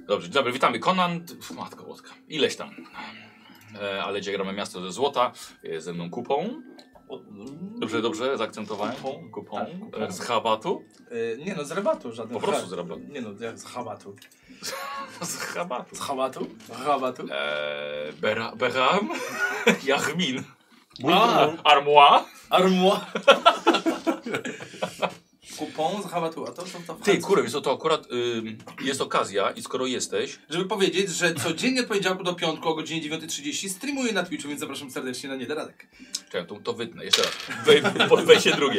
Dobrze, dobra, witamy. Konan, pf, matko łotka, ileś tam. E, ale gdzie gramy miasto ze złota, jest ze mną kupą. Dobrze, dobrze, zaakcentowałem. Kupą, kupą. Tak, kupą. E, Z habatu. Y, nie no, z rabatu żaden. Po prostu ha- z rabatu. Nie no, jak z habatu. Z habatu. Z habatu? Z habatu? E, Bera- Beram, Jachmin, A, Armois. armła. Kupon z habatu, a to są to w Ty, Hansu. kurwa, jest to akurat ym, jest okazja i skoro jesteś, Żeby powiedzieć, że codziennie od poniedziałku do piątku o godzinie 9.30 streamuję na Twitchu, więc zapraszam serdecznie na Niedradek. czekaj, to, to wytnę, jeszcze raz, Wej, po- wejście drugie.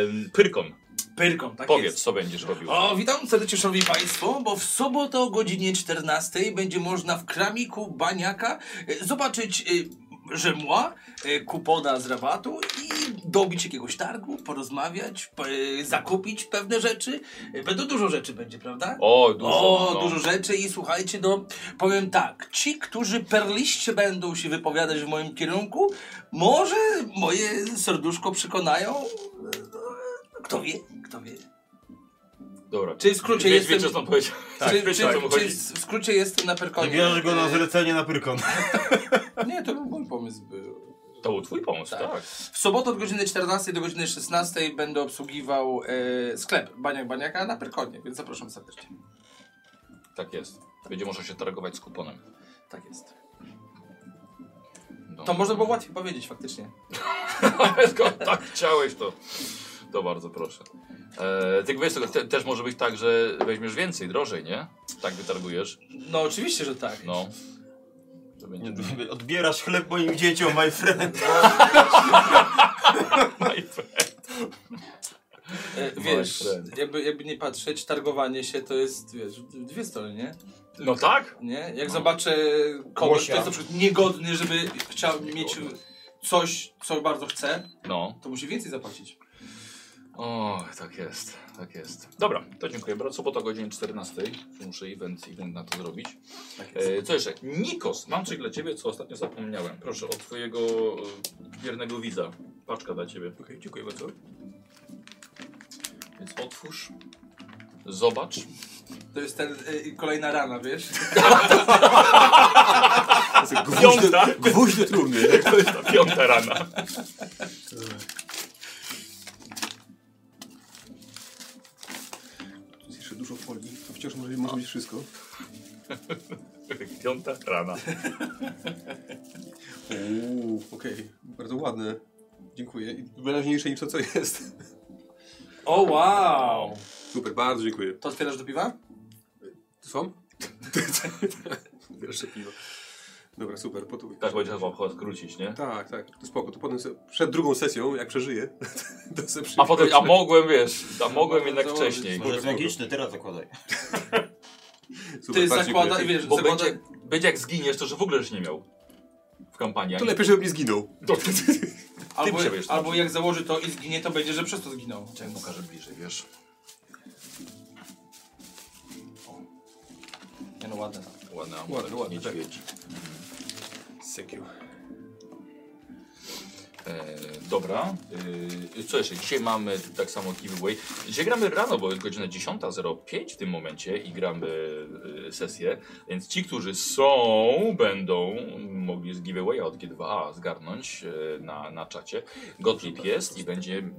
Em, Pyrkon, Pyrką, tak powiedz, jest. co będziesz robił. O, witam serdecznie szanowni państwo, bo w sobotę o godzinie 14 będzie można w kramiku Baniaka e, zobaczyć e, rzemła, e, kupona z rabatu i dobić jakiegoś targu, porozmawiać, p- e, zakupić pewne rzeczy. E, Będą dużo rzeczy będzie, prawda? O, dużo. O, no. dużo rzeczy i słuchajcie, no powiem tak, ci, którzy perliście będą się wypowiadać w moim kierunku, może moje serduszko przekonają, e, no, kto wie, kto wie. Dobra. Czyli w skrócie Wie- jestem- Wiecie, co on powiedział. Tak, czy, wiecie, czy, o co mu czy chodzi. w skrócie jestem na perkonie? Bierzesz go na zlecenie na pyrkon. Nie, to był mój pomysł. Był. To był twój pomysł, tak. W sobotę od godziny 14 do godziny 16 będę obsługiwał e, sklep Baniak Baniaka na perkonie, więc zapraszam serdecznie. Tak jest. Będzie można się targować z kuponem. Tak jest. No. To można było łatwiej powiedzieć faktycznie. Skoro tak chciałeś, to, to bardzo proszę. E, tylko wiesz, to te, też może być tak, że weźmiesz więcej, drożej, nie? Tak wytargujesz. No oczywiście, że tak. No. To będzie... Odbierasz chleb moim dzieciom, my friend. E, wiesz, Moi friend. jakby, jakby nie patrzeć, targowanie się to jest, wiesz, d- dwie strony, nie? No tak? nie? Jak zobaczę kogoś, kto Łosia. jest na przykład niegodny, żeby chciał mieć Niegodny. coś, co bardzo chce, No. to musi więcej zapłacić. O, tak jest, tak jest. Dobra, to dziękuję bardzo. Sobota o godzinie 14. Muszę event, event na to zrobić. E, co jeszcze? Nikos, mam coś dla ciebie, co ostatnio zapomniałem. Proszę, od twojego e, wiernego widza. Paczka dla ciebie. dziękuję bardzo. Więc otwórz, zobacz. To jest ten, y, kolejna rana, wiesz? Piąta. Gwóźdź do trumny. To jest ta piąta rana. Tu Jest jeszcze dużo folii, to wciąż może, może być wszystko. Piąta rana. Uuu, okej, bardzo ładne. Dziękuję. I Wyraźniejsze niż to, co jest. O, wow! Super, bardzo dziękuję. To otwierasz do piwa? To są? Jeszcze piwo. Dobra, super, po Tak będzie chyba chyba skrócić, nie? Tak, tak, to spoko. To potem se, przed drugą sesją, jak przeżyję, to se A potem, a przypiszę. mogłem, wiesz, a mogłem jednak Założyć. wcześniej. Może jest magiczny, teraz zakładaj. Super, Ty bardzo zakłada, dziękuję. wiesz, Bo zakłada... będzie, będzie jak zginiesz, to że w ogóle już nie miał w kampanii. To lepiej, żeby nie zginął. albo, przewiesz, albo jak założy to i zginie, to będzie, że przez to zginął. Czemu pokażę bliżej, wiesz? Nie no, ładne. Ładna, Ładny, ładna, ładny, tak. niedźwiedź. Thank you. E, dobra, e, co jeszcze? Dzisiaj mamy tak samo giveaway. Dzisiaj gramy rano, bo jest godzina 10.05 w tym momencie i gramy e, sesję, więc ci, którzy są, będą mogli z giveawaya od G2A zgarnąć e, na, na czacie. Gotlip jest i będzie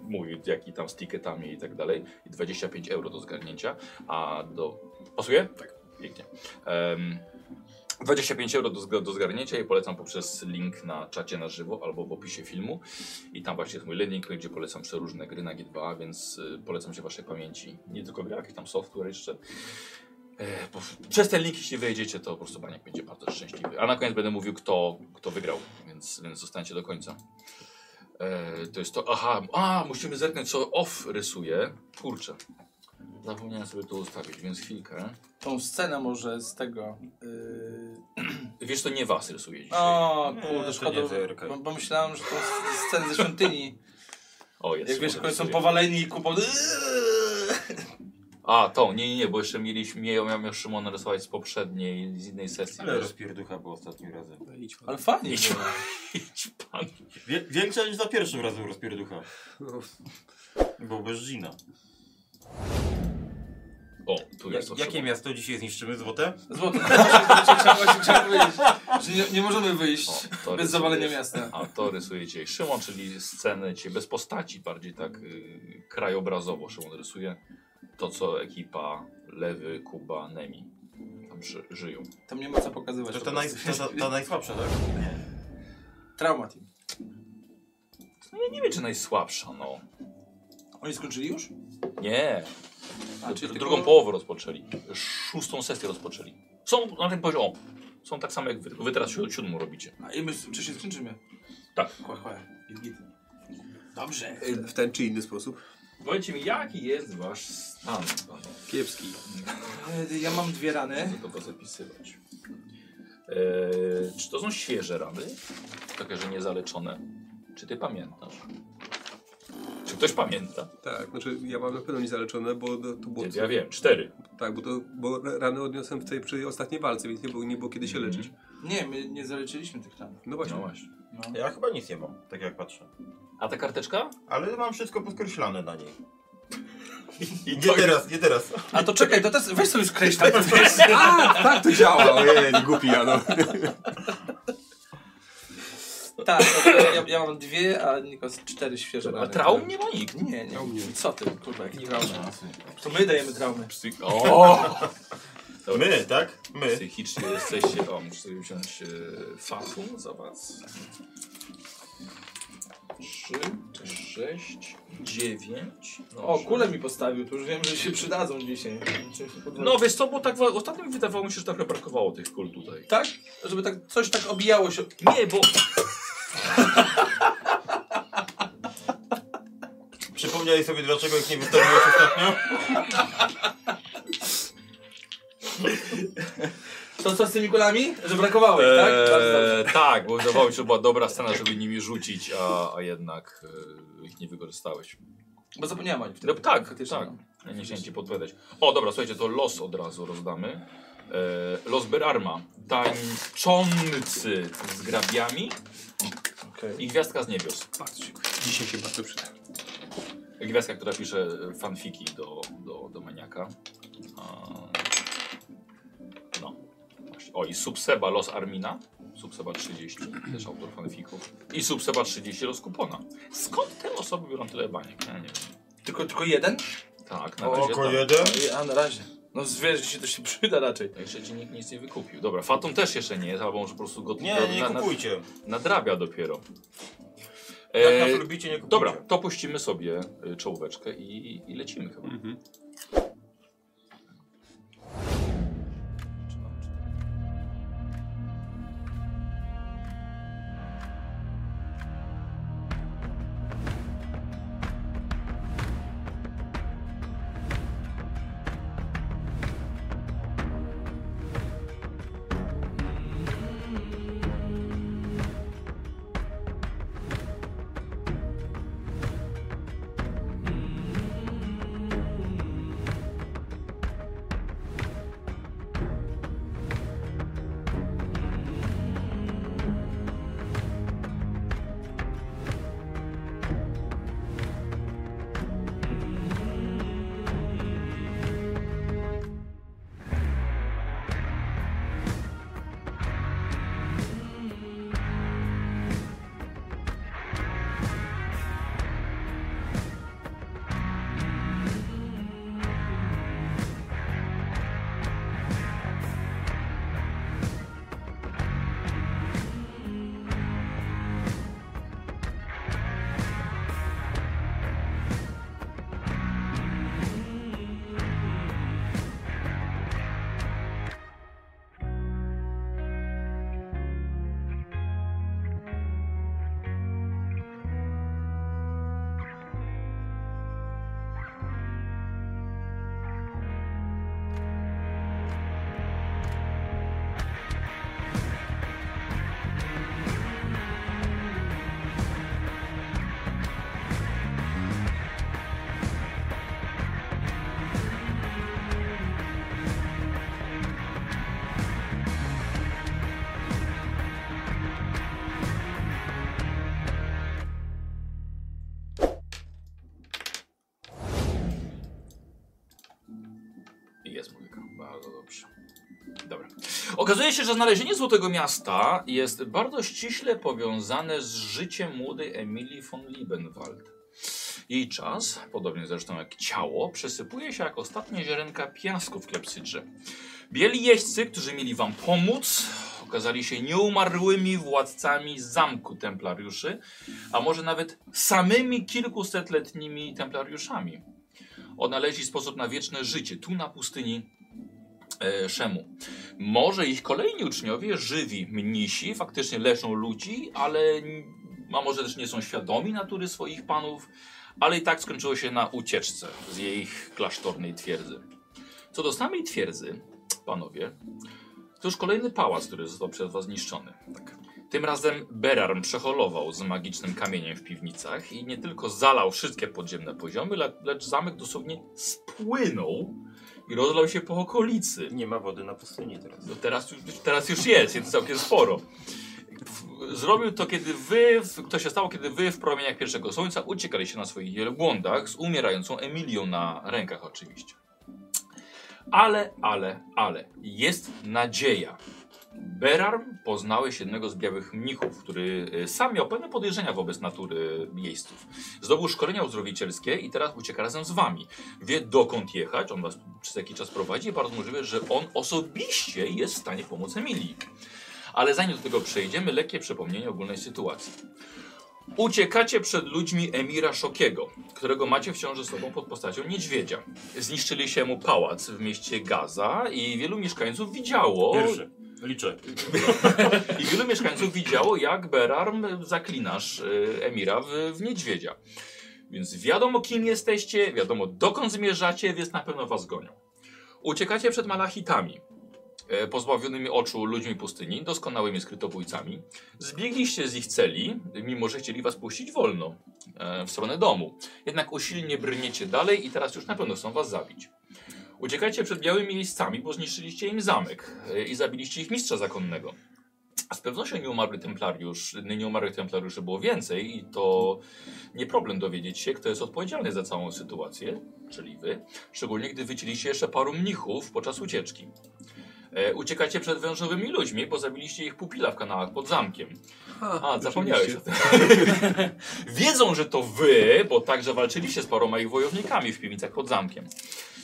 mówił, jaki tam z ticketami i tak dalej. I 25 euro do zgarnięcia, a do... Pasuje? Tak. Pięknie. Em, 25 euro do, zg- do zgarnięcia i polecam poprzez link na czacie na żywo albo w opisie filmu. I tam właśnie jest mój link, gdzie polecam przeróżne gry na G2, więc y, polecam się waszej pamięci. Nie tylko gry, jakiś tam software jeszcze. E, po, przez ten link, jeśli wejdziecie, to po prostu Baniak będzie bardzo szczęśliwy. A na koniec będę mówił, kto, kto wygrał, więc, więc zostańcie do końca. E, to jest to. Aha, a, musimy zerknąć, co off rysuje. Kurczę. Zapomniałem sobie to ustawić, więc chwilkę. Tą scenę może z tego... Yy... Wiesz, to nie was rysuje dzisiaj. O, Nie, kurde, to szkoda, nie zerkaj. bo, bo myślałem, że to s- scenę ze świątyni. O, jest. Jak wiesz, może jak oni są rysuje. powaleni i kupą... A, tą, nie, nie, nie, bo jeszcze mieliśmy, ja miałem już Szymona rysować z poprzedniej, z innej sesji. Ale Wiesz, rozpierducha było ostatnim razem. No, idź, pan. Ale fajnie. Idź. było. idź pan. Wie, większa niż za pierwszym razem rozpierducha. No, Bo bez Gina. O, tu jest to Jakie trzeba. miasto dzisiaj zniszczymy? Złote? Złoto. Znaczy, Trzeba się trzeba wyjść. Że nie, nie możemy wyjść O, to bez rysujesz. zawalenia miasta. A to rysuje dzisiaj Szymon, czyli scenę cię bez postaci, bardziej tak y, krajobrazowo Szymon rysuje to, co ekipa Lewy, Kuba, Nemi tam ży, żyją. Tam nie ma co pokazywać. To po ta, naj, prostu. ta, ta, ta najsłabsza, tak? Trauma team. No ja nie wiem, czy najsłabsza, no. Oni skończyli już? Nie, A, czyli drugą tylko- połowę rozpoczęli. Szóstą sesję rozpoczęli. Są no na tym poziomie. Są tak samo jak wy, wy teraz siód- siódmą robicie. A No i my wcześniej skończymy. Tak. Chłe, chłe. Git, git. Dobrze. E, W ten czy inny sposób. Powiedzcie mi, jaki jest wasz stan? Kiepski. E, Ja mam dwie rany. Chcę to zapisywać. Eee, czy to są świeże rany? Takie, że niezaleczone. Czy ty pamiętasz? Czy ktoś pamięta? Tak, znaczy ja mam na pewno niezaleczone, bo to to było... Ja wiem, cztery. Tak, bo, to, bo rany odniosłem w tej przy ostatniej walce, więc nie było, nie było kiedy się leczyć. Nie, my nie zaleczyliśmy tych ran. Mhm. No właśnie. No właśnie. No. Ja chyba nic nie mam, tak jak patrzę. A ta karteczka? Ale mam wszystko podkreślane na niej. I Nie teraz, nie teraz. A to czekaj, to teraz weź sobie skreśl tam. A, tak to działa! Ojej, głupi no. Jano. Tak, to- to ja, ja mam dwie, a Nikos cztery świeże A rany. traum nie ma nikt. Nie, Traum nie. nie. Co ty, kurwa, jak nie trauma. To my dajemy traumy. Psy- O! My, tak? My. Psychicznie jesteście. O, muszę sobie wziąć e, fatum za was. 3, 6, 9. O, kule mi postawił, to już wiem, że się przydadzą dzisiaj. No wiesz co, bo tak wa- ostatnio mi wydawało mi się, że tak brakowało tych kul tutaj. E, tak? Żeby tak, coś tak obijało się. Nie, bo Przypomniałeś sobie, dlaczego ich nie wystawiłeś ostatnio? To co z tymi kulami? Że brakowało ich, tak? Bardzo dobrze. Eee, tak, bo wydawało mi się, że była dobra scena, żeby nimi rzucić, a, a jednak e, ich nie wykorzystałeś. Bo zapomniałem o nich No, wtedy. tak, Faktycznie, tak. no. Ja nie chciałem ci podpowiadać. O, dobra, słuchajcie, to los od razu rozdamy. E, los Berarma. Tańczący z grabiami Okej. i gwiazdka z niebios. Bardzo dziękuję. Dzisiaj się bardzo przyda. Gwiazdka, która pisze fanfiki do, do, do maniaka. A, No. Właśnie. O, i Subseba Los Armina. Subseba 30, też autor fanfików. I Subseba 30 Los Kupona. Skąd te osoby biorą tyle baniek? Ja nie wiem. Tylko, tylko jeden? Tak, na razie Oko tak. jeden. A, na razie. No zwierzę się to się przyda raczej. Jeszcze ci nikt nic nie wykupił. Dobra, Fatum też jeszcze nie jest, albo może po prostu go Nie, nie na, na, kupujcie. nadrabia dopiero. Jak nas E, lubicie, nie kupujcie. dobra, to puścimy sobie y, czołóweczkę i, i lecimy chyba. Mhm. Dobra, bardzo dobrze. Dobra. Okazuje się, że znalezienie Złotego Miasta jest bardzo ściśle powiązane z życiem młodej Emilii von Liebenwald. Jej czas, podobnie zresztą jak ciało, przesypuje się jak ostatnie ziarenka piasku w klepsydrze. Bieli jeźdźcy, którzy mieli wam pomóc, okazali się nieumarłymi władcami zamku templariuszy, a może nawet samymi kilkusetletnimi templariuszami. Odnaleźli sposób na wieczne życie tu na pustyni e, Szemu. Może ich kolejni uczniowie, żywi mnisi, faktycznie leczą ludzi, ale n- a może też nie są świadomi natury swoich panów, ale i tak skończyło się na ucieczce z jej ich klasztornej twierdzy. Co do samej twierdzy, panowie, to już kolejny pałac, który został przez was zniszczony. Tak. Tym razem Berarm przeholował z magicznym kamieniem w piwnicach i nie tylko zalał wszystkie podziemne poziomy, le- lecz zamek dosłownie spłynął i rozlał się po okolicy. Nie ma wody na pustyni teraz. No teraz, już, teraz już jest, jest całkiem sporo. W- Zrobił to, kiedy wy, w- to się stało, kiedy wy w promieniach pierwszego słońca uciekaliście na swoich wielbłądach z umierającą Emilią na rękach oczywiście. Ale, ale, ale, jest nadzieja. Berarm poznałeś jednego z białych mnichów, który y, sam miał pewne podejrzenia wobec natury jeźdźców. Zdobył szkolenia uzdrowicielskie i teraz ucieka razem z wami. Wie dokąd jechać, on was przez jakiś czas prowadzi i bardzo możliwe, że on osobiście jest w stanie pomóc Emilii. Ale zanim do tego przejdziemy, lekkie przypomnienie ogólnej sytuacji. Uciekacie przed ludźmi Emira Szokiego, którego macie wciąż ze sobą pod postacią niedźwiedzia. Zniszczyliście mu pałac w mieście Gaza i wielu mieszkańców widziało... Pierwszy. Liczę. I wielu mieszkańców widziało, jak Berarm zaklinasz y, Emira w, w niedźwiedzia. Więc wiadomo, kim jesteście, wiadomo, dokąd zmierzacie, więc na pewno was gonią. Uciekacie przed malachitami, e, pozbawionymi oczu ludźmi pustyni, doskonałymi skrytobójcami. Zbiegliście z ich celi, mimo że chcieli was puścić wolno, e, w stronę domu. Jednak usilnie brniecie dalej i teraz już na pewno chcą was zabić. Uciekacie przed białymi miejscami, bo zniszczyliście im zamek e, i zabiliście ich mistrza zakonnego. A z pewnością nieumarły templariusz, nieumarłych templariuszy było więcej i to nie problem dowiedzieć się, kto jest odpowiedzialny za całą sytuację, czyli wy, szczególnie gdy wycięliście jeszcze paru mnichów podczas ucieczki. E, uciekacie przed wężowymi ludźmi, bo zabiliście ich pupila w kanałach pod zamkiem. A, zapomniałeś o tym. Wiedzą, że to wy, bo także walczyliście z paroma ich wojownikami w piwnicach pod zamkiem.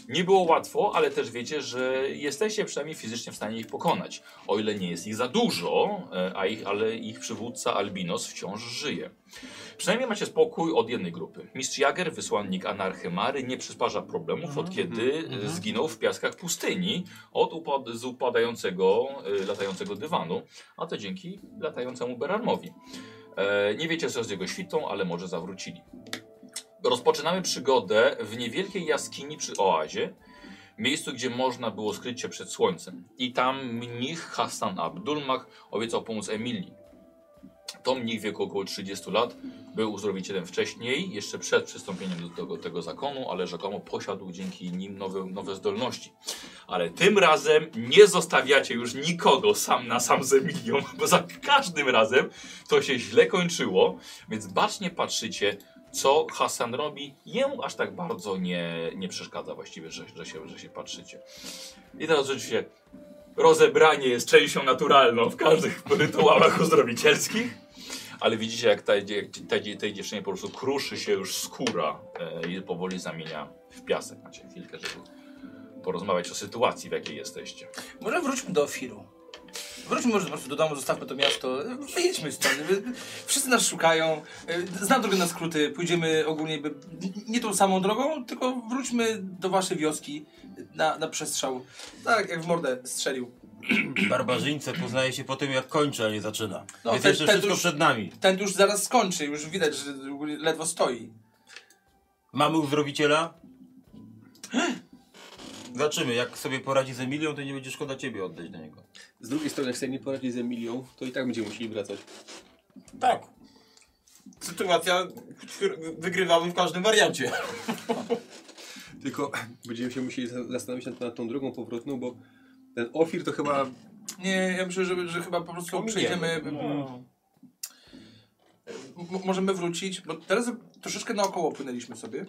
Nie było łatwo, ale też wiecie, że jesteście przynajmniej fizycznie w stanie ich pokonać. O ile nie jest ich za dużo, e, a ich, ale ich przywódca Albinos wciąż żyje. Przynajmniej macie spokój od jednej grupy. Mistrz Jager, wysłannik Anarchemary, nie przysparza problemów od kiedy e, zginął w piaskach pustyni od upad z upadającego, e, latającego dywanu, a to dzięki latającemu Berarmowi. E, nie wiecie co z jego świtą, ale może zawrócili. Rozpoczynamy przygodę w niewielkiej jaskini przy oazie, miejscu, gdzie można było skryć się przed słońcem. I tam mnich Hassan Abdulmach obiecał pomóc Emilii. To mnich w wieku około 30 lat był uzdrowicielem wcześniej, jeszcze przed przystąpieniem do tego, tego zakonu, ale rzekomo posiadł dzięki nim nowe, nowe zdolności. Ale tym razem nie zostawiacie już nikogo sam na sam z Emilią, bo za każdym razem to się źle kończyło, więc bacznie patrzycie, co Hassan robi. Jemu aż tak bardzo nie, nie przeszkadza właściwie, że, że, się, że się patrzycie. I teraz rzeczywiście rozebranie jest częścią naturalną w każdych rytuałach uzdrowicielskich. Ale widzicie, jak tej, tej, tej dziewczynie po prostu kruszy się już skóra e, i powoli zamienia w piasek. Macie chwilkę, żeby porozmawiać o sytuacji, w jakiej jesteście. Może wróćmy do Ofiru. Wróćmy może po prostu do domu, zostawmy to miasto, wyjedźmy stąd. Wszyscy nas szukają, E, znam drogę na skróty, pójdziemy ogólnie by- nie tą samą drogą, tylko wróćmy do waszej wioski na, na przestrzał. Tak, jak w mordę strzelił. Barbarzyńce poznaje się po tym, jak kończy, a nie zaczyna. No, Więc ten- jeszcze ten wszystko już- przed nami. Ten już zaraz skończy, już widać, że ogólnie ledwo stoi. Mamy uzdrowiciela? Zobaczymy, jak sobie poradzi z Emilią, to nie będzie szkoda ciebie oddać do niego. Z drugiej strony, jak sobie nie poradzić z Emilią, to i tak będziemy musieli wracać. Tak. Sytuacja wygrywamy w każdym wariancie. Tylko będziemy się musieli za- zastanowić nad, nad tą drugą powrotną, bo ten Ofir to chyba Nie, ja myślę, że, że chyba po prostu Pominiemy. przejdziemy. No. m- możemy wrócić, bo teraz troszeczkę naokoło płynęliśmy sobie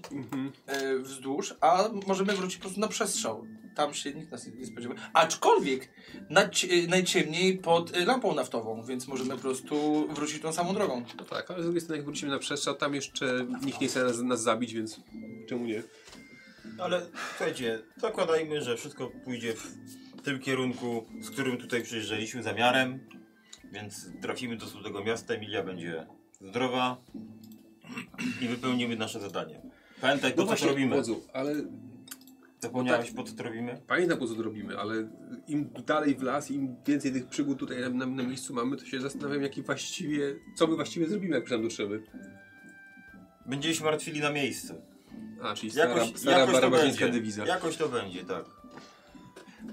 e, wzdłuż, a możemy wrócić po prostu na przestrzał. Tam się nikt nas nie spodziewa. Aczkolwiek nać, e, najciemniej pod e, lampą naftową, więc możemy po prostu wrócić tą samą drogą. No tak, ale z drugiej strony jak wrócimy na przestrzał, tam jeszcze nikt nie chce nas, nas zabić, więc No czemu nie? Ale słuchajcie, zakładajmy, że wszystko pójdzie w tym kierunku, z którym tutaj przyjeżdżaliśmy zamiarem, więc trafimy do tego miasta, Emilia będzie zdrowa i wypełnimy nasze zadanie. Pamiętaj, po co to robimy. Wodzu, ale Zapomniałeś, po co to robimy? pamiętam po co to robimy, ale im dalej w las, im więcej tych przygód tutaj na, na, na miejscu mamy, to się zastanawiam, jaki właściwie, co my właściwie zrobimy, jak przyjdziemy. Będziemy się martwili na miejscu. A, czyli stara, Jakoś, stara jakoś to barbarzyńska będzie. dewiza. Jakoś to będzie, tak.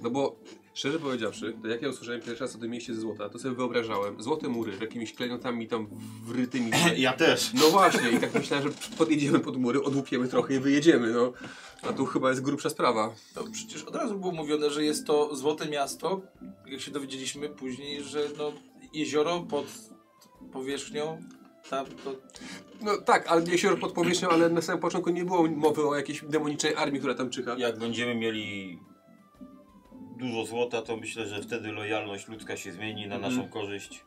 No bo szczerze powiedziawszy, to jak ja usłyszałem pierwszy raz o tym mieście ze złota, to sobie wyobrażałem złote mury z jakimiś klejnotami tam wrytymi. Ja też. No właśnie, i tak myślałem, że podjedziemy pod mury, odłupiemy trochę i wyjedziemy, no. A tu chyba jest grubsza sprawa. To przecież od razu było mówione, że jest to złote miasto, jak się dowiedzieliśmy później, że no, jezioro pod powierzchnią, tam to No tak, ale jezioro pod powierzchnią, ale na samym początku nie było mowy o jakiejś demonicznej armii, która tam czyha. Jak będziemy mieli dużo złota, to myślę, że wtedy lojalność ludzka się zmieni na naszą korzyść.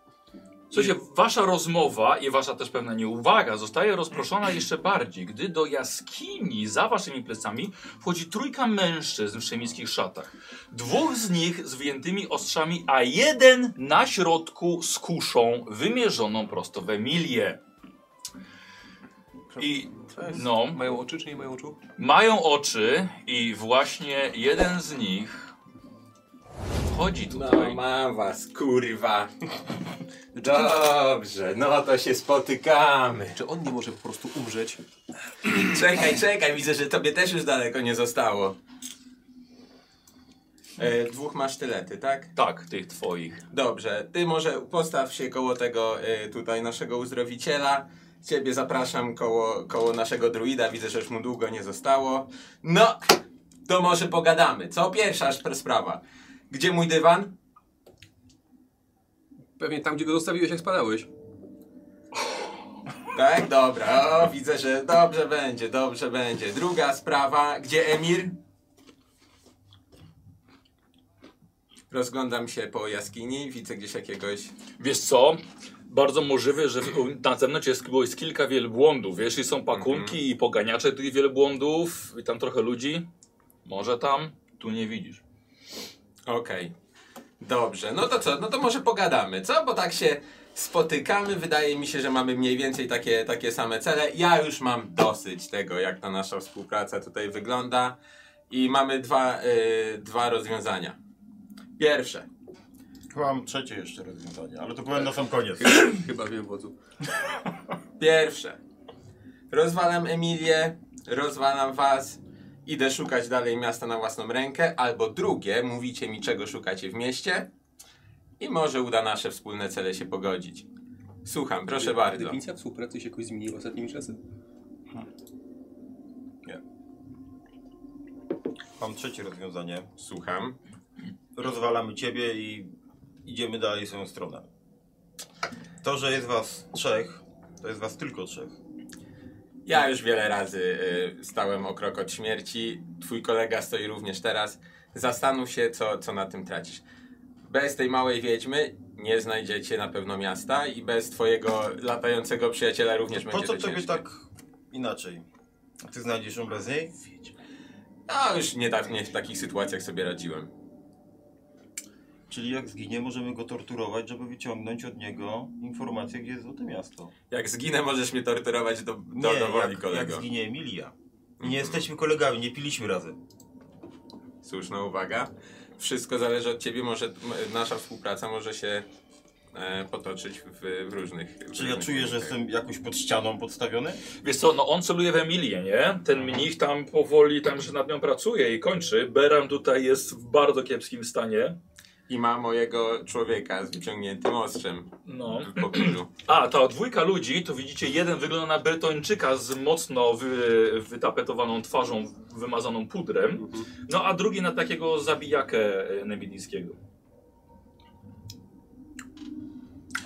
Słuchajcie, wasza rozmowa i wasza też pewna nieuwaga zostaje rozproszona jeszcze bardziej, gdy do jaskini za waszymi plecami wchodzi trójka mężczyzn w szemickich szatach. Dwóch z nich z wyjętymi ostrzami, a jeden na środku z kuszą wymierzoną prosto w Emilię. I To jest- no, Mają oczy czy nie mają oczu? mają oczy i właśnie jeden z nich chodzi No tutaj. mam was, kurwa. Dobrze, no to się spotykamy. Czy on nie może po prostu umrzeć? Czekaj, czekaj, widzę, że tobie też już daleko nie zostało. E, dwóch masz tylety, tak? Tak, tych twoich. Dobrze, ty może postaw się koło tego e, tutaj naszego uzdrowiciela. Ciebie zapraszam koło, koło naszego druida, widzę, że już mu długo nie zostało. No, to może pogadamy. Co pierwsza szpr- sprawa? Gdzie mój dywan? Pewnie tam, gdzie go zostawiłeś, jak spadałeś. Tak, dobra, o, widzę, że dobrze będzie, dobrze będzie. Druga sprawa, gdzie Emir? Rozglądam się po jaskini, widzę gdzieś jakiegoś. Wiesz co? Bardzo możliwe, że w- na zewnątrz jest, było jest kilka wielbłądów, wiesz, i są pakunki i poganiacze tych wielbłądów, i tam trochę ludzi. Może tam, tu nie widzisz. Okej. Dobrze, no to co? No to może pogadamy, co? Bo tak się spotykamy, wydaje mi się, że mamy mniej więcej takie, takie same cele. Ja już mam dosyć tego, jak ta nasza współpraca tutaj wygląda i mamy dwa, y, dwa rozwiązania. Pierwsze, Chyba mam trzecie jeszcze rozwiązanie, ale to powiem na sam koniec. Chyba wiem, wodzu. Pierwsze. Rozwalam Emilię, rozwalam was, idę szukać dalej miasta na własną rękę. Albo drugie, mówicie mi czego szukacie w mieście i może uda nasze wspólne cele się pogodzić. Słucham, proszę bardzo. Definicja współpracy się jakoś zmieniła ostatnimi czasy? Mam trzecie rozwiązanie. Słucham. Rozwalamy ciebie i idziemy dalej swoją stronę. To, że jest was trzech, to jest was tylko trzech. Ja już wiele razy y, stałem o krok od śmierci. Twój kolega stoi również teraz. Zastanów się, co, co na tym tracisz. Bez tej małej wiedźmy nie znajdziecie na pewno miasta i bez twojego latającego przyjaciela również Po będzie co to tobie ciężkie. tak inaczej? Ty znajdziesz ją bez niej? No, już niedawno w takich sytuacjach sobie radziłem. Czyli jak zginie, możemy go torturować, żeby wyciągnąć od niego informację, gdzie jest złote miasto. Jak zginę, możesz mnie torturować do, do nie, dowoli, jak, jak kolego. zginie Emilia. Nie jesteśmy kolegami, nie piliśmy razem. Słuszna uwaga. Wszystko zależy od ciebie, może m, nasza współpraca może się e, potoczyć w, w różnych... w Czy ja różnych czuję, że kierunkach. jestem jakoś pod ścianą podstawiony? Wiesz co, no on celuje w Emilię, nie? Ten mnich tam powoli, tam że nad nią pracuje i kończy. Beram tutaj jest w bardzo kiepskim stanie. I ma mojego człowieka z wyciągniętym ostrzem No. w pobliżu. A, ta dwójka ludzi, to widzicie, jeden wygląda na Bretończyka z mocno wy, wytapetowaną twarzą, wymazaną pudrem, no a drugi na takiego zabijakę e, nemilijskiego.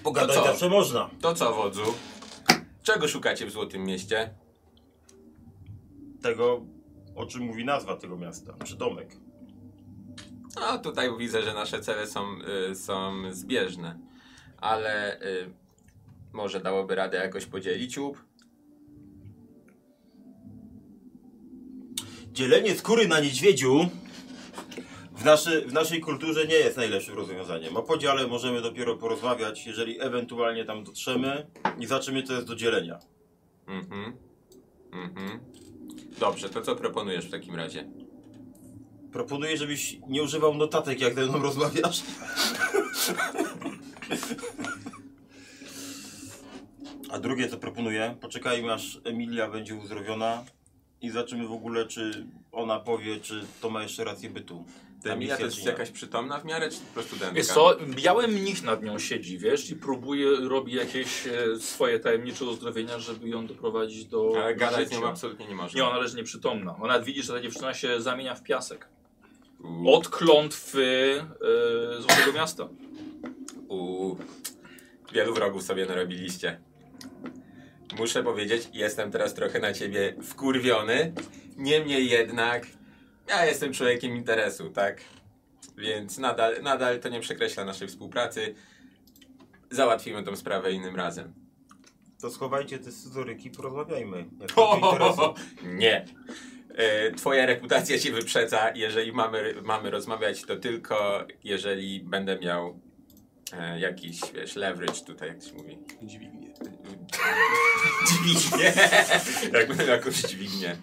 Pogadać co? No zawsze tak, można. To co, wodzu? Czego szukacie w Złotym Mieście? Tego, o czym mówi nazwa tego miasta. znaczy Przydomek. No tutaj widzę, że nasze cele są, y, są zbieżne, ale y, może dałoby radę jakoś podzielić łup? Dzielenie skóry na niedźwiedziu w, naszy, w naszej kulturze nie jest najlepszym rozwiązaniem. O podziale możemy dopiero porozmawiać, jeżeli ewentualnie tam dotrzemy i zaczymy to jest do dzielenia. Mhm. Mhm. Dobrze, to co proponujesz w takim razie? Proponuję, żebyś nie używał notatek, jak ze mną rozmawiasz. A drugie, co proponuję, poczekajmy aż Emilia będzie uzdrowiona i zobaczymy w ogóle, czy ona powie, czy to ma jeszcze rację bytu. Ta Emilia misja, to czy jest nie. jakaś przytomna w miarę, czy po prostu dentka? Wiesz co, biały mnich nad nią siedzi, wiesz, i próbuje, robi jakieś e, swoje tajemnicze uzdrowienia, żeby ją doprowadzić do Ale gadać z nią życia. absolutnie nie można. Nie, ona leży nieprzytomna. Ona nawet widzi, że ta dziewczyna się zamienia w piasek. U, Od klątwy e, Złotego Miasta. u. Wielu wrogów sobie narobiliście. Muszę powiedzieć, jestem teraz trochę na ciebie wkurwiony. Niemniej jednak, ja jestem człowiekiem interesu, tak? Więc nadal, nadal to nie przekreśla naszej współpracy. Załatwimy tą sprawę innym razem. To schowajcie te scyzoryki i porozmawiajmy. Jak to cię interesuje. O, nie. E, Twoja reputacja się wyprzedza. Jeżeli mamy, mamy rozmawiać, to tylko jeżeli będę miał e, jakiś wiesz, leverage tutaj, jak to się mówi. Dźwignie. Dźwignię. jak będę miał jakąś dźwignię.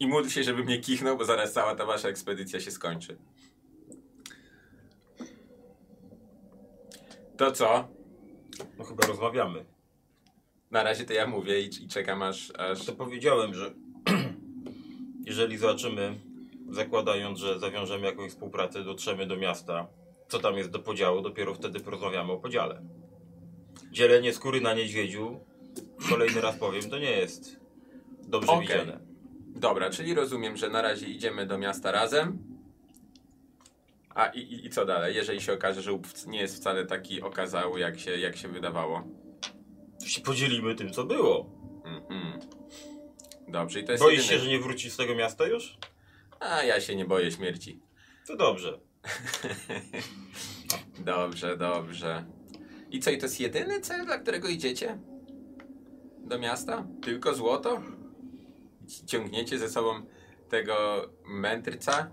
I módl się, żeby mnie kichnął, bo zaraz cała ta wasza ekspedycja się skończy. To co? No chyba rozmawiamy. Na razie to ja mówię i, i czekam aż, aż... To powiedziałem, że jeżeli zobaczymy, zakładając, że zawiążemy jakąś współpracę, dotrzemy do miasta, co tam jest do podziału, dopiero wtedy porozmawiamy o podziale. Dzielenie skóry na niedźwiedziu, kolejny raz powiem, to nie jest dobrze Okej. widziane. Dobra, czyli rozumiem, że na razie idziemy do miasta razem. A i, i, i co dalej, jeżeli się okaże, że łup wc- nie jest wcale taki okazały, jak się, jak się wydawało? To się podzielimy tym, co było. Mhm. Dobrze, i to jest Boisz jedyny... się, że nie wrócisz z tego miasta już? A, ja się nie boję śmierci. To dobrze. Dobrze, dobrze. I co, i to jest jedyny cel, dla którego idziecie? Do miasta? Tylko złoto? C- Ciągniecie ze sobą tego mędrca?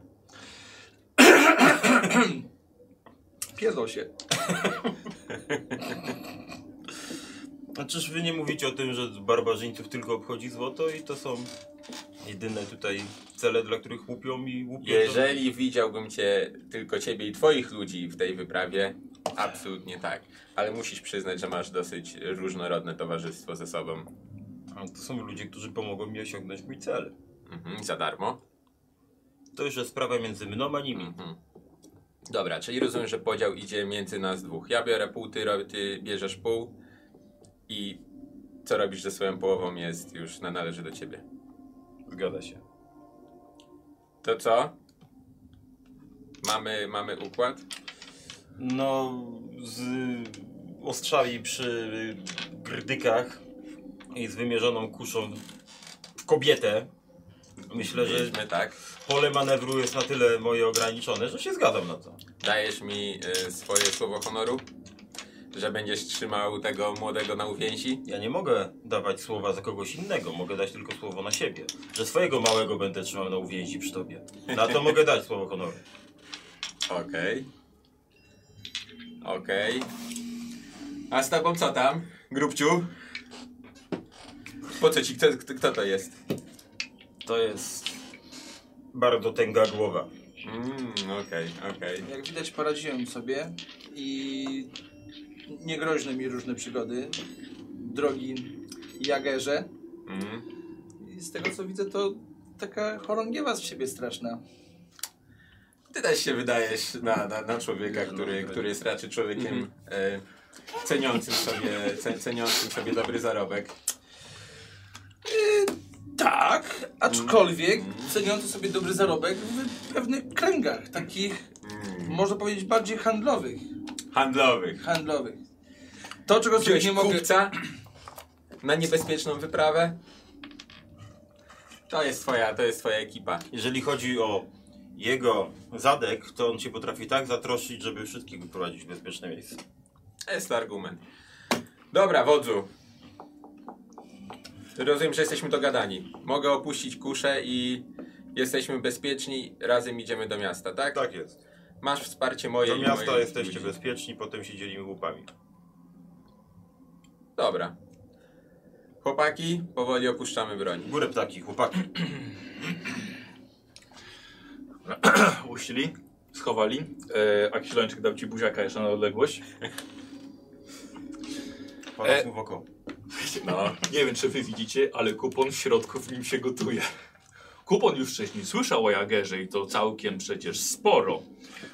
Piezą się. A czyż wy nie mówicie o tym, że barbarzyńców tylko obchodzi złoto i to są jedyne tutaj cele, dla których łupią i łupią? Jeżeli widziałbym cię, tylko ciebie i twoich ludzi w tej wyprawie, absolutnie tak. Ale musisz przyznać, że masz dosyć różnorodne towarzystwo ze sobą. A To są ludzie, którzy pomogą mi osiągnąć mój cel. Mhm, za darmo. To już jest sprawa między mną a nimi. Mhm. Dobra, czyli rozumiem, że podział idzie między nas dwóch. Ja biorę pół, ty, ro- ty bierzesz pół i co robisz ze swoją połową jest już na należy do ciebie. Zgadza się. To co? Mamy, mamy układ? No, z ostrzami przy grdykach i z wymierzoną kuszą w kobietę. Myślę, że Jedźmy, tak. pole manewru jest na tyle moje ograniczone, że się zgadzam na to. Dajesz mi y, swoje słowo honoru, że będziesz trzymał tego młodego na uwięzi. Ja nie mogę dawać słowa za kogoś innego, mogę dać tylko słowo na siebie. Że swojego małego będę trzymał na uwięzi przy tobie. Na to mogę dać słowo honoru. Okej. Okej. A z tobą co tam, grubciu? Po co ci, kto, kto, kto to jest? To jest bardzo tęga głowa. Mm, okej, okej. Jak widać poradziłem sobie i niegroźne mi różne przygody, drogi jagerze. Mm. I z tego co widzę to taka chorągiewa z siebie straszna. Ty też się wydajesz na, na, na człowieka, który, który jest raczej człowiekiem e, ceniącym, sobie, ce, ceniącym sobie dobry zarobek. Tak, aczkolwiek ceniący sobie dobry zarobek w pewnych kręgach, takich można powiedzieć bardziej handlowych. Handlowych. Handlowych. To, czego sobie Wziąłeś nie mogę... kupca? na niebezpieczną wyprawę. To jest twoja, to jest twoja ekipa. Jeżeli chodzi o jego zadek, to on się potrafi tak zatroszczyć, żeby wszystkich wyprowadzić w bezpieczne miejsce. To jest argument. Dobra, wodzu. Rozumiem, że jesteśmy dogadani. Mogę opuścić kuszę i jesteśmy bezpieczni. Razem idziemy do miasta, tak? Tak jest. Masz wsparcie moje Do i miasta moich jesteście ludzi. bezpieczni, potem się dzielimy łupami. Dobra. Chłopaki, powoli opuszczamy broń. Górę ptaki, chłopaki. Uścili, schowali. E, a Kilończyk dał ci buziaka jeszcze na odległość. Patrz E. mu w oko. No. Nie wiem, czy wy widzicie, ale kupon w środku w nim się gotuje. Kupon już wcześniej słyszał o Jagerze i to całkiem przecież sporo.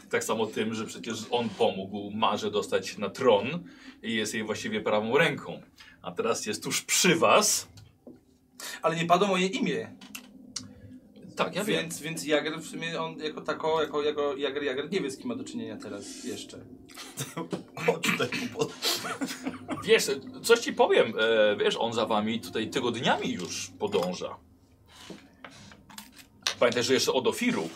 Tak samo tym, że przecież on pomógł Marze dostać się na tron i jest jej właściwie prawą ręką. A teraz jest tuż przy was. Ale nie padło moje imię, Tak, ja wiem. więc, więc Jager w sumie on jako tako, jako, jako Jager, Jager nie wie z kim ma do czynienia teraz jeszcze. Odczytaj kupon. Wiesz, coś ci powiem. E, wiesz, on za wami tutaj tygodniami już podąża. Pamiętaj, że jeszcze od Ofiru.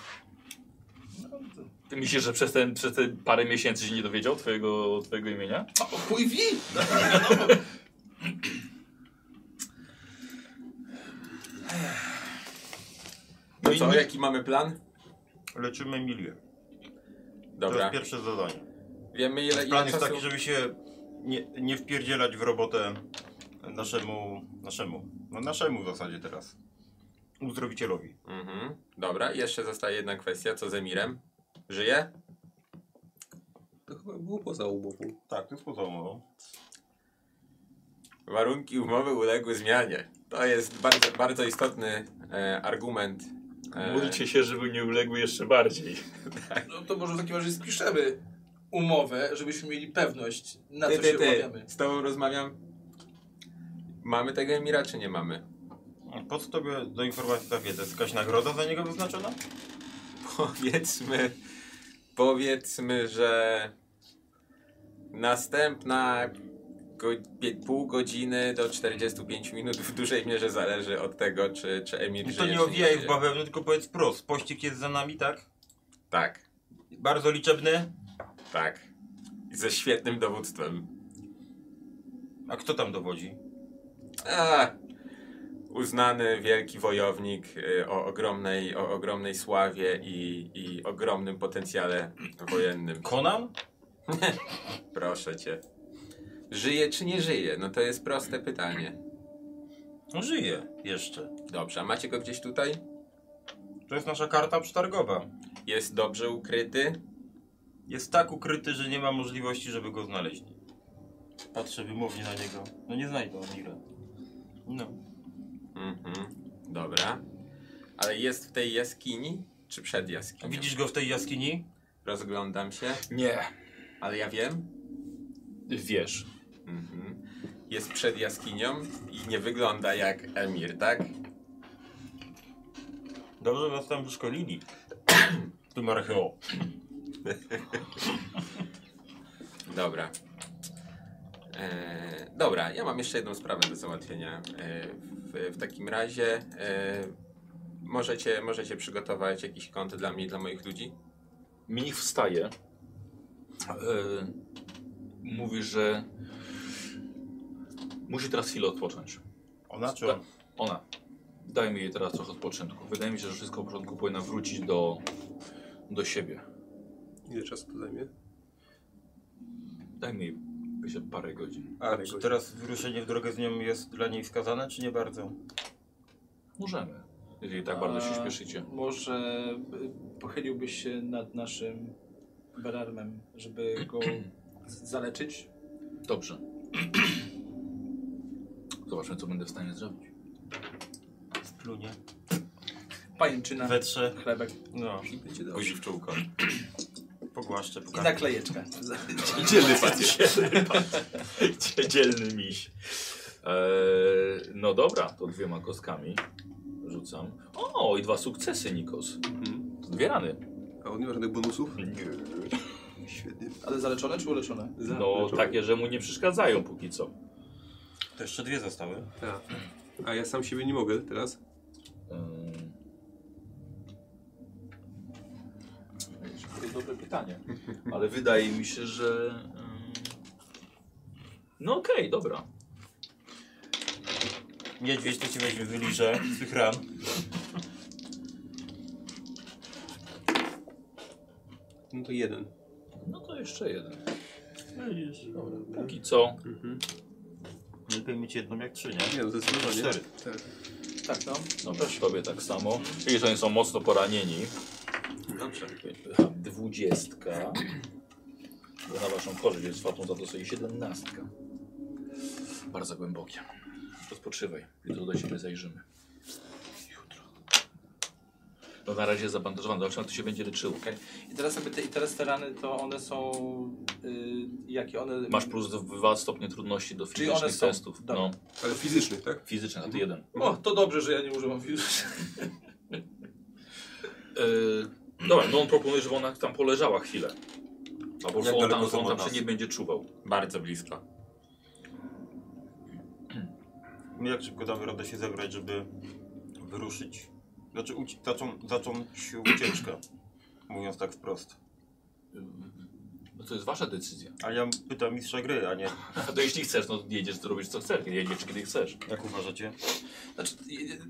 Ty myślisz, że przez, ten, przez te parę miesięcy się nie dowiedział twojego, twojego imienia? O, chuj wie! No i co, nie- jaki mamy plan? Leczymy milię. To Dobra. jest pierwsze zadanie. Wiemy ile, ile Plan jest czasu... taki, żeby się nie, nie wpierdzielać w robotę naszemu, naszemu, no naszemu w zasadzie teraz, uzdrowicielowi. Mhm. Dobra, i jeszcze zostaje jedna kwestia. Co z Emirem? Żyje? To chyba było poza umową. Tak, to jest poza umową. Warunki umowy uległy zmianie. To jest bardzo, bardzo istotny e, argument. E, Módlcie się, żeby nie uległy jeszcze bardziej. No to może w takim razie spiszemy umowę, żebyśmy mieli pewność, na ty, co ty, się ty, umawiamy. z tobą rozmawiam. Mamy tego Emira, czy nie mamy? A Po co tobie do informacji ta wiedza? Jest jakaś nagroda za niego wyznaczona? Powiedzmy, powiedzmy, że następna go, pie- pół godziny do 45 minut w dużej mierze zależy od tego, czy, czy Emir No żyje, to czy nie owijaj w żyje. bawełnę, tylko powiedz wprost. Pościg jest za nami, tak? Tak, Bardzo liczebny. tak. Ze świetnym dowództwem. A kto tam dowodzi? A, uznany wielki wojownik y, o ogromnej, o ogromnej sławie i, i ogromnym potencjale wojennym. Konan? Proszę cię. Żyje czy nie żyje? No to jest proste pytanie. No żyje jeszcze. Dobrze, a macie go gdzieś tutaj? To jest nasza karta przetargowa. Jest dobrze ukryty? Jest tak ukryty, że nie ma możliwości, żeby go znaleźli. Patrzę wymownie na niego. No nie znajdą Mira. No. Mhm, dobra. Ale jest w tej jaskini? Czy przed A jaskinią? widzisz go w tej jaskini? Rozglądam się, Nie. ale ja wiem. Wiesz. Mhm. Jest przed jaskinią i nie wygląda jak Emir, tak? Dobrze was tam wyszkolili. tu marcheo. Dobra. E, dobra, ja mam jeszcze jedną sprawę do załatwienia. E, w, w takim razie e, możecie, możecie przygotować jakiś kąt dla mnie i dla moich ludzi? Mnich wstaje. E, mówi, że musi teraz chwilę odpocząć. Ona czy Tak. on? Ona. Dajmy jej teraz trochę odpoczynku. Wydaje mi się, że wszystko w porządku powinna wrócić do, do siebie. Ile czasu to zajmie? Dajmy jej myślę, parę godzin. A czy teraz wyruszenie w drogę z nią jest dla niej wskazane, czy nie bardzo? Możemy. Jeżeli tak bardzo się śpieszycie. Może y, pochyliłbyś się nad naszym belarmem, żeby go z- zaleczyć? Dobrze. Zobaczmy, co będę w stanie zrobić. Splunie. Pajęczyna, Wetrze. chlebek No. Będzie Buzi dobrze. w czółko. Pogłaszczę po Tak. i naklejeczkę. Dzielny facet. Dzielny miś. Eee, no dobra, to dwiema kostkami rzucam. O, i dwa sukcesy, Nikos. Mhm. To dwie rany. A on nie ma żadnych bonusów? Nie. Świetnie. Ale zaleczone czy uleczone? No takie, że mu nie przeszkadzają póki co. To jeszcze dwie zostały. Tak. A ja sam siebie nie mogę teraz. Ym. To jest dobre pytanie. Ale wydaje mi się, że. ym, No okej, dobra. Niedźwiedź to ci weźmie wyliczę z tych ram. No to jeden. No to jeszcze jeden. Póki co. Lepiej cię jedną jak trzy, nie? Nie no, zdecydowanie. Cztery. Tak. Tak, no. No też tobie tak samo. Czyli że oni są mocno poranieni. Dobrze. Dwudziestka. Bo na waszą korzyść jest fatą za to sobie siedemnastka. Bardzo głębokie. Odpoczywaj. Jutro do siebie zajrzymy. Jutro. No na razie zabandażowana. Zobaczymy jak to się będzie leczyło. Okej. I teraz sobie te, i teraz te rany, to one są. Y, jakie one. Masz plus dwa stopnie trudności do Czyli one fizycznych są. testów. Dobra. No, Ale fizyczny, tak? fizyczne, a ty jeden. O, to dobrze, że ja nie używam wirusa. Yy, dobra, no on proponuje, żeby ona tam poleżała chwilę. Albo że on daleko tam, są on od tam nas? się nie będzie czuwał. Bardzo blisko. Jak szybko damy radę się zebrać, żeby wyruszyć? Znaczy, uci- zaczął, zacząć ucieczkę. Mówiąc tak wprost. No to jest wasza decyzja. A ja pytam mistrza gry, a nie To jeśli chcesz, no jedziesz, to robisz co chcesz. Jedziesz, kiedy chcesz. jak uważacie? Znaczy,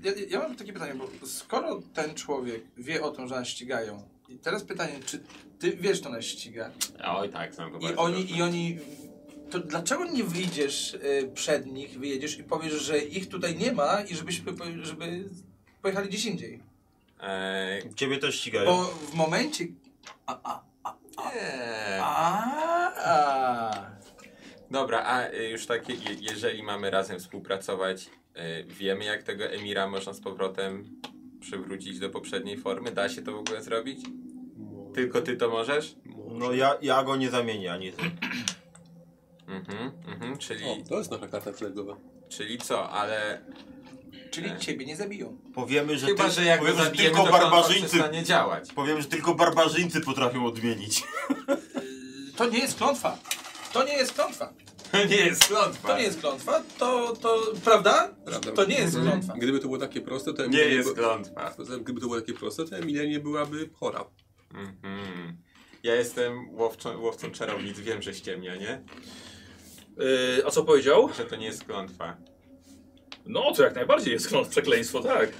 ja, ja- ja mam takie pytanie, bo skoro ten człowiek wie o tym, że nas ścigają, i teraz pytanie, czy ty wiesz, że nas ściga? Oj tak, znam go I bardzo oni, dobrze. i oni. To dlaczego nie wyjdziesz y, przed nich, wyjedziesz i powiesz, że ich tutaj nie ma i żebyśmy po- żeby pojechali gdzieś indziej? Eee, Ciebie też ścigają. Bo w momencie. A, a, eee. a, a. Dobra, a y, już tak, je, je- jeżeli mamy razem współpracować, y, wiemy jak tego Emira można z powrotem przywrócić do poprzedniej formy? Da się to w ogóle zrobić? Tylko ty to możesz? No ja, ja go nie zamienię, ani ty. Mhm, mhm, czyli, O, to jest nasza karta flagowa. czyli co, ale Czyli ciebie nie zabiją. Powiemy, że, chyba, ty, że jak go powiemy, że zabijemy, tylko to barbarzyńcy. barbarzyńcy. przestanie działać. Powiem, że tylko barbarzyńcy potrafią odmienić. To nie jest klątwa. To nie jest klątwa. To nie jest klątwa. To nie jest klątwa. To, to, prawda? Prawda. To nie jest klątwa. Gdyby to było takie proste, to Nie Emilia jest by... klątwa. Gdyby to było takie proste, to Emilia nie byłaby chora. Mhm. Ja jestem łowczą, łowcą czarownic, wiem, że ściemnia, nie? Yy, a co powiedział? Że to nie jest klątwa. No to jak najbardziej jest klątw, przekleństwo, tak.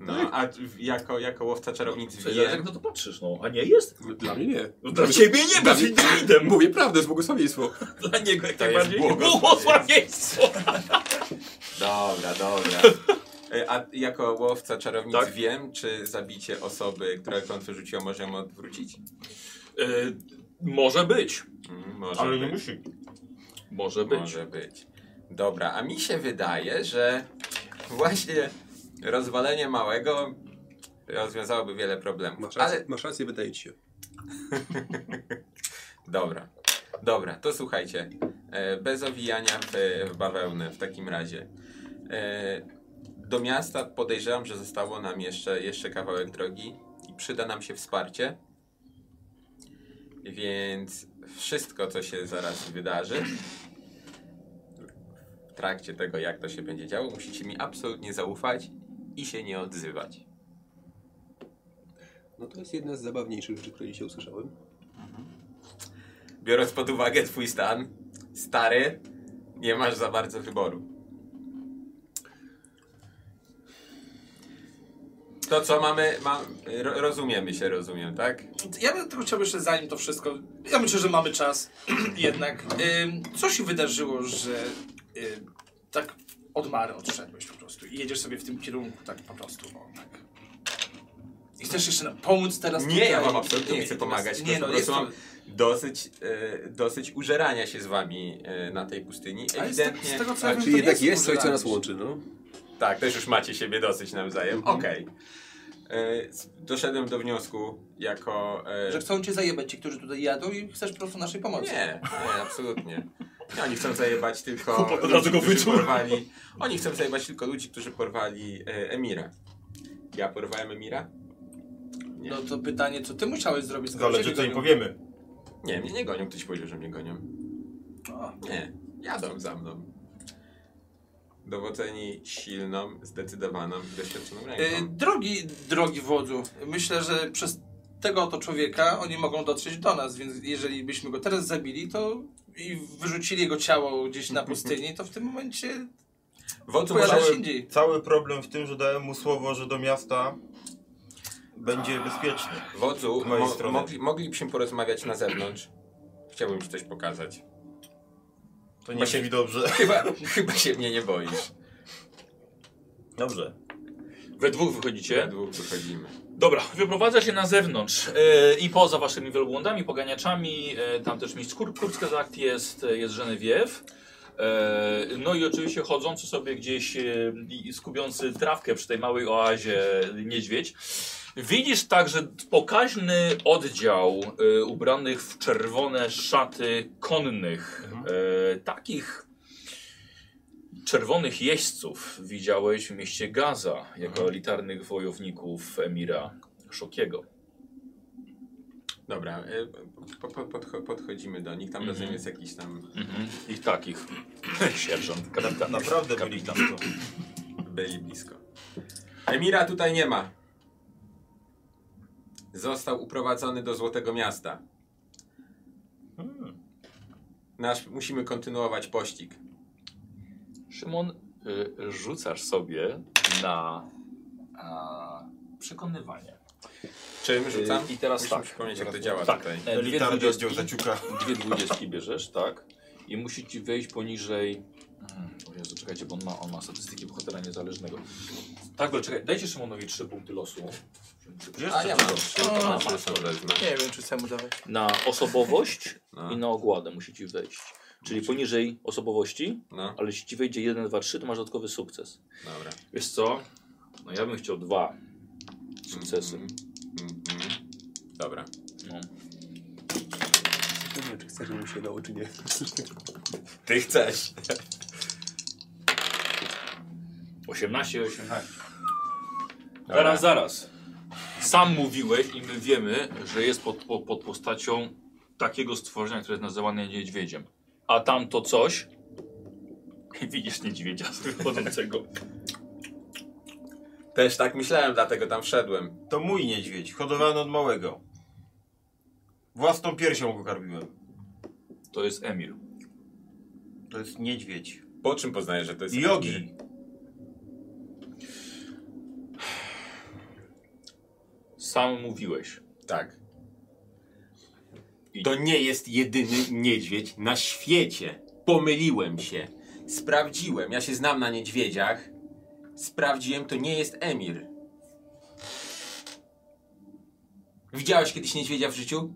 No, a jako, jako łowca czarownic Czyli jak wiem, na to patrzysz, no. A nie jest? Dla mnie nie. No, dla ciebie nie, dla mnie- Dawidem. Mówię prawdę, z błogosławieństwo. Dla niego jak To jest najbardziej błogosławieństwo. błogosławieństwo. Dobra, dobra. E, A jako łowca czarownic Tak? wiem, czy zabicie osoby, która klątwę rzuciła, może ją odwrócić? Yy, może być. Mm, może Ale nie być. musi. Może być. Może być. Dobra, a mi się wydaje, że właśnie rozwalenie małego rozwiązałoby wiele problemów. Masz rację, Ale masz rację wydaje ci się. dobra, dobra, to słuchajcie. E, Bez owijania w, w bawełnę w takim razie. E, Do miasta podejrzewam, że zostało nam jeszcze, jeszcze kawałek drogi i przyda nam się wsparcie. Więc wszystko, co się zaraz wydarzy, w trakcie tego, jak to się będzie działo, musicie mi absolutnie zaufać i się nie odzywać. No to jest jedna z zabawniejszych rzeczy, które dzisiaj usłyszałem. Biorąc pod uwagę twój stan, stary, nie masz za bardzo wyboru. To co mamy, ma, ro, rozumiemy się, rozumiem, tak? Ja bym tylko chciał jeszcze zanim to wszystko. Ja myślę, że mamy czas jednak. Ym, Co się wydarzyło, że ym, tak od Mary odszedłeś po prostu i jedziesz sobie w tym kierunku tak po prostu, no tak. I chcesz jeszcze nam pomóc teraz? Nie, tutaj? ja wam absolutnie nie Natomiast- chcę pomagać, Nie, no, po jest prostu to, mam dosyć, e, dosyć użerania się z wami e, na tej pustyni. ale z, tego, Ewidentnie, z tego co ja wiem, Tak, czyli to jednak nie jest coś, co nas używany. łączy, no. tak, też już macie siebie dosyć nawzajem, Mhm. okej. E, s- Doszedłem do wniosku jako... e, Że chcą cię zajebać ci, którzy tutaj jadą i chcesz po prostu naszej pomocy. Nie, nie, absolutnie. Nie, Oni chcą zajebać tylko. Kupo od ludzi, razu go którzy wyczuł. porwali. Oni chcą zajebać tylko ludzi, którzy porwali e, Emira. Ja porwałem Emira? Nie. No to pytanie, co ty musiałeś zrobić? skoro Zależy ciebie co im zabił? powiemy. Nie, mnie nie gonią. Ktoś powiedział, że mnie gonią. Nie, jadą za mną. Dowodzeni silną, zdecydowaną, i doświadczoną ręką. Y, E, Drogi, drogi wodzu, myślę, że przez tego oto człowieka oni mogą dotrzeć do nas, więc jeżeli byśmy go teraz zabili, to i wyrzucili jego ciało gdzieś na pustyni, to w tym momencie Wodzu pojawia się może... indziej. Cały problem w tym, że dałem mu słowo, że do miasta będzie bezpiecznie. Wodzu, Z mojej mo strony. mogli, moglibyśmy porozmawiać na zewnątrz. Chciałbym ci coś pokazać. To nie się mi dobrze. Chyba, chyba się mnie nie boisz. Dobrze. We dwóch wychodzicie. Cię? dwóch wychodzimy. Dobra, wyprowadza się na zewnątrz e, i poza waszymi wielbłądami, poganiaczami, e, tam też mistrz Kur Kurbska za akt jest, e, jest Żenewiew. E, no i oczywiście chodzący sobie gdzieś e, i- i skubiący trawkę przy tej małej oazie niedźwiedź. Widzisz także pokaźny oddział e, ubranych w czerwone szaty konnych, e, takich Czerwonych jeźdźców widziałeś w mieście Gaza jako elitarnych wojowników emira Szokiego. Dobra, y, po, po, podcho podchodzimy do nich. Tam razem jest jakiś tam Ich takich. Sierżant, kapitan. Naprawdę byli kapitan. blisko. byli blisko. Emira tutaj nie ma. Został uprowadzony do Złotego Miasta. Nasz, musimy kontynuować pościg. Szymon, y, rzucasz sobie na a, przekonywanie. Czym rzucam? I teraz Musimy tak. przypomnieć, jak to działa tak, tutaj. e, dwie Elitarny dwudziestki, oddział zaciuka. dwie dwudziestki bierzesz, tak? I musi ci wejść poniżej... Mm, O Jezu, czekajcie, bo on ma, on ma statystyki bohatera niezależnego. Tak, bo czekaj, dajcie Szymonowi trzy punkty losu. Wiesz A co? ja mam trzy, to na trzy są wezmę. Nie wiem, czy chcemy dawać. Na osobowość No. i na ogładę musi ci wejść. Czyli poniżej osobowości, No, ale jeśli ci wejdzie 1, 2, 3, to masz dodatkowy sukces. dobra. Wiesz co? No ja bym chciał dwa sukcesy. Mhm. Mhm. Dobra. No. Nie wiem, czy chcesz, żebym się dał, czy nie. Ty chcesz. 18, 18. Zaraz, zaraz. Sam mówiłeś i my wiemy, że jest pod, po- pod postacią takiego stworzenia, które jest nazywane niedźwiedziem. A tamto coś... Widzisz niedźwiedzia wychodzącego. Też tak myślałem, dlatego tam wszedłem. To mój niedźwiedź, hodowany od małego. Własną piersią go karmiłem. To jest Emir. To jest niedźwiedź. Po czym poznajesz, że to jest... Jogi. Sam mówiłeś. Tak. I- To nie jest jedyny niedźwiedź na świecie. Pomyliłem się. Sprawdziłem. Ja się znam na niedźwiedziach. Sprawdziłem, to nie jest Emir. Widziałeś kiedyś niedźwiedzia w życiu?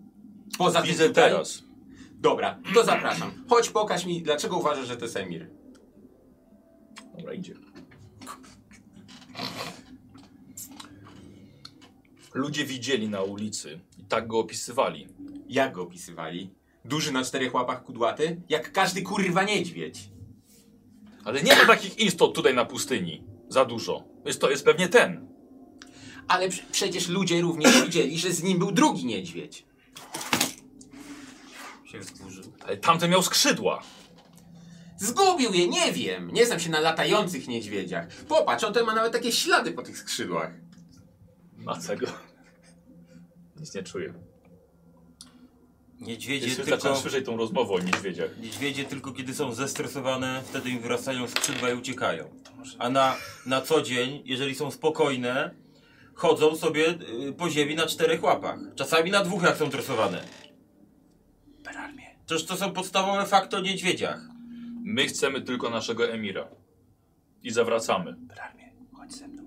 Poza tym Widzę tutaj? teraz. Dobra, to zapraszam. Chodź, pokaż mi, dlaczego uważasz, że to jest Emir. Dobra, idzie. Ludzie widzieli na ulicy i tak go opisywali. Jak go opisywali? Duży na czterech łapach kudłaty? Jak każdy kurwa niedźwiedź. Ale nie ma takich istot tutaj na pustyni. Za dużo. Jest to jest pewnie ten. Ale prze- przecież ludzie również widzieli, że z nim był drugi niedźwiedź. Się wzburzył. Ale tamten miał skrzydła. Zgubił je, nie wiem. Nie znam się na latających niedźwiedziach. Popatrz, on ten ma nawet takie ślady po tych skrzydłach. A czego? Nic nie czuję. Niedźwiedzie Jeśli tylko... zacząłem słyszeć tą rozmowę o niedźwiedziach. Niedźwiedzie tylko kiedy są zestresowane, wtedy im wyrastają skrzydła i uciekają. A na, na co dzień, jeżeli są spokojne, chodzą sobie y, po ziemi na czterech łapach. Czasami na dwóch, jak są tresowane. Perarmię. Toż to są podstawowe fakty o niedźwiedziach. My chcemy tylko naszego emira. I zawracamy. Perarmię, chodź ze mną.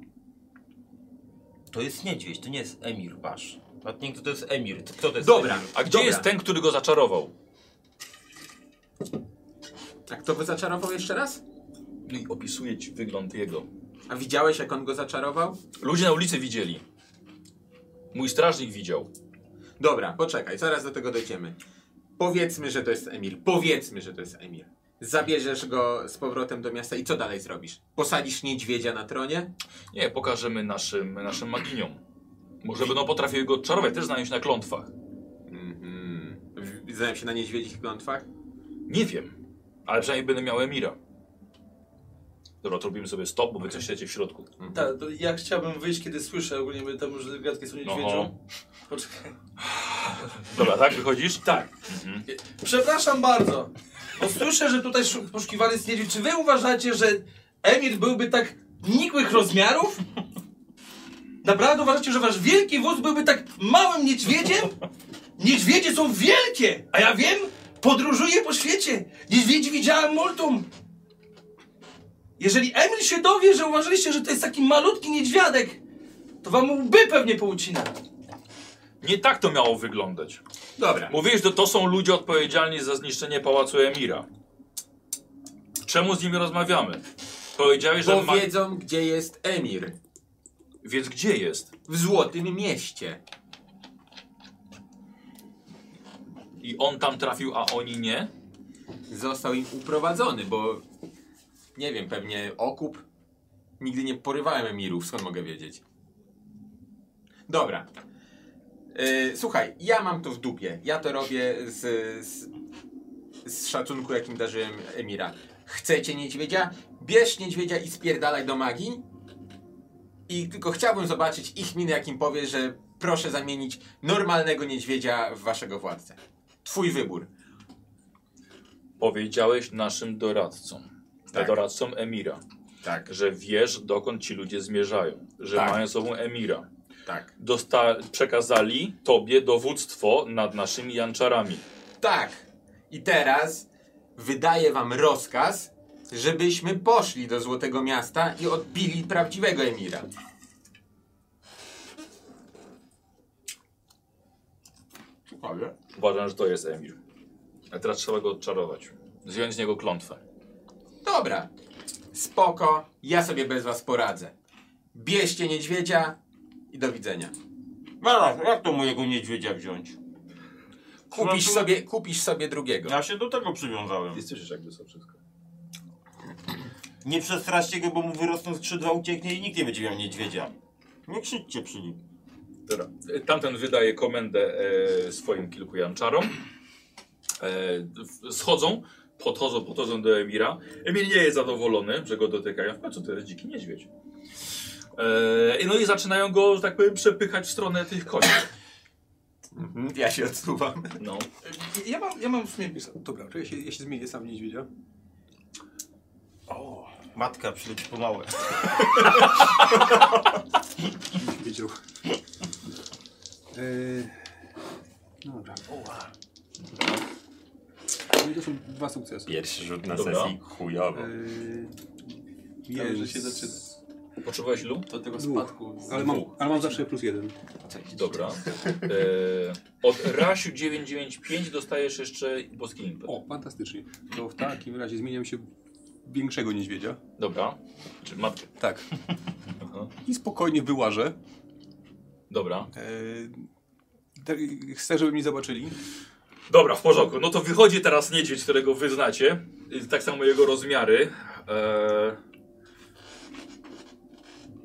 To jest niedźwiedź, to nie jest emir, patrz. Nawet nie kto to jest emir, to kto to jest Dobra, emir? A gdzie dobra. jest ten, który go zaczarował? A kto Tak, go zaczarował jeszcze raz? No i opisuję ci wygląd jego. A widziałeś, jak on go zaczarował? Ludzie na ulicy widzieli. Mój strażnik widział. Dobra, poczekaj, zaraz do tego dojdziemy. Powiedzmy, że to jest Emir. Powiedzmy, że to jest Emir. Zabierzesz go z powrotem do miasta i co dalej zrobisz? Posadzisz niedźwiedzia na tronie? Nie, pokażemy naszym, naszym maginiom. Może będą potrafiły go odczarować, też znają się na klątwach. Mhm. W- Widzę się na niedźwiedzich klątwach. Nie wiem, ale przynajmniej będę miał Emira. Dobra, to robimy sobie stop, bo wy coś siecie w środku. Tak, to ja chciałbym wyjść, kiedy słyszę ogólnie, bo tam już gadki są niedźwiedzią. Poczekaj. Dobra, tak wychodzisz? Tak. Przepraszam bardzo, bo słyszę, że tutaj szu- poszukiwany jest niedźwiedź. Czy wy uważacie, że Emir byłby tak nikłych rozmiarów? Naprawdę uważacie, że wasz wielki wóz byłby tak małym niedźwiedziem? Niedźwiedzie są wielkie, a ja wiem, podróżuję po świecie. Niedźwiedzi widziałem multum. Jeżeli Emil się dowie, że uważaliście, że to jest taki malutki niedźwiadek, to wam łby pewnie poucina. Nie tak to miało wyglądać. Dobra. Mówiłeś, że to są ludzie odpowiedzialni za zniszczenie pałacu Emira. Czemu z nimi rozmawiamy? Powiedziałeś, że Bo ma... wiedzą, gdzie jest Emir. Więc gdzie jest? W Złotym Mieście. I on tam trafił, a oni nie? Został im uprowadzony, bo... Nie wiem, pewnie okup? Nigdy nie porywałem Emirów, skąd mogę wiedzieć? Dobra. Yy, słuchaj, ja mam to w dupie. Ja to robię z, z, z szacunku, jakim darzyłem Emira. Chcecie niedźwiedzia? Bierz niedźwiedzia i spierdalaj do magii. I tylko chciałbym zobaczyć ich minę, jakim powie, że proszę zamienić normalnego niedźwiedzia w waszego władcę. Twój wybór. Powiedziałeś naszym doradcom. Tak. Doradcom Emira. Tak, Że wiesz, dokąd ci ludzie zmierzają. Że Tak. mają sobą Emira. tak. Dosta przekazali tobie dowództwo nad naszymi janczarami. Tak. I teraz wydaję wam rozkaz, żebyśmy poszli do Złotego Miasta i odbili prawdziwego Emira. Ciekawe. Uważam, że to jest Emir. A teraz trzeba go odczarować. Zdjąć z niego klątwę. Dobra. Spoko, ja sobie bez was poradzę. Bierzcie niedźwiedzia i do widzenia. Zaraz, jak to mojego niedźwiedzia wziąć? Kupisz sobie, kupisz sobie drugiego. Ja się do tego przywiązałem. Nie słyszysz jakby są wszystko. Nie przestraszcie go, bo mu wyrosną skrzydła, ucieknie i nikt nie będzie miał niedźwiedzia. Nie krzyczcie przy nim. Dobra. Tamten wydaje komendę e, swoim kilku janczarom. E, w- schodzą, podchodzą, podchodzą do Emira. Emir nie jest zadowolony, że go dotykają. W końcu to jest dziki niedźwiedź. E, i no i zaczynają go, że tak powiem, przepychać w stronę tych koni. Mhm, Ja się odsuwam. No. Ja mam, ja mam w sumie pisać. Dobra, czekaj, ja się, ja się zmienię sam w niedźwiedzia. Matka, przyleć po małe. Wiedział. Yy, no dobra. No i to są dwa sukcesy. Pierwszy rzut na Dobra. sesji chujowo. Yy, wiem, że się zaczyna. Potrzebowałeś lu? Do tego Dwóch. spadku. Ale mam, ale mam zawsze plus jeden. Dobra. E, od Rasiu 995 dostajesz jeszcze boski impet. O, fantastycznie. To w takim razie zmieniam się w większego niedźwiedzia. Dobra. Czy matkę. Tak. Aha. I spokojnie wyłażę. Dobra. Yy, te- chcę, żeby mi zobaczyli. Dobra, w porządku. No to wychodzi teraz niedźwiedź, którego wy znacie. Y, Tak samo jego rozmiary. Eee...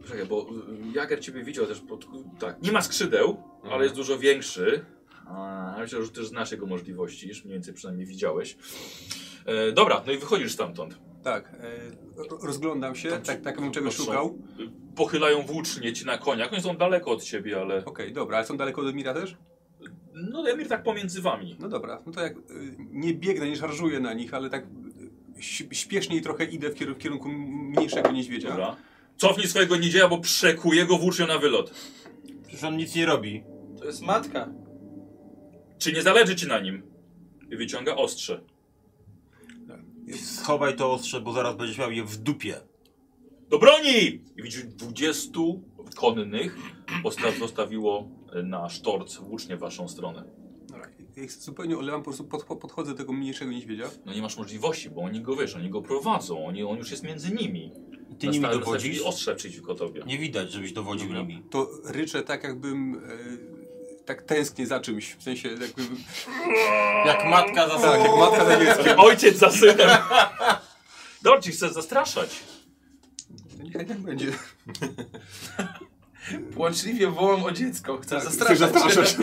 Czekaj, bo y, Jager ciebie widział też pod... Tak, nie ma skrzydeł, ale jest dużo większy. A, myślę, że też znasz jego możliwości, już mniej więcej przynajmniej widziałeś. E, dobra, no i wychodzisz stamtąd. Tak. Yy, ro- rozglądam się, tak, tak bym czegoś są- szukał. Y, Pochylają włócznie ci na koniach. Oni są daleko od ciebie, ale... Okej, dobra, ale są daleko od Mira też? No Emir tak pomiędzy wami. No dobra, no to jak y, nie biegnę, nie szarżuję na nich, ale tak y, śp- śpieszniej trochę idę w kieru- w kierunku mniejszego niedźwiedzia. Dobra. Cofnij swojego niedzieja, bo przekuje go włócznią na wylot. Przecież on nic nie robi. To jest matka. Czy nie zależy ci na nim? I wyciąga ostrze. Schowaj to ostrze, bo zaraz będziesz miał je w dupie. Do broni! I widzisz 20 konnych posta- postawiło na sztorc włócznie w waszą stronę. Dobra. Ja ich zupełnie olewam, po prostu pod, po- podchodzę do tego mniejszego niedźwiedzia. No nie masz możliwości, bo oni go wiesz, oni go prowadzą, oni, on już jest między nimi. I ty nimi Nastawili dowodzisz? ostrze przeciwko tobie. Nie widać, żebyś dowodził Dobra. nimi. To ryczę tak jakbym y, tak tęsknię za czymś, w sensie jakby... Jak matka za Tak, jak matka za dzieckiem. Ojciec za synem! Dobra, ci chcesz zastraszać. Niech tak będzie. Płaczliwie wołam o dziecko, Tak. chcę Chcesz zastraszać. zastraszać.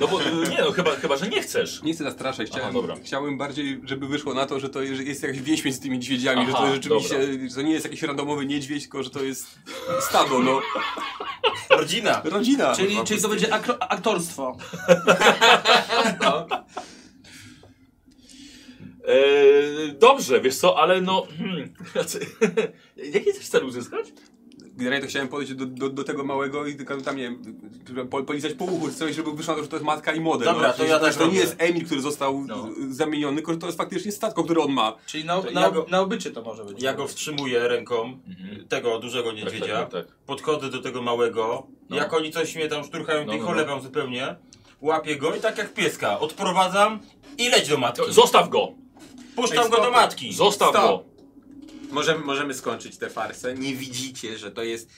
No bo y, nie no, chyba, chyba że nie chcesz. Nie chcę zastraszać, chciałem, Aha, dobra. chciałem bardziej, żeby wyszło na to, że to jest jest jakaś więź między tymi niedźwiedziami, że Aha, to rzeczywiście, że to nie jest jakiś randomowy niedźwiedź, tylko że to jest stado, no. Rodzina! Rodzina! Czyli, czyli to będzie akro- aktorstwo. E, dobrze, wiesz co, ale no. Hmm, jaki chcesz cel uzyskać? Generalnie to chciałem podejść do, do, do tego małego i tylko tam, nie wiem, po- polizać po uchu, coś, żeby wyszło na to, że to jest matka i młode. Dobra, no. to ja też To nie robię. jest Emil, który został No. z- zamieniony, tylko że to jest faktycznie statko, które on ma. Czyli na, To na, ja go- na obycie to może być. Ja go wstrzymuję ręką, Mhm. tego dużego niedźwiedzia. Tak, Tak, Podchodzę do tego małego. No. Jak oni coś mnie tam szturchają, No, no, no, cholewam zupełnie. Łapię go i tak jak pieska, odprowadzam i leć do matki. Zostaw go! Puszczam go do matki. Zostaw Stop. go! Możemy, możemy skończyć tę farsę. Nie widzicie, że to jest.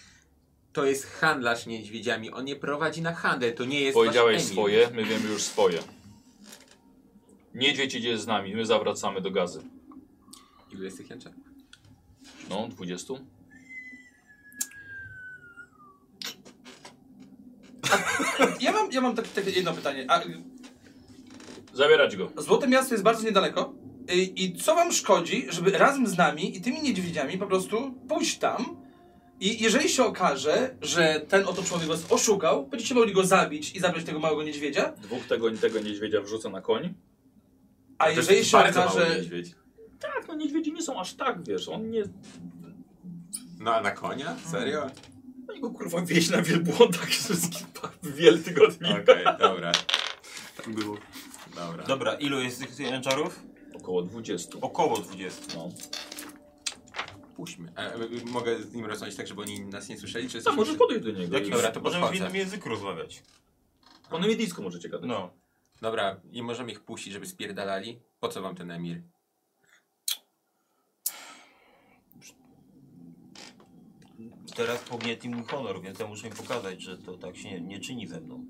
To jest handlarz niedźwiedziami. On nie prowadzi na handel. To nie jest. Powiedziałeś wasz Emil. swoje, my wiemy już swoje. Niedźwiedź idzie z nami, my zawracamy do gazy. Ilu jest tych jęczarów? No, 20? Ja mam, ja mam takie, takie jedno pytanie. A, y, Zabierać go. Złote Miasto jest bardzo niedaleko. Y, I co wam szkodzi, żeby razem z nami i tymi niedźwiedziami po prostu pójść tam i jeżeli się okaże, że ten oto człowiek was oszukał, będziecie mogli go zabić i zabrać tego małego niedźwiedzia, Dwóch tego, tego niedźwiedzia wrzuca na koń. a To jest jeżeli się bardzo mały okaże... niedźwiedź. Tak, no niedźwiedzie nie są aż tak, wiesz, on nie... No a na konia? Serio? Hmm. Oni no go kurwa wieź na wielbłądach wszystkich wieltygodni. Okej, dobra. Tak było. Dobra. Dobra, ilu jest tych jęczarów? Około 20. Około 20. No. Puśćmy. E, e, mogę z nim rozmawiać tak, żeby oni nas nie słyszeli? Czy Tak, jesteśmy może przy- podejść do niego. Jakim, i- Dobra, to możemy w podchodzę. innym języku rozmawiać. Po niemiecku możecie gadać. No. Dobra, i możemy ich puścić, żeby spierdalali? Po co wam ten emir? Teraz pognietli mój honor, więc ja muszę im pokazać, że to tak się nie, nie czyni ze mną.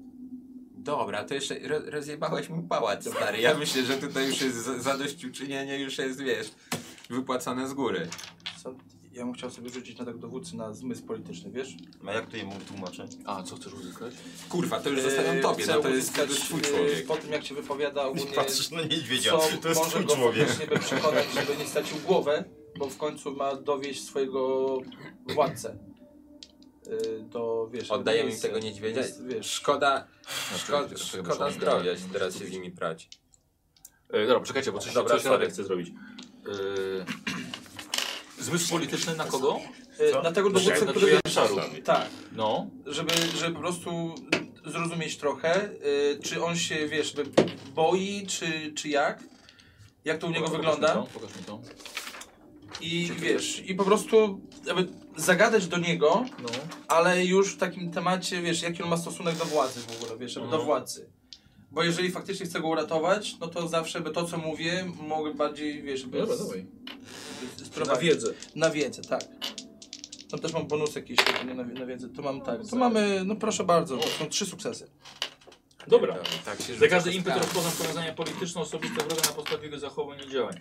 Dobra, to jeszcze ro- rozjebałeś mi pałac, stary. Ja myślę, że tutaj już jest za- zadośćuczynienie, już jest, wiesz, wypłacane z góry. Co? Ja bym chciał sobie rzucić na tego dowódcy na zmysł polityczny, wiesz? A jak to jemu tłumaczę? A, co chcesz uzyskać? Kurwa, to już zostawiam Y, tobie, chcę no to jest, to uzyskać, jest twój y, człowiek. Po tym jak się wypowiada ogólnie, Patrzysz na niedźwiedzia, co to jest może twój go człowiek. faktycznie by przekonać, żeby nie stracił głowę, bo w końcu ma dowieść swojego władcę. Y, Do, wiesz, Oddajemy im miejsca. tego niedźwiedzia. Jest, wiesz, Szkoda, to szkoda, chyba szkoda są zdrowia się teraz się z nimi prać. E, dobra, czekajcie, bo coś, Dobra, coś sorry. Radek chce zrobić. E, zmysł polityczny na kogo? y, na tego dowódcę, Na który... Janczarów. Tak, No, żeby, żeby po prostu zrozumieć trochę, y, czy on się, wiesz, by- boi, czy, czy jak. Jak to u niego Pokaż mi wygląda. to, Pokaż mi to. I wiesz, i po prostu jakby zagadać do niego, No. ale już w takim temacie, wiesz, jaki on ma stosunek do władzy w ogóle, wiesz, jakby do Mhm. władzy. Bo jeżeli faktycznie chcę go uratować, no to zawsze by to, co mówię, mogę bardziej, wiesz, jakby Dobra, z- dawaj. z- sprowadzić. Na wiedzę, tak. No też mam bonus jakiś, jak nie na, na wiedzę. Tu mam tak, tu mamy, no proszę bardzo, to są trzy sukcesy. Dobra. Tak się Za rzuca każdy impet kostkami. rozpoznam powiązania polityczno-osobiste wroga na podstawie jego zachowań i działań.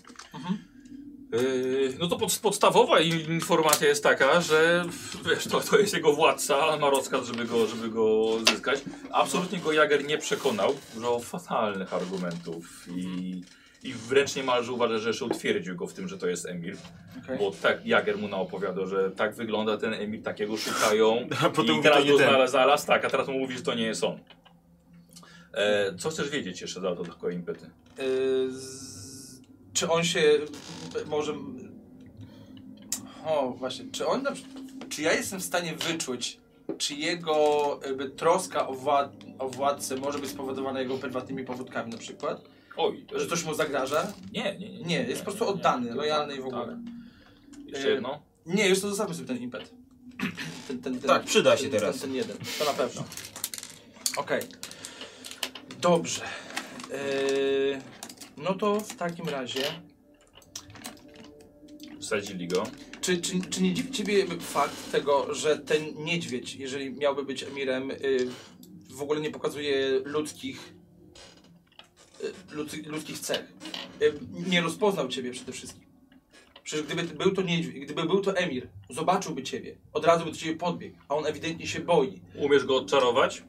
Yy, No to pod, podstawowa i- informacja jest taka, że wiesz, to, to jest jego władca, a ma rozkaz, żeby go, żeby go zyskać. Absolutnie go Jager nie przekonał, użył fatalnych argumentów i, i wręcz niemalże uważa, że jeszcze utwierdził go w tym, że to jest Emir. Okej. Bo tak Jager mu naopowiadał, że tak wygląda ten Emir, takiego szukają A potem i mówi, teraz to nie go ten. znalazł, znalazł, tak, a teraz mu mówi, że to nie jest on. E, co chcesz wiedzieć jeszcze za to tylko impety? Y, z... Czy on się b- może... O, właśnie, czy on na... przy- Czy ja jestem w stanie wyczuć, czy jego jakby, troska o, wład... o władcę może być spowodowana jego prywatnymi powódkami na przykład? Oj, Że coś mu zagraża? Nie, nie, nie. Nie, jest po prostu oddany, lojalny i w tak. ogóle. Jeszcze jedno. Nie, już to zostawmy sobie ten impet. Ten, ten, ten, Tak, przyda się ten, teraz. Ten, ten jeden, to na pewno. Okej. Dobrze. Eee, no to w takim razie... Wsadzili go. Czy, czy, czy nie dziwi ciebie fakt tego, że ten niedźwiedź, jeżeli miałby być emirem, y, w ogóle nie pokazuje ludzkich, y, ludz, ludzkich cech? Y, nie rozpoznał ciebie przede wszystkim. Przecież gdyby był to niedźwiedź, gdyby był to Emir, zobaczyłby ciebie, od razu by do ciebie podbiegł, a on ewidentnie się boi. Umiesz go odczarować?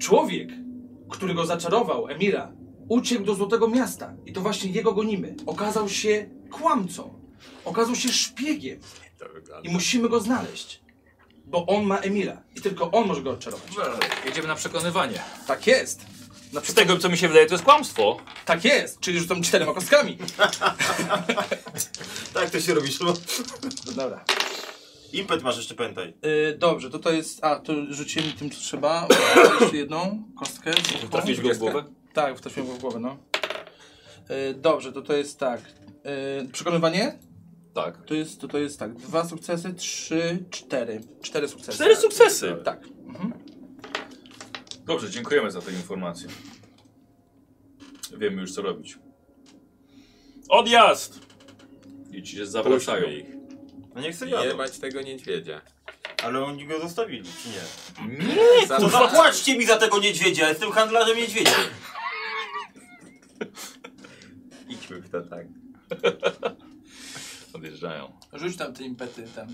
Człowiek, który go zaczarował, Emira, uciekł do Złotego Miasta i to właśnie jego gonimy. Okazał się kłamcą, okazał się szpiegiem i musimy go znaleźć, bo on ma Emira i tylko on może go odczarować. Jedziemy na przekonywanie. Tak jest, Z tego, co mi się wydaje, to jest kłamstwo. tak jest, czyli rzucam czterema kostkami. Tak to się robi, Szymon. Dobra. Impet masz jeszcze, pamiętaj. Y, dobrze, to to jest... A, to rzuciłem tym, co trzeba. Jeszcze jedną kostkę. drugą. Trafić go w głowę? Tak, wtrafiłem go w głowę, no. Y, dobrze, to to jest tak. Y, przekonywanie? Tak. To jest, to, to jest tak. Dwa sukcesy, trzy, cztery. Cztery sukcesy. Cztery sukcesy! Mhm. Tak. Dobrze, dziękujemy za tę informację. Wiemy już, co robić. Odjazd! I ci się zawracają ich. No nie chcę Nie jadą. mać tego niedźwiedzia. Ale oni go zostawili, czy nie? Za- To zapłaćcie mi za tego niedźwiedzia, jestem handlarzem niedźwiedzi. Idźmy w to tak. Odjeżdżają. Rzuć tam te impety, tam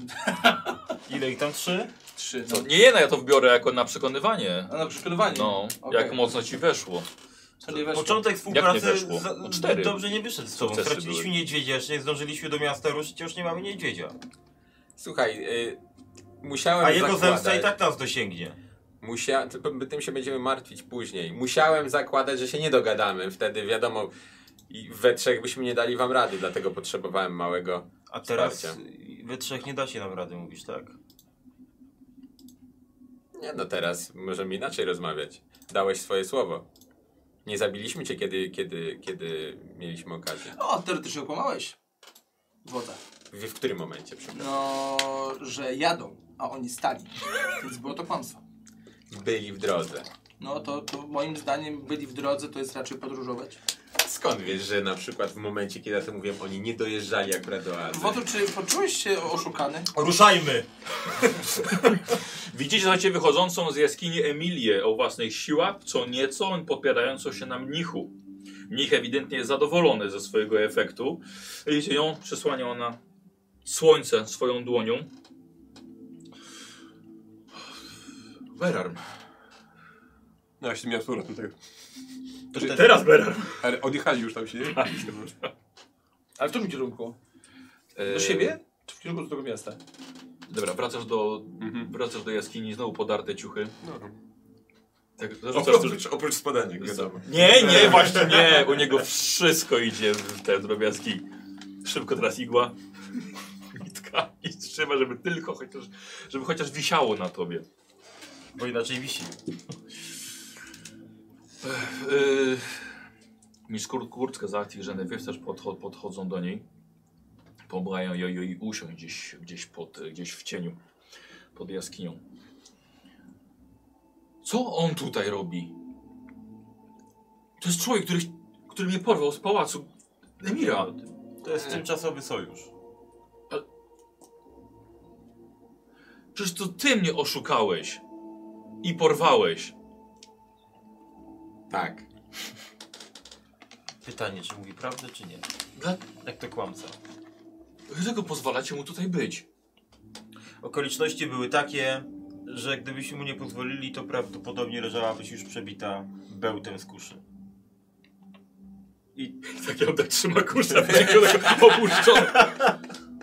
Ile ich tam? Trzy? trzy. No. To nie jedna, ja to wbiorę jako na przekonywanie. A na przekonywanie? No, Okej. jak mocno ci weszło. To nie weszło. Początek współpracy weszło? za- No cztery. dobrze nie wyszedł z tobą. Sukcesy Straciliśmy były. niedźwiedzia, jeszcze nie zdążyliśmy do miasta ruszyć, już nie mamy niedźwiedzia. Słuchaj, y, musiałem A jego zakładać... zemsta i tak nas dosięgnie. Musia... tylko Tym się będziemy martwić później. Musiałem zakładać, że się nie dogadamy. Wtedy wiadomo, i we trzech byśmy nie dali wam rady, dlatego potrzebowałem małego. A teraz Wsparcia. y, we trzech nie da się nam rady, mówisz, tak? Nie no teraz, możemy inaczej rozmawiać. Dałeś swoje słowo. Nie zabiliśmy cię, kiedy, kiedy, kiedy mieliśmy okazję. O, teoretycznie okłamałeś. Woda. W, w którym momencie, przepraszam? No, że jadą, a oni stali. Więc było to kłamstwo. Byli w drodze. No to, to moim zdaniem byli w drodze, to jest raczej podróżować. Skąd wiesz, że na przykład w momencie, kiedy ja to mówiłem, oni nie dojeżdżali akurat do Azji? Wodu, czy poczułeś się oszukany? Ruszajmy! Widzicie za ciebie wychodzącą z jaskini Emilię o własnych siłach, co nieco podpierającą się na mnichu. Mnich ewidentnie jest zadowolony ze swojego efektu. Widzicie ją, przysłania ona słońce swoją dłonią. Berarm. No właśnie, miał powrotem tego. To ten- Teraz Berarm. Ale odjechali już tam się, nie? Ale w którym kierunku? Do siebie? Czy w kierunku do tego miasta? Dobra, wracasz do, wracasz do jaskini, znowu podarte ciuchy. Tak, zarzucasz, Oprócz, oprócz spadania, wiadomo. Nie, nie, właśnie nie. U niego wszystko idzie w te drobiazgi. Szybko teraz igła. Nitka i trzyma, żeby tylko chociaż, żeby chociaż wisiało na tobie. Bo inaczej wisi. Yy, Mistrz Kur- Kurcka załatwi Genevieve, też podcho podchodzą do niej. Pomagają ją ją i usiąść gdzieś, gdzieś, pod, gdzieś w cieniu, pod jaskinią. Co on tutaj robi? To jest człowiek, który, który mnie porwał z pałacu Emira. To jest tymczasowy sojusz. Przecież to ty mnie oszukałeś i porwałeś. Tak. Pytanie, czy mówi prawdę, czy nie? Dla... Jak to kłamca. Dlaczego pozwalacie mu tutaj być? Okoliczności były takie, że gdybyśmy mu nie pozwolili, to prawdopodobnie leżałabyś już przebita bełtem z kuszy. Tak ja tak trzyma kusza, tylko tak opuszczony.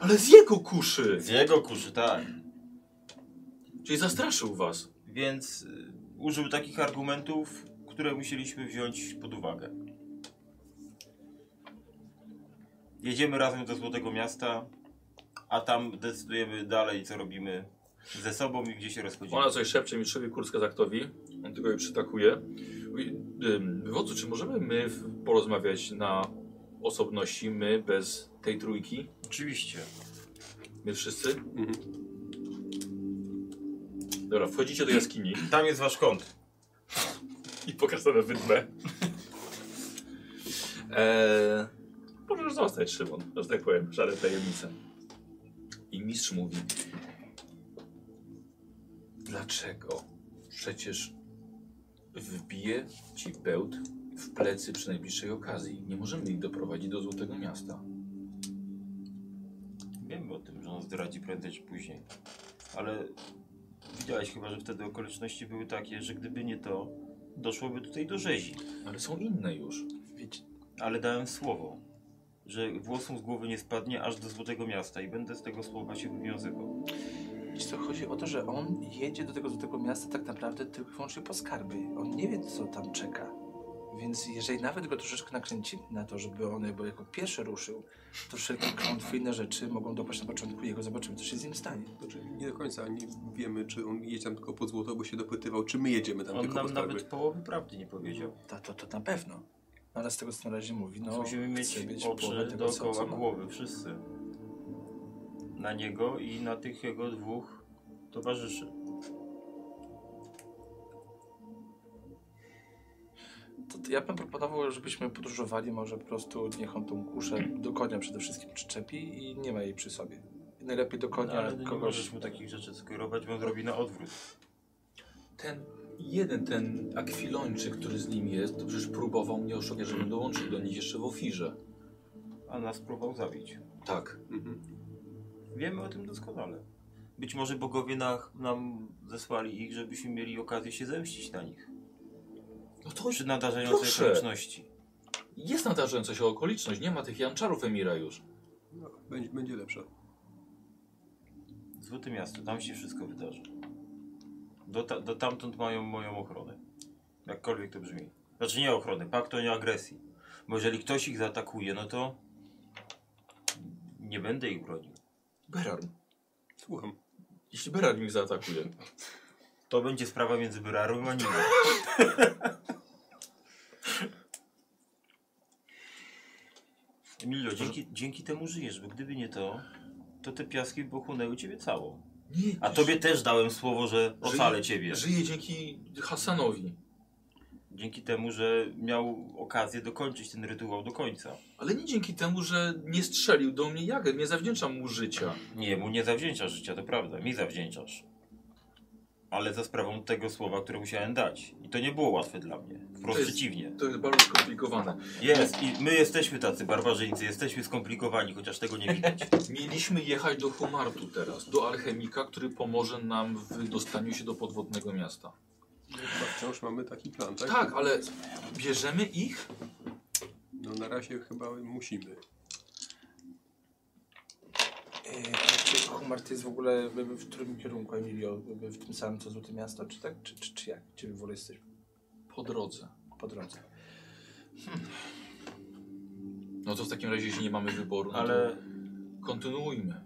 Ale z jego kuszy! Z jego kuszy, tak. Czyli zastraszył was. Więc y, użył takich argumentów, które musieliśmy wziąć pod uwagę. Jedziemy razem do Złotego Miasta, a tam decydujemy dalej, co robimy ze sobą i gdzie się rozchodzimy. Ona coś szepcze mistrzowi Kurska Zaktowi. On tylko jej przytakuje. Mówi, ym, Wodzu, czy możemy my w- porozmawiać na osobności, my bez tej trójki? Oczywiście. My wszyscy? Dobra, wchodzicie do jaskini Tam jest wasz kąt. i pokażę na wydmę. Eee, możesz zostać, Szymon, że tak powiem, żadne tajemnice. I mistrz mówi, dlaczego? Przecież wbije ci bełt w plecy przy najbliższej okazji. Nie możemy ich doprowadzić do Złotego Miasta. Wiemy o tym, że on zdradzi prędzej czy później. Ale widziałeś chyba, że wtedy okoliczności były takie, że gdyby nie to, doszłoby tutaj do rzezi. Ale są inne już. Ale dałem słowo, że włosom z głowy nie spadnie aż do Złotego Miasta i będę z tego słowa się wywiązywał. Wiesz co, chodzi o to, że on jedzie do tego, do tego miasta tak naprawdę tylko i wyłącznie po skarby. On nie wie, co tam czeka. Więc jeżeli nawet go troszeczkę nakręcimy na to, żeby on jakby jako pierwszy ruszył, to wszelkie klątwy i inne rzeczy mogą dopaść na początku jego. Zobaczymy, co się z nim stanie. Znaczy, nie do końca nie wiemy, czy on jedzie tam tylko po złoto, bo się dopytywał, czy my jedziemy tam On tylko tak po nam skarby. nawet połowy prawdy nie powiedział. To, to, to na pewno. No, Ale z tego, co na razie mówi, no... Musimy mieć chce mieć połowę oczy tego, co- dookoła co ma. głowy, wszyscy. Na niego i na tych jego dwóch towarzyszy. To, to ja bym proponował, żebyśmy podróżowali może po prostu, niech on tą kuszę do konia przede wszystkim przyczepi i nie ma jej przy sobie. I najlepiej do konia No, Ale nie kogoś... możesz mu takich rzeczy skierować, bo on zrobi na odwrót. Ten jeden, ten akwilończyk, który z nim jest, to przecież próbował mnie oszukać, żebym dołączył do nich jeszcze w ofirze. A nas próbował zabić. Tak. Mhm. Wiemy o tym doskonale. Być może bogowie na, nam zesłali ich, żebyśmy mieli okazję się zemścić na nich. No to Przy nadarzającej Proszę. okoliczności. jest nadarzająca się okoliczność, nie ma tych janczarów Emira już. No, będzie, będzie lepsze. Złote miasto, tam się wszystko wydarzy. Do, ta, do tamtąd mają moją ochronę. Jakkolwiek to brzmi. Znaczy nie ochronę, pakt o nieagresji. Bo jeżeli ktoś ich zaatakuje, no to nie będę ich bronił. Berarm. Słucham. Jeśli Berarm ich zaatakuje. To będzie sprawa między Byrarą a nim. Emilio, dzięki, dzięki temu żyjesz, bo gdyby nie to, to te piaski pochłonęły ciebie całą. Nie, A tobie też dałem słowo, że ocalę ciebie. Żyje dzięki Hasanowi. Dzięki temu, że miał okazję dokończyć ten rytuał do końca. Ale nie dzięki temu, że nie strzelił do mnie Jager, nie zawdzięczam mu życia. Nie, mu nie zawdzięczasz życia, to prawda, mi zawdzięczasz. Ale za sprawą tego słowa, które musiałem dać. I to nie było łatwe dla mnie. Wprost To jest- przeciwnie. To jest bardzo skomplikowane. Jest, i my jesteśmy tacy barbarzyńcy, jesteśmy skomplikowani, chociaż tego nie widać. Mieliśmy jechać do Humartu teraz, do alchemika, który pomoże nam w dostaniu się do podwodnego miasta. Chyba wciąż mamy taki plan, tak? Tak, ale bierzemy ich? No na razie chyba musimy. Yy, czy Humar to jest w ogóle jakby w którym kierunku, Emilio? Jakby W tym samym, co Złote Miasto, czy tak? Czy, czy, czy jak? Czy wy w ogóle jesteś Po drodze. po drodze? No to w takim razie, jeśli nie mamy wyboru, no Ale to kontynuujmy.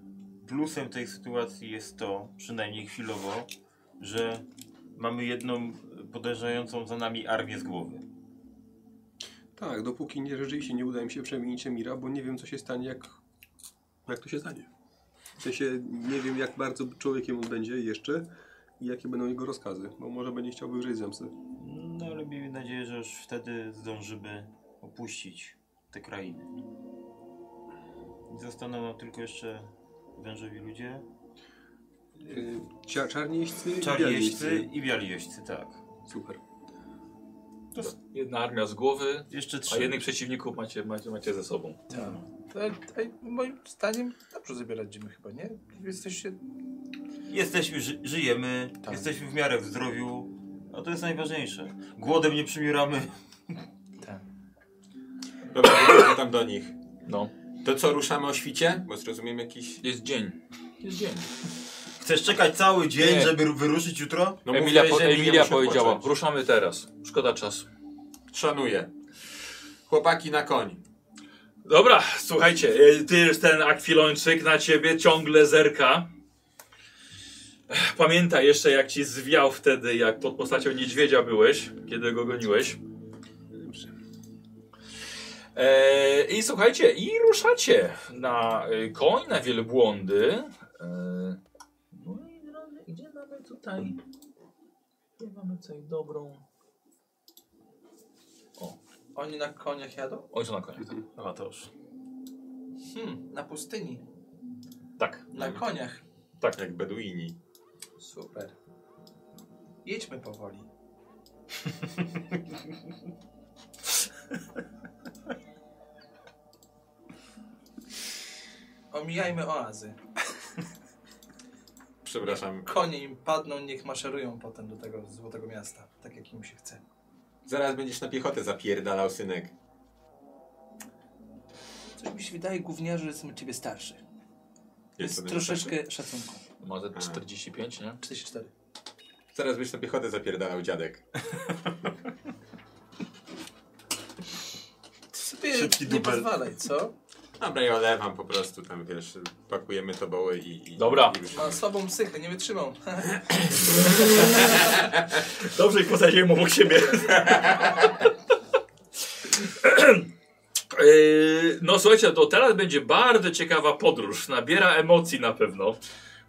plusem tej sytuacji jest to, przynajmniej chwilowo, że mamy jedną podejrzającą za nami armię z głowy. Tak, dopóki nie rzeczywiście nie uda mi się przemienić Emira, bo nie wiem co się stanie, jak, jak to się stanie. W sensie nie wiem jak bardzo człowiekiem on będzie jeszcze i jakie będą jego rozkazy, bo może będzie chciał wygrać zemsty. No ale miejmy nadzieję, że już wtedy zdążymy opuścić te krainy. Zostaną nam tylko jeszcze wężowi ludzie, Yy, cia- Czarnieścy i czarnieścy białeścy. i bialieścy, tak. Super. Jedna armia z głowy, Jeszcze a trzy. jednych przeciwników macie, macie, macie ze sobą. Tak. To, Tak. to, moim zdaniem dobrze zabierać Jimmy chyba, nie? Jesteście... Jesteśmy, ży żyjemy, Tak. jesteśmy w miarę w zdrowiu, a to jest najważniejsze. Głodem nie przymieramy. Tak. Dobra, wrócę tam do nich. No. To co, ruszamy o świcie? Bo zrozumiem jakiś... Jest dzień. Jest dzień. Chcesz czekać cały dzień, Nie. żeby wyruszyć jutro? No Emilia, mówiłeś, po, że Emilia Emilia musi powiedziała, odpocząć. ruszamy teraz. Szkoda czasu. Szanuję. Chłopaki na koń. Dobra, słuchajcie, y, ty już ten akwilończyk na ciebie ciągle zerka. Ech, Pamiętaj jeszcze jak ci zwiał wtedy, jak pod postacią niedźwiedzia byłeś, kiedy go goniłeś. E, I słuchajcie, i ruszacie na e, koń, na wielbłądy. E, no i drodzy, gdzie mamy tutaj? Gdzie mamy tutaj dobrą? Oni na koniach jadą? Oni są na koniach. A to już. Hmm, na pustyni. Tak, No, Na koniach. tak. Jak Beduini. Super. Jedźmy powoli. Okej, Omijajmy oazy. Przepraszam. Konie im padną, niech maszerują potem do tego złotego miasta, tak jak im się chce. Zaraz będziesz na piechotę zapierdalał, synek. Coś mi się wydaje, gówniarze, że jestem od ciebie starszy. Więc Jestem troszeczkę szacunku. Ma ze 45, nie? 44. Zaraz byś na piechotę zapierdalał, dziadek. Ty sobie Szybki nie dubel. pozwalaj, co? Dobra, ja olewam po prostu, tam wiesz, pakujemy toboły i... i Dobra. I już. Ma słabą psychę, nie wytrzymał. Dobrze, ich posadziłem obok siebie. Yy, No słuchajcie, to teraz będzie bardzo ciekawa podróż. Nabiera emocji na pewno.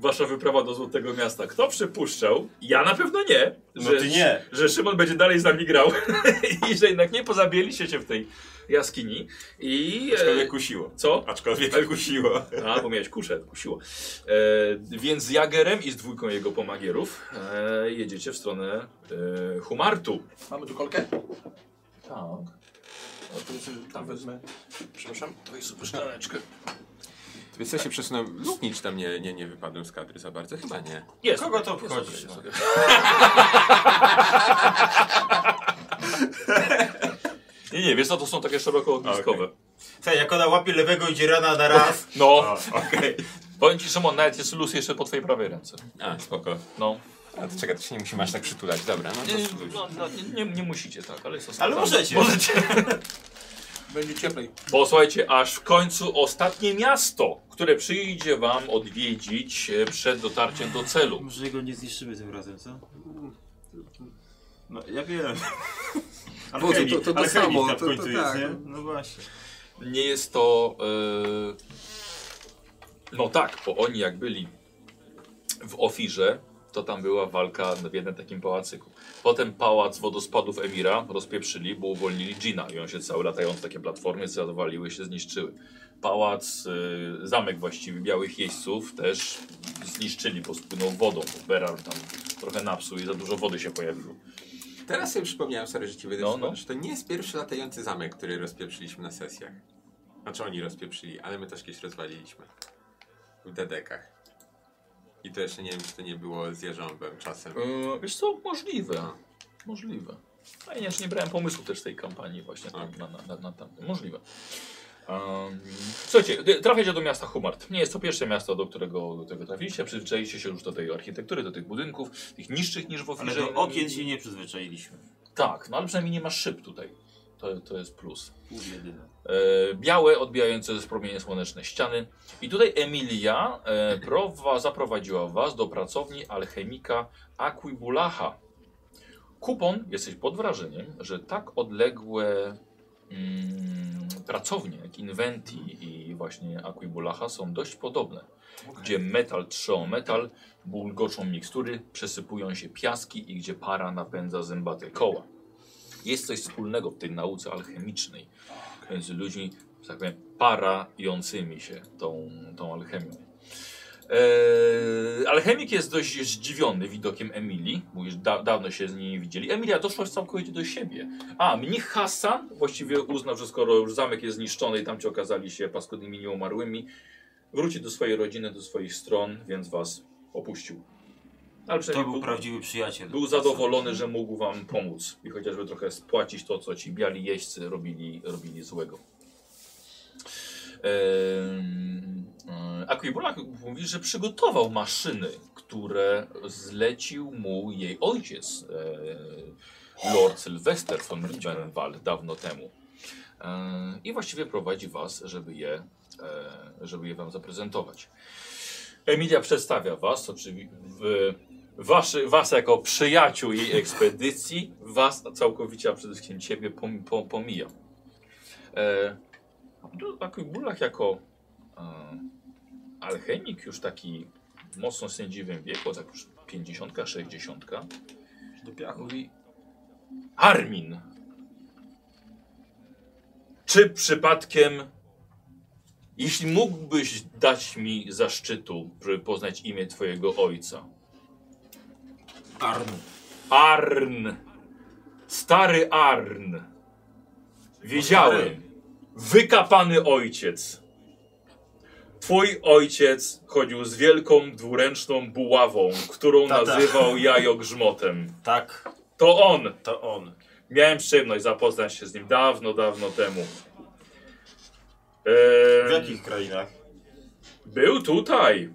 Wasza wyprawa do Złotego Miasta. Kto przypuszczał? Ja na pewno nie. No ty nie. Że Szymon będzie dalej z nami grał. I że jednak nie pozabijaliście się w tej jaskini. I... e, Aczkolwiek kusiło. Co? Aczkolwiek kusiło. A, bo miałeś kuszę, kusiło. E, więc z Jagerem i z dwójką jego pomagierów e, jedziecie w stronę e, Humartu. Mamy tu kolkę? Tak. O, to jest, tam wezmę. Przepraszam, to jest super szklaneczkę. Wiesz co, się przesunąłem, luknicz tam nie, nie, nie wypadłem z kadry za bardzo, chyba nie. Jest. Kogo to obchodzi? no? Nie, nie, wiesz co, to są takie szeroko ogniskowe. Słuchaj, jak ona łapie lewego idzie rana na raz. No, Okej. powiem ci Szymon, nawet jest luz jeszcze po twojej prawej ręce. A, spoko. No, A to czekaj, to się nie musimy aż tak przytulać, dobra, no nie, to spróbuj. no, no nie, nie musicie tak, ale jest to Ale sprawdzone. możecie. Możecie. Będzie cieplej. Bo słuchajcie, aż w końcu ostatnie miasto, które przyjdzie wam odwiedzić e, przed dotarciem do celu. Może go nie zniszczymy tym razem, co? No, ja wiem. Ale Boże, chemik, to- to- to ale chemik samo, tam w to- to końcu jest, tak. nie? No właśnie. Nie jest to... e, No tak, bo oni jak byli w Ofirze, to tam była walka w jednym takim pałacyku. Potem pałac wodospadów Emira rozpieprzyli, bo uwolnili Gina i on się cały latając takie platformy zawaliły się, zniszczyły. Pałac, y, zamek właściwie Białych Jeźdźców też zniszczyli, bo spłynął wodą. bo Berar tam trochę napsuł i za dużo wody się pojawiło. Teraz sobie przypomniałem, sorry, że ci wyjdę No, no, no. że to nie jest pierwszy latający zamek, który rozpieprzyliśmy na sesjach. Znaczy oni rozpieprzyli, ale my też kiedyś rozwaliliśmy. W dedekach. I to jeszcze nie wiem, czy to nie było z Jarząbem czasem. Yy, wiesz co, możliwe. Możliwe. A ja nie brałem pomysłu też tej kampanii właśnie tam, Tak. na, na, na, na tam. Możliwe. Um, słuchajcie, d- trafiacie do miasta Humart. Nie jest to pierwsze miasto, do którego do tego trafiliście. Przyzwyczailiście się już do tej architektury, do tych budynków, tych niższych niż w Ale ofirze. do okien się nie przyzwyczailiśmy. Tak, no ale przynajmniej nie ma szyb tutaj. To, to jest plus Pół jedyne. e, białe, odbijające z promienie słoneczne ściany. I tutaj Emilia e, prowa, zaprowadziła Was do pracowni alchemika Aquibulacha. Kupon, jesteś pod wrażeniem, że tak odległe mm, pracownie jak Inventi i właśnie Aquibulacha są dość podobne. Gdzie metal trze o metal, bulgoczą mikstury, przesypują się piaski i gdzie para napędza zębate koła. Jest coś wspólnego w tej nauce alchemicznej między ludźmi, że tak powiem, parającymi się tą, tą alchemią. Eee, alchemik jest dość zdziwiony widokiem Emilii. Mówisz, da, dawno się z niej nie widzieli. Emilia doszła całkowicie do siebie. A, mnich Hassan właściwie uznał, że skoro już zamek jest zniszczony i tam ci okazali się paskudnymi nieumarłymi, wróci do swojej rodziny, do swoich stron, więc was opuścił. Ale To przynajmniej był był- prawdziwy przyjaciel. był zadowolony, że mógł wam pomóc i chociażby trochę spłacić to, co ci biali jeźdźcy robili, robili złego. Ehm, e, Akwibulak mówi, że przygotował maszyny, które zlecił mu jej ojciec, e, Lord Sylwester von Liebenwald, dawno temu. E, I właściwie prowadzi was, żeby je, e, żeby je wam zaprezentować. Emilia przedstawia was, oczywiście w, waszy, was jako przyjaciół jej ekspedycji, was całkowicie, a przede wszystkim ciebie pom, pom, pomija. E, Akwibulach jako e, alchemik już taki mocno sędziwym wieku, tak już 50, 60, Do piachu. mówi Armin. Czy przypadkiem, jeśli mógłbyś dać mi zaszczytu, żeby poznać imię twojego ojca? Arn. Arn. Stary Arn. Wiedziałem. Wykapany ojciec. Twój ojciec chodził z wielką dwuręczną buławą, którą Tata. nazywał jajogrzmotem. Tak, To on. to on. Miałem przyjemność zapoznać się z nim dawno, dawno temu. W Eee, jakich krainach? był tutaj.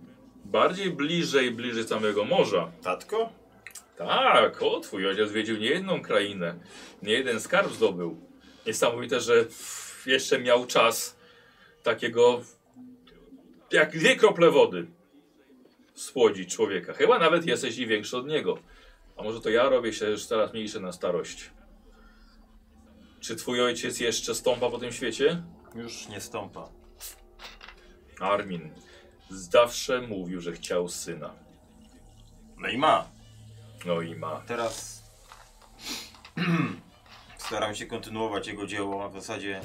Bardziej bliżej, bliżej samego morza. Tatko? Tak, o twój ojciec zwiedził nie jedną krainę, nie jeden skarb zdobył. Niesamowite, że w- jeszcze miał czas takiego jak dwie krople wody słodzić człowieka. Chyba nawet jesteś i większy od niego. A może to ja robię się już coraz mniejszy na starość. Czy twój ojciec jeszcze stąpa po tym świecie? Już nie stąpa. Armin zawsze mówił, że chciał syna. No i ma. No i ma. Teraz staram się kontynuować jego dzieło, a w zasadzie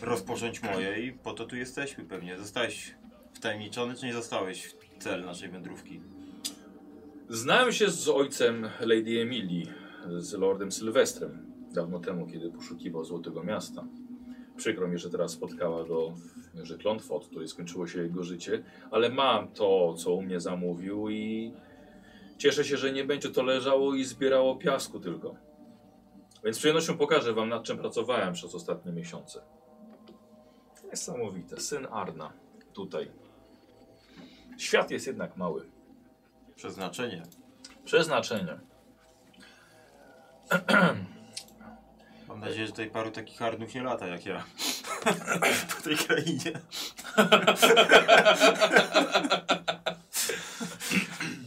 rozpocząć moje i po to tu jesteśmy pewnie. Zostałeś wtajemniczony, czy nie zostałeś w cel naszej wędrówki? Znałem się z ojcem Lady Emilii, z Lordem Sylwestrem, dawno temu, kiedy poszukiwał Złotego Miasta. Przykro mi, że teraz spotkała go że klątwa, od której skończyło się jego życie, ale mam to, co u mnie zamówił i cieszę się, że nie będzie to leżało i zbierało piasku tylko. Więc z przyjemnością pokażę wam, nad czym pracowałem przez ostatnie miesiące. Niesamowite. Syn Arna. Tutaj. Świat jest jednak mały. Przeznaczenie. Przeznaczenie. Mam nadzieję, że tutaj paru takich harnów nie lata jak ja. po tej krainie.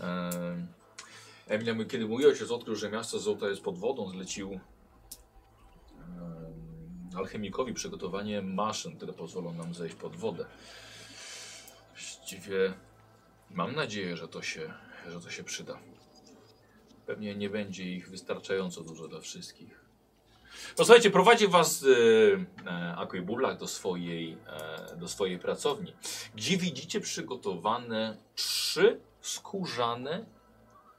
Em, Emilia, mówi, kiedy mój ojciec odkrył, że miasto złota jest pod wodą, zlecił em, alchemikowi przygotowanie maszyn, które pozwolą nam zejść pod wodę. Właściwie mam nadzieję, że to się, że to się przyda. Pewnie nie będzie ich wystarczająco dużo dla wszystkich. Posłuchajcie, prowadzi was e, e, Akoj Burlak do swojej, e, do swojej pracowni gdzie widzicie przygotowane trzy skórzane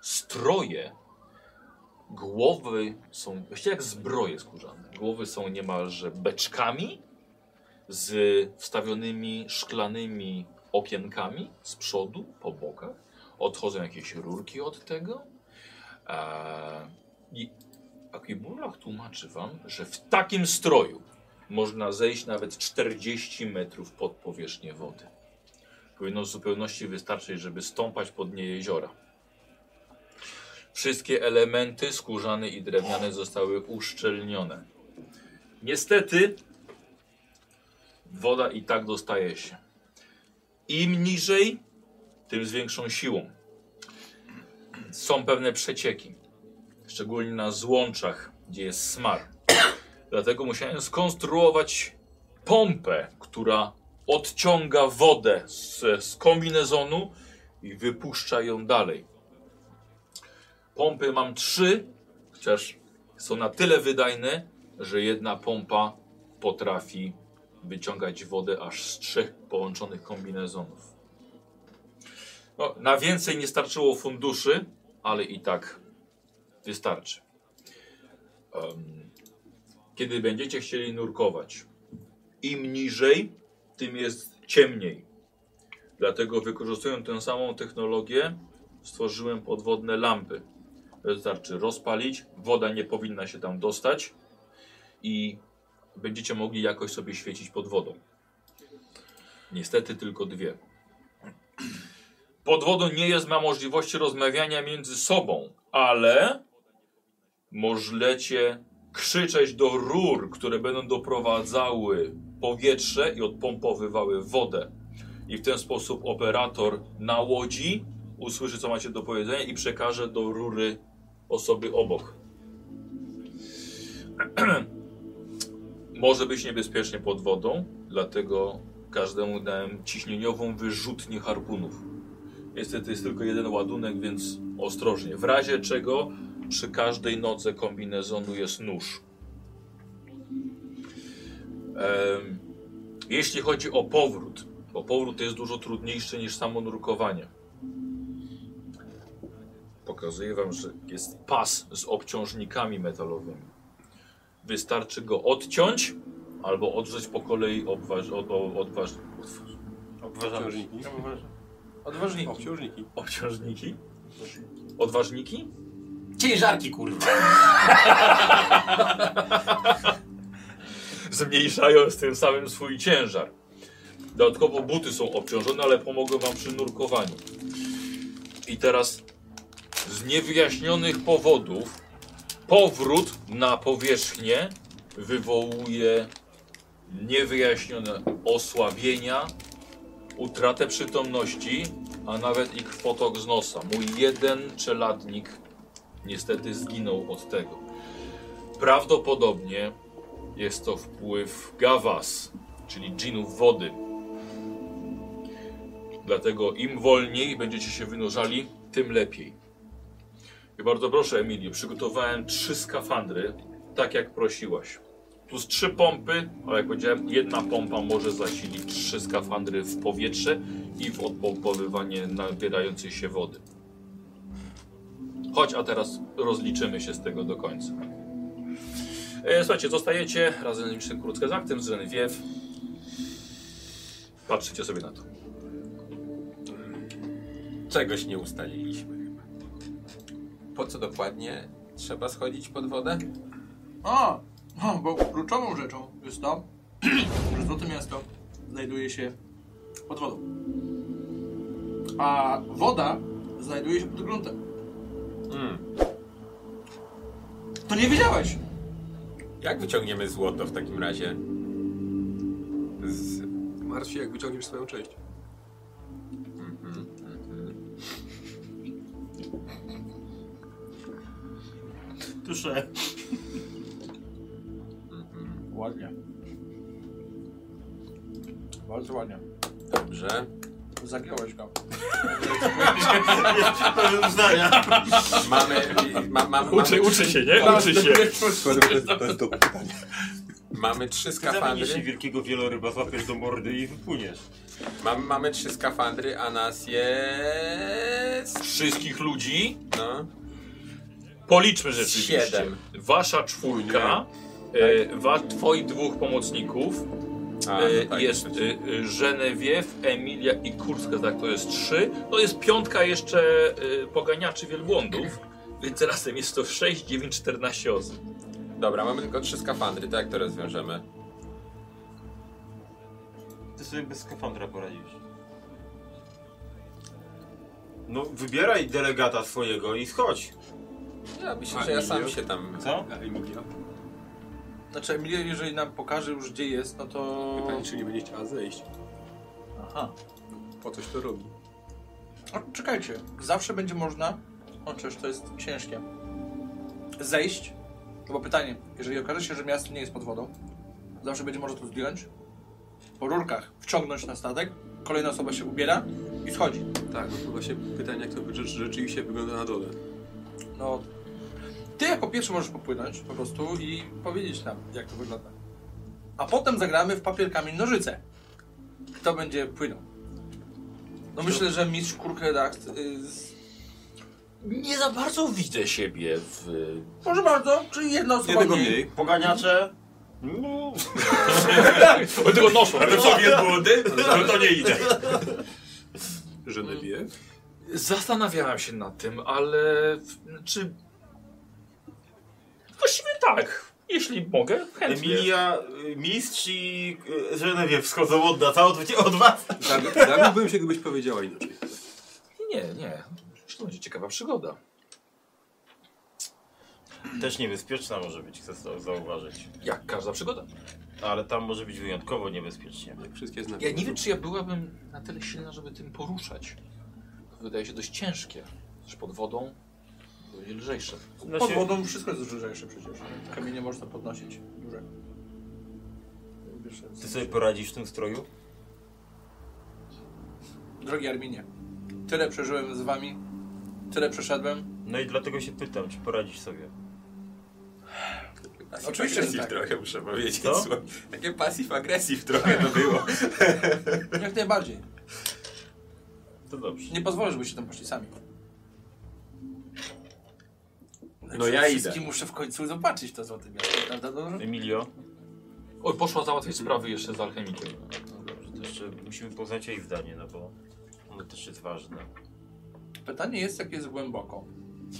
stroje. Głowy są, właściwie jak zbroje skórzane. Głowy są niemalże beczkami z wstawionymi szklanymi okienkami z przodu, po bokach. Odchodzą jakieś rurki od tego. Eee, I Akibulach tłumaczy wam, że w takim stroju można zejść nawet 40 metrów pod powierzchnię wody. Powinno w zupełności wystarczyć, żeby stąpać pod nie jeziora. Wszystkie elementy skórzane i drewniane zostały uszczelnione. Niestety, woda i tak dostaje się. Im niżej, tym z większą siłą. Są pewne przecieki, szczególnie na złączach, gdzie jest smar. Dlatego musiałem skonstruować pompę, która odciąga wodę z, z kombinezonu i wypuszcza ją dalej. Pompy mam trzy, chociaż są na tyle wydajne, że jedna pompa potrafi wyciągać wodę aż z trzech połączonych kombinezonów. No, na więcej nie starczyło funduszy, ale i tak wystarczy. Em, kiedy będziecie chcieli nurkować, im niżej, tym jest ciemniej. Dlatego wykorzystując tę samą technologię, stworzyłem podwodne lampy. Wystarczy rozpalić, woda nie powinna się tam dostać i będziecie mogli jakoś sobie świecić pod wodą. Niestety tylko dwie. Pod wodą nie jest ma możliwości rozmawiania między sobą, ale możecie krzyczeć do rur, które będą doprowadzały powietrze i odpompowywały wodę. I w ten sposób operator na łodzi usłyszy, co macie do powiedzenia i przekaże do rury osoby obok. Może być niebezpiecznie pod wodą, dlatego każdemu dałem ciśnieniową wyrzutnię harpunów. Niestety jest tylko jeden ładunek, więc ostrożnie. W razie czego przy każdej nodze kombinezonu jest nóż. Em, jeśli chodzi o powrót, bo powrót jest dużo trudniejszy niż samo nurkowanie. Pokazuję wam, że jest pas z obciążnikami metalowymi. Wystarczy go odciąć albo odrzeć po kolei obważ, od, od, odważ, Obważamy. Obciążniki. Odważniki. Obciążniki. Obciążniki? Odważniki? Ciężarki, kurwa. Zmniejszając tym samym swój ciężar. Dodatkowo buty są obciążone, ale pomogą wam przy nurkowaniu. I teraz z niewyjaśnionych powodów powrót na powierzchnię wywołuje niewyjaśnione osłabienia, utratę przytomności, a nawet i krwotok z nosa. Mój jeden czeladnik niestety zginął od tego. Prawdopodobnie jest to wpływ gawas, czyli dżinów wody. Dlatego im wolniej będziecie się wynurzali, tym lepiej. I bardzo proszę, Emilio, przygotowałem trzy skafandry, tak jak prosiłaś. Plus trzy pompy, ale jak powiedziałem, jedna pompa może zasilić trzy skafandry w powietrze i w odpompowywanie nabierającej się wody. Chodź, a teraz rozliczymy się z tego do końca. E, słuchajcie, zostajecie razem z Niszem Krótkę z aktem, z Renwiew. Patrzycie sobie na to. Czegoś nie ustaliliśmy chyba. Po co dokładnie trzeba schodzić pod wodę? A, no, bo kluczową rzeczą jest to, że Złote Miasto znajduje się pod wodą. A woda znajduje się pod gruntem. Mm. To nie wiedziałeś! Jak wyciągniemy złoto w takim razie? Z... Martw się, jak wyciągniesz swoją część. Tusze. Ładnie. Bardzo ładnie. Dobrze. Zagiąłeś go. Pełen uznania. Mamy... Ma, ma, mamy, Uczy, uczy się, nie? Uczy się. Skoro to jest, to jest dobre pytanie. mamy trzy Zamienisz się skafandry. wielkiego wieloryba, złapiesz do mordy i wypłyniesz. Mam, mamy trzy skafandry, a nas jest... Wszystkich ludzi. No. Policzmy rzeczywiście. Siedem. Wasza czwórka, e, wa, twoich dwóch pomocników A, no e, tak, jest przecież. e, Żenewiew, Emilia i Kurska, tak to jest trzy. To jest piątka jeszcze e, poganiaczy wielbłądów, więc razem jest to 6, 9, 14 osób. Dobra, mamy tylko trzy skafandry, tak to jak to rozwiążemy? Ty sobie bez skafandra poradzisz. No, wybieraj delegata swojego i schodź. Ja myślę, A, że ja sam Emilio? się tam... Co? A Emilia? Znaczy, Emilia, jeżeli nam pokaże już gdzie jest, no to... Pytanie, czy nie będzie chciała zejść. Aha. Po coś to robi. O, czekajcie, zawsze będzie można. O, czyż to jest ciężkie. Zejść. To było pytanie. Jeżeli okaże się, że miasto nie jest pod wodą, zawsze będzie można to zdjąć. Po rurkach wciągnąć na statek, kolejna osoba się ubiera i schodzi. Tak, no to właśnie pytanie, jak to rzecz- rzeczywiście wygląda na dole. No. Ty jako pierwszy możesz popłynąć po prostu i powiedzieć nam, jak to wygląda. A potem zagramy w papier, kamień, nożyce. Kto będzie płynął? No myślę, że mistrz Kurkedacht... Y, z- Nie za bardzo widzę siebie w... Proszę bardzo, czyli jedna osoba Jednego mniej. mniej. Poganiacze. No, O, tylko noszą. Ale co, wielbłądy? No to nie idę. Genevieve? Zastanawiałem się nad tym, ale w- czy. Właściwie tak. Jeśli mogę, chętnie. Emilia, y, mistrz i y, Genevieve wschodzą od nas, a od, od was. Zabi- Zabiłbym się, gdybyś powiedziała inaczej. Nie, nie. Przecież To będzie ciekawa przygoda. Też niebezpieczna może być, chcę za- zauważyć. Jak każda przygoda. Ale tam może być wyjątkowo niebezpiecznie. Jak wszystkie znaki. Ja nie wiem, czy ja byłabym na tyle silna, żeby tym poruszać. To wydaje się dość ciężkie. Też pod wodą to będzie lżejsze. Pod Znaczy- wodą wszystko jest lżejsze przecież. Kamienie można podnosić. Duże. Ty sobie poradzisz w tym stroju? Drogi Arminie, tyle przeżyłem z wami, tyle przeszedłem. No i dlatego się pytam, czy poradzisz sobie. Oczywiście, że Agresji tak. trochę muszę powiedzieć. Co? słuchaj. Takie passive agresji trochę to było. Jak najbardziej. To dobrze. Nie pozwolę, żebyście tam poszli sami. No ja idę. Wszystkim muszę w końcu zobaczyć to złote miasto, prawda? no, Dobrze? Emilio, Oj, poszła załatwić sprawy jeszcze z alchemikiem. dobrze, to jeszcze musimy poznać jej zdanie, no bo ono też jest ważne. Pytanie jest, jak jest głęboko.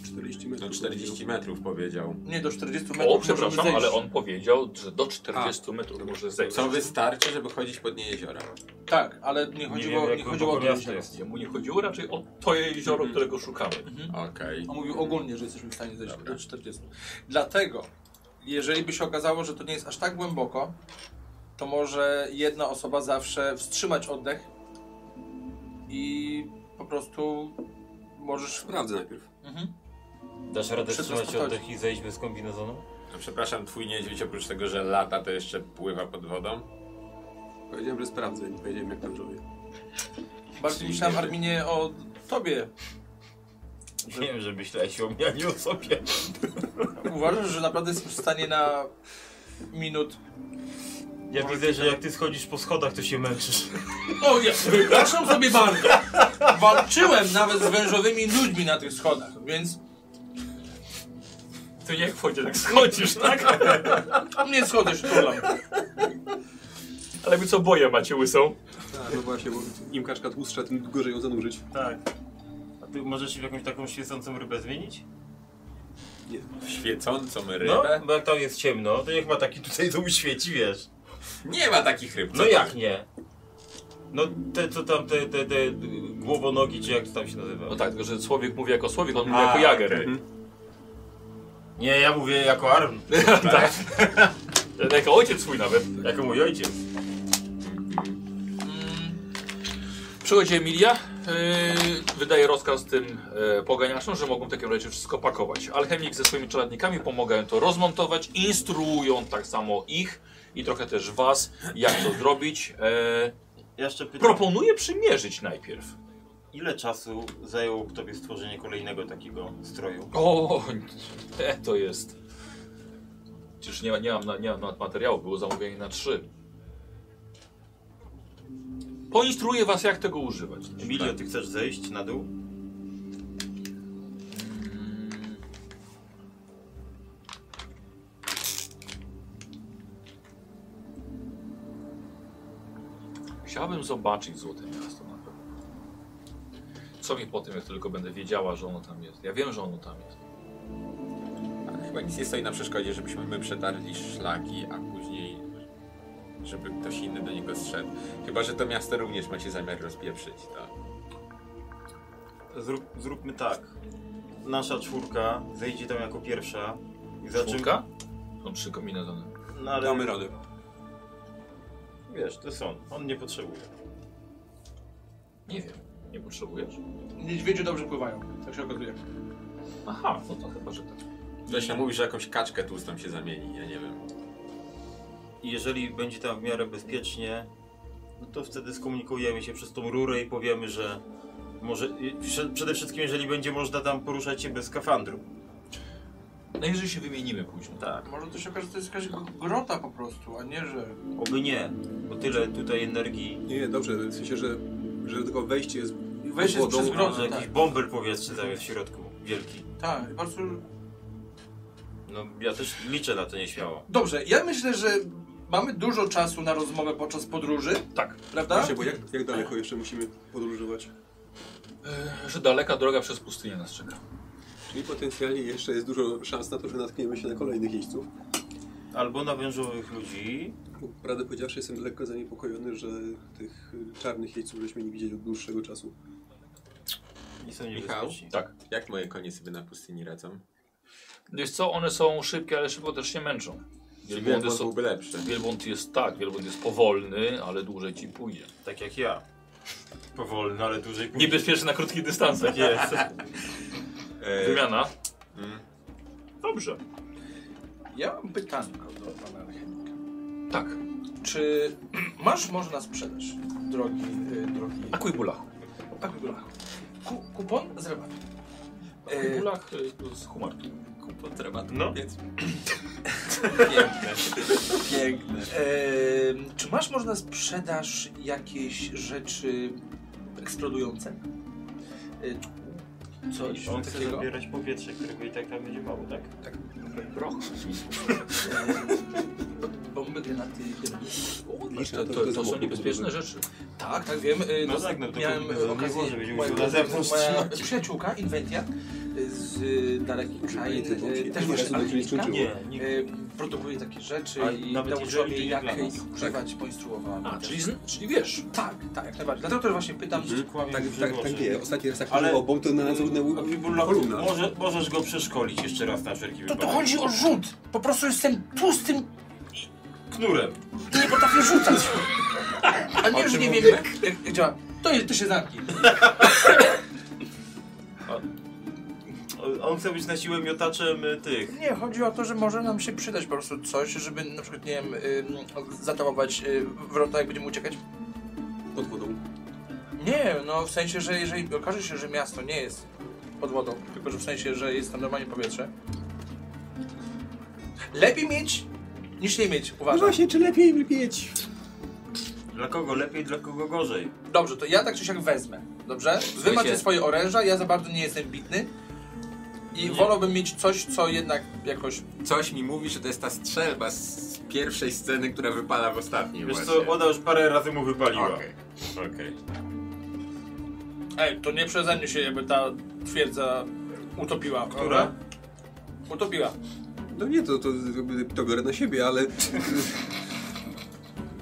40 Do metrów. 40 No metrów powiedział. Nie, do 40 metrów O, możemy przepraszam, zejść. ale on powiedział, że do 40 metrów może zejść. Co wystarczy, żeby chodzić pod nie jeziora. Tak, ale nie chodziło, nie jak chodziło o głęboko to. miasto jest. Jemu nie chodziło raczej o to jezioro, którego szukamy. Okej. On mówił ogólnie, że jesteśmy w stanie zejść do 40. Dlatego, jeżeli by się okazało, że to nie jest aż tak głęboko, to może jedna osoba zawsze wstrzymać oddech i po prostu możesz... Sprawdzę najpierw. Dasz radę Przed nas wstrzymać podchodzi. oddech i zejdźmy z kombinezonu? No Przepraszam, twój niedźwiedź oprócz tego, że lata, to jeszcze pływa pod wodą. Powiedziałem, że sprawdzę, nie powiedziałem jak tam żołnierz. Bardziej myślałem, Arminie, o tobie. Wiem, że myślałeś o mnie, a nie o sobie. Uważasz, że naprawdę jesteś w stanie na minut... Ja widzę, że jak ty schodzisz po schodach, to się męczysz. O, ja przepraszam sobie bardzo. Walczyłem nawet z wężowymi ludźmi na tych schodach, więc Ty nie wchodzi, tak schodzisz, tak? nie schodzę się tulam. Ale wy co boję macie łysą? No właśnie, bo im kaczka tłustsza, tym gorzej ją zanurzyć. Tak. A ty możesz się w jakąś taką świecącą rybę zmienić? Świecącą rybę. No, bo jak tam jest ciemno, to niech ma taki tutaj to uświeci, wiesz. Nie ma takich ryb. co No ty? jak nie? No te co tam, te, te, te głowonogi, czy jak to tam się nazywa? No tak, tylko że człowiek mówi jako słowik, on mówi A, jako jager. Nie, ja mówię jako arm. E, Jako ojciec swój nawet. jako mój ojciec. Przychodzi Emilia, yy, wydaje rozkaz tym yy, poganiaczom, że mogą w takim razie wszystko pakować. Alchemik ze swoimi czeladnikami pomagają to rozmontować, instruują tak samo ich i trochę też was, jak to zrobić. Yy, Ja jeszcze pytam, proponuję przymierzyć najpierw. ile czasu zajęło tobie stworzenie kolejnego takiego stroju? O, te E, to jest. Przecież nie, ma- nie, mam, na- nie mam na- materiału, było zamówienie na trzy. Poinstruuję was, jak tego używać. Emilio, ty chcesz zejść na dół? Chciałbym zobaczyć Złote Miasto na pewno. Co mi po tym, jak tylko będę wiedziała, że ono tam jest. Ja wiem, że ono tam jest. tak. Chyba nic nie stoi na przeszkodzie, żebyśmy my przetarli szlaki, a później żeby ktoś inny do niego zszedł. Chyba, że to miasto również macie zamiar rozpieprzyć, tak? to... Zrób, zróbmy tak. Nasza czwórka zejdzie tam jako pierwsza. I za czym- Czwórka? Są trzy kombinezony. No ale Damy radę. wiesz, to są. On nie potrzebuje. Nie wiem. Nie potrzebujesz? Niedźwiedzie dobrze pływają, tak się okazuje. Aha, no to chyba, że tak. To się mówi, że jakąś kaczkę tłustą się zamieni, ja nie wiem. I jeżeli będzie tam w miarę bezpiecznie, no to wtedy skomunikujemy się przez tą rurę i powiemy, że może i prze- przede wszystkim jeżeli będzie można tam poruszać się bez skafandru. Najwyżej się wymienimy później. Tak. Może to się okaże, że to jest jakaś grota po prostu, a nie, że... Oby nie, bo tyle tutaj energii, Nie, nie, dobrze, w sensie, że, że tylko wejście jest Tak? Wejście jest wodą, przez no, grotę, że tak. jakiś bąbel powietrzny tam jest w środku, wielki. Tak, bardzo... No ja też liczę na to nieśmiało. Dobrze, ja myślę, że mamy dużo czasu na rozmowę podczas podróży. Tak. Prawda? Właśnie, bo jak, jak daleko jeszcze musimy podróżować? E, Że daleka droga przez pustynię nas czeka. Czyli potencjalnie jeszcze jest dużo szans na to, że natkniemy się na kolejnych jeźdźców. Albo na wężowych ludzi, Bo Prawdę powiedziawszy, jestem lekko zaniepokojony, że tych y, czarnych jeźdźców żeśmy nie widzieli od dłuższego czasu. i są Michał? niebezpieczni. Tak. Jak moje konie sobie na pustyni radzą? Wiesz co, one są szybkie, ale szybko też się męczą. Wielbłądy, Wielbłąd są, byłby lepszy. wielbłąd jest tak, wielbłąd jest powolny, ale dłużej ci pójdzie. Tak jak ja. Powolno, ale dłużej później. Niebezpieczny na krótkich dystansach. Jest. E, Tak Wymiana. mm, Dobrze. Ja mam pytanko do pana alchemika. Tak. Czy masz może na sprzedaż, drogi... Yy, drogi... Na kujbulach. Akubulach. Ku, kupon z rabatu. Na E, kujbulach y, z humartu. Kupon trebatu, No. więc... Piękne. Piękne. Em, czy masz może na sprzedaż jakieś rzeczy eksplodujące? E, Coś On chce takiego? zabierać powietrze, którego i tak tam będzie mało, tak? Proch. Bo bomby, granaty. granaty. Liczę To, na to, że to są samochód niebezpieczne podobny. rzeczy. Tak, tak wiem. y, No dos- tak, no to miałem kurde, no nie okazję, może będziemy moja- się na zewnątrz Moja trzymać. przyjaciółka, Inventia y, z y, dalekich krain, Inventia, bo y, się- też nie jest wiem, czy to alchemiczka, liczyło. Nie, nigdy. y, produkuje takie rzeczy A i nawet nauczyła jeżeli mnie to nie jak dla nas. ich używać, poinstruowała mnie A, tak? też. czyli, zn- czyli wiesz. Tak, tak, jak najbardziej. Dlatego też właśnie pytam, Kłamie Tak, mi w tak, oczy. tak wie. Ostatni raz jak Ale- Ale... mm, obok, to na nas równe kolumna. Może, możesz go przeszkolić jeszcze raz na wszelki to wypadek. tu chodzi o rzut. Po prostu jestem tłustym Knurem. i nie potrafię rzucać. A nie, że nie wiem jak, jak, jak działa. To, jest- to się zamknie. O- On chce być na siłę miotaczem y, tych. Nie, chodzi o to, że może nam się przydać po prostu coś, żeby na przykład, nie wiem, ym, zatamować y, wrota, jak będziemy uciekać. Pod wodą. Nie, no w sensie, że jeżeli okaże się, że miasto nie jest pod wodą, tylko że w sensie, że jest tam normalnie powietrze. Lepiej mieć niż nie mieć, No uważam. właśnie, czy lepiej wypieć? Dla kogo lepiej, dla kogo gorzej. Dobrze, to ja tak czy siak wezmę, dobrze? Wy macie swoje oręża, ja za bardzo nie jestem bitny. I wolałbym mieć coś, co jednak jakoś... Coś mi mówi, że to jest ta strzelba z pierwszej sceny, która wypada w ostatniej Wiesz właśnie. co, ona już parę razy mu wypaliła. Okej. Okej. Ej, to nie przeze mnie się jakby ta twierdza utopiła. Która? Utopiła. No nie, to, to, jakby to biorę na siebie, ale... y,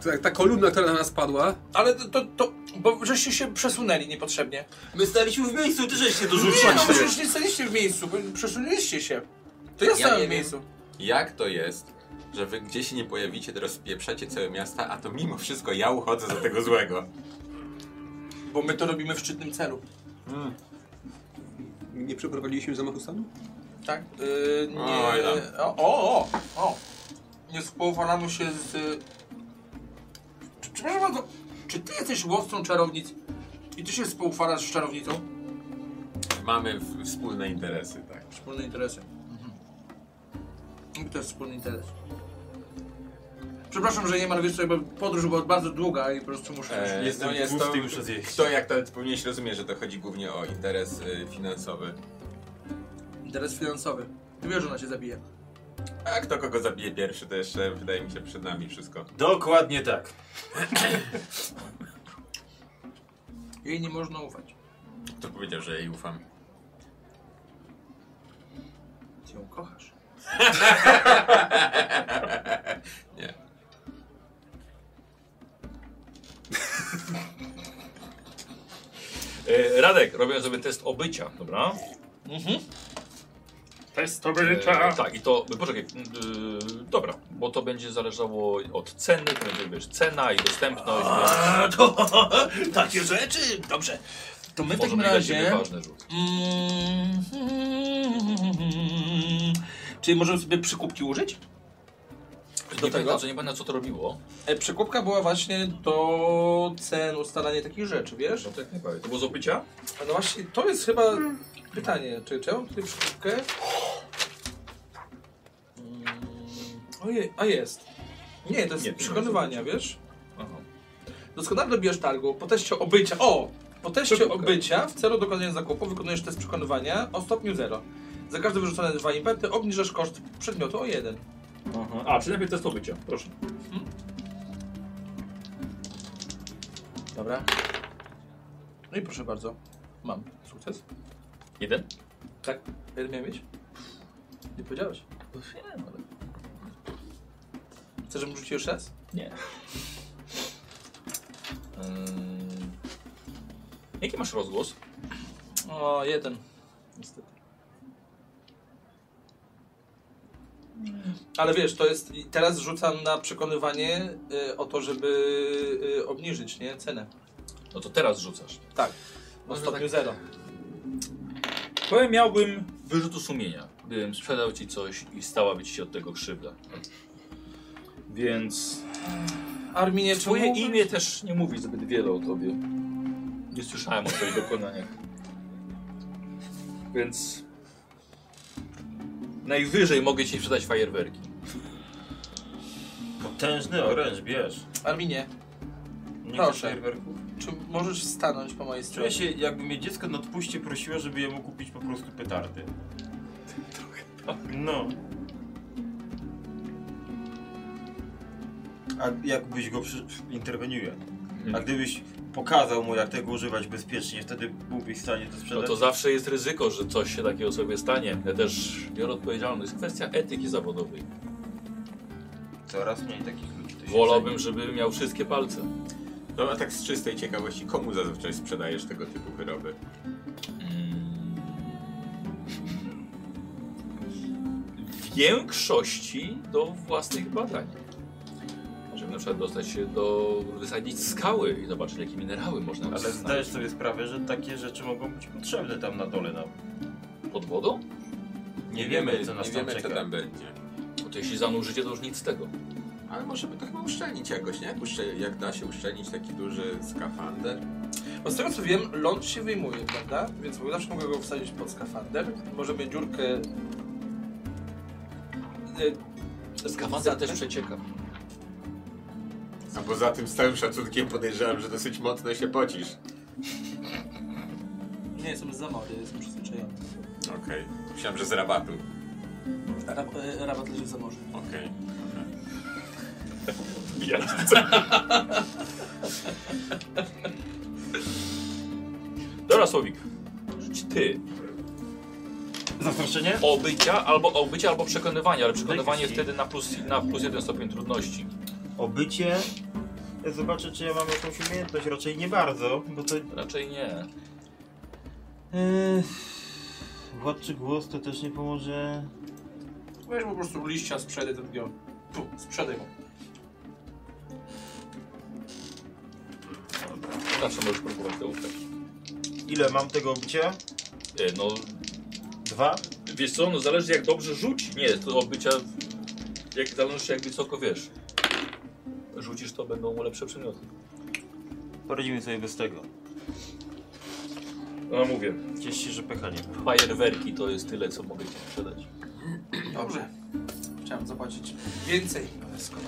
Ta, ta kolumna, która na nas padła, Ale to, to, to bo żeście się przesunęli niepotrzebnie. My staliśmy w miejscu, ty żeś się Nie, no dorzucił. przecież nie staliście w miejscu, bo przesunęliście się. To ja, Ja stałem nie w wiem. miejscu. Jak to jest, że wy gdzie się nie pojawicie, to rozpieprzacie całe miasta, a to mimo wszystko ja uchodzę za tego złego? Bo my to robimy w szczytnym celu. nie przeprowadziliśmy zamachu stanu? Tak? Yy, nie. Oj, no. tam. o, o, o, o. Nie spowalamy się z. y, Czy- Przepraszam bardzo, czy ty jesteś łowcą czarownic i ty się spoufalasz z czarownicą? Mamy w- wspólne interesy, tak. Wspólne interesy. Mhm. I to jest wspólny interes. Przepraszam, że nie ma, wiesz co, bo podróż była bardzo długa i po prostu muszę... E, Jestem to jest tłusty, to, muszę zjeść. kto jak to powinieneś rozumieć, że to chodzi głównie o interes y, finansowy. Interes finansowy. Ty wiesz, że ona się zabije. A kto kogo zabije pierwszy, to jeszcze wydaje mi się przed nami wszystko. Dokładnie tak. Jej nie można ufać. Kto powiedział, że jej ufam? Ty ją kochasz. Nie. E, Radek, robię sobie test obycia, dobra? Test Mhm. E, obycia. tak, i to, poczekaj, yy, dobra, bo to będzie zależało od ceny, to będzie, wiesz, cena i dostępność, więc A, to takie rzeczy! Dobrze. To my w może takim być dla ciebie razie... Mhm. ważny rzut. Mm, Czyli możemy sobie przykupki użyć? Do Do nie tego? tego? Co, nie pamiętam, co to robiło. E, przykupka była właśnie do cen, ustalania takich rzeczy, wiesz? No to jak najbardziej. To było z obycia? A No właśnie, to jest chyba pytanie. Czy czy ja mam tutaj przykupkę? Mm, Ojej, a jest. Nie, to jest Nie, to przekonywania, wiesz? Aha. Doskonale dobijasz targu. Po teście obycia. O! Po teście Przekupka. obycia w celu dokonania zakupu wykonujesz test przekonywania o stopniu 0. Za każde wyrzucone dwa impety obniżasz koszt przedmiotu o 1. Aha. A, czyli najpierw test obycia, proszę. Dobra. No i proszę bardzo. Mam sukces. Jeden? Tak. Ile miałem mieć? Nie powiedziałeś. No Chcesz, żebym rzucił jeszcze raz? Nie. Ym... Jaki masz rozgłos? O, jeden. Niestety. Ale wiesz, to jest. i Teraz rzucam na przekonywanie y, o to, żeby y, obniżyć, nie? Cenę. No to teraz rzucasz. Tak. O stopniu zero. Powiem, miałbym wyrzutu sumienia, gdybym sprzedał ci coś i stałaby ci się od tego krzywda. Więc Arminie, czy Twoje mógłbym- imię też nie mówi zbyt wiele o tobie. Nie słyszałem o twoich dokonaniach. Więc najwyżej mogę ci sprzedać fajerwerki. Potężny oręż, bierz. Arminie, Nie Proszę. chcesz fajerwerków? czy możesz stanąć po mojej stronie? Czuję się, jakby mnie dziecko na odpuście prosiło, żeby jemu kupić po prostu petardy. No. a jakbyś go przy... interweniuje. A Hmm. gdybyś pokazał mu, jak tego używać bezpiecznie, wtedy byłbyś w stanie to No sprzedać. to zawsze jest ryzyko, że coś się takiego sobie stanie. Ja też biorę odpowiedzialność. Jest kwestia etyki zawodowej. Coraz mniej takich ludzi. to się Wolałbym, żeby miał wszystkie palce. No a tak z czystej ciekawości, komu zazwyczaj sprzedajesz tego typu wyroby? W większości do własnych badań. Żeby na przykład dostać się do wysadzić skały i zobaczyć, jakie minerały można Ale znaleźć. zdajesz sobie sprawę, że takie rzeczy mogą być potrzebne tam na dole. Na... pod wodą? Nie wiemy, co nas nie tam wiemy co czeka. tam będzie. Bo to jeśli zanurzycie, to już nic z tego. Ale możemy to chyba uszczelnić jakoś, nie? Jak, uszcze- jak da się uszczelnić taki duży skafander? Bo z tego co wiem, ląd się wyjmuje, prawda? Więc zawsze mogę go wsadzić pod skafander. Możemy dziurkę... e, Skafander zatknąć. też przecieka. A poza tym z całym szacunkiem podejrzewam, że dosyć mocno się pocisz. Nie, jestem z zamory, jestem przyzwyczajony. Okej. Myślałem, że z rabatu. Rab, e, rabat leży w zamorzu. Okej. Dobra, Słowik. Rzuć ty. Zastraszenie? Obycia albo, obycia albo przekonywanie, ale przekonywanie Lekcji. wtedy na plus, na plus jeden stopień trudności. Obycie. Ja Zobaczę, czy ja mam jakąś umiejętność. Raczej nie bardzo, bo to. Raczej nie. Yy... Władczy głos to też nie pomoże. Weź po prostu liścia, sprzedaj ten biom. Puh, sprzedaj go. Zawsze możesz próbować to ubrać. Ile mam tego obycia? E, No, Dwa? wiesz co, no zależy jak dobrze rzuci. Nie, to obycia, jak zależy jak wysoko wiesz. Rzucisz to, będą mu lepsze przymioty. Poradzimy sobie bez tego. No mówię, Ciesz się, że pecha nie ma. fajerwerki to jest tyle, co mogę ci sprzedać. Dobrze. Chciałem zapłacić więcej. ale skoro-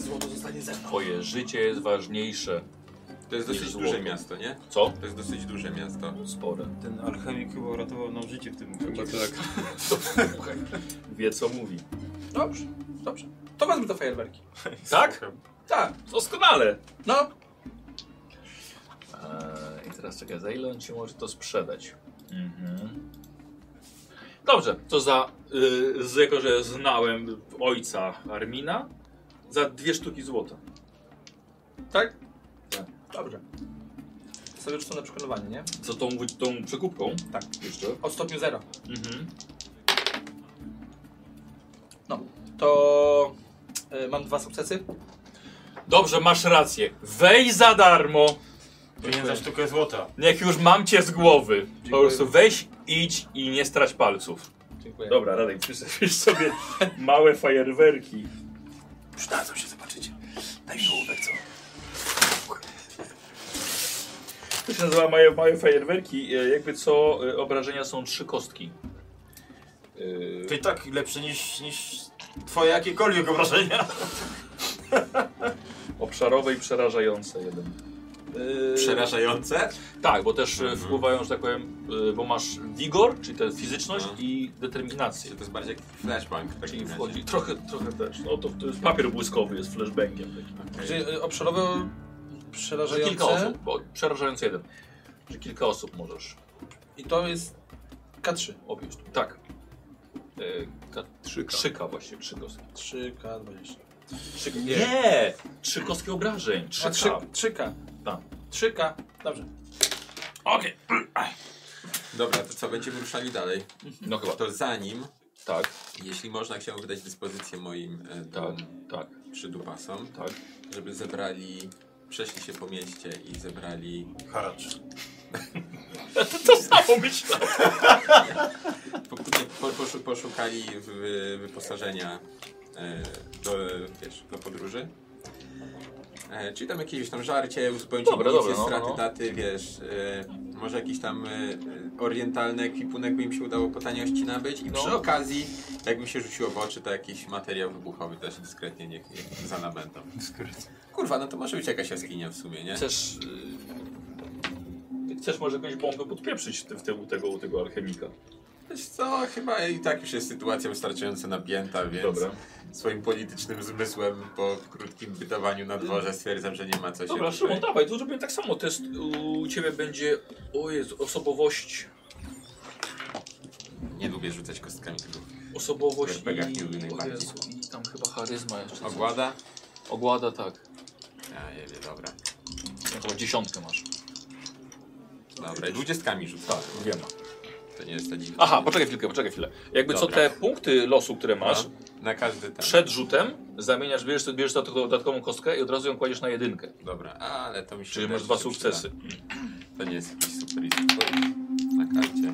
Złoto zostanie ze mną. Twoje życie jest ważniejsze. To jest Niż dosyć złoto. duże miasto, nie? Co? To jest dosyć duże miasto. Spore. Ten alchemik chyba uratował nam życie w tym Chyba tak. Wie co mówi. Dobrze, dobrze. To wezmę te fajerwerki. Tak? Tak, Doskonale. no. Eee, I teraz czekaj, za ile on ci może to sprzedać? Mhm. Dobrze, to za, y, z, jako że znałem ojca Armina, za dwie sztuki złota. Tak? Dobrze. Sobie rzucę na przekonywanie, nie? Co tą, tą przekupką? Tak. Jeszcze? Od stopniu zero. Mhm. No. To e, mam dwa sukcesy. Dobrze, masz rację. Weź za darmo. Pieniądz za sztukę złota. Niech już mam cię z głowy. Po Dziękuję. prostu weź, idź i nie strać palców. Dziękuję. Dobra, Radek, przystawisz sobie małe fajerwerki. Przydadzą się, zobaczycie. Daj mi ołówek, co? To się nazywa małe, małe fajerwerki. E, Jakby co, e, obrażenia są trzy kostki. To i tak lepsze niż, niż twoje jakiekolwiek obrażenia. Obszarowe i przerażające jeden. E, Yy, Przerażające? Tak, bo też Mhm. e, wpływają, że tak powiem, e, bo masz wigor, czyli tę fizyczność Mhm. i Czy determinację. to jest bardziej jak flashbang? w takim Czyli razie? wchodzi trochę, trochę też. No to, to jest papier błyskowy, jest flashbangiem. Taki. Okej. Czyli e, obszarowe Że kilka przerażające. osób, bo przerażający jeden. Że kilka osób możesz I to jest K3. objąć. Tak. E, ka- Krzyka. krzyka właśnie, trzy kostki. 3K20. Trzy, nie! Trzy kostki obrażeń, trzy A, k 3, 3K. Tak. 3K. Dobrze. Okej. Dobra, to co, będziemy ruszali dalej. No chyba, to, To zanim, tak, jeśli można, chciałbym wydać dyspozycję moim e, tak, dom tak, przydupasom, tak. żeby zebrali, przeszli się po mieście i zebrali Haracz. To samo myślałem. Po, po, poszu- poszukali wy- wyposażenia e, do, wiesz, do podróży. E, czyli tam jakieś tam żarcie, uzupełnić Dobra, amunicję, dobra, no, straty, no. daty, wiesz, e, może jakiś tam e, e, orientalny ekwipunek by im się udało po taniości nabyć i No. przy okazji, jakby się rzuciło w oczy, to jakiś materiał wybuchowy też dyskretnie niech, niech zanabędą. Kurwa, no to może być jakaś jaskinia w sumie, nie? Chcesz... y, Chcesz może jakąś bombę podpieprzyć w te, w te, u, tego, u tego alchemika. Wiesz co, chyba i tak już jest sytuacja wystarczająco napięta, więc Dobra. swoim politycznym zmysłem po krótkim bytowaniu na dworze stwierdzam, że nie ma co się Dobra, tutaj- Szymon, dawaj, to zrobimy tak samo. Test u ciebie będzie, o Jezu, osobowość, Nie lubię rzucać kostkami tylko osobowość W RPGach i, nie lubię o najbardziej. Jezu, i tam chyba charyzma jeszcze. coś. Ogłada? Ogłada tak. A, jebie, dobra. Jakąś dziesiątkę masz. Dobra, i dwudziestkami rzucam. Tak, Wiem. To nie jest ta dziwna. Aha, poczekaj chwilkę, poczekaj chwilę. Jakby co Dobra. te punkty losu, które masz, No, Na każdy tak. przed rzutem zamieniasz, bierzesz, bierzesz dodatkowo- dodatkową kostkę i od razu ją kładziesz na jedynkę. Dobra, ale to mi się Czyli wydaje, masz że dwa się sukcesy. przyda. To nie jest jakiś super istotny. Na karcie.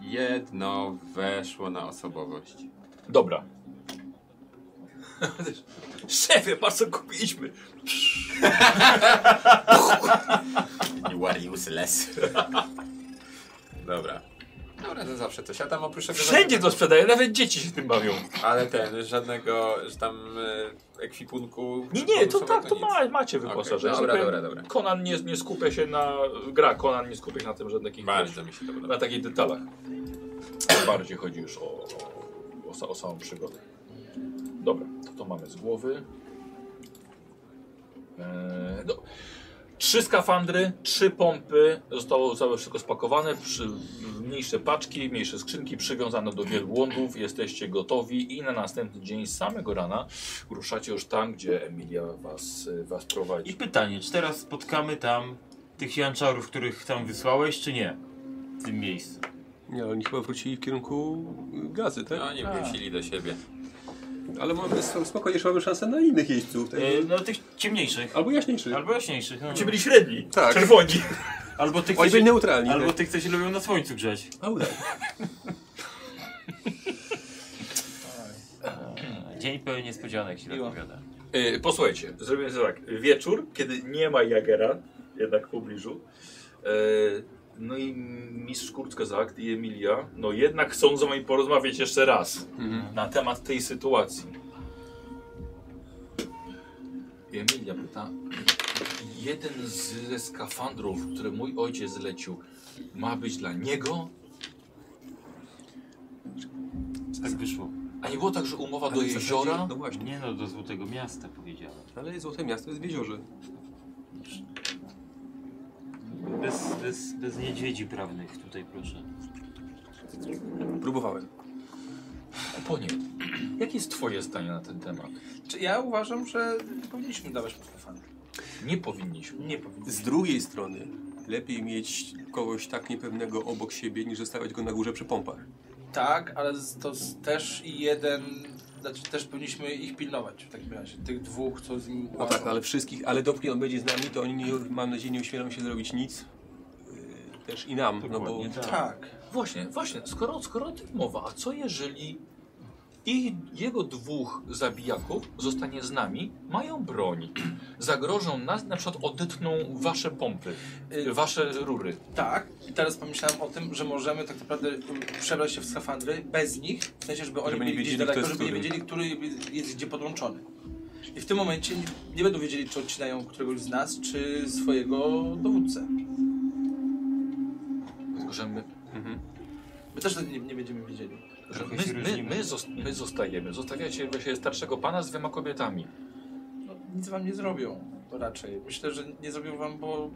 Jedno weszło na osobowość. Dobra. Szefie, patrz co kupiliśmy. You are useless. Dobra. Dobra, to zawsze coś. A tam oprócz tego... Wszędzie to sprzedaje, nawet dzieci się tym bawią. Ale ten, żadnego, że tam e, ekwipunku... Nie, nie, to tak, to nic. ma, macie wyposażenie. Okej, dobra, Że tak dobra, powiem, dobra. Conan nie, nie skupia się na... Gra Conan nie skupia się na tym, że takich... Bardzo mi się to podoba. Na takich detalach. Bardziej chodzi już o, o, o, sa- o samą przygodę. Dobra, to to mamy z głowy. Eee, no. Trzy skafandry, trzy pompy, zostało całe wszystko spakowane, przy, w mniejsze paczki, mniejsze skrzynki przywiązane do wielu łądów, jesteście gotowi i na następny dzień z samego rana ruszacie już tam, gdzie Emilia was, y, was I prowadzi. pytanie, czy teraz spotkamy tam tych janczarów, których tam wysłałeś, czy nie? W tym miejscu. Nie, oni chyba wrócili w kierunku y, gazy, tak? No, oni wrócili do siebie. Ale mamy spokojnie, jeszcze mamy szansę na innych jeźdźców. Tak? E, no tych ciemniejszych. Albo jaśniejszych. Albo jaśniejszych. No. Ci byli średni, Tak. czerwoni. Albo tych, co Oni byli się, neutralni. albo tak. tych, co się lubią na słońcu grzać. A, tak. Dzień pełen niespodzianek się Miło. odpowiada. Yy, posłuchajcie, zrobimy sobie tak. Wieczór, kiedy nie ma Jagera, jednak w pobliżu. Yy, no i mistrz Kurczkezakt i Emilia, no jednak chcą z wami porozmawiać jeszcze raz na temat tej sytuacji. I Emilia pyta, jeden z ze skafandrów, który mój ojciec zlecił, ma być dla niego? Tak wyszło. A nie było tak, że umowa do Ale w zasadzie- jeziora? No właśnie. Nie no, do Złotego Miasta powiedziałem. Ale Złote Miasto jest w jeziorze. Bez, bez, bez niedźwiedzi prawnych tutaj proszę. Próbowałem. Ponie, jakie jest twoje zdanie na ten temat? Czy ja uważam, że powinniśmy dawać mu skafandry. Nie powinniśmy. Nie powinniśmy. Z drugiej strony, lepiej mieć kogoś tak niepewnego obok siebie, niż zostawiać go na górze przy pompach. Tak, ale z- to z- też jeden... Znaczy też powinniśmy ich pilnować w takim razie. Tych dwóch, co z nim No łażą. tak, ale wszystkich, ale dopóki on będzie z nami, to oni, nie, mam nadzieję, nie ośmielą się zrobić nic. Yy, Też i nam, no bo... Dokładnie tak. Tak. Właśnie, właśnie, skoro, skoro o tym mowa, a co jeżeli ich, jego dwóch zabijaków zostanie z nami, mają broń, zagrożą nas, na przykład odetną wasze pompy, y, wasze rury. Tak, i teraz pomyślałem o tym, że możemy tak naprawdę mm, przebrać się w skafandry bez nich, w sensie, żeby oni Żeby nie byli gdzieś wiedzieli, daleko, żeby kto jest nie który. wiedzieli, który jest gdzie podłączony. I w tym momencie nie, nie będą wiedzieli, czy odcinają któregoś z nas, czy swojego dowódcę. Tylko, że my, My też nie, nie będziemy wiedzieli. że my, Trochę się my, różnimy. my, zos- my zostajemy, zostawiacie właśnie starszego pana z dwiema kobietami. No, nic wam nie zrobią, to raczej. Myślę, że nie zrobią wam, bo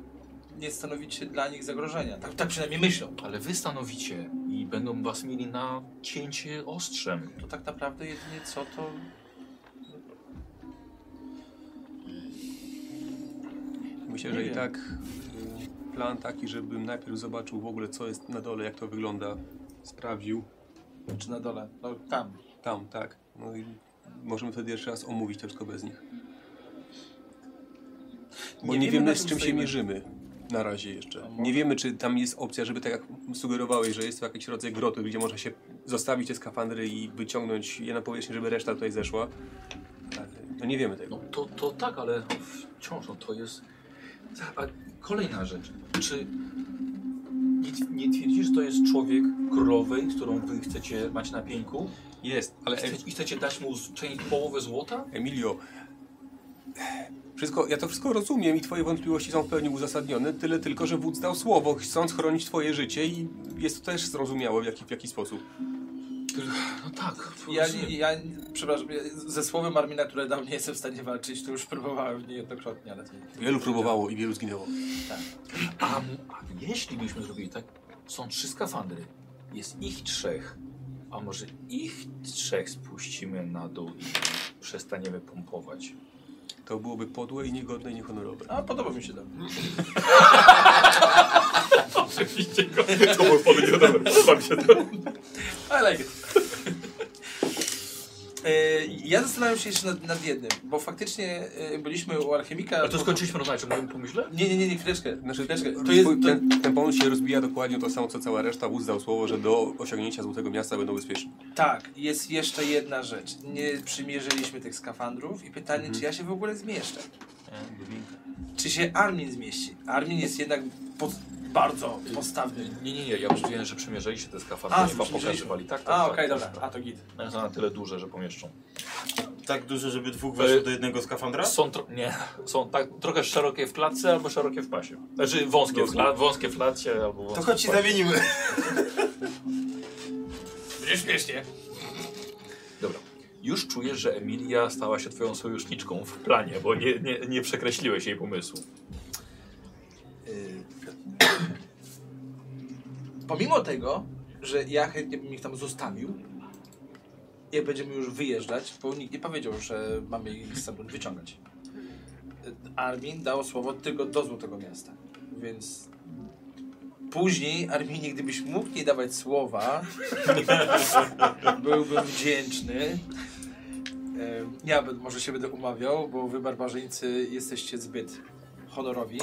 nie stanowicie dla nich zagrożenia. Tak, tak przynajmniej myślą. Ale wy stanowicie i będą was mieli na cięcie ostrzem. To tak naprawdę jedynie co to... Myślę, Nie że i wiem. tak y, plan taki, żebym najpierw zobaczył w ogóle co jest na dole, jak to wygląda. Sprawdził. Czy na dole? No tam. Tam, tak. No i możemy wtedy jeszcze raz omówić to tylko bez nich. Bo nie, wiemy, wiemy, na z czym czym się stoimy. mierzymy na razie jeszcze. A może- Nie wiemy, czy tam jest opcja, żeby tak jak sugerowałeś, że jest to jakiś rodzaj groty, gdzie można się zostawić te skafandry i wyciągnąć je na powierzchnię, żeby reszta tutaj zeszła. Tak, No nie wiemy tego. No to, to tak, ale wciąż no to jest. A kolejna rzecz. Czy nie, nie twierdzisz, że to jest człowiek królowej, z którą wy chcecie mać na pieńku? E, Jest, ale Chce, I chcecie dać mu z- część połowę złota? Emilio, Wszystko, ja to wszystko rozumiem i twoje wątpliwości są w pełni uzasadnione, tyle tylko, że wódz dał słowo, chcąc chronić twoje życie i jest to też zrozumiałe w jaki, w jaki sposób. No tak. Ja, rozumiem. ja, przepraszam, ja ze słowem Armina, które dał, nie jestem w stanie walczyć, to już próbowałem niejednokrotnie, ale to nie. Wielu próbowało i wielu zginęło. A, a jeśli byśmy zrobili tak, są trzy skafandry. Jest ich trzech. A może ich trzech spuścimy na dół i przestaniemy pompować. To byłoby podłe i niegodne i niehonorowe. A podoba mi się to. Oczywiście go. To był powiedział, dobra, podoba mi się to. I like it. E, Ja zastanawiam się jeszcze nad, nad jednym, bo faktycznie e, byliśmy u alchemika. Ale to skończyliśmy rozmawiać o moim pomyśle? Nie, nie, nie, nie, chwileczkę. Znaczy, chwileczkę. To rozwój- jest, to, ten, ten pomysł się rozbija dokładnie o to samo, co cała reszta. Wódz dał słowo, że do osiągnięcia Złotego Miasta będą bezpieczni. tak, jest jeszcze jedna rzecz. Nie przymierzyliśmy tych skafandrów i pytanie, czy ja się w ogóle zmieszczę. Czy się Armin zmieści? Armin jest jednak po, bardzo postawny. Nie, nie, nie. Ja myślałem, że przymierzyliście te skafandry. A, A, chyba przymierzyliśmy. pokazywali. Tak, tak, A, tak, okej, tak, dobra. A, to git. One są na tyle duże, że pomieszczą. Tak duże, żeby dwóch weszło E, do jednego skafandra? Są, tro nie, są tak trochę szerokie w klatce albo szerokie w pasie. Znaczy wąskie, w, kla wąskie w klatce albo wąskie To w chodź się pasie. zamienimy. Będzie śmiesznie. Dobra. Już czujesz, że Emilia stała się twoją sojuszniczką w planie, bo nie, nie, nie przekreśliłeś jej pomysłu. Pomimo tego, że ja chętnie bym ich tam zostawił, jak będziemy już wyjeżdżać, bo nikt nie powiedział, że mamy ich stamtąd wyciągać. Armin dał słowo tylko do Złotego Miasta, więc później Arminie, gdybyś mógł nie dawać słowa, byłbym wdzięczny. Em, Ja bym- może się będę umawiał, bo wy barbarzyńcy jesteście zbyt honorowi,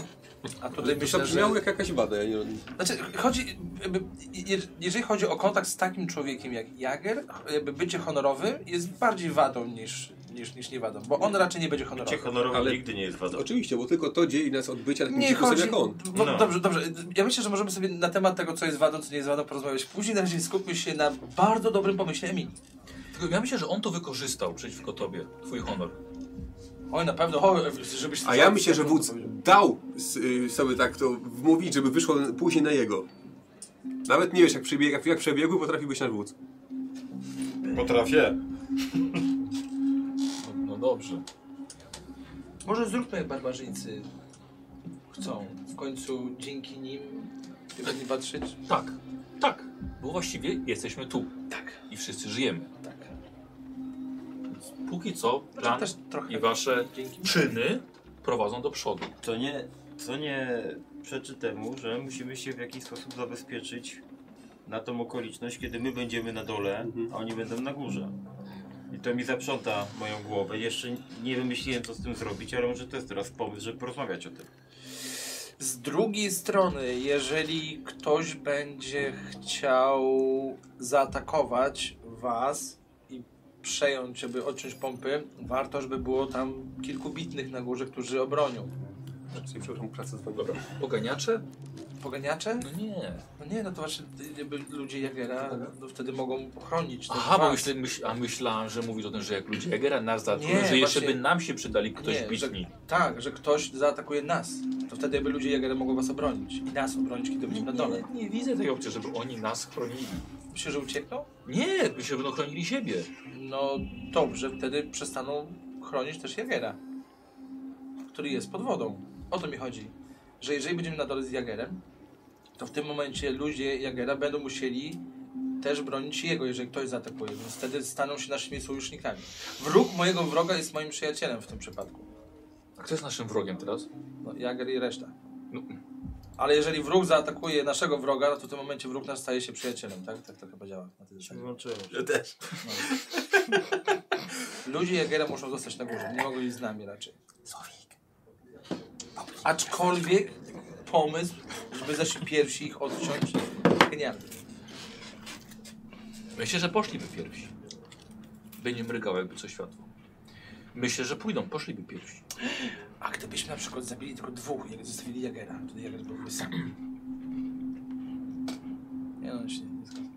a tutaj To myślę, brzmiało że... jak jakaś wada. Ja nie, Znaczy, chodzi, jakby, je- jeżeli chodzi o kontakt z takim człowiekiem jak Jager, jakby bycie honorowym jest bardziej wadą niż, niż, niż nie wadą, bo on raczej nie będzie Cię honorowy. honorowy Ale- nigdy nie jest wadą. Oczywiście, bo tylko to dzieli nas od bycia takim Nie dzikusem chodzi. jak on. Bo, No. Dobrze, dobrze. Ja myślę, że możemy sobie na temat tego, co jest wadą, co nie jest wadą, porozmawiać później. Na razie skupmy się na bardzo dobrym pomyśle Emilii. Tylko ja myślę, że on to wykorzystał przeciwko tobie. Twój honor. Oj, na pewno, o, żebyś... A ja myślę, że wódz dał s- y, sobie tak to wmówić, żeby wyszło później na jego. Nawet nie wiesz, jak, przebieg, jak, jak przebiegły potrafi być nasz wódz. Potrafię. No, no dobrze. Może zróbmy jak barbarzyńcy chcą. W końcu dzięki nim będziemy patrzeć. Tak, tak. Bo właściwie jesteśmy tu. Tak. I wszyscy żyjemy. Tak. Póki co plan Znaczy też trochę i wasze dzięki. czyny prowadzą do przodu. To nie, to nie przeczy temu, że musimy się w jakiś sposób zabezpieczyć na tą okoliczność, kiedy my będziemy na dole, a oni będą na górze. I to mi zaprząta moją głowę. Jeszcze nie wymyśliłem, co z tym zrobić, ale może to jest teraz pomysł, żeby porozmawiać o tym. Z drugiej strony, jeżeli ktoś będzie chciał zaatakować was i przejąć, żeby odciąć pompy, warto, żeby było tam kilku bitnych na górze, którzy obronią. Czyli, przepraszam, praca z Dobra. Poganiacze? Poganiacze? No nie. No nie, no to właśnie y, jakby ludzie Jagera no wtedy mogą chronić też Aha, bo was. myślę, myśl, a myślałem, że mówisz o tym, że jak ludzie Jagera nas zaatakują, Nie, że jeszcze właśnie- by nam się przydali ktoś Nie, że, bitni. Tak, że ktoś zaatakuje nas. To wtedy jakby ludzie Jagera mogą was obronić. I nas obronić, kiedy będziemy na dole. Nie, nie widzę tej opcji, żeby oni nas chronili. Myślę, że uciekną? Nie, by się będą chronili siebie. No dobrze, wtedy przestaną chronić też Jagera, który jest pod wodą. O to mi chodzi. Że jeżeli będziemy na dole z Jagerem, to w tym momencie ludzie Jagera będą musieli też bronić jego, jeżeli ktoś zaatakuje, więc wtedy staną się naszymi sojusznikami. Wróg mojego wroga jest moim przyjacielem w tym przypadku. A kto jest naszym wrogiem teraz? No, Jager i reszta. No. Ale jeżeli wróg zaatakuje naszego wroga, no to w tym momencie wróg nasz staje się przyjacielem, tak? Tak to chyba działa na tej zasadzie. Wyłączyłem. Ludzie Jagera muszą zostać na górze, nie mogą iść z nami raczej. Aczkolwiek pomysł, żeby zeszli pierwsi ich odciąć, genialny. Myślę, że poszliby pierwsi. By nie mrygało jakby co światło. Myślę, że pójdą, poszliby pierwsi. A gdybyśmy na przykład zabili tylko dwóch, jak zostawili Jagera, to Jager byłby sam. Nie no, się nie zgadzam.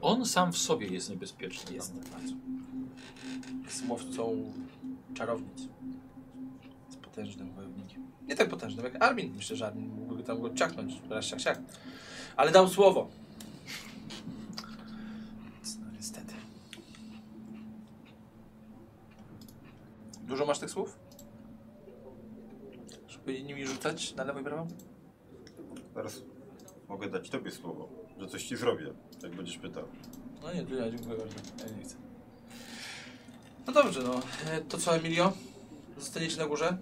On sam w sobie jest niebezpieczny. Jest tak bardzo. Jest łowcą czarownic. potężnym wojownikiem. Nie tak potężnym jak Armin. Myślę, że Armin mógłby tam go ciachnąć. Raz, siak, siak. Ale dał słowo. No, niestety. Dużo masz tych słów? Żeby nimi rzucać na lewo i prawo? Teraz mogę dać tobie słowo, że coś ci zrobię, jak będziesz pytał. No nie, ja dziękuję bardzo. Ja nie chcę. No dobrze, no. E, To co, Emilio? Zostaniecie na górze?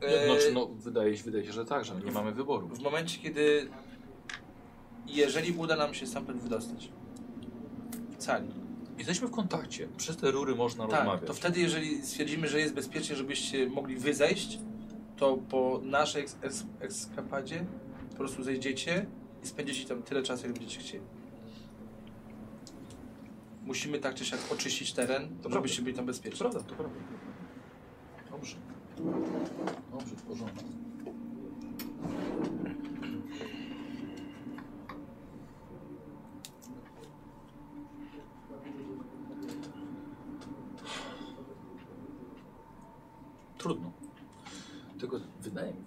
E, No, czy, no wydaje, się, wydaje się, że tak, że nie mamy wyboru. W momencie, kiedy... Jeżeli uda nam się stamtąd wydostać. Cali. Jesteśmy w kontakcie. Przez te rury można Tak, rozmawiać. to wtedy, jeżeli stwierdzimy, że jest bezpiecznie, żebyście mogli wyzejść, to po naszej eks- eks- ekskapadzie po prostu zejdziecie i spędziecie tam tyle czasu, jak będziecie chcieli. Musimy tak czy siak oczyścić teren, żebyście byli tam bezpieczni. Prawda, to prawda. Dobrze. Dobrze, w porządku. Trudno. Tylko wydaje mi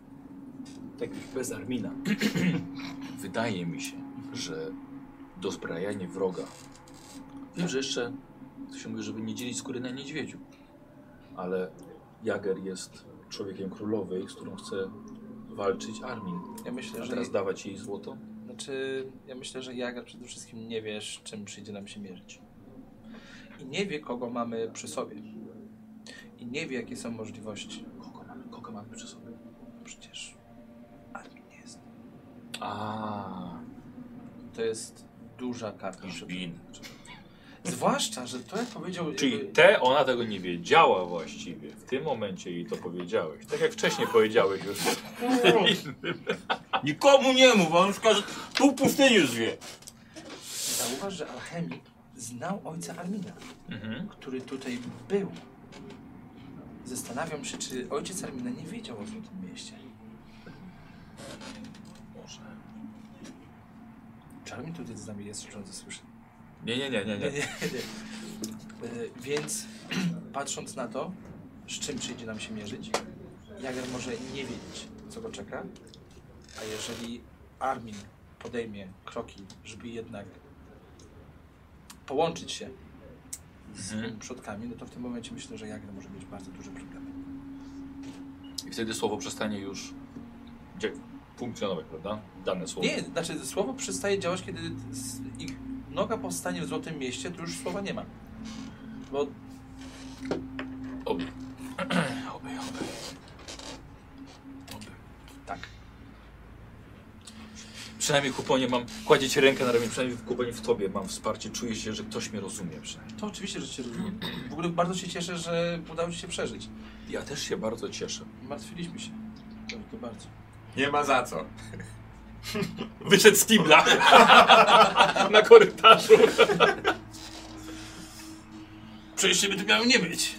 tak już bez Armina, wydaje mi się, że dozbrajanie wroga, wiem, że jeszcze to się mówi, żeby nie dzielić skóry na niedźwiedziu, ale Jager jest człowiekiem królowej, z którą chce walczyć Armin. Ja myślę, A że teraz dawać jej złoto? Znaczy, ja myślę, że Jager przede wszystkim nie wie, z czym przyjdzie nam się mierzyć. I nie wie, kogo mamy przy sobie. I nie wie, jakie są możliwości. Kogo mamy, kogo mamy przy sobie? Przecież Armin nie jest. A, To jest duża karta. Żbin. Zwłaszcza, że to jak powiedział... Czyli jakby- te, ona tego nie wiedziała właściwie. W tym momencie jej to powiedziałeś. Tak jak wcześniej powiedziałeś już. Nikomu nie mów, on już każe, pół pustyni już wie. Zauważ, że alchemik znał ojca Armina, Mhm. który tutaj był. Zastanawiam się, czy ojciec Armina nie wiedział o Złotym Mieście. Może. Czy Armin tutaj z nami jest, czy on zasłyszy? Nie, nie, nie, nie, Nie, nie. nie, nie. Y, Więc patrząc na to, z czym przyjdzie nam się mierzyć, Jager może nie wiedzieć, co go czeka, a jeżeli Armin podejmie kroki, żeby jednak połączyć się z Mhm. przodkami, no to w tym momencie myślę, że Jager może mieć bardzo duże problemy. I wtedy słowo przestanie już dzia- funkcjonować, prawda? Dane słowo. Nie, znaczy słowo przestaje działać, kiedy s- ich noga powstanie w Złotym Mieście, to już słowa nie ma. Bo Oby. Oby, oby. Oby. tak. Przynajmniej kuponie mam, kładzie ci rękę na ramię, przynajmniej w kuponie w tobie mam wsparcie, czuję się, że ktoś mnie rozumie przynajmniej. To oczywiście, że Cię rozumiem. W ogóle bardzo się cieszę, że udało Ci się przeżyć. Ja też się bardzo cieszę. Martwiliśmy się. To, to bardzo. Nie ma za co. Wyszedł z Tibla na korytarzu. Przejście by tu miało nie być.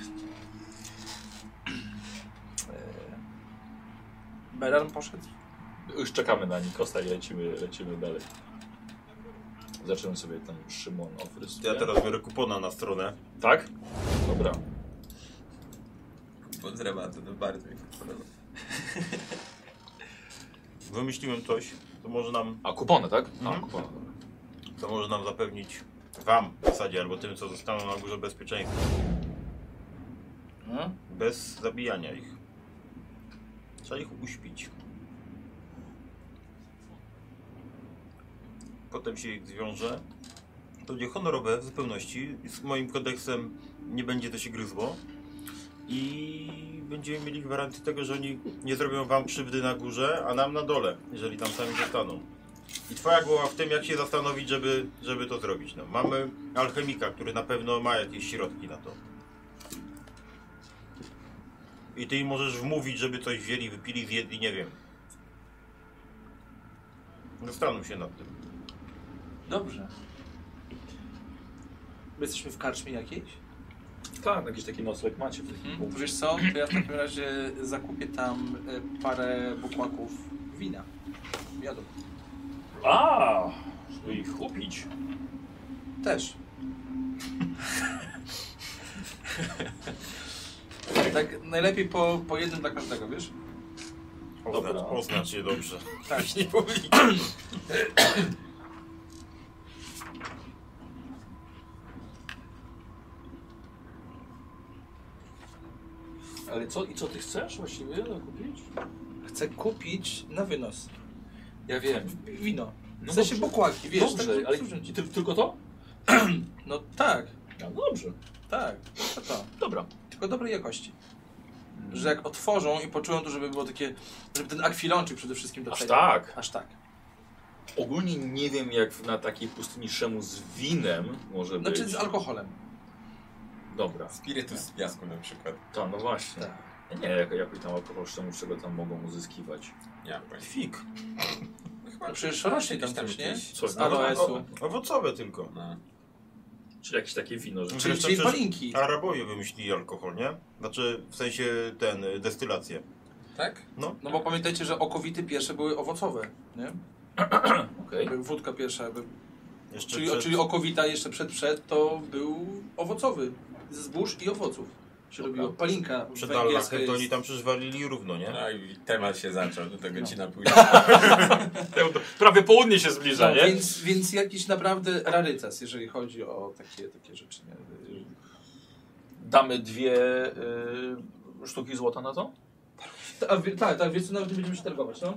Beran poszedł? Już czekamy na Nikosa i lecimy, lecimy dalej. Zacząłem sobie tam Szymon Ofrys. Ja teraz biorę kupona na stronę. Tak? Dobra. Pod rematu, to bardzo mi się podoba. Wymyśliłem coś, co może nam, A kupony, tak? A Mhm. kupony. co może nam zapewnić wam w zasadzie, albo tym, co zostaną na górze bezpieczeństwo. No. Bez zabijania ich. Trzeba ich uśpić. Potem się ich zwiąże. To będzie honorowe w zupełności. Z moim kodeksem nie będzie to się gryzło. I będziemy mieli gwarancję tego, że oni nie zrobią wam krzywdy na górze, a nam na dole, jeżeli tam sami zostaną. I twoja głowa w tym, jak się zastanowić, żeby, żeby to zrobić. No, mamy alchemika, który na pewno ma jakieś środki na to. I ty im możesz wmówić, żeby coś wzięli, wypili, zjedli, nie wiem. Zastanów się nad tym. Dobrze. My jesteśmy w karczmie jakiejś? Tak, jakiś taki nocleg macie w takim Mhm. Wiesz co, to ja w takim razie zakupię tam e, parę bukłaków wina. Miodu. A, żeby ich kupić. Też. Tak najlepiej po, po jednym dla każdego, wiesz? Oznacz, oznacz je dobrze. Tak. Nie publikuj. Ale co, i co ty chcesz właściwie kupić? Chcę kupić na wynos Ja wiem. wino. No W sensie bokłaki, wiesz? dobrze, tak, ale dobrze. ty, tylko to? No tak, No dobrze, tak, to to. dobra. Tylko dobrej jakości. Hmm. Że jak otworzą i poczują to, żeby było takie, żeby ten akwilonczyk przede wszystkim Aż docenił. tak. Aż tak. Ogólnie nie wiem jak na takiej pustyni szemu z winem może być. Znaczy z alkoholem. Dobra, Spirytus z piasku na przykład. to no właśnie. Tak. Nie, jak, jakoś tam alkohol szemu z czego tam mogą uzyskiwać. Ja powiem. Fig. No przecież rośnie tam Jakieś tam też, nie? jakieś- Co, Z no, aloesu. Owocowe tylko. No. Czyli jakieś takie wino, że... Czyli, czyli Przecież- palinki. Arabowie wymyślili alkohol, nie? Znaczy, w sensie ten, y, destylację. Tak? No. No bo pamiętajcie, że okowity pierwsze były owocowe, nie? Okej. Jakby Wódka pierwsza, jakby. Jeszcze Czyli, przed- czyli okowita jeszcze przed przed to był owocowy. Z zbóż i owoców się robiło. Palinka Przed węgierska Alachem to jest. Tak. oni tam przecież walili równo, nie? No i temat się zaczął, do tego ci napójdę. Prawie południe się zbliża, No, nie? więc, więc jakiś naprawdę rarytas, jeżeli chodzi o takie, takie rzeczy. Nie? Damy dwie y, sztuki złota na to? Tak, tak, tak, więc nawet nie będziemy się targować, no.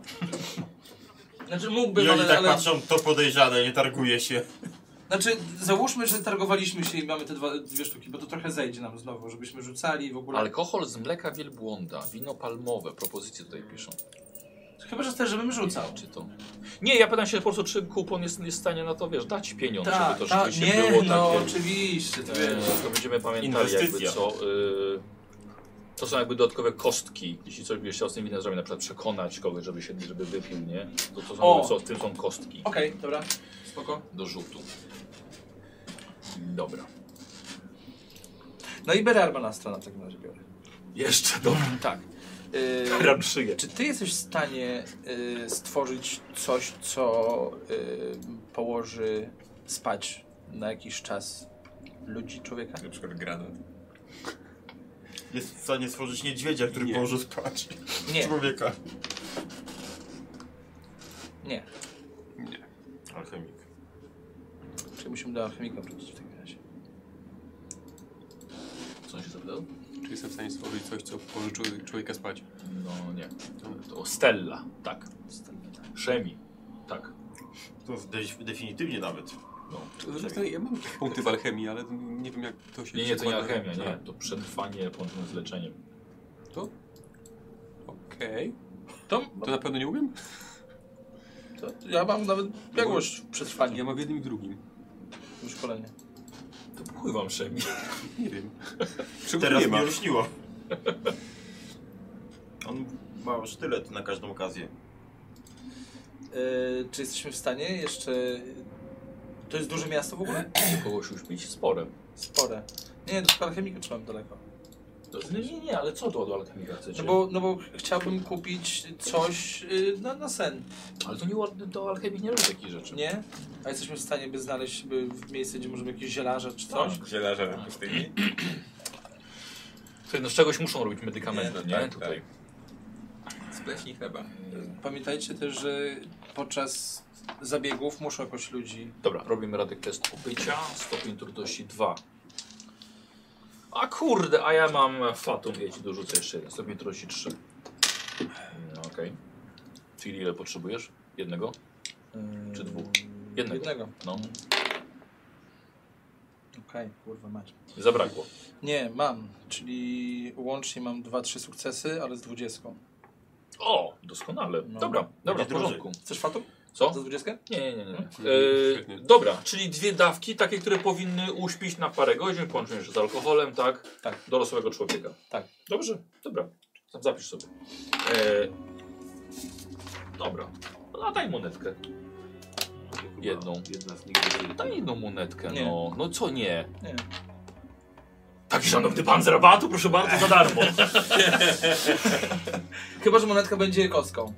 Znaczy mógłbym, I oni ale, tak ale... patrzą, to podejrzane, nie targuje się. Znaczy, załóżmy, że targowaliśmy się i mamy te dwa, dwie sztuki, bo to trochę zejdzie nam znowu, żebyśmy rzucali w ogóle. Alkohol z mleka wielbłąda, wino palmowe, propozycje tutaj piszą. Chyba, że też, żebym rzucał. Czy to... Nie, ja pytam się po prostu, czy kupon jest, jest w stanie na to, wiesz, dać pieniądz, Tak, żeby to tak, rzeczywiście nie, było no takie... oczywiście, to E, wiesz. To będziemy pamiętali jakby Inwestycja. co. y, to są jakby dodatkowe kostki. Jeśli coś byś chciał z tym winem zrobić, na przykład przekonać kogoś, żeby się żeby wypił, nie? To, to są O! co, w tym są kostki Okej, dobra, spoko. do rzutu. Dobra. No i Berarma na stronę w takim razie biorę. Jeszcze dobra. Tak. Yy, Ram szyję. czy ty jesteś w stanie yy, stworzyć coś, co yy, położy spać na jakiś czas ludzi, człowieka? Na przykład granat. Jest w stanie stworzyć niedźwiedzia, który położy spać. Nie, Człowieka. nie. Alchemik. Czyli musimy do alchemika wrócić w takim razie. Co on się zapytał? Czy jestem w stanie stworzyć coś, co położy człowie- człowieka spać? No nie. To Stella, tak. Szemi. Tak. To de- definitywnie nawet. To z drugiej strony Ja mam jakieś punkty w alchemii, ale nie wiem jak to się Nie, nie, to nie przekłada. alchemia, nie. To przetrwanie połączone z leczeniem. Okej. To, To na pewno nie umiem? to ja mam nawet biegłość przetrwania, Ja mam w jednym i drugim. już szkolenie. To chuj wam Szemi. Nie wiem. Teraz nie ma. mnie ruszniło. On ma sztylet na każdą okazję. Yy, czy jesteśmy w stanie jeszcze... To jest duże miasto w ogóle? Kogoś uśpić? Spore. Spore. Nie, do alchemika trzymam daleko. To, nie, nie, nie, ale co to od alchemika chcecie? No bo, no bo ch- chciałbym kupić coś yy, na, na sen, Ale to nie ładne, to alchemik nie robi takich rzeczy. nie? A jesteśmy w stanie by znaleźć by w miejsce, gdzie możemy jakieś zielarze czy coś? Tak. Zielarza na pustyni. Słuchaj, no z czegoś muszą robić medykamenty, nie? Nie, no tak, Tutaj. Z pleśni chleba. tak. Pamiętajcie też, że podczas zabiegów muszą jakoś ludzi... Dobra, robimy radek test obycia, stopień trudności 2. A kurde, a ja mam fatum, ja ci dorzucę jeszcze jeden, stopień trudności 3. No, Okej. Czyli ile potrzebujesz? Jednego? yy, Czy dwóch? Jednego. Jednego. No, Okej, kurwa macie. zabrakło. Nie, mam, czyli łącznie mam 2-3 sukcesy, ale z 20. O, doskonale. No. Dobra, dobra, w Będzie drożej. porządku. Chcesz fatum? Co? Za 20? Nie, nie, nie. nie. Świetnie. E, dobra, czyli dwie dawki, takie, które powinny uśpić na parę godzin, połączone jeszcze z alkoholem, tak? Tak. Dorosłego człowieka. Tak. Dobrze, dobra. Tam zapisz sobie. E, dobra. No daj monetkę. Jedną. Jedna z nich Daj jedną monetkę, Nie. no. No co nie? Nie. Tak, szanowny pan z rabatu, proszę bardzo, za darmo. Chyba, że monetka będzie kostką.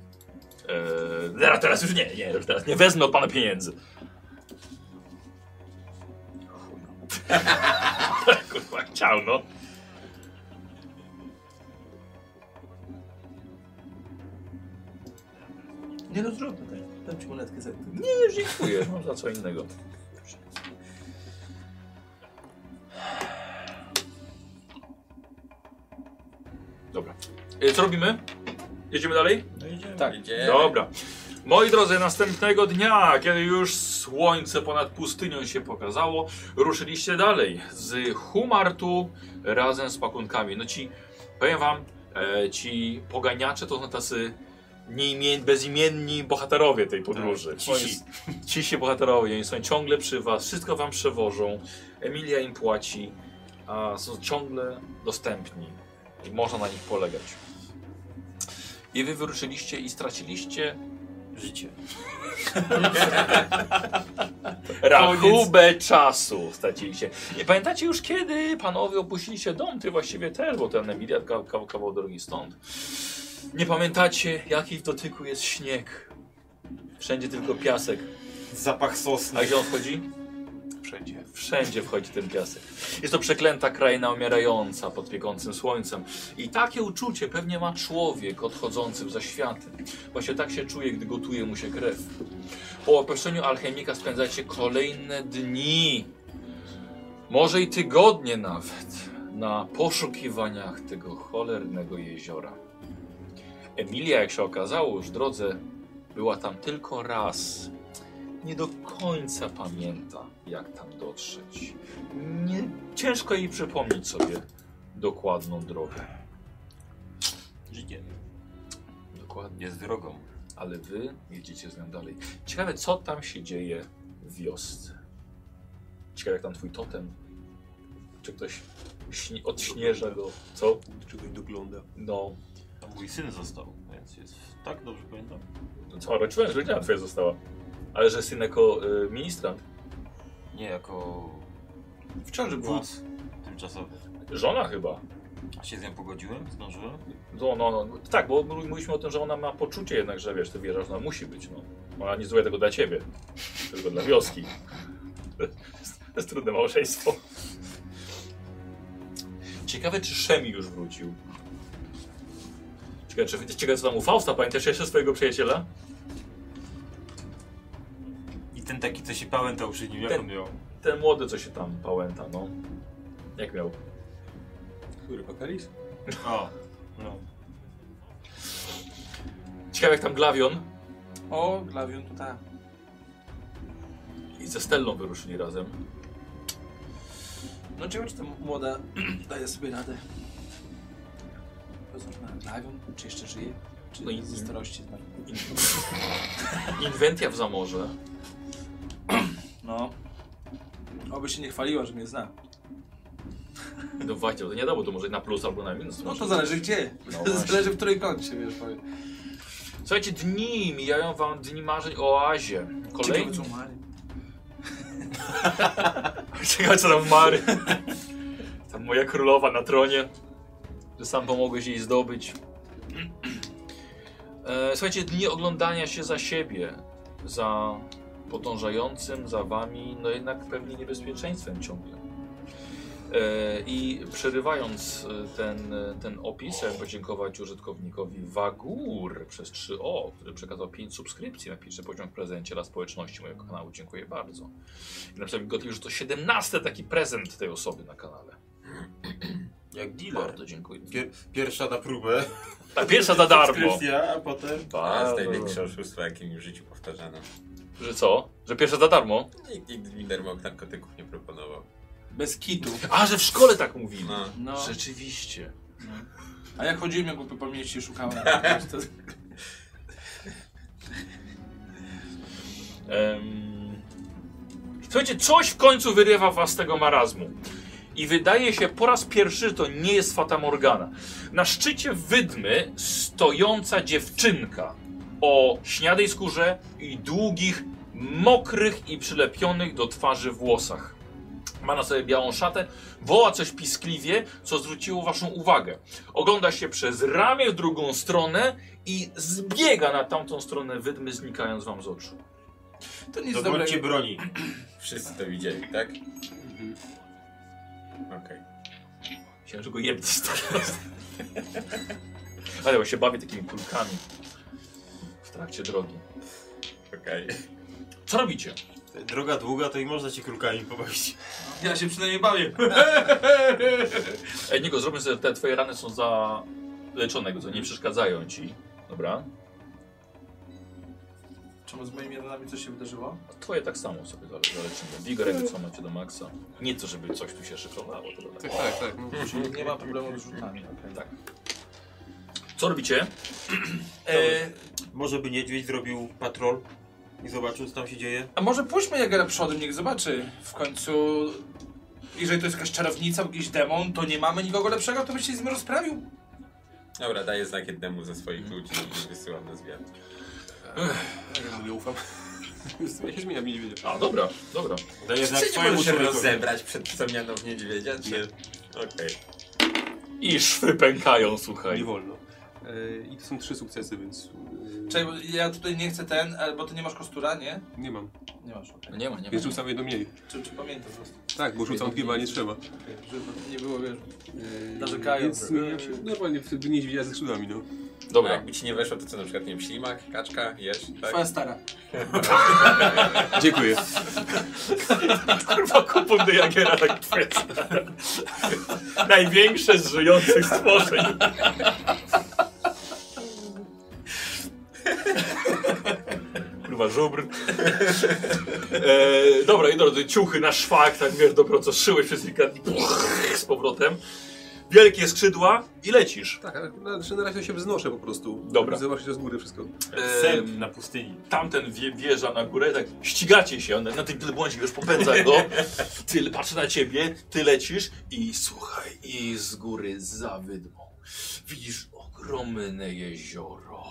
E, teraz, teraz już nie, nie, już teraz nie wezmę od pana pieniędzy. Kurwa, chciał, no. Nie no, zróbmy tak. Dam ci monetkę za to. Nie, No, dziękuję, mam za co innego. Dobra. Eee, E, Co robimy? Jedziemy dalej? Tak. Idzie. Dobra. Moi drodzy, następnego dnia, kiedy już słońce ponad pustynią się pokazało, ruszyliście dalej z Humartu razem z pakunkami. No ci, powiem wam, e, ci poganiacze to są tacy nieimie, bezimienni bohaterowie tej podróży. Cisi, cisi bohaterowie, oni są ciągle przy was, wszystko wam przewożą, Emilia im płaci, a są ciągle dostępni i można na nich polegać. I wy wyruszyliście i straciliście Życie. Rachubę czasu straciliście. Nie pamiętacie już kiedy panowie opuściliście dom? Ty właściwie też, bo ten Emilia kawał, kawał drogi stąd. Nie pamiętacie jaki w dotyku jest śnieg. Wszędzie tylko piasek. Zapach sosny. A gdzie on wchodzi? Wszędzie. Wszędzie wchodzi ten piasek. Jest to przeklęta kraina umierająca pod piekącym słońcem. I takie uczucie pewnie ma człowiek odchodzący za światy. Właśnie tak się czuje, gdy gotuje mu się krew. Po opuszczeniu alchemika spędzacie kolejne dni, może i tygodnie nawet, na poszukiwaniach tego cholernego jeziora. Emilia, jak się okazało, już w drodze była tam tylko raz nie do końca pamięta, jak tam dotrzeć. Nie, ciężko jej przypomnieć sobie dokładną drogę. Życie. Dokładnie. Jest drogą. Ale wy jedziecie z nią dalej. Ciekawe, co tam się dzieje w wiosce. Ciekawe, jak tam twój totem. Czy ktoś śni- odśnieża go? Co? Czy ktoś dogląda? No. A mój syn został, więc jest... Tak, dobrze pamiętam? no Co, rodziłem, że rodzina twoja została. Ale że syn jako y, ministrant. Nie, jako... W ciąży była. Wódz tymczasowy. Żona chyba. A się z nią pogodziłem? Zdążyłem? No, no, no. Tak, bo mówiliśmy o tym, że ona ma poczucie jednak, że wiesz, ty wierzasz, ona musi być, no. Ona nie złe tego dla ciebie, tylko dla wioski. To jest- to jest trudne małżeństwo. Ciekawe, czy Szemi już wrócił. Ciekawe, czy, ciekawe co tam u Fausta, pamiętasz jeszcze swojego przyjaciela? I ten taki, co się pałętał przy nim, jak Ten- on miał? Ten młody, co się tam pałęta, no. Jak miał? Który? Pakaris? O, no. Ciekawe, jak tam Glawion O, Glawion to tak. i ze Stellą wyruszyli razem. No ciekawe, czy ta młoda daje sobie radę. Poznacz na Glawion, czy jeszcze żyje? Czy No i- ze starości zmarł? Inwentia w Zamorze. No. Oby się nie chwaliła, że mnie zna. No właśnie, to nie dało, to może na plus albo na minus. No to zależy gdzie. No właśnie. zależy w której kącie, wiesz, powiem. Słuchajcie, dni mijają wam dni marzeń o oazie. Kolejny... Ciekawe, co Mary. Ciekawe co tam Mary. Tam moja królowa na tronie. Że sam pomogłeś jej zdobyć. E, Słuchajcie, dni oglądania się za siebie. Za podążającym za wami, no jednak pewnie niebezpieczeństwem ciągle. E, I przerywając e, ten, e, ten opis, chciałem podziękować użytkownikowi Wagur przez 3O, który przekazał 5 subskrypcji na pierwszy poziom w prezencie dla społeczności mojego kanału. Dziękuję bardzo. I napisał mi Gottlieb, że to 17 taki prezent tej osoby na kanale. Jak dealer. Bardzo dziękuję. Pier, pierwsza na próbę. Ta pierwsza za darmo. Subskrypcja, a potem... To jest Bardzo. największe oszustwo, jakie mi w życiu powtarzano. Że co? Że pierwsza za darmo? Nikt nigdy mi darmowych narkotyków nie proponował. Bez kitu. A, że w szkole tak mówili. No. No. Rzeczywiście. A jak chodziłem, jak po mieście i szukałem. to... Em, Słuchajcie, coś w końcu wyrywa was z tego marazmu. I wydaje się po raz pierwszy, że to nie jest Fata Morgana. Na szczycie wydmy stojąca dziewczynka o śniadej skórze i długich, mokrych i przylepionych do twarzy włosach. Ma na sobie białą szatę, woła coś piskliwie, co zwróciło waszą uwagę. Ogląda się przez ramię w drugą stronę i zbiega na tamtą stronę wydmy, znikając wam z oczu. to nic Do dobrego. bądźcie broni. Wszyscy to widzieli, tak? Mhm. Okej. Chciałem, że go jebnę teraz. Ale ja się bawię takimi kulkami w trakcie drogi. Okej. Co robicie? Droga długa, to i można się krukami pobawić. Ja się przynajmniej bawię. Ej, Niko, zróbmy sobie, te twoje rany są zaleczone, co nie przeszkadzają ci. Dobra? Czemu z moimi ranami coś się wydarzyło? Twoje tak samo sobie zale- zaleczymy. Vigor jakby co macie do maksa. Nie to, żeby coś tu się szykowało. To tak. Tak, tak, tak. No. Mhm. Nie ma problemu z rzutami. tak. Co robicie? E, Może by niedźwiedź zrobił patrol i zobaczył, co tam się dzieje? a może pójdźmy Jagera przodem, niech zobaczy. W końcu, jeżeli to jest jakaś czarownica, jakiś demon, to nie mamy nikogo lepszego, to by się z nim rozprawił. Dobra, daję znak jednemu ze swoich Mhm. ludzi i wysyłam na zwiat. Ja nie ufam. Ja się zmieniam niedźwiedzie. A, dobra, dobra. Daję znak Czy nie swojemu możesz się człowiekowi. rozebrać przed zamianą w niedźwiedzia? Czy... Okej. I szwy pękają, słuchaj. Nie wolno. E, I to są trzy sukcesy, więc e, Czekaj, bo ja tutaj nie chcę ten, ale- bo ty nie masz kostura, nie? nie mam. Nie masz, okej. Nie ma, nie ma. Więc rzucam jedno mniej. Czy, czy pamiętam po prostu? Tak, bo rzucam chyba nie trzeba. Okej, Żeby nie było, wiesz... tak. E, Narzekają. Więc zmieniam się normalnie w niedźwiedzia ze skrzydłami, no. A Dobra. jakby ci nie weszło, to co na przykład, nie wiem, ślimak, kaczka, jesz? Tak? Twoja stara. Dziękuję. Kurwa, kupon do Jagera tak twierdzi. Największe z żyjących stworzeń. Kurwa, żubr. E, dobra, i drodzy, ciuchy na szwak, tak wiesz, dobro, co szyłeś przez kilka dni. Puch, z powrotem. Wielkie skrzydła i lecisz. Tak, ale na, znaczy na razie się wznoszę po prostu. Dobra. Zobaczyć to z góry wszystko. E, Sen na pustyni. tamten wie, wjeżdża na górę, tak ścigacie się, on na tym tyle błądzi, już popędza go, ty patrzy na ciebie, ty lecisz i słuchaj, i z góry za wydmą widzisz ogromne jezioro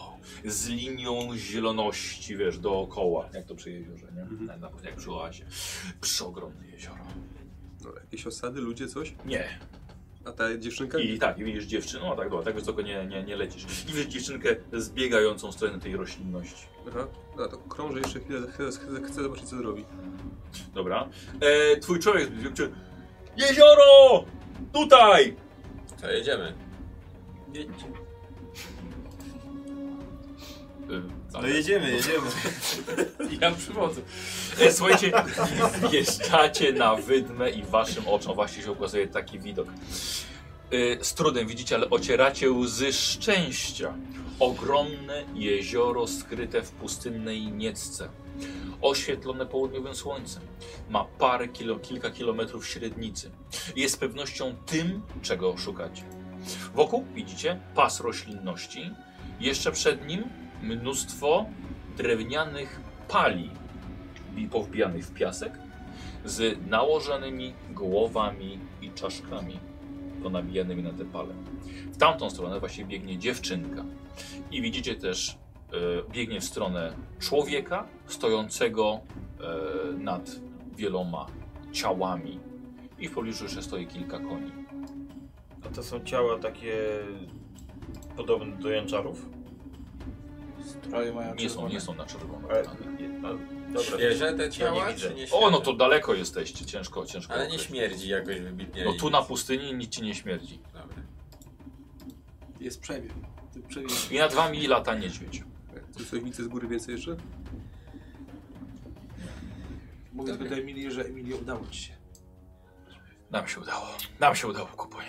z linią zieloności, wiesz, dookoła, jak to przy jeziorze, nie? Na, na, jak przy oazie. Przeogromne jezioro. No, jakieś osady, ludzie, coś. Nie. A ta dziewczynka? I tak, i widzisz dziewczynę, no tak, dobra, tak wysoko nie, nie, nie lecisz. I widzisz dziewczynkę zbiegającą w stronę tej roślinności. Aha. Dobra, to krążę jeszcze chwilę, chcę, chcę, chcę zobaczyć co zrobi. Dobra. E, twój człowiek czy... Jezioro! Tutaj! To jedziemy. E, No jedziemy, jedziemy. Ja przywodzę. E, słuchajcie, wjeżdżacie na wydmę i waszym oczom właśnie się ukazuje taki widok. E, z trudem widzicie, ale ocieracie łzy szczęścia. Ogromne jezioro skryte w pustynnej niecce. Oświetlone południowym słońcem. Ma parę kilo, kilka kilometrów średnicy. Jest z pewnością tym, czego szukacie. Wokół widzicie pas roślinności. Jeszcze przed nim mnóstwo drewnianych pali i powbijanych w piasek z nałożonymi głowami i czaszkami ponabijanymi na te pale. W tamtą stronę właśnie biegnie dziewczynka i widzicie też e, biegnie w stronę człowieka stojącego e, nad wieloma ciałami i w pobliżu jeszcze stoi kilka koni. A to są ciała takie podobne do jęczarów? Stroje mają Nie są, czerwone. nie są na czerwono. Ale, tak. nie, a, dobra. Świeże te ciała, nie widzę. czy nie świeże? O, no to daleko jesteście, ciężko, ciężko. Ale nie określić. śmierdzi jakoś wybitnie. No i- tu na pustyni nic ci nie śmierdzi. Dobra. Jest przebieg. Ty przebieg. I nad wami lata niedźwiedź. Czy coś widzę z góry więcej jeszcze? Mówię tylko do Emilii, że Emilio udało ci się. Nam się udało. Nam się udało, kupuję.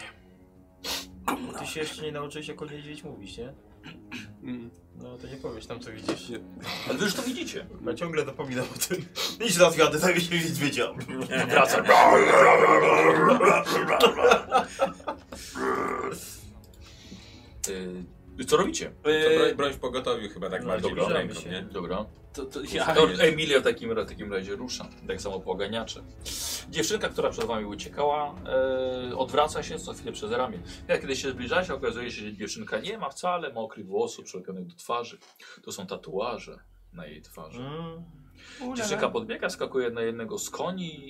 Ty się jeszcze nie nauczyłeś jako niedźwiedź mówić, nie? Mm. No to nie powiesz tam co widzisz. Nie. Ale wy już to widzicie. Ja ciągle zapominam o tym. Idź na zwiady, tak się niedźwiedzia. Wraca. Y, Co robicie? To broń, Eee, broń w pogotowiu chyba tak Yy, No, bardziej dobra, pod zbliżamy ręką, się. nie? Dobra. to, to ja... To Emilia w takim, ra- takim razie rusza. Tak samo poganiacze. Dziewczynka, która przed wami uciekała, e, odwraca się co chwilę przez ramię. Jak kiedy się zbliżacie, okazuje się, że dziewczynka nie ma wcale mokrych włosów przylepionych do twarzy. To są tatuaże na jej twarzy. Mm. Dziewczynka podbiega, skakuje na jednego z koni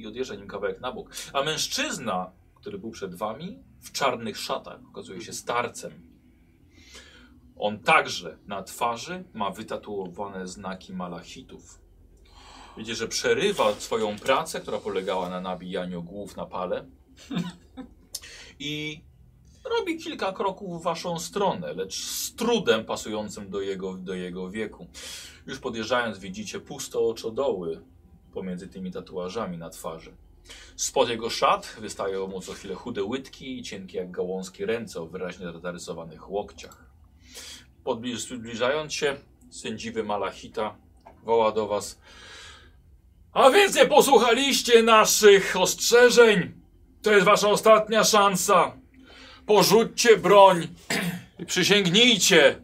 i odjeżdża nim kawałek na bok. A mężczyzna, który był przed wami, w czarnych szatach, okazuje się starcem. On także na twarzy ma wytatuowane znaki malachitów. Widzicie, że przerywa swoją pracę, która polegała na nabijaniu głów na pale i Robi kilka kroków w waszą stronę, lecz z trudem pasującym do jego, do jego wieku. Już podjeżdżając widzicie pusto oczodoły pomiędzy tymi tatuażami na twarzy. Spod jego szat wystają mu co chwilę chude łydki i cienkie jak gałązki ręce o wyraźnie zarysowanych łokciach. Podbliż, zbliżając się, sędziwy Malachita woła do was A więc nie posłuchaliście naszych ostrzeżeń! To jest wasza ostatnia szansa! Porzućcie broń i przysięgnijcie,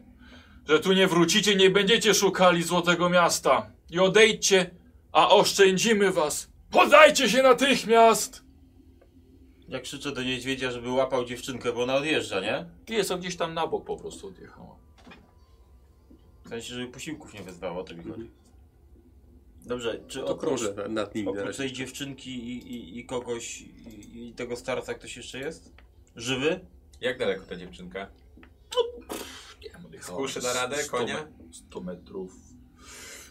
że tu nie wrócicie, nie będziecie szukali Złotego Miasta. I odejdźcie, a oszczędzimy was. Poddajcie się natychmiast! Ja krzyczę do niedźwiedzia, żeby łapał dziewczynkę, bo ona odjeżdża, nie? Jest on gdzieś tam na bok po prostu odjechała. W sensie, żeby posiłków nie wezwała, o to mi chodzi. Dobrze, czy To oprócz, krążę na- nad nimi na oprócz razie. tej dziewczynki i, i, i kogoś i, i tego starca ktoś jeszcze jest? Żywy? Jak daleko ta dziewczynka? Skuszy da radę, 100 me- konia? 100 metrów.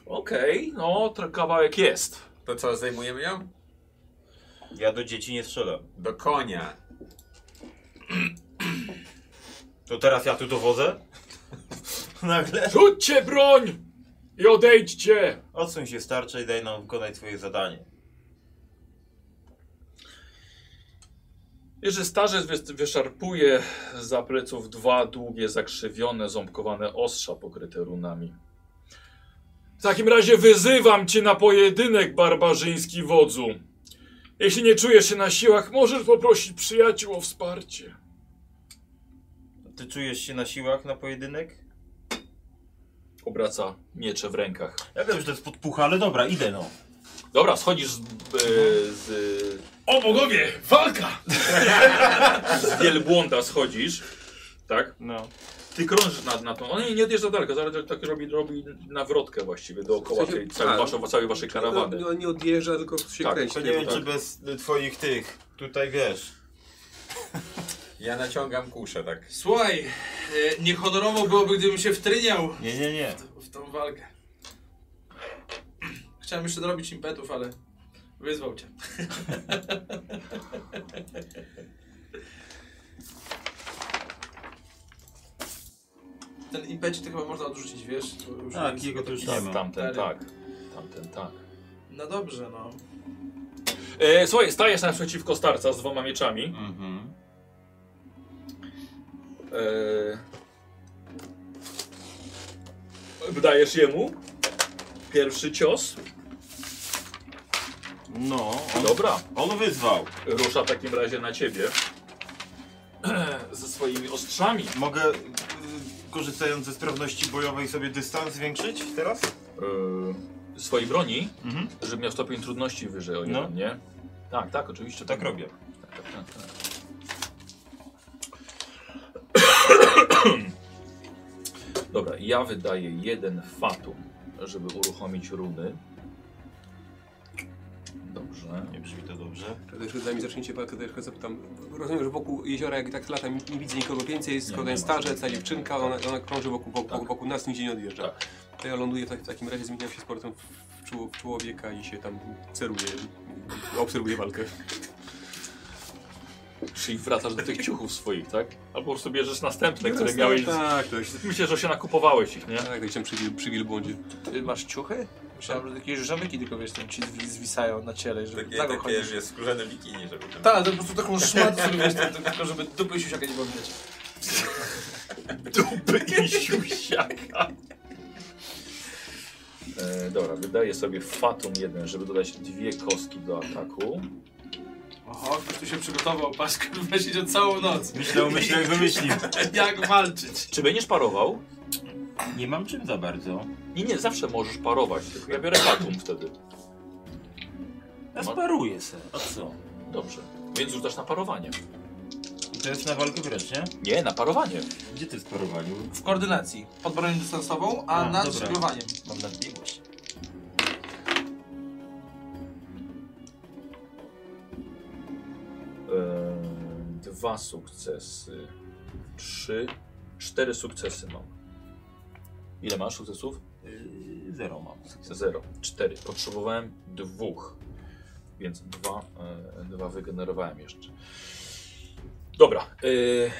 Okej, no, tra- kawałek jest. To co, zdejmujemy ją? Ja do dzieci nie strzelam. Do konia. To teraz ja tu dowodzę? Nagle? Rzućcie broń i odejdźcie! Odsuń się starcze i daj nam wykonać swoje zadanie. Jerzy starzec wys- wyszarpuje z za pleców dwa długie, zakrzywione, ząbkowane ostrza pokryte runami. W takim razie wyzywam cię na pojedynek, barbarzyński wodzu. Jeśli nie czujesz się na siłach, możesz poprosić przyjaciół o wsparcie. Ty czujesz się na siłach na pojedynek? Obraca miecze w rękach. Ja wiem, że to jest podpucha, ale dobra, idę no. Dobra, schodzisz z, e, z, O bogowie, walka! z wielbłąda, schodzisz, tak? No. Ty krążysz nad, nad tą, on nie odjeżdża daleko, zaraz tak robi, robi nawrotkę właściwie dookoła W sensie- tej, całej, a, waszej, całej waszej karawany. No, no, nie odjeżdża, tylko się Tak, kręci. To nie wiem, tak. czy bez y, twoich tych, tutaj wiesz. Ja naciągam kuszę, tak. Słuchaj, e, niehonorowo byłoby, gdybym się wtryniał Nie, nie, nie. w tą walkę. Chciałem jeszcze dorobić impetów, ale wyzwał cię. Ten impecik to chyba można odrzucić, wiesz? Bo już Tak, jest jego to już no, taki- nie Tam, ma. tamten, Stary. tak. Tamten, tak. No dobrze, no. E, słuchaj, stajesz naprzeciwko starca z dwoma mieczami. Mhm. E, dajesz jemu pierwszy cios. No, on, Dobra, on wyzwał. rusza w takim razie na ciebie. Ze swoimi ostrzami. Mogę, y, korzystając ze sprawności bojowej, sobie dystans zwiększyć teraz? E, swojej broni, Mhm. żeby miał stopień trudności wyżej o No. jeden, nie? Tak, tak, oczywiście. To tak robię. Tak, tak, tak. Dobra, ja wydaję jeden fatum, żeby uruchomić runy. Dobrze. Nie brzmi to dobrze. To też zanim zaczniecie walkę, to jeszcze zapytam. Rozumiem, że wokół jeziora, jak tak latam, nie widzę nikogo więcej, jest Nie, tylko nie ten ma. starzec, ta dziewczynka, ona, ona krąży wokół, wokół, Tak. wokół nas, nigdzie nie odjeżdża. To ja ląduję w, tak, w takim razie, zmieniam się z portem w, czło- w człowieka i się tam ceruję, obserwuję walkę. Czyli wracasz do tych ciuchów swoich, tak? Albo po prostu bierzesz następne, które miałeś. Tak, tak, Myślę, że się nakupowałeś ich, nie? tak, tak, tam przy, wil- przy wielbłądzie. Ty masz ciuchy? Myślałem, że takie żamyki tylko wiesz, tam ci zwi- zwisają na ciele, żeby tak Takie, nago takie chodzisz. wiesz, skórzane bikini, żeby tam... Tak, to po prostu taką szmatę sobie wiesz, tam, tylko żeby dupy i siusiaka nie było widać. Dupy i siusiaka. E, dobra, wydaję sobie fatum jeden, żeby dodać dwie kostki do ataku. Oho, ktoś tu się przygotował, paszkę wymyślić o całą noc. Myślał, myślał, wymyślił. Jak walczyć? Czy będziesz parował? Nie mam czym za bardzo. Nie, nie, zawsze możesz parować, tylko ja biorę fatum wtedy. Ja sparuję se. A co? Dobrze. Więc rzucasz na parowanie. I to jest na walkę wręcz, nie? Nie, na parowanie. Gdzie ty sparowaniu? W koordynacji, pod bronią dystansową, a, A, nad dobra. żeglowaniem. Mam nadbiegłość. Ehm, dwa sukcesy. Trzy. Cztery sukcesy mam. Ile masz sukcesów? Yy, zero mam. Zero. Cztery. Potrzebowałem dwóch. Więc dwa, e, dwa wygenerowałem jeszcze. Dobra. e,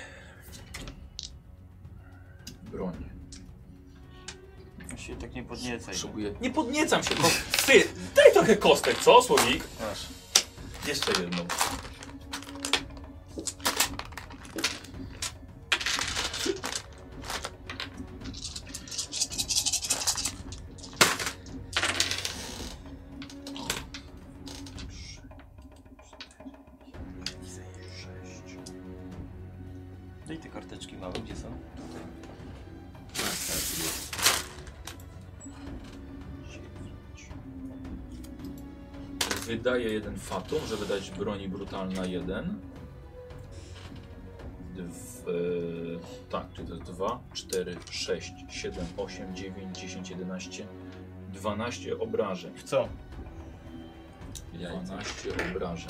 się tak nie podniecaj. Potrzebuję. Nie podniecam się. ko- Ty, daj trochę kostek, co, słowik? Masz. Jeszcze jedną. No i te karteczki małe, gdzie są? Tutaj. Wydaje jeden fatum, żeby dać broni brutalna jeden. Dw, e, tak, czyli to jest 2, 4, 6, 7, 8, 9, 10, 11, 12 obrażeń. W co? 12 obrażeń.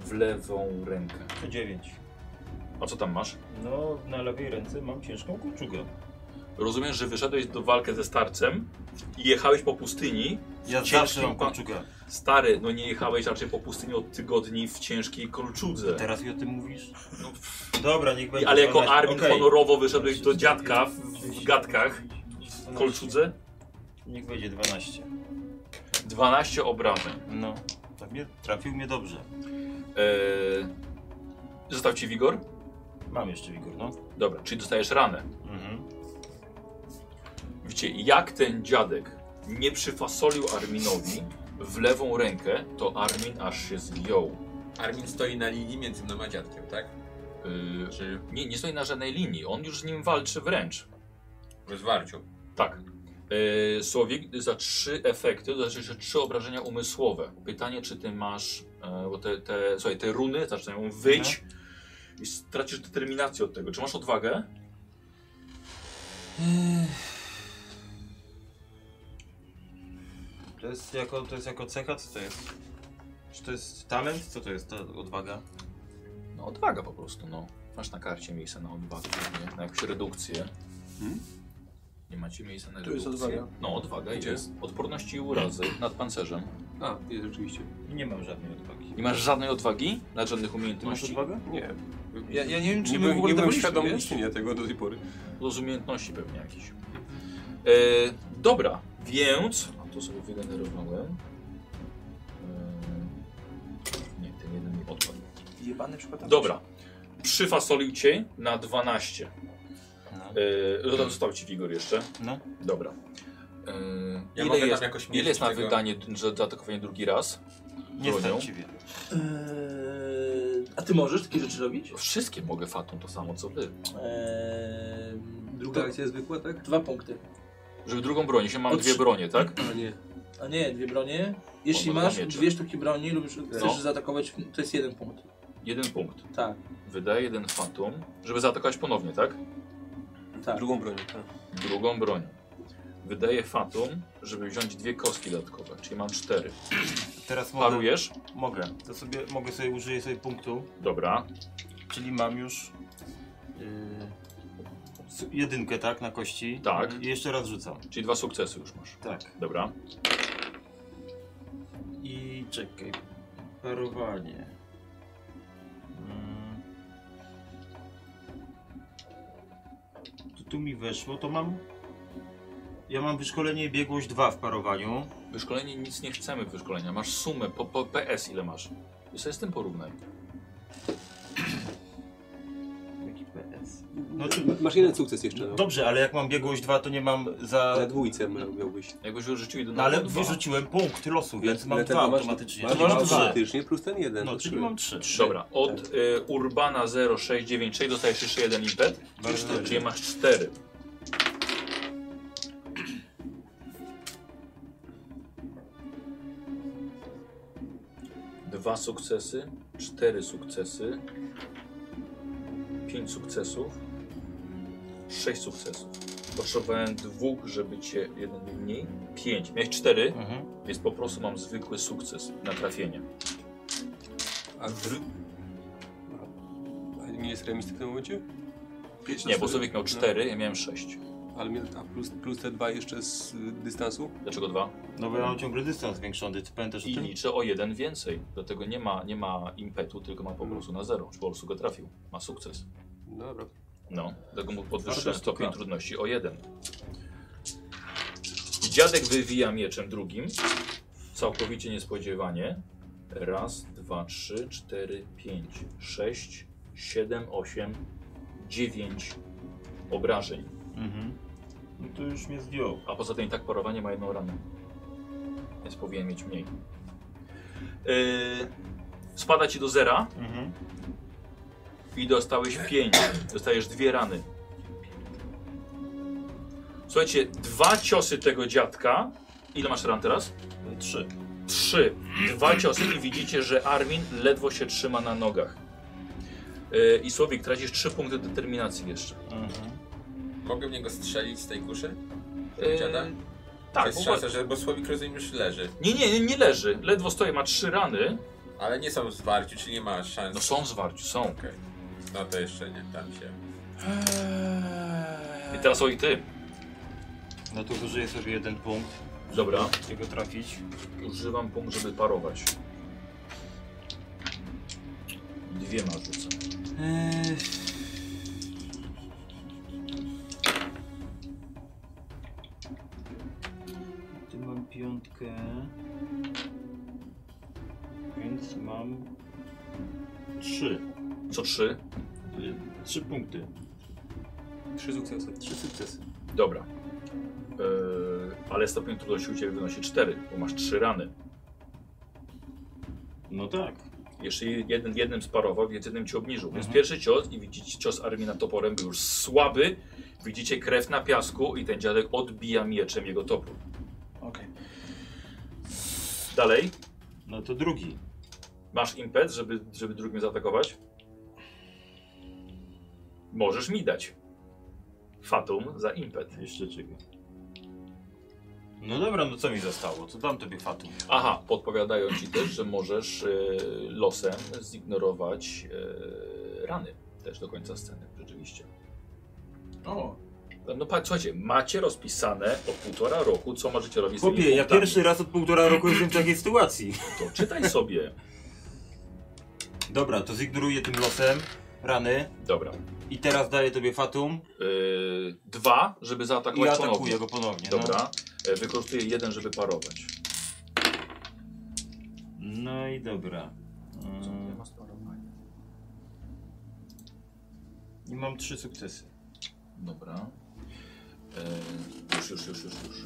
W lewą rękę. To 9. A co tam masz? No, na lewej ręce mam ciężką kulczugę. Rozumiem, że wyszedłeś do walki ze starcem i jechałeś po pustyni. Ja Ciężki zawsze mam pan. kulczugę. Stary, no nie jechałeś raczej po pustyni od tygodni w ciężkiej kolczudze. Teraz mi o tym mówisz? No, Dobra, niech będzie. Ale jako 12. Armin Okej. honorowo wyszedłeś do dziadka w, w gadkach, No. w kolczudze. Niech będzie 12. 12 obrażeń. No, tak mnie, trafił mnie dobrze. E, Eee, został ci Wigor? Mam jeszcze wigor, no. Dobra, czyli dostajesz ranę. Mhm. Widzicie, jak ten dziadek nie przyfasolił Arminowi w lewą rękę, to Armin aż się zgiął. Armin stoi na linii między mną a dziadkiem, tak? Yy, Czy nie, nie stoi na żadnej linii, on już z nim walczy wręcz. w rozwarciu? Tak. Yy, Słowik, za trzy efekty, to znaczy jeszcze trzy obrażenia umysłowe. Pytanie, czy ty masz, e, bo te, te, słuchaj, te runy zaczynają wyć i stracisz determinację od tego. Czy masz odwagę? To jest jako, to jest jako cecha, co to jest? Czy to jest talent? Co to jest ta odwaga? No odwaga po prostu, no. Masz na karcie miejsce na odwagę, nie? na jakąś redukcję. Mhm. Nie macie miejsca na To redukcję. jest odwaga. No odwaga idzie. Jest. Odporności i urazy nad pancerzem. A, jest rzeczywiście. Nie mam żadnej odwagi. Nie masz żadnej odwagi, nad żadnych Ty masz umiejętności. odwagę? Nie. Ja, ja nie wiem, czy nie, my w byłem- ogóle nie byłem dowoliliśmy, świadom wiesz? istnienia tego do tej pory. To z umiejętności pewnie jakieś. E, dobra, więc... A tu sobie wygenerowałem. E, nie, ten jeden mi odpadł. Jebany przykład. Dobra. Przyfasolił cię na 12. No. E, został- został ci Wigor jeszcze. No. Dobra. E, Ja ile mogę tam jest, jakoś ile jest mieścić na tego? wydanie, że zaatakowanie drugi raz? Nie Bronią. stać ciebie. Eee, a ty możesz takie rzeczy robić? Wszystkie mogę Fatum to samo co wy. Eee, Druga to- akcja zwykła, tak? Dwa punkty. Żeby drugą bronię, się mam O, dwie trzy- bronie, tak? A nie. A nie, dwie bronie. Jeśli Oba masz dwa miecze. dwie sztuki broni lub chcesz No. zaatakować, to jest jeden punkt. Jeden punkt. Tak, Wydaję jeden Fatum, żeby zaatakować ponownie, tak? tak. Drugą bronią. tak. Drugą broń. Wydaję Fatum, żeby wziąć dwie kostki dodatkowe, czyli mam cztery. Teraz mogę. Parujesz? Mogę. To sobie, mogę sobie, użyję sobie punktu, Dobra. czyli mam już yy, s- jedynkę, tak, na kości. Tak. I jeszcze raz rzucam. Czyli dwa sukcesy już masz. Tak. Dobra. I czekaj. Parowanie. Mm. To tu mi weszło, to mam... Ja mam wyszkolenie i biegłość 2 w parowaniu. Wyszkolenie nic nie chcemy wyszkolenia. Masz sumę po, po PS ile masz. I sobie z tym porównaj. Jaki PS? No, czy... Masz jeden sukces jeszcze. No. Dobrze, ale jak mam biegłość 2, to nie mam za... Na dwójce miał- miałbyś. Jakbyś wyrzucił jeden No ale dwa. wyrzuciłem punkt losu, więc mam Dlatego dwa masz- automatycznie. Masz Czyli mam dwa trzy. automatycznie plus ten jeden. No, to czyli trzy. mam trzy. Dobra, od tak. y, Urbana 0696 dostajesz jeszcze jeden impet, Bardzo dobrze. czyli masz cztery. Dwa sukcesy, cztery sukcesy, pięć sukcesów, sześć sukcesów. Potrzebowałem dwóch, żeby cię jeden mniej. Pięć. Miałeś cztery, Mhm. więc po prostu mam zwykły sukces na trafienie. A dru... A nie jest remis w tym momencie? Pięć na Nie, bo cztery. Słowik miał cztery, ja miałem sześć. Ale mia- a plus, plus te dwa jeszcze z y, dystansu? Dlaczego dwa? No bo ja mam ciągle dystans zwiększony, ty pamiętasz o I tym? liczę o jeden więcej. Dlatego nie ma, nie ma impetu, tylko ma po prostu na zero. Czy po prostu go trafił. Ma sukces. Dobra. No, dlatego mu podwyższyłem Fantastyka. stopień trudności o jeden. Dziadek wywija mieczem drugim. Całkowicie niespodziewanie. Raz, dwa, trzy, cztery, pięć, sześć, siedem, osiem, dziewięć obrażeń. Mhm. No to już mnie zdjął. A poza tym i tak parowanie ma jedną ranę. Więc powinien mieć mniej. Yy, spada ci do zera Mhm. i dostałeś pięć. Dostajesz dwie rany. Słuchajcie, dwa ciosy tego dziadka. Ile masz ran teraz? Trzy. Trzy. Dwa ciosy i widzicie, że Armin ledwo się trzyma na nogach. Yy, I Słowik, tracisz trzy punkty determinacji jeszcze. Mhm. Mogę w niego strzelić z tej kuszy? Yy, Dziada? tak, jest bo- szansa, że, bo Słowik rozumiem już leży. nie, nie, nie, nie leży. Ledwo stoi, ma trzy rany. Ale nie są w zwarciu, czyli nie ma szans. No są w zwarciu, są. No to jeszcze nie, tam się. I teraz o i ty. No to użyję sobie jeden punkt, Dobra. żeby go trafić. Używam punkt, żeby parować. Dwiema rzucę. Eee. Tu mam piątkę. Więc mam trzy. Co trzy? Y, Trzy punkty. Trzy sukcesy. Trzy sukcesy. Dobra. Yy, ale stopień trudności u Ciebie wynosi cztery, bo masz trzy rany. No tak. Jeszcze jeden, jednym sparował, więc jednym Ci obniżył. Więc Mhm. pierwszy cios i widzicie, cios Armina toporem był już słaby. Widzicie krew na piasku i ten dziadek odbija mieczem jego topór. Okej. Dalej. No to drugi. Masz impet, żeby, żeby drugim zaatakować? Możesz mi dać. Fatum za impet. Jeszcze czego? No dobra, no co mi zostało? Co dam tobie fatum? Aha, podpowiadają ci też, że możesz y, losem zignorować y, rany też do końca sceny, rzeczywiście. O, No patrz, słuchajcie, macie rozpisane od półtora roku, co możecie robić z tymi Chłopie, ja punktami. pierwszy raz od półtora roku jestem w takiej sytuacji. To czytaj sobie. Dobra, to zignoruję tym losem rany Dobra. i teraz daję tobie fatum Y, dwa, żeby i zaatakować atakuję ponownie. go ponownie. No. Dobra. Y, Wykorzystuję jeden, żeby parować. no i dobra. Mm, I mam trzy sukcesy. Dobra. E, już, już, już, już, już.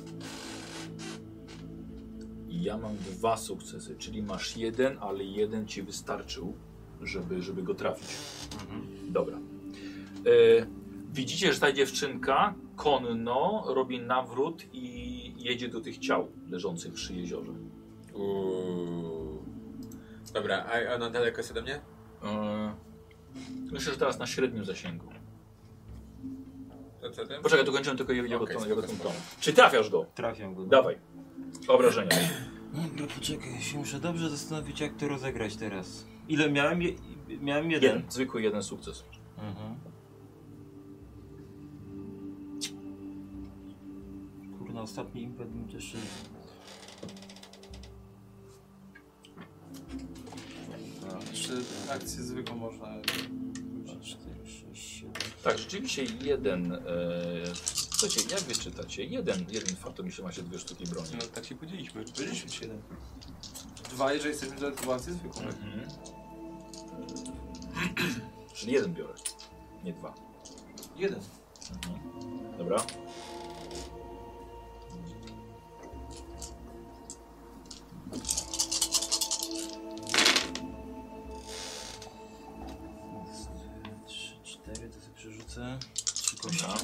Ja mam dwa sukcesy, czyli masz jeden, ale jeden ci wystarczył, żeby, żeby go trafić. Mhm. Dobra. E, widzicie, że ta dziewczynka konno robi nawrót i jedzie do tych ciał leżących przy jeziorze. Uuu. Dobra, a ona daleko jest ode mnie? E, myślę, że teraz na średnim zasięgu. To co tym? Poczekaj, dokończyłem tylko jego Okej, okay, spoko, spoko. Czy trafiasz go? Trafiam go. Dawaj. Obrażenia. Dobra, poczekaj, ja się muszę dobrze zastanowić, jak to rozegrać teraz. Ile miałem? Je, miałem jeden. Jeden, zwykły jeden sukces. Mhm. Kurna, ostatni impet bym też... czy akcję zwykłą można... Tak, rzeczywiście jeden. E, słuchajcie, jak wy czytacie? Jeden, jeden faktor, myślę, macie dwie sztuki broni. No, tak się podzieliśmy. 57. Dwa, jeżeli jesteśmy dodatkowo akcję zwykłą. Mhm. Czyli jeden biorę, nie dwa. Jeden. Dobra. Trzy, cztery, to sobie przerzucę. Trzy kości. Dobra.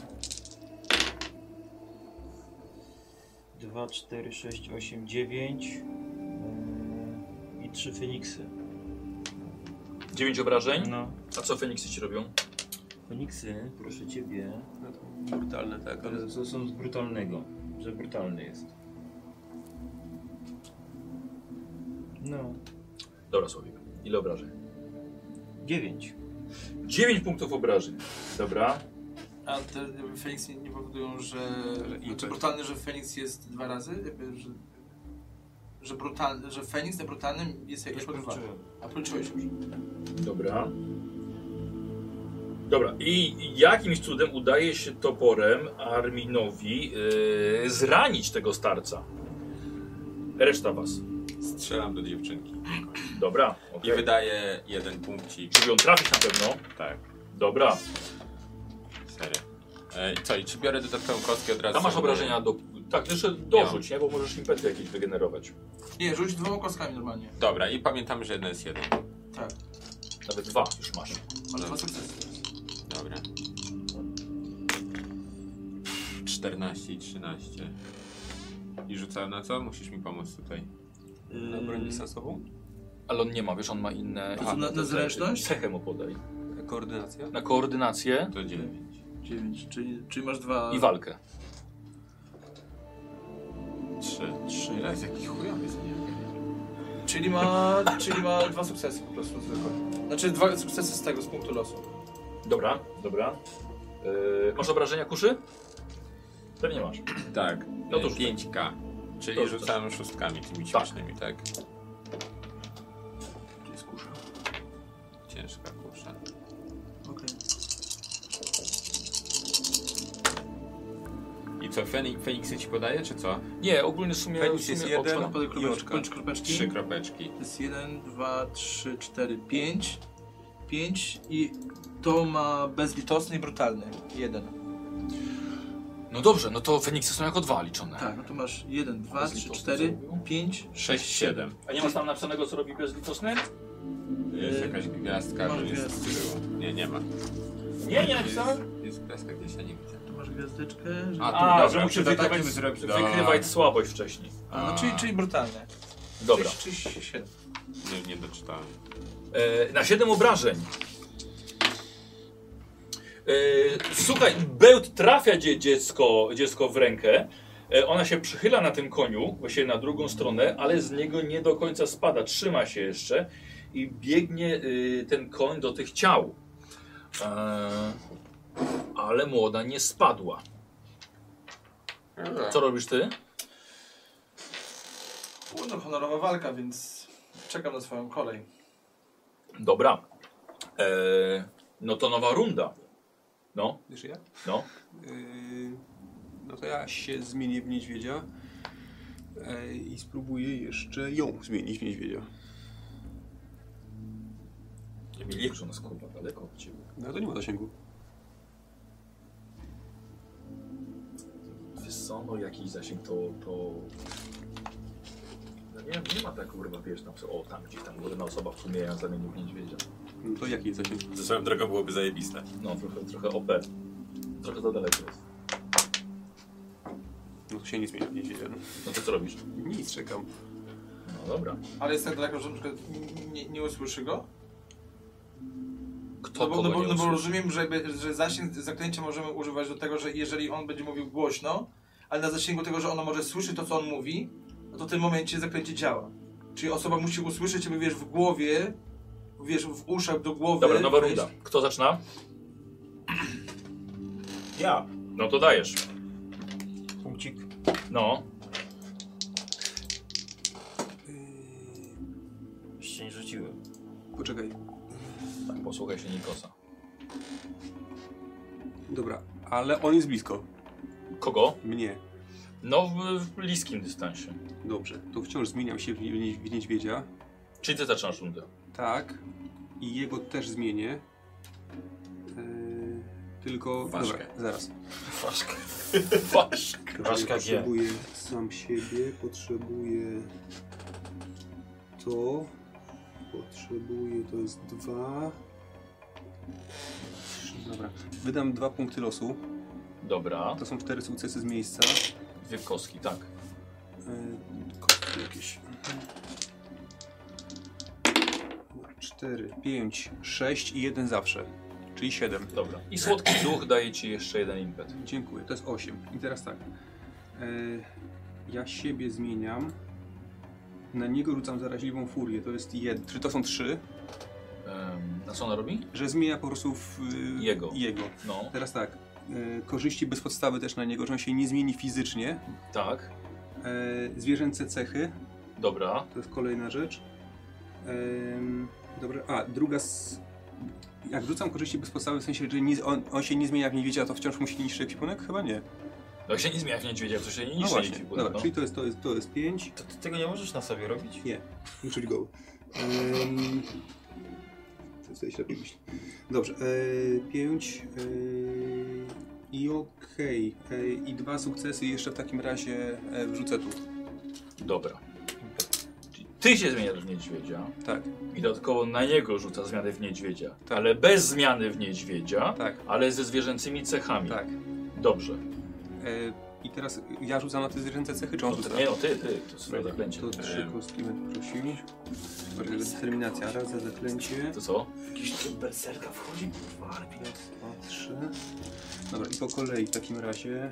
Dwa, cztery, sześć, osiem, dziewięć. Yy, I trzy Feniksy. Dziewięć obrażeń. No. A co Feniksy ci robią? Feniksy, proszę ciebie. No to brutalne, tak, ale... Ale to są z brutalnego, że brutalny jest. No. Dobra, Słowik. Ile obrażeń? Dziewięć. Dziewięć punktów obrażeń. Dobra. A te y, Feniks nie, nie powodują, że... Znaczy brutalny, że Feniks jest dwa razy? Jakby, że... Że, brutal, że Feniks na brutalnym jest jakoś dwa. A policzyłeś już. Dobra. Dobra, i jakimś cudem udaje się toporem Arminowi yy, zranić tego starca. Reszta was. Strzelam do dziewczynki. Dobra. okej. I wydaję jeden punkcik. Żeby ją trafić na pewno. Tak. Dobra. Serio. E, co, i czy biorę dodatkową kostkę od razu? Tam masz sobie? obrażenia do... Tak, jeszcze dorzuć, nie? Bo możesz impety jakieś wygenerować. Nie, rzuć dwoma kostkami normalnie. Dobra, i pamiętamy, że jeden jest jeden. Tak. Nawet dwa już masz. Masz dwa sukcesy. Dobra. 14 i 13. I rzucałem na co? Musisz mi pomóc tutaj. Yy, Na broń dystansową? Ale on nie ma, wiesz, on ma inne... A, na, na zręczność? Cechę mu podaj. Koordynacja? Na koordynację To 9. 9, czyli, czyli masz dwa. i walkę. 3. 3. Jest jaki chujowy jest nie. Czyli ma, czyli ma dwa sukcesy po prostu zwykłe. Znaczy dwa sukcesy z tego, z punktu losu. Dobra, dobra. Yy, masz obrażenia kuszy? Pewnie masz. Tak. No No to to rzucaj. 5K. Czyli To rzucaj. rzucałem szóstkami tymi Tak. śmiesznymi, tak? Gdzie jest kusza? Ciężka kusza. Okej. I co, Feni- Feniksy ci podaje, czy co? Nie, ogólnie w sumie... Feniks w sumie jest jeden, oczko- Okay. Podaj I oczka. kropeczki, kropeczki. Trzy kropeczki. To jest 1, 2, 3, 4, 5. 5 i to ma bezlitosny i brutalny. 1. No dobrze, no to Feniksy są jako dwa liczone. Tak, no to masz 1, 2, 3, Bezlitosny 4, zrobił? 5. Sześć, siedem. A nie masz tam napisanego, co robi bezlitosny? Y, Jest jakaś gwiazdka, Mam że jest gwiazdkę. było. Nie, nie ma. Nie, nie napisałem. Jest, jest gwiazdka gdzieś, ja nie widzę. Tu masz gwiazdeczkę. Że... A, A, tu, tak? A, dobra, że musi przed atakiem wykrywać, zrobić- wykrywać słabość wcześniej. no, czyli, czyli brutalne. Dobra. 37. Nie, nie doczytałem. E, na 7 obrażeń. E, słuchaj, bełt trafia dzie, dziecko, dziecko w rękę. E, ona się przychyla na tym koniu, właśnie na drugą stronę, ale z niego nie do końca spada. Trzyma się jeszcze i biegnie y, ten koń do tych ciał. E, ale młoda nie spadła. Co robisz ty? U, no honorowa walka, więc czekam na swoją kolej. Dobra. E, no to nowa runda. No, Wiesz ja? no. Yy, No to ja się zmienię w niedźwiedzia e, i spróbuję jeszcze ją zmienić w niedźwiedzia. Emilia, że ona skurwa daleko od ciebie. No to nie ma zasięgu. Wiesz co, no jakiś zasięg to... to... No nie, nie ma tak kurwa, wiesz, tam, o tam gdzieś tam jedna osoba w sumie ja zamienił w niedźwiedzia. No to jaki jest zasięg? Ze swoją drogą byłoby zajebiste. No trochę, trochę OP. Trochę za daleko jest. No to się nie zmienia w niedźwiedzia. No to co robisz? Nic, czekam. No dobra. Ale jest tak daleko, że na przykład n- nie, nie usłyszy go? Kto No bo, kogo no bo, nie no bo usłyszy? rozumiem, że, jakby- że zasięg zaklęcia możemy używać do tego, że jeżeli on będzie mówił głośno, ale na zasięgu tego, że ona może słyszy to, co on mówi, no to w tym momencie zaklęcie działa. Czyli osoba musi usłyszeć, jakby wiesz, w głowie, wiesz, w uszach do głowy. Dobra, nowa wejść. runda. Kto zaczyna? Ja. No to dajesz. Punkcik. No. Jeszcze nie rzuciłem. Poczekaj. Tak, posłuchaj się Nikosa. Dobra, ale on jest blisko. Kogo? Mnie. No w, w bliskim dystansie. Dobrze. To wciąż zmieniam się w, nie- w niedźwiedzia. Czyli ty zaczynasz rundę. Tak. I jego też zmienię. E, tylko... Ważkę. Dobra, zaraz. Wasz. Ważka G. Potrzebuję sam siebie, potrzebuję to, potrzebuję, to jest dwa. Trzy, Dobra, wydam dwa punkty losu. Dobra. To są cztery sukcesy z miejsca. Dwie kostki, tak. Yy, kostki jakieś. Cztery, pięć, sześć i jeden zawsze. Czyli siedem. Dobra. I słodki duch daje ci jeszcze jeden impet. Dziękuję, to jest 8. I teraz tak. E, ja siebie zmieniam. Na niego rzucam zaraźliwą furię. To jest jeden. Czy to są trzy? Em, na co ona robi? Że zmienia po prostu w, y, Jego. jego. No, Teraz tak. E, korzyści bez podstawy też na niego, że on się nie zmieni fizycznie. tak. E, zwierzęce cechy. Dobra. To jest kolejna rzecz. Em, dobra. A, E, druga z Jak rzucam korzyści bez podstawy, w sensie, że nic, on, on się nie zmienia w niedźwiedzia, to wciąż musi niszczyć ekwipunek? Chyba nie. No jak się nie zmienia w niedźwiedzia, to się nie No niszczy właśnie, ekwipunek, Dobra, no. czyli to jest, to jest, to jest 5. To ty tego nie możesz na sobie robić? Nie, czyli go. Ehm, to sobie ślepiej myśli. Dobrze, 5 i okej. E, I dwa sukcesy jeszcze w takim razie e, wrzucę tu. Dobra. Czyli Ty się zmieniasz w niedźwiedzia Tak, i dodatkowo na niego rzuca zmianę w niedźwiedzia. Ale bez zmiany w niedźwiedzia, tak, ale ze zwierzęcymi cechami. tak. Dobrze. E, I teraz ja rzucam na te zwierzęce cechy, czy No, on to, tak. rzuca? nie no, ty, ty, to swoje zaklęcie. To trzy kostki będę prosił. Bardziej determinacja. Raz za zaklęcie. To co? Jakiś tryb berserka wchodzi, kurwa, ale pięknie. Raz, dwa, trzy. Dobra, i po kolei w takim razie. E,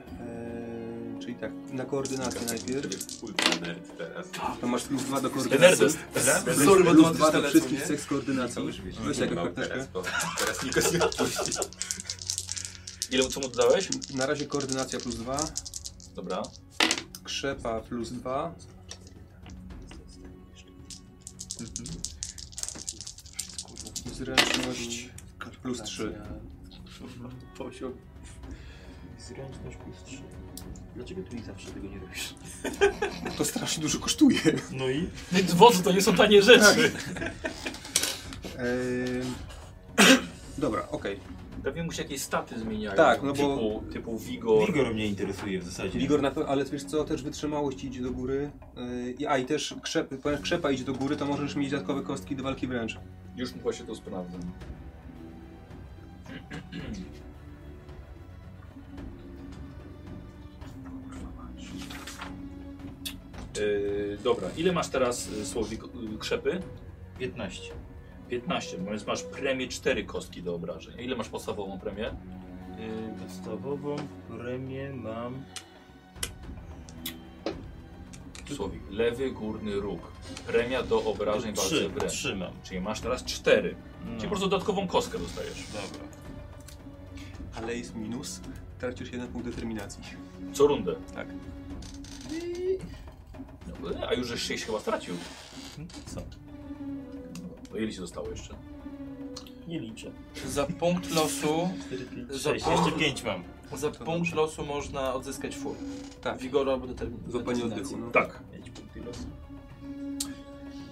czyli tak, na koordynację najpierw. Ultra nerd teraz. To masz plus dwa do koordynacji. Nerdest. Plus, plus dwa do wszystkich cech z koordynacji. Weź jakąś Mał karteczkę. teraz, bo teraz Nikos nie odpuści. Ile co mu dodałeś? Na razie koordynacja plus dwa. Dobra. Krzepa plus 2. Mhm. Zręczność plus 3. Poziom. Zręczność plus 3. Dlaczego ty mi zawsze tego nie robisz? To strasznie dużo kosztuje. No i? Wozu to nie są tanie rzeczy. Dobra, okej. Pewnie mu się jakieś staty zmieniają. Tak, no bo- Typu, typu Vigor. Igor mnie interesuje w zasadzie. Wigor na pewno, ale wiesz co, też wytrzymałość idzie do góry. Yy, a i też krzep, ponieważ krzepa idzie do góry, to możesz mieć dodatkowe kostki do walki wręcz. Już właśnie to sprawdzam. Yy, dobra, ile masz teraz y, słowik y, krzepy? 15. 15, więc masz premię 4 kostki do obrażeń. A ile masz podstawową premię? Yy, podstawową premię mam... Słowik. Lewy górny róg. Premia do obrażeń w walce 3, wręcz. 3 mam. Czyli masz teraz 4. No. Czyli po prostu dodatkową kostkę dostajesz. Dobra. Ale jest minus. Tracisz jeden punkt determinacji. Co rundę. Yy, Tak. No, A już żeś 6 chyba stracił. Mhm, Co? To ile ci zostało jeszcze? Nie liczę. Za punkt losu, 4, 5, Za 6. punkt. Jeszcze 5 mam. za punkt losu można odzyskać fur. Tak. Wigoru albo determinacji. Złapanie oddechu. No. Tak. 5 punkty losu.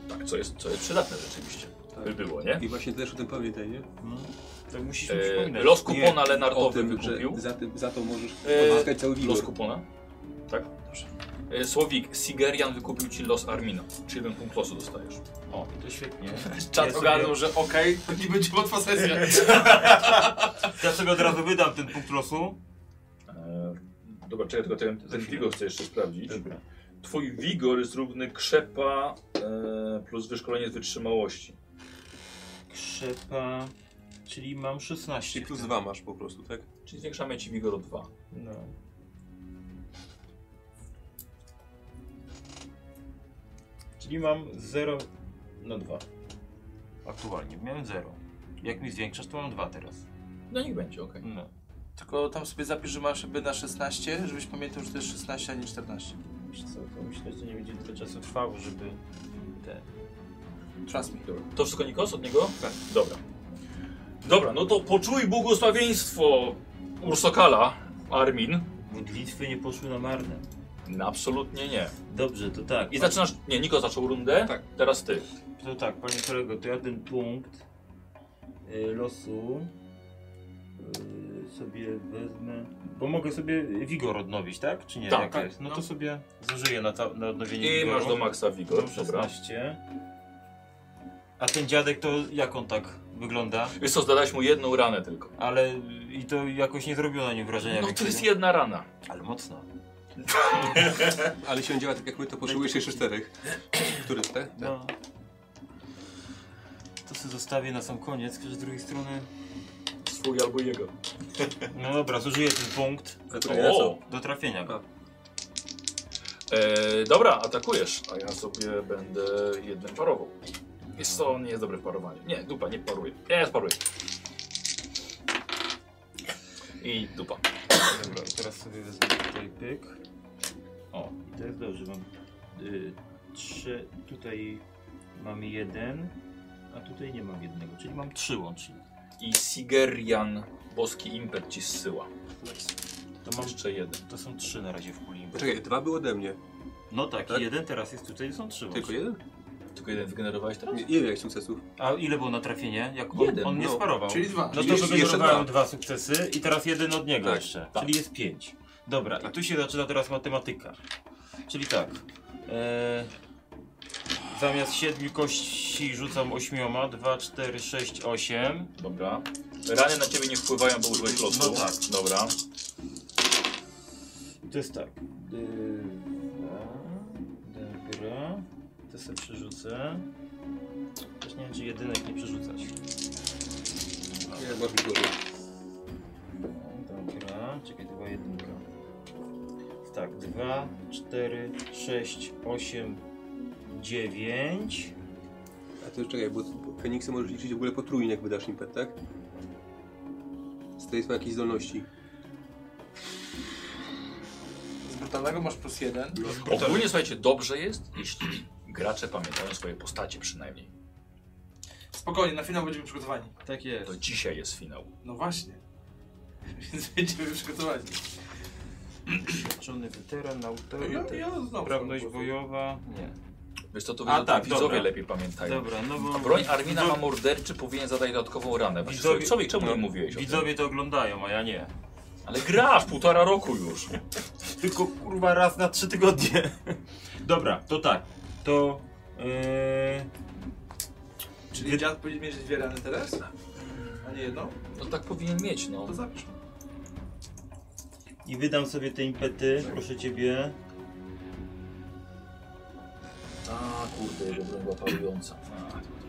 Tak, co jest, co jest przydatne rzeczywiście. Tak. By było, nie? I właśnie też o tym pamiętaj, nie? No. To musisz mi E, przypominać. los kupona O Lenartowy tym, że wykupił. za, tym, za to możesz Eee, odzyskać cały Los wigor. kupona. Tak? E, Słowik, Sigerian wykupił ci los Armina. Czy jeden punkt losu dostajesz? O, to świetnie. Czat Ja sobie- ogarnął, że okej, to nie będzie łatwa sesja. Ja sobie od razu wydam ten punkt losu. E, dobra, czekaj, tylko ten, ten Vigor chcę jeszcze sprawdzić. Twój Vigor jest równy krzepa e, plus wyszkolenie z wytrzymałości. Krzepa... Czyli mam Czyli 16. plus dwa masz po prostu, tak? Czyli zwiększamy ci Vigor o 2. No. Czyli mam 0 na 2. Aktualnie miałem 0. Jak mi zwiększasz, to mam 2 teraz. No niech będzie, okej. No. Tylko tam sobie zapisz, że masz by na 16, żebyś pamiętał, że to jest 16, a nie 14. Wiesz co, to myślę, że nie będzie tyle czasu trwało, żeby te... Trust me. Dobra. To wszystko Nikos od niego? Tak. Dobra. Dobra, no to poczuj błogosławieństwo Ursokala, Armin. Modlitwy nie poszły na marne. No, absolutnie nie. Dobrze, to tak. I zaczynasz. Nie, Niko zaczął rundę. Tak. Teraz ty. To tak, panie kolego, to ja ten punkt y, losu y, sobie wezmę. Bo mogę sobie wigor odnowić, tak? Czy nie? Tak, Jak tak. jest? No No. to sobie zużyję na, ta, na odnowienie I wigoru. masz do maksa Mam Vigor. Dobra. 16. A ten dziadek to jak on tak wygląda? Wiesz co, zadałeś mu jedną ranę tylko. Ale i to jakoś nie zrobiło na nim wrażenia. No to większego. jest jedna rana. Ale mocno. Ale się on działa tak jak my, to potrzebujesz jeszcze czterech. Który tak? te? te? No. To sobie zostawię na sam koniec, chociaż z drugiej strony. Swój albo jego. No dobra, zużyję ten punkt O! do trafienia. A. E, dobra, atakujesz, a ja sobie będę jednym parował. Wiesz co, nie jest dobre w parowaniu. Nie, dupa, nie paruję. Ja sparuję. I dupa. Dobra, i teraz sobie wezmę tutaj pyk. O, i to jest Tak, dobrze, mam y, trzy, tutaj mam jeden, a tutaj nie mam jednego, czyli mam trzy łącznie. i Sigerian Boski Impet ci zsyła. To, mam, Jeszcze jeden. to są trzy na razie w puli. Poczekaj, dwa były ode mnie. No tak, Tak? jeden teraz jest tutaj, są trzy. Tylko właśnie. jeden? Tylko jeden wygenerowałeś teraz? Nie, nie wiem jak sukcesów. A ile było na trafienie? Jak on, Jeden, on nie no. sparował. Czyli dwa. No Czyli to jeszcze- wygenerowałem jeszcze dwa sukcesy i teraz jeden od niego Tak, jeszcze. tak. Czyli jest pięć. Dobra, i tu się zaczyna teraz matematyka. Czyli tak. E, zamiast siedmiu kości rzucam ośmioma. Dwa, cztery, sześć, osiem. Dobra. Rany na ciebie nie wpływają, bo użyłeś losu. No tak. Dobra. To jest tak. Dwa. Dobra. To sobie przerzucę. Też nie wiem, czy jedynek nie przerzucać. Nie, masz mi dużo. Dobra, czekaj, dwa jedynka. Tak, dwa, cztery, sześć, osiem, dziewięć. A to czekaj, bo Feniksy możesz liczyć w ogóle potrójnie, jak wydasz impet, tak? Z tej swojej jakiejś zdolności. Z brutalnego masz plus jeden. Ogólnie słuchajcie, dobrze jest, jeśli gracze pamiętają swoje postacie przynajmniej. Spokojnie, na finał będziemy przygotowani. Tak jest. To dzisiaj jest finał. No właśnie. Więc będziemy przygotowani. Doświadczony weteran, No, autorytet. ja znowu Sprawność znowu- bojowa. Nie. Wiesz co, to A, wy- tak, widzowie dobra. lepiej pamiętają. Dobra, no bo... Tak. A broń Armina Widzo- ma morderczy, powinien zadać dodatkową ranę. Właśnie, Widzowie- Widzowie, czemu no, nie mówiłeś o Widzowie to oglądają, a ja nie. tym? Ale gra w półtora roku już. Tylko kurwa raz na trzy tygodnie. Dobra, to tak. To... Yy... Czyli dziad powinien mieć dwie rany teraz? A nie jedną? No tak powinien mieć, no. To zapisz. I wydam sobie te impety, proszę ciebie. A kurde, jego broń była parująca.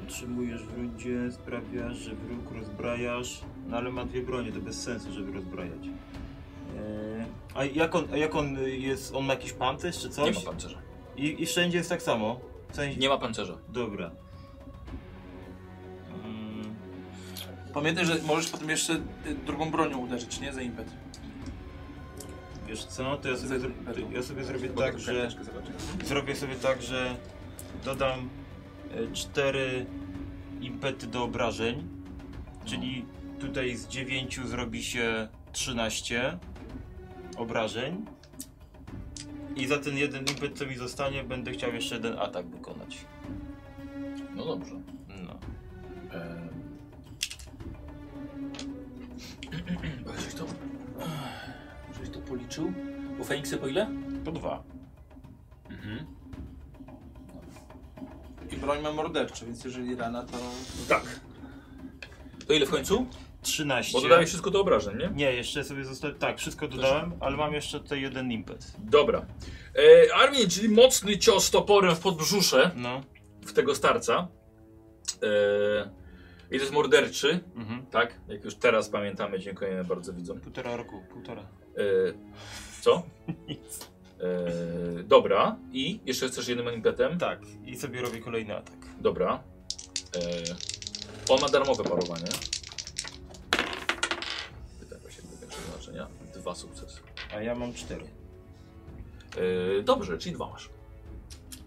Utrzymujesz w rundzie, sprawiasz, że wróg rozbrajasz. No ale ma dwie bronie, to bez sensu, żeby rozbrajać. Eee, A jak on, a jak on jest, on ma jakiś pancerz czy Nie coś? ma pancerza. I, I wszędzie jest tak samo? W sensie... Nie ma pancerza. Dobra. Mm, Pamiętaj, że możesz potem jeszcze y, drugą bronią uderzyć, nie? Za impet. wiesz co, no to ja sobie, zro... to ja sobie zrobię tak, że... Karteczkę zobaczę. Zrobię sobie tak, że dodam e, cztery impety do obrażeń, czyli tutaj z 9 zrobi się 13 obrażeń. I za ten jeden impet, co mi zostanie, będę chciał jeszcze jeden atak wykonać. No dobrze. No. Ech, Żeś to... Żeś to policzył? U Feniksy po ile? Po dwa. Mhm. I broń ma morderczy, więc jeżeli rana, to... Tak. To ile w końcu? 13. Bo dodałeś wszystko do obrażeń, nie? Nie, jeszcze sobie zostało. Tak, wszystko dodałem, ale mam jeszcze tutaj jeden impet. Dobra. E, Armin, czyli mocny cios toporem w podbrzusze No. w tego starca. E, I to jest morderczy, Mhm. tak? Jak już teraz pamiętamy, dziękujemy bardzo widzom. Półtora roku, półtora. E, co? E, dobra. I jeszcze chcesz jednym impetem? Tak, i sobie robię kolejny atak. Dobra. E, on ma darmowe parowanie. Pytam się do przeznaczenia. Dwa sukcesy. A ja mam cztery. E, dobrze, czyli dwa masz.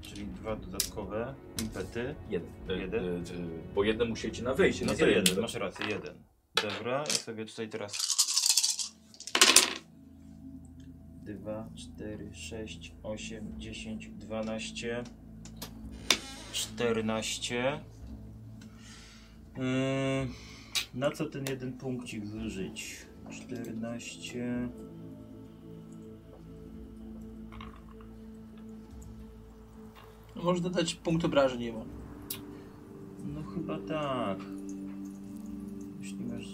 Czyli dwa dodatkowe impety. Jeden. E, Jeden? E, e, bo jeden musi ci na tak? wejście. No więc to jeden, masz rację, jeden. Dobra, ja sobie tutaj teraz... Dwa, cztery, sześć, osiem, dziesięć, dwanaście, czternaście. Yy, na co ten jeden punkcik zużyć? Czternaście... Możesz dodać punkt obrażeń jemu. No chyba tak. Jeśli masz...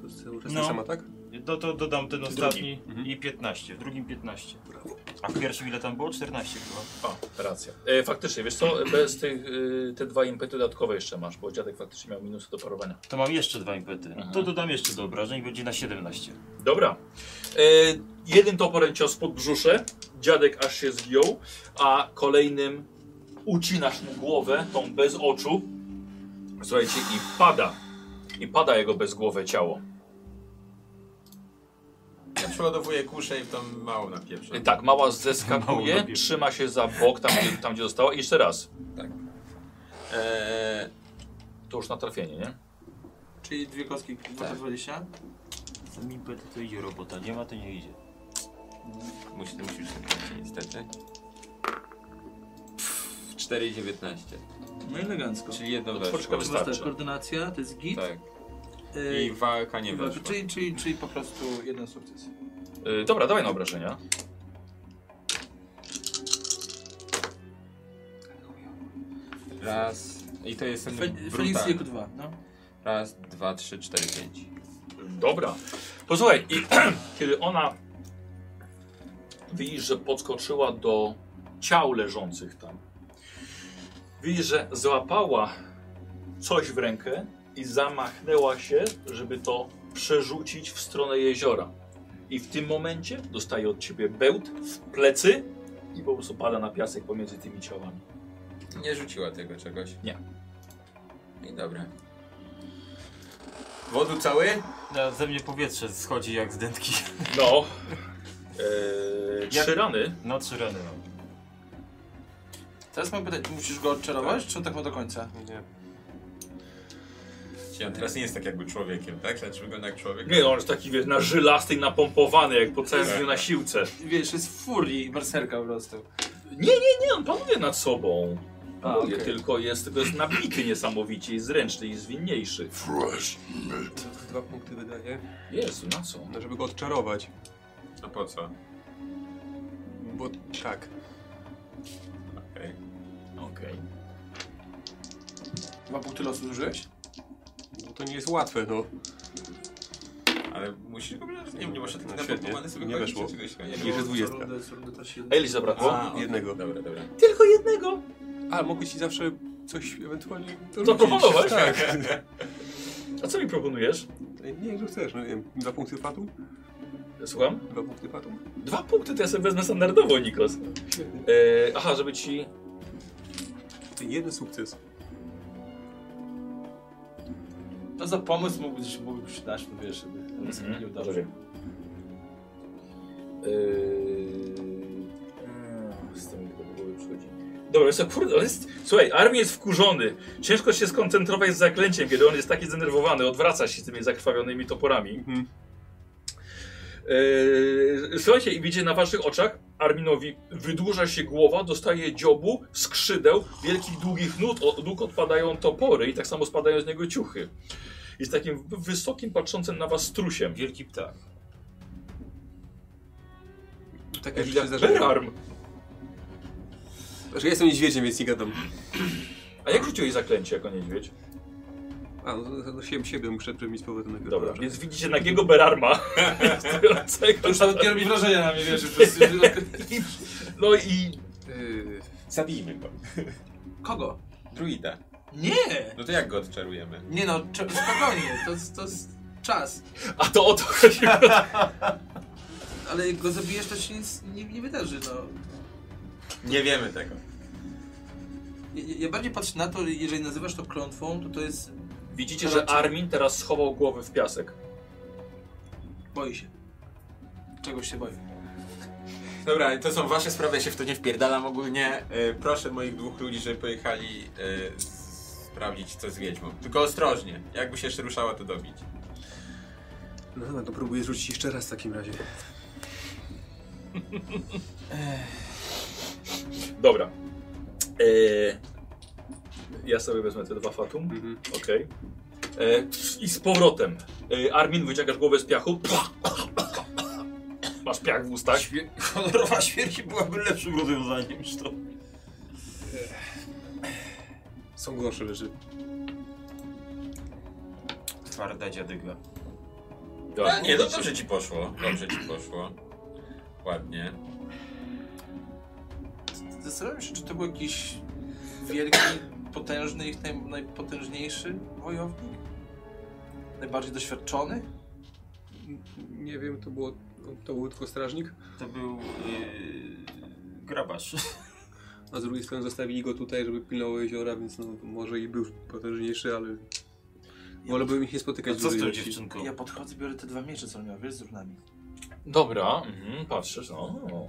To jest cały czas No. no. sama, tak? No to dodam ten ostatni i 15. Mhm. W drugim 15. A w pierwszym ile tam było? 14 chyba. O, racja. E, faktycznie, wiesz co, bez tych, e, te dwa impety dodatkowe jeszcze masz, bo dziadek faktycznie miał minusy do parowania. To mam jeszcze dwa impety. Aha. To dodam jeszcze do obrażeń, będzie na 17. Dobra. E, jeden toporem cios pod brzusze, dziadek aż się zgiął, a kolejnym ucinasz mu głowę, tą bez oczu. Słuchajcie, i pada. I pada jego bezgłowe ciało. Ja przeładowuje kuszę i tam mało na Y, pieprze. Tak, mała Mało zeskakuje, nabiegł. trzyma się za bok, tam gdzie, tam gdzie została i jeszcze raz. Eee, To już na trafienie, nie? czyli dwie kostki, Tak. 20. Co mi by to idzie robota, nie ma to nie idzie. Musi, to musi być tak, niestety. 4 i 19. No elegancko. Czyli jedno Czwórka weszło. Wystarczy. wystarczy. koordynacja, to jest git. Tak. Y, Yy, I walka nie i walka. weszła. czyli, czyli, czyli po prostu jeden sukces. Y, dobra, dawaj na obrażenia. Raz. I to jest ten Fe, Feliks brutal. jako dwa, no. Raz, dwa, trzy, cztery, pięć. Dobra. Posłuchaj, i kiedy ona widzisz, że podskoczyła do ciał leżących tam, widzisz, że złapała coś w rękę i zamachnęła się, żeby to przerzucić w stronę jeziora. I w tym momencie dostaje od ciebie bełt w plecy i po prostu pada na piasek pomiędzy tymi ciałami. Nie rzuciła tego czegoś. Nie. I dobra. Wodu cały? No, ze mnie powietrze schodzi jak z dętki. No. Eee, Jak- trzy rany. No trzy rany mam. Teraz mam pytać, musisz go odczarować, czy on tak ma do końca? Czyli on teraz nie jest tak jakby człowiekiem, tak? Znaczy wygląda jak człowiek. Nie, on jest taki, wiesz, na żylasty i napompowany, jak po całym dniu na siłce. Wiesz, jest w furii berserka po prostu. Nie, on panuje nad sobą. A, Panuje, okej. tylko jest, tylko jest nabity niesamowicie i zręczny i zwinniejszy. Dwa punkty wydaje. Jezu, na co? No, żeby go odczarować. No po co? Bo tak. Okej. Okej. Dwa punkty losu zużyłeś? No to nie jest łatwe, no. Ale musisz go brać. Nie, nie masz taki No, napompowanego świetnie. sobie Nie chodzić, weszło. czy czegoś, nie I wiem. że dwudziestka. A ile ci zabrakło? A, okej. Jednego. Dobra, dobra. Tylko jednego! A, mogę ci zawsze coś ewentualnie dorzucić. Zaproponować? Tak. A co mi proponujesz? Nie, że chcesz, no nie wiem. Dwa punkty fatu? Słucham? Dwa punkty fatu? Dwa punkty to ja sobie wezmę standardowo, Nikos. Świetnie. E, aha, żeby ci... Jeden sukces. No za pomysł mógłby się mógłby przydać, no wiesz, żeby nie Mhm, udało. dobrze. Eee, z tym do głowy przychodzi. Dobra, jest, kurde, on jest, słuchaj, armii jest wkurzony. Ciężko się skoncentrować z zaklęciem, kiedy on jest taki zdenerwowany, odwraca się tymi zakrwawionymi toporami. Mhm. Eee, słuchajcie, i widzicie na waszych oczach Arminowi wydłuża się głowa, dostaje dziobu, skrzydeł, wielkich długich nut, o- nóg odpadają topory i tak samo spadają z niego ciuchy. Jest takim wysokim, patrzącym na was strusiem. Wielki ptak. Takie rzeczy Tak, się Ewidentnie. zdarzają. Berarm. Że ja jestem niedźwiedziem, więc nie gadam. A jak rzuciłeś zaklęcie jako niedźwiedź? A, no to, to, to siebie, siebie muszę przemieć z powrotem na biurko. Dobra, więc widzicie nagiego Berarma. stojącego. To już nawet nie robi wrażenia na mnie, wiesz, że po prostu... No i Yy, Zabijmy go. Kogo? Druida. Nie! No to jak go odczarujemy? Nie no, cze- spokojnie, to, to jest czas. A to o to chodzi. Ale jak go zabijesz, to się nic nie, nie wydarzy, no. Nie wiemy tego. Ja, ja bardziej patrzę na to, jeżeli nazywasz to klątwą, to to jest... Widzicie, że Armin teraz schował głowę w piasek. Boi się. Czegoś się boi. Dobra, to są wasze sprawy, ja się w to nie wpierdalam ogólnie. E, proszę moich dwóch ludzi, żeby pojechali e, s- sprawdzić co z wiedźmą. Tylko ostrożnie. Jakby się jeszcze ruszała, to dobić. no dobra, to próbuję rzucić jeszcze raz w takim razie. Dobra. Eee, ja sobie wezmę te dwa fatum. Okej. Eee, I z powrotem. Eee, Armin, wyciągasz głowę z piachu. Masz piach w ustach. Honorowa śmierć byłaby lepszym rozwiązaniem niż to. Są gorsze rzeczy. Twarda dziadyga. Dobra. A nie, no dobrze ci poszło. Dobrze ci poszło. Ładnie. Zastanawiam się, czy to był jakiś wielki, potężny, ich naj, najpotężniejszy wojownik? Najbardziej doświadczony? Nie wiem, to było... no, To był tylko strażnik, To był yy, grabarz. a z drugiej strony zostawili go tutaj, żeby pilnował jeziora, więc no może i był potężniejszy, ale... Wolałbym ich nie spotykać Co z tą dłużej. dziewczynką? Ja podchodzę, biorę te dwa miecze, co on miał, wiesz, z równami. Dobra, mhm, patrzysz, no. o, o,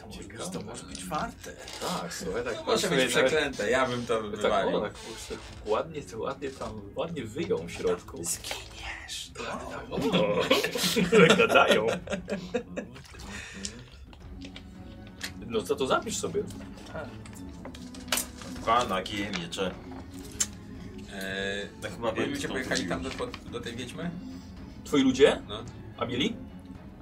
To może, ciekawe. to może być warte. Tak, słuchaj, tak Może pasuje, być tak. przeklęte, ja bym to Tak, o, wywalił. tak kurczę, ładnie, to ładnie tam, ładnie wyją w środku. Tak, Zginiesz. O, jak gadają. No to to zapisz sobie. Pana kije miecze. Eee, No chyba Bo wiem, ludzie co pojechali tu tam do, do tej wiedźmy? Twoi ludzie? No. A mieli?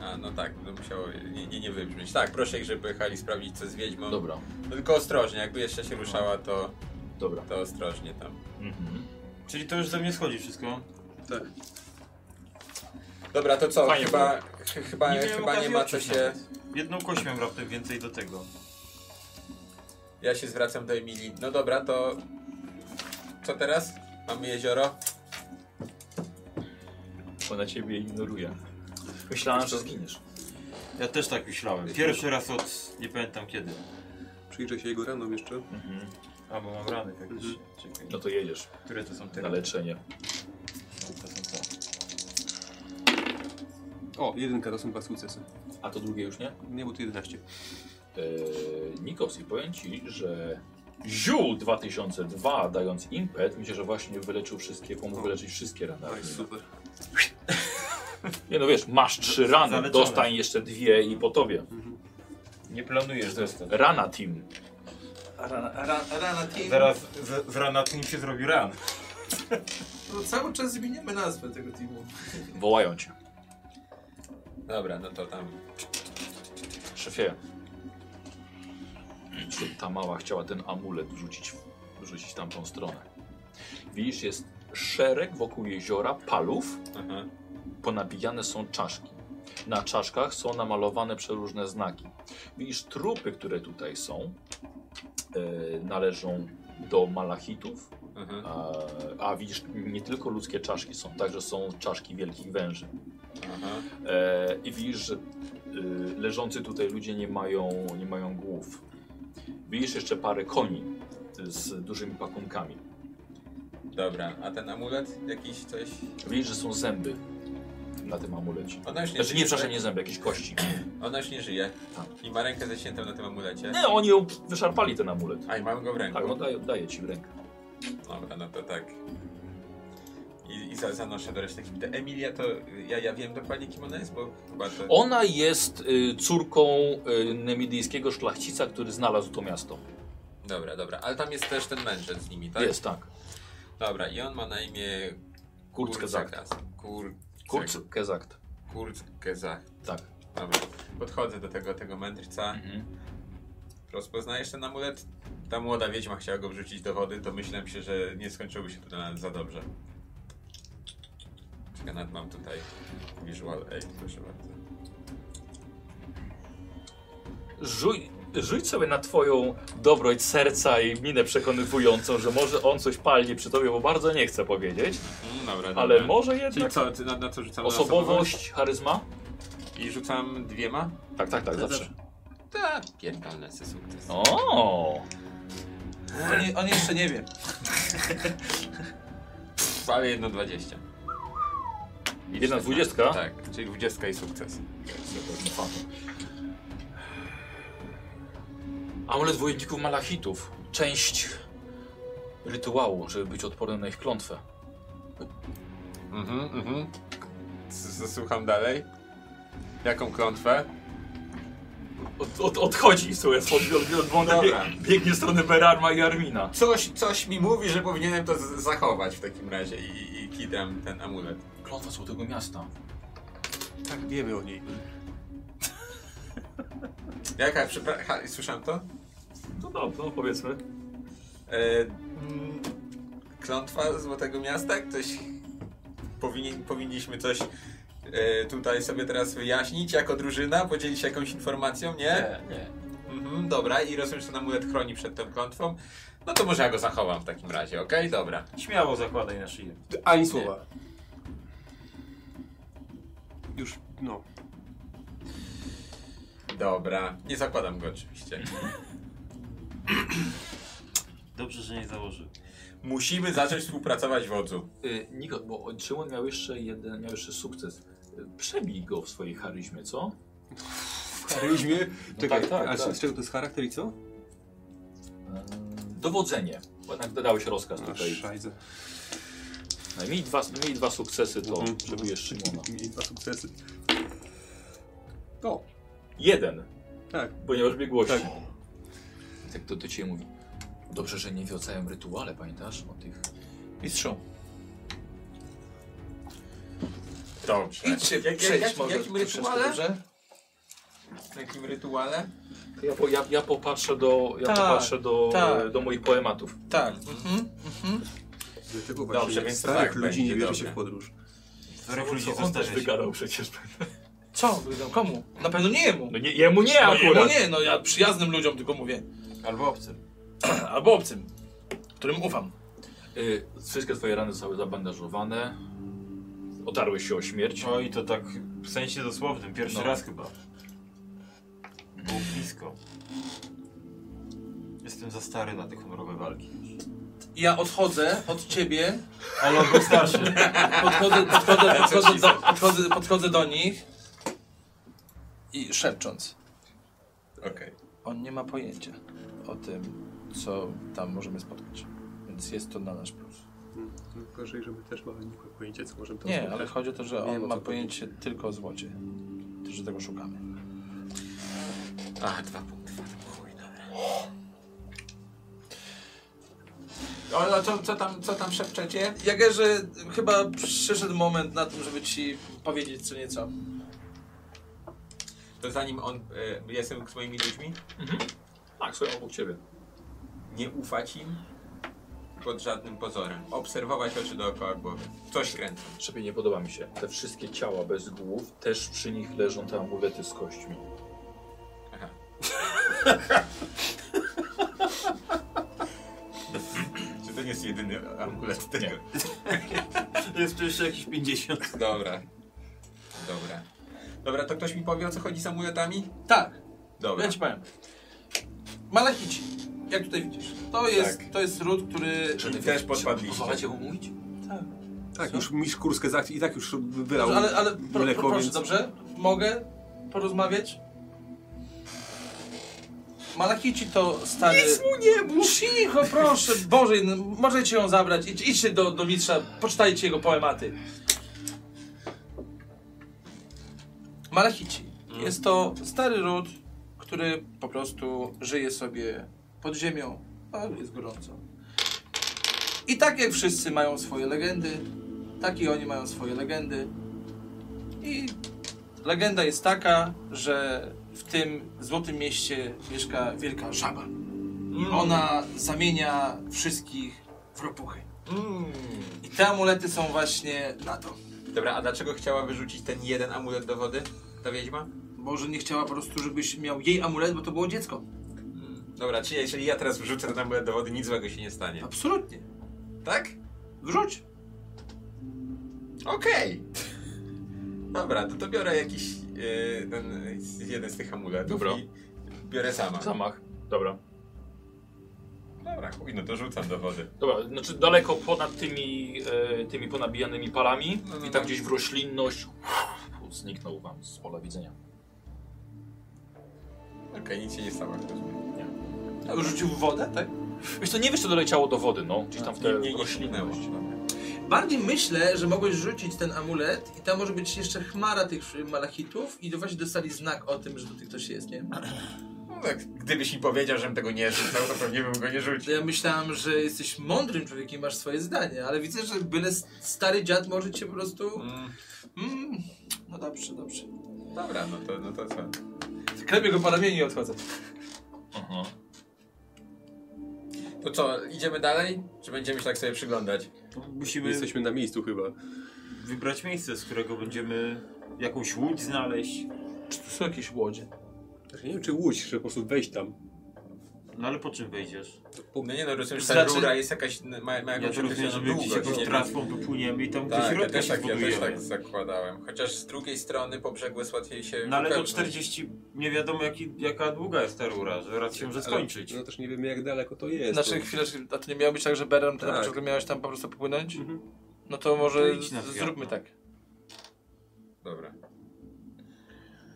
A, no tak, to musiało nie, nie, nie wybrzmieć. Tak, proszę ich, żeby pojechali sprawdzić, co z wiedźmą. Dobra, No, tylko ostrożnie, jakby jeszcze się ruszała, to, dobra. to ostrożnie tam. Mhm. Czyli to już ze mnie schodzi wszystko. Tak. Dobra, to co? Fajnie chyba ch- chyba, miałem chyba nie okazji ma co odczuć się... nawet. Jedną kość miałem raptem więcej do tego. Ja się zwracam do Emilii. No dobra, to... Co teraz? Mamy jezioro? Ona ciebie ignoruje. Myślałem, że zginiesz. Ja też tak myślałem. Pierwszy raz od... nie pamiętam kiedy. Przyjrzę się jego ranom jeszcze. A, bo mam rany jakieś. Czekaj. No to jedziesz Które to są te? na leczenie. To są te. O, jedynka to są dwa sukcesy. A to drugie już nie? Nie, bo to 11. Eee, Nikos, i powiem ci, że Ziół 2002 dając impet, myślę, że właśnie wyleczył wszystkie, pomógł wyleczyć wszystkie rany. Tak, super. Nie no wiesz, masz trzy rany, Zaleczone. dostań jeszcze dwie i po tobie. Nie planujesz zresztą. Rana team. Rana, ra, rana team. Zaraz z, z rana tym się zrobi ran. No, cały czas zmieniamy nazwę tego teamu. Wołają cię. Dobra, no to tam... Szefie. Czy Ta mała chciała ten amulet rzucić, w- rzucić w tamtą stronę. Widzisz, jest szereg wokół jeziora palów, Aha. ponabijane są czaszki. Na czaszkach są namalowane przeróżne znaki. Widzisz, trupy, które tutaj są, e, należą do malachitów, Aha. a, a widzisz, nie tylko ludzkie czaszki są, także są czaszki wielkich węży. Aha. E, I widzisz, że y, leżący tutaj ludzie nie mają, nie mają głów. Widzisz jeszcze parę koni z dużymi pakunkami. Dobra, a ten amulet? Jakiś coś? Widzisz, że są zęby na tym amulecie. Ona już nie Znaczy nie, żyje, przepraszam, tak? nie zęby, jakieś kości. Ona już nie żyje. Tak. I ma rękę zaciętą na tym amulecie. Nie, oni ją wyszarpali ten amulet. A i mam go w ręku. Tak, no daję, daję ci w rękę. Dobra, no to tak. I, i za, zanoszę do reszty ekipy. Emilia to y, ja, ja wiem dokładnie kim ona jest, bo chyba to. Ona jest y, córką y, nemidyjskiego szlachcica, który znalazł to miasto. Dobra, dobra, ale tam jest też ten mędrzec z nimi, tak? Jest, tak. Dobra, i on ma na imię Kurz Gezakt. Kurczakas. Kur... Kurz Gezakt. Kurczkazach. Tak. Dobra. Podchodzę do tego, tego mędrca. Mhm. Rozpoznajesz ten amulet? Ta młoda wiedźma chciała go wrzucić do wody, to myślałem się, że nie skończyłoby się to dla nas za dobrze. Czekaj, nawet mam tutaj visual aid, proszę bardzo. Rzuj, rzuć sobie na twoją dobroć serca i minę przekonywującą, że może on coś palnie przy tobie, bo bardzo nie chcę powiedzieć, Mm, Dobra, dobra. ale może Czyli jednak. co, ty na, na co rzucam? Na Osobowość, charyzma? osobowość? I rzucam dwiema? Tak, tak, tak, zawsze. Tak, pierdolne se sukces. O, On, je- on jeszcze nie wie. Pff, ale jedno dwadzieścia. I Jedna czternaście. dwudziestka? Tak, czyli dwudziestka i sukces. Amulet wojowników malachitów. Część rytuału, żeby być odpornym na ich klątwę. Mhm, mhm. S- s- Słucham dalej. Jaką klątwę? Od, od, odchodzi, słuchaj, od, od, od, od, Dobra. bieg, biegnie w stronę Berarma i Armina. Coś, coś mi mówi, że powinienem to z- zachować w takim razie i, i, i kidam ten amulet. Klątwa Złotego Miasta. Tak, wiemy o niej. Jaka, przepraszam, słyszałem to? No dobrze, no powiedzmy. E, mm, klątwa Złotego Miasta? Ktoś powinien, powinniśmy coś e, tutaj sobie teraz wyjaśnić jako drużyna, podzielić się jakąś informacją, nie? nie. Mhm, dobra, i rozumiem, że ten amulet chroni przed tą klątwą. No to może ja go zachowam w takim razie, okej? Dobra. Śmiało zakładaj na szyję. Ani słowa. Już, no. Dobra. Nie zakładam go oczywiście. Dobrze, że nie założył. Musimy zacząć współpracować wodzu. Y, Niko, bo Szymon miał jeszcze jeden, miał jeszcze sukces. Przebij go w swojej charyzmie, co? W charyzmie. No Czekaj, tak, tak, a tak. z- z czego to jest charakter i co? Mm. Dowodzenie. Bo jednak dodałeś rozkaz A, tutaj. szajze. Najmniej dwa, mniej dwa sukcesy to Mhm. przebijesz Szymona. Mieli dwa sukcesy. O, Jeden, tak. ponieważ biegłości. Tak. Tak to do ciebie mówi. Dobrze, że nie wie o całym rytuale, pamiętasz? O tych... Mistrzą. Dobrze. Idźcie, Jak- jak- przejdź jak- może jakim troszeczkę, rytuale? dobrze? W jakim rytuale? Ja, po, ja, ja popatrzę do, ja Tak, popatrzę do, tak. e, do moich poematów. Tak. Mhm. Dlatego Dobrze, właśnie więc to starych tak ludzi nie będzie, bierze się dobra. w podróż. Starych ludzi On też zostawiać. wygarał przecież. Co? No, Komu? Na pewno nie jemu. No nie, jemu nie No akurat. jemu nie, no ja przyjaznym ludziom tylko mówię. Albo obcym. Albo obcym, którym ufam. Y, wszystkie twoje rany zostały zabandażowane. Otarłeś się o śmierć. O i to tak w sensie dosłownym, pierwszy No. raz chyba. Było blisko. Jestem za stary na te honorowe walki. Ja odchodzę od ciebie, Ale on był starszy. podchodzę, podchodzę, podchodzę, do, podchodzę, podchodzę do nich i szepcząc. Okej. On nie ma pojęcia o tym, co tam możemy spotkać. Więc jest to na nasz plus. No, Gorzej, żeby też mamy nikłe pojęcie, co możemy tam Nie, spotkać. ale chodzi o to, że Wiem, on o ma co pojęcie tylko o złocie. To, że tego szukamy. A, dwa punkty. Chuj, dobra. O, no co, co, tam, co tam szepczecie? Jagerze, chyba przyszedł moment na tym, żeby ci powiedzieć co nieco. To zanim on... Y, jestem z moimi ludźmi? Tak, stoją obok ciebie. Nie ufać im pod żadnym pozorem. Obserwować oczy dookoła głowy. Coś kręcą. Szybie nie podoba mi się. Te wszystkie ciała bez głów, też przy nich leżą te amulety z kośćmi. Aha. Czy to nie jest jedyny amulet tego? Jest tu jeszcze jakieś 50. Dobra. Dobra. Dobra, to ktoś mi powie o co chodzi z amuletami? Tak, Dobra. ja ci powiem. Malachici, jak tutaj widzisz, to jest, Tak. to jest ród, który... I też podpadliście. Pozwalacie mu mówić? Tak. Tak, No. już mistrz Kurskę z akcji i tak już wylał Dobrze, ale, ale pro, mleko, pro, proszę, więc... dobrze? Mogę porozmawiać? Malachici to stary... Nic mu nie mów! Cicho, proszę, Boże, no, możecie ją zabrać. Idź, idźcie do, do mistrza, poczytajcie jego poematy. Malachici. Jest to stary ród, który po prostu żyje sobie pod ziemią, a jest gorąco. I tak jak wszyscy mają swoje legendy, tak i oni mają swoje legendy. I legenda jest taka, że w tym złotym mieście mieszka wielka żaba. Ona zamienia wszystkich w ropuchy. Mm. I te amulety są właśnie na to. Dobra, a dlaczego chciała wyrzucić ten jeden amulet do wody? Ta wiedźma? Boże, nie chciała po prostu, żebyś miał jej amulet, bo to było dziecko. Hmm. Dobra, czyli jeżeli ja teraz wrzucę ten amulet do wody, nic złego się nie stanie. Absolutnie. Tak? Wrzuć. Okej. Dobra, to, to biorę jakiś yy, ten, yy, jeden z tych amuletów Dobra. i biorę sama. Zamach. Dobra. Dobra, chuj, no to rzucam do wody. Dobra, znaczy daleko ponad tymi, e, tymi ponabijanymi palami No, no, i tam no. gdzieś w roślinność uff, zniknął wam z pola widzenia. Okej, nic się nie stało, jak rozumiem. Rzucił w wodę, tak? Wiesz co, nie wiesz co doleciało do wody, no. Gdzieś tam w Nie, te nie, nie roślinność. ślinęło. Bardziej myślę, że mogłeś rzucić ten amulet i tam może być jeszcze chmara tych y, malachitów i właśnie dostali znak o tym, że do tych ktoś jest, nie? No tak, gdybyś mi powiedział, żebym tego nie rzucał, to pewnie bym go nie To rzucił. Ja myślałem, że jesteś mądrym człowiekiem, masz swoje zdanie, ale widzę, że byle s- stary dziad może cię po prostu... Mm, Mm, no dobrze, dobrze. dobra, no to, no to co? Klepię go po ramieniu i odchodzę. Aha. To co, idziemy dalej? Czy będziemy się tak sobie przyglądać? Musimy Jesteśmy na miejscu chyba. wybrać miejsce, z którego będziemy jakąś łódź znaleźć. Czy tu są jakieś łodzie? Znaczy, nie wiem, czy łódź, że po prostu wejść tam. No ale po czym wejdziesz? No nie no, rozumiem, że ta Znaczy- rura jest jakaś, ma, ma Ja jakąś to rozumiem, że określoną my gdzieś długość. jakąś nie? tratwą popłyniemy i tam do Tak, ja środka też, się tak, ja też tak budujemy. zakładałem. Chociaż z drugiej strony po brzegu jest łatwiej się No ale to wypełnić. 40, nie wiadomo jaki, jaka długa jest ta rura, że raz się może skończyć. No też nie wiemy, jak daleko to jest. Znaczy bo- chwileczkę, a to nie miało być tak, że Beren, ty na Tak. początku miałeś tam po prostu popłynąć? Mhm. No to może To idź na z- chwilę. zróbmy tak. Dobra.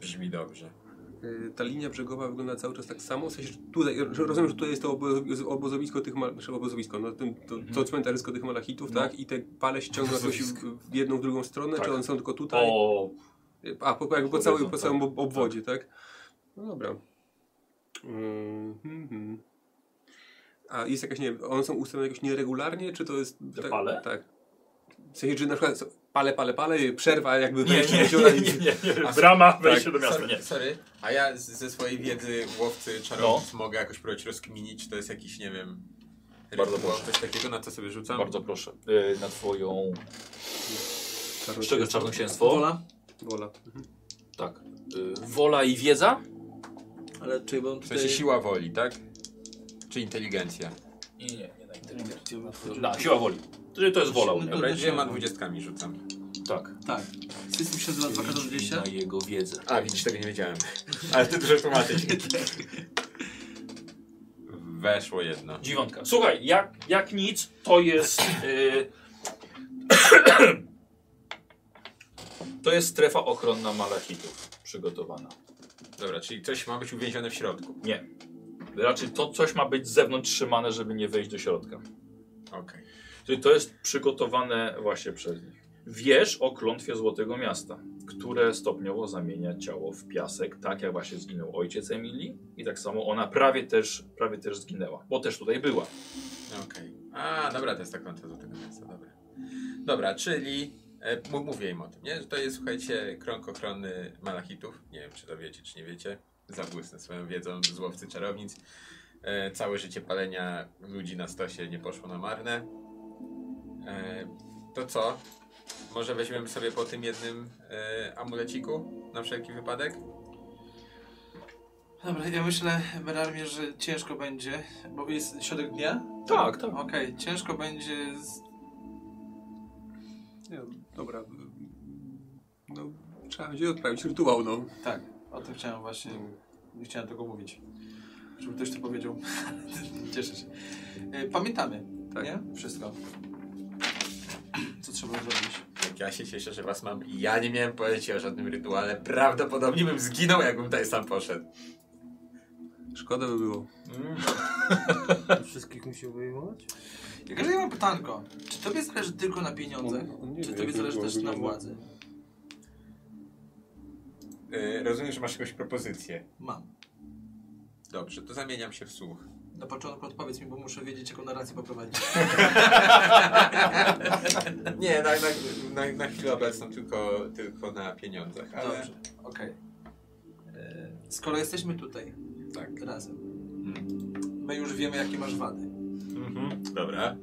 Brzmi dobrze. Y, Ta linia brzegowa wygląda cały czas tak samo. W sensie, że tutaj, że rozumiem, że tutaj jest to obozo- obozowisko tych mal, znaczy obozowisko, no, ten, to, Mhm. to cmentarysko tych malachitów, tak? I te pale się ciągną jakoś w w jedną, w drugą stronę, No. Tak. czy one są tylko tutaj? Y, O, A, po, jakby po, całej, po tak. całym ob- obwodzie, tak? No dobra. Mm, mhm. A jest jakaś, nie wiem, one są ustawione jakoś nieregularnie, czy to jest... Te tak, pale? Tak. W sensie, że na przykład są pale, pale, pale, przerwa jakby... nie, wejście nie, do zieleni. nie, nie, nie, A, Brama, wejście do miasta, nie. Tak. Sorry, sorry, a ja z- ze swojej wiedzy łowcy czarownic mogę jakoś próbować rozkminić, czy to jest jakiś, nie wiem, Bardzo rytuał, proszę. coś takiego, na co sobie rzucam? Bardzo proszę. Y, na twoją... Tak, Z czego czarnoksięstwo? Wola? Wola. Mhm. Tak. Y, wola i wiedza? Ale czy ja bym W tutaj... sensie siła woli, tak? Czy inteligencja? I nie, nie na inteligencję. Na, siła woli. Czyli to jest wola u niego. Dobra, dwiema dwudziestkami rzucam. Tak. Tak. System się nazywa 2 k I 20 na jego wiedzę. A, widzisz, tego nie wiedziałem. Ale ty dużo tłumaczyć. Weszło jedno. Dziewiątka. Słuchaj, jak, jak nic, to jest. y, To jest strefa ochronna malachitów przygotowana. Dobra, czyli coś ma być uwięzione w środku. nie. Raczej to coś ma być z zewnątrz trzymane, żeby nie wejść do środka. Okej. Czyli to jest przygotowane właśnie przez nich. Wiesz o klątwie Złotego Miasta, które stopniowo zamienia ciało w piasek, tak jak właśnie zginął ojciec Emilii i tak samo ona prawie też, prawie też zginęła, bo też tutaj była. Okej. A, dobra, to jest ta konta do tego miasta, dobra. Dobra, czyli e, m- mówię im o tym, nie? Że to jest, słuchajcie, krąg ochrony malachitów. Nie wiem, czy to wiecie, czy nie wiecie. Zabłysnę swoją wiedzą z łowcy czarownic. E, całe życie palenia ludzi na stosie nie poszło na marne. E, to co? Może weźmiemy sobie po tym jednym e, amuleciku na wszelki wypadek? Dobra, ja myślę, Berarmie, że ciężko będzie, bo jest środek dnia? Tak, tak. Okej, ciężko będzie z... Nie, dobra. No, trzeba będzie odprawić rytuał, no. Tak, o tym chciałem właśnie, nie chciałem tego mówić. Żeby ktoś to powiedział. Cieszę się. E, Pamiętamy, Tak. nie? Wszystko. Co trzeba zrobić? Jak ja się cieszę, że was mam. Ja nie miałem pojęcia o żadnym rytuale. Prawdopodobnie bym zginął, jakbym tutaj sam poszedł. Szkoda by było. Wszystkich musi wyjmować? Jak ja mam pytanko, czy tobie zależy tylko na pieniądzach? On- on No, nie czy wie, tobie jak zależy to też na wygląda. władzy? Yy, rozumiem, że masz jakąś propozycję. Mam. Dobrze, to zamieniam się w słuch. Na początku odpowiedz mi, bo muszę wiedzieć, jaką narrację poprowadzić. Nie, na, na, na, na chwilę obecną tylko, tylko na pieniądzach. Ale... Dobrze, okej. E, Skoro jesteśmy tutaj Tak. razem, my już wiemy, jakie masz wady. Mhm. Dobra.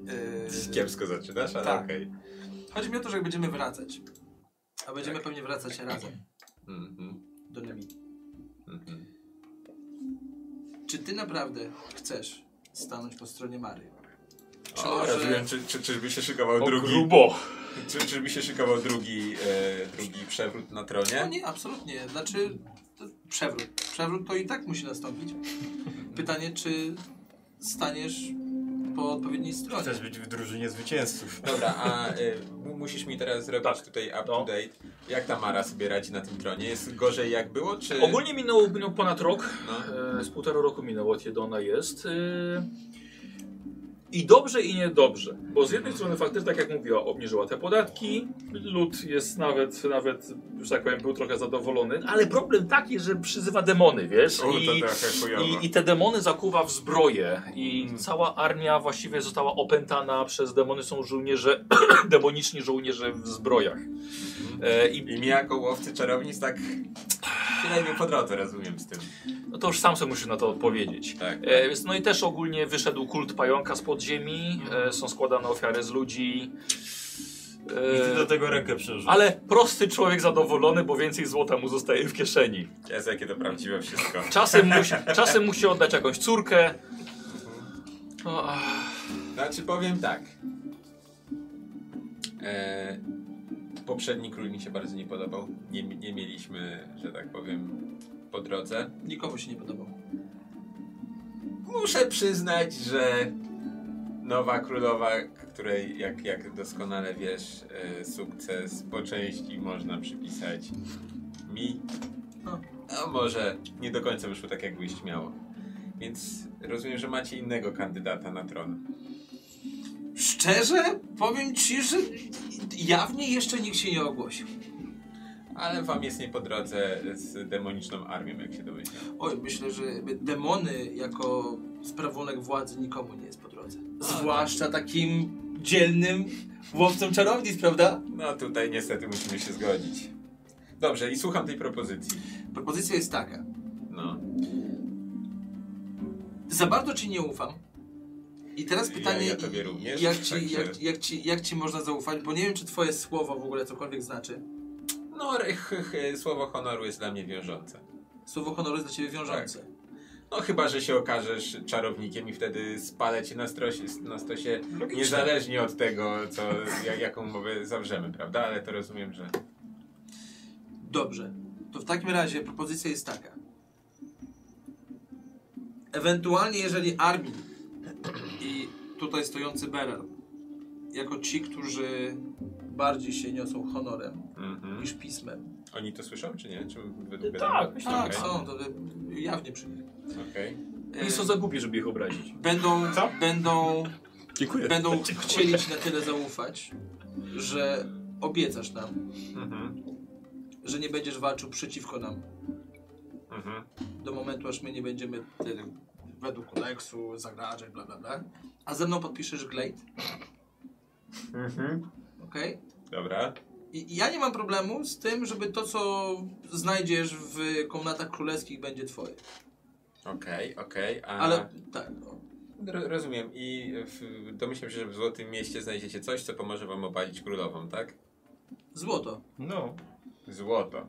E, Kiepsko zaczynasz, ale Tak. okej. Chodzi mi o to, że jak będziemy wracać, a Tak. będziemy pewnie wracać razem Mhm. do Nemi. Mhm. Czy ty naprawdę chcesz stanąć po stronie Mary? Czy O, może- rozumiem, czy, czy, czyżby się szykował O drugi. grubo. Czy, czyżby się szykował drugi, e, drugi przewrót na tronie? No nie, absolutnie. Znaczy, to przewrót. Przewrót to i tak musi nastąpić. Pytanie, czy staniesz po odpowiedniej stronie? Chcesz być w drużynie zwycięzców. Dobra, a y, mu- musisz mi teraz zrobić Tak. tutaj up No. to date. Jak ta Mara sobie radzi na tym tronie? Jest gorzej jak było, czy... Ogólnie minął, minął ponad rok. No. E, Z półtora roku minęło od kiedy ona jest. E, I dobrze i niedobrze. Bo z jednej Mhm. strony faktycznie, tak jak mówiła, obniżyła te podatki. Lud jest nawet, nawet, że tak powiem, był trochę zadowolony. Ale problem taki, że przyzywa demony, wiesz? O, to tak, I, trochę chujowo. i, I te demony zakuwa w zbroję. I Mhm. cała armia właściwie została opętana przez demony. Są żołnierze, demoniczni żołnierze w zbrojach. E, I I mnie jako łowcy czarownic tak... Przynajmniej po drodze rozumiem z tym. No to już sam sobie musisz na to odpowiedzieć. Tak. E, więc- no i też ogólnie wyszedł kult pająka z podziemi, e, są składane ofiary z ludzi. I ty do E, tego rękę przeżył. ale prosty człowiek zadowolony, bo więcej złota mu zostaje w kieszeni. Jest jakie to prawdziwe wszystko. Czasem musi, czasem musi oddać jakąś córkę. O, E. ach, Znaczy powiem tak. E, poprzedni król mi się bardzo nie podobał. Nie, nie mieliśmy, że tak powiem, po drodze. Nikomu się nie podobał. Muszę przyznać, że nowa królowa, której, jak, jak doskonale wiesz, e, sukces po części można przypisać mi. No, a może nie do końca wyszło tak, jak byś miało. Więc rozumiem, że macie innego kandydata na tron. Szczerze, powiem ci, że jawnie jeszcze nikt się nie ogłosił. Ale wam jest nie po drodze z demoniczną armią, jak się domyślam. Oj, myślę, że demony jako sprawunek władzy nikomu nie jest po drodze. Zwłaszcza takim dzielnym łowcom czarownic, prawda? No tutaj niestety musimy się zgodzić. Dobrze, i słucham tej propozycji. Propozycja jest taka. No. Za bardzo ci nie ufam. I teraz Ja- pytanie, ja tobie również, jak, ci, także- jak, jak, ci, jak ci można zaufać, bo nie wiem, czy twoje słowo w ogóle cokolwiek znaczy. No, re- ch- ch- słowo honoru jest dla mnie wiążące. Słowo honoru jest dla ciebie wiążące. No chyba, że się okażesz czarownikiem i wtedy spalę cię na, strosie, na stosie niezależnie od tego, co, ja- jaką umowę zawrzemy, prawda? Ale to rozumiem, że... Dobrze. To w takim razie propozycja jest taka. Ewentualnie, jeżeli Armin i tutaj stojący Beryl, jako ci, którzy bardziej się niosą honorem Mhm. niż pismem. Oni to słyszą, czy nie? Czy według Tak, wiadomo? myślę, tak. Tak, Okej, są, to wy- jawnie przyjmie. okej. Oni są za głupi, żeby ich obrazić. Będą, będą, Dziękuję. będą chcieli ci na tyle zaufać, że obiecasz nam, Mhm. że nie będziesz walczył przeciwko nam. Mhm. do momentu, aż my nie będziemy ty, według kodeksu zagrażać, bla, bla, bla. A ze mną podpiszesz Glade, Mhm. ok? Dobra. I i ja nie mam problemu z tym, żeby to, co znajdziesz w komnatach królewskich, będzie twoje. Okej, okej. a- Ale tak, no. Ro- Rozumiem. I w, domyślam się, że w Złotym Mieście znajdziecie coś, co pomoże wam obalić królową, tak? Złoto. No. Złoto.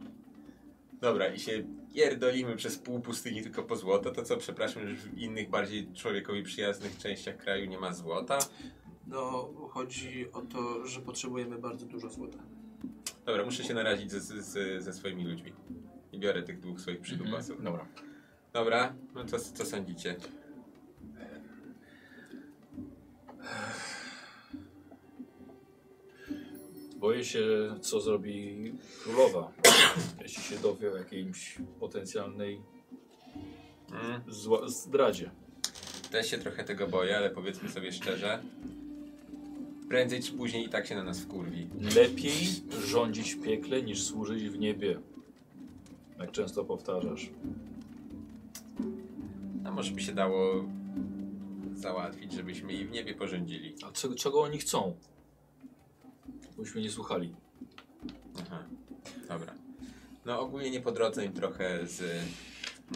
Dobra, i się pierdolimy przez pół pustyni tylko po złoto, to co, przepraszam, że w innych, bardziej człowiekowi przyjaznych częściach kraju nie ma złota? No, chodzi o to, że potrzebujemy bardzo dużo złota. Dobra, muszę się narazić ze, ze- ze, ze swoimi ludźmi. I biorę tych dwóch swoich Mhm. przydupasów. E, Dobra. Dobra, no co, co sądzicie? Boję się, co zrobi królowa, jeśli się dowie o jakiejś potencjalnej Mm. zła- zdradzie. Też się trochę tego boję, ale powiedzmy sobie szczerze, prędzej czy później i tak się na nas wkurwi. Lepiej rządzić w piekle niż służyć w niebie. Jak często powtarzasz. A może by się dało załatwić, żebyśmy i w niebie porządzili. A co, czego oni chcą? Byśmy nie słuchali. Aha, dobra. No ogólnie nie po drodze im trochę z,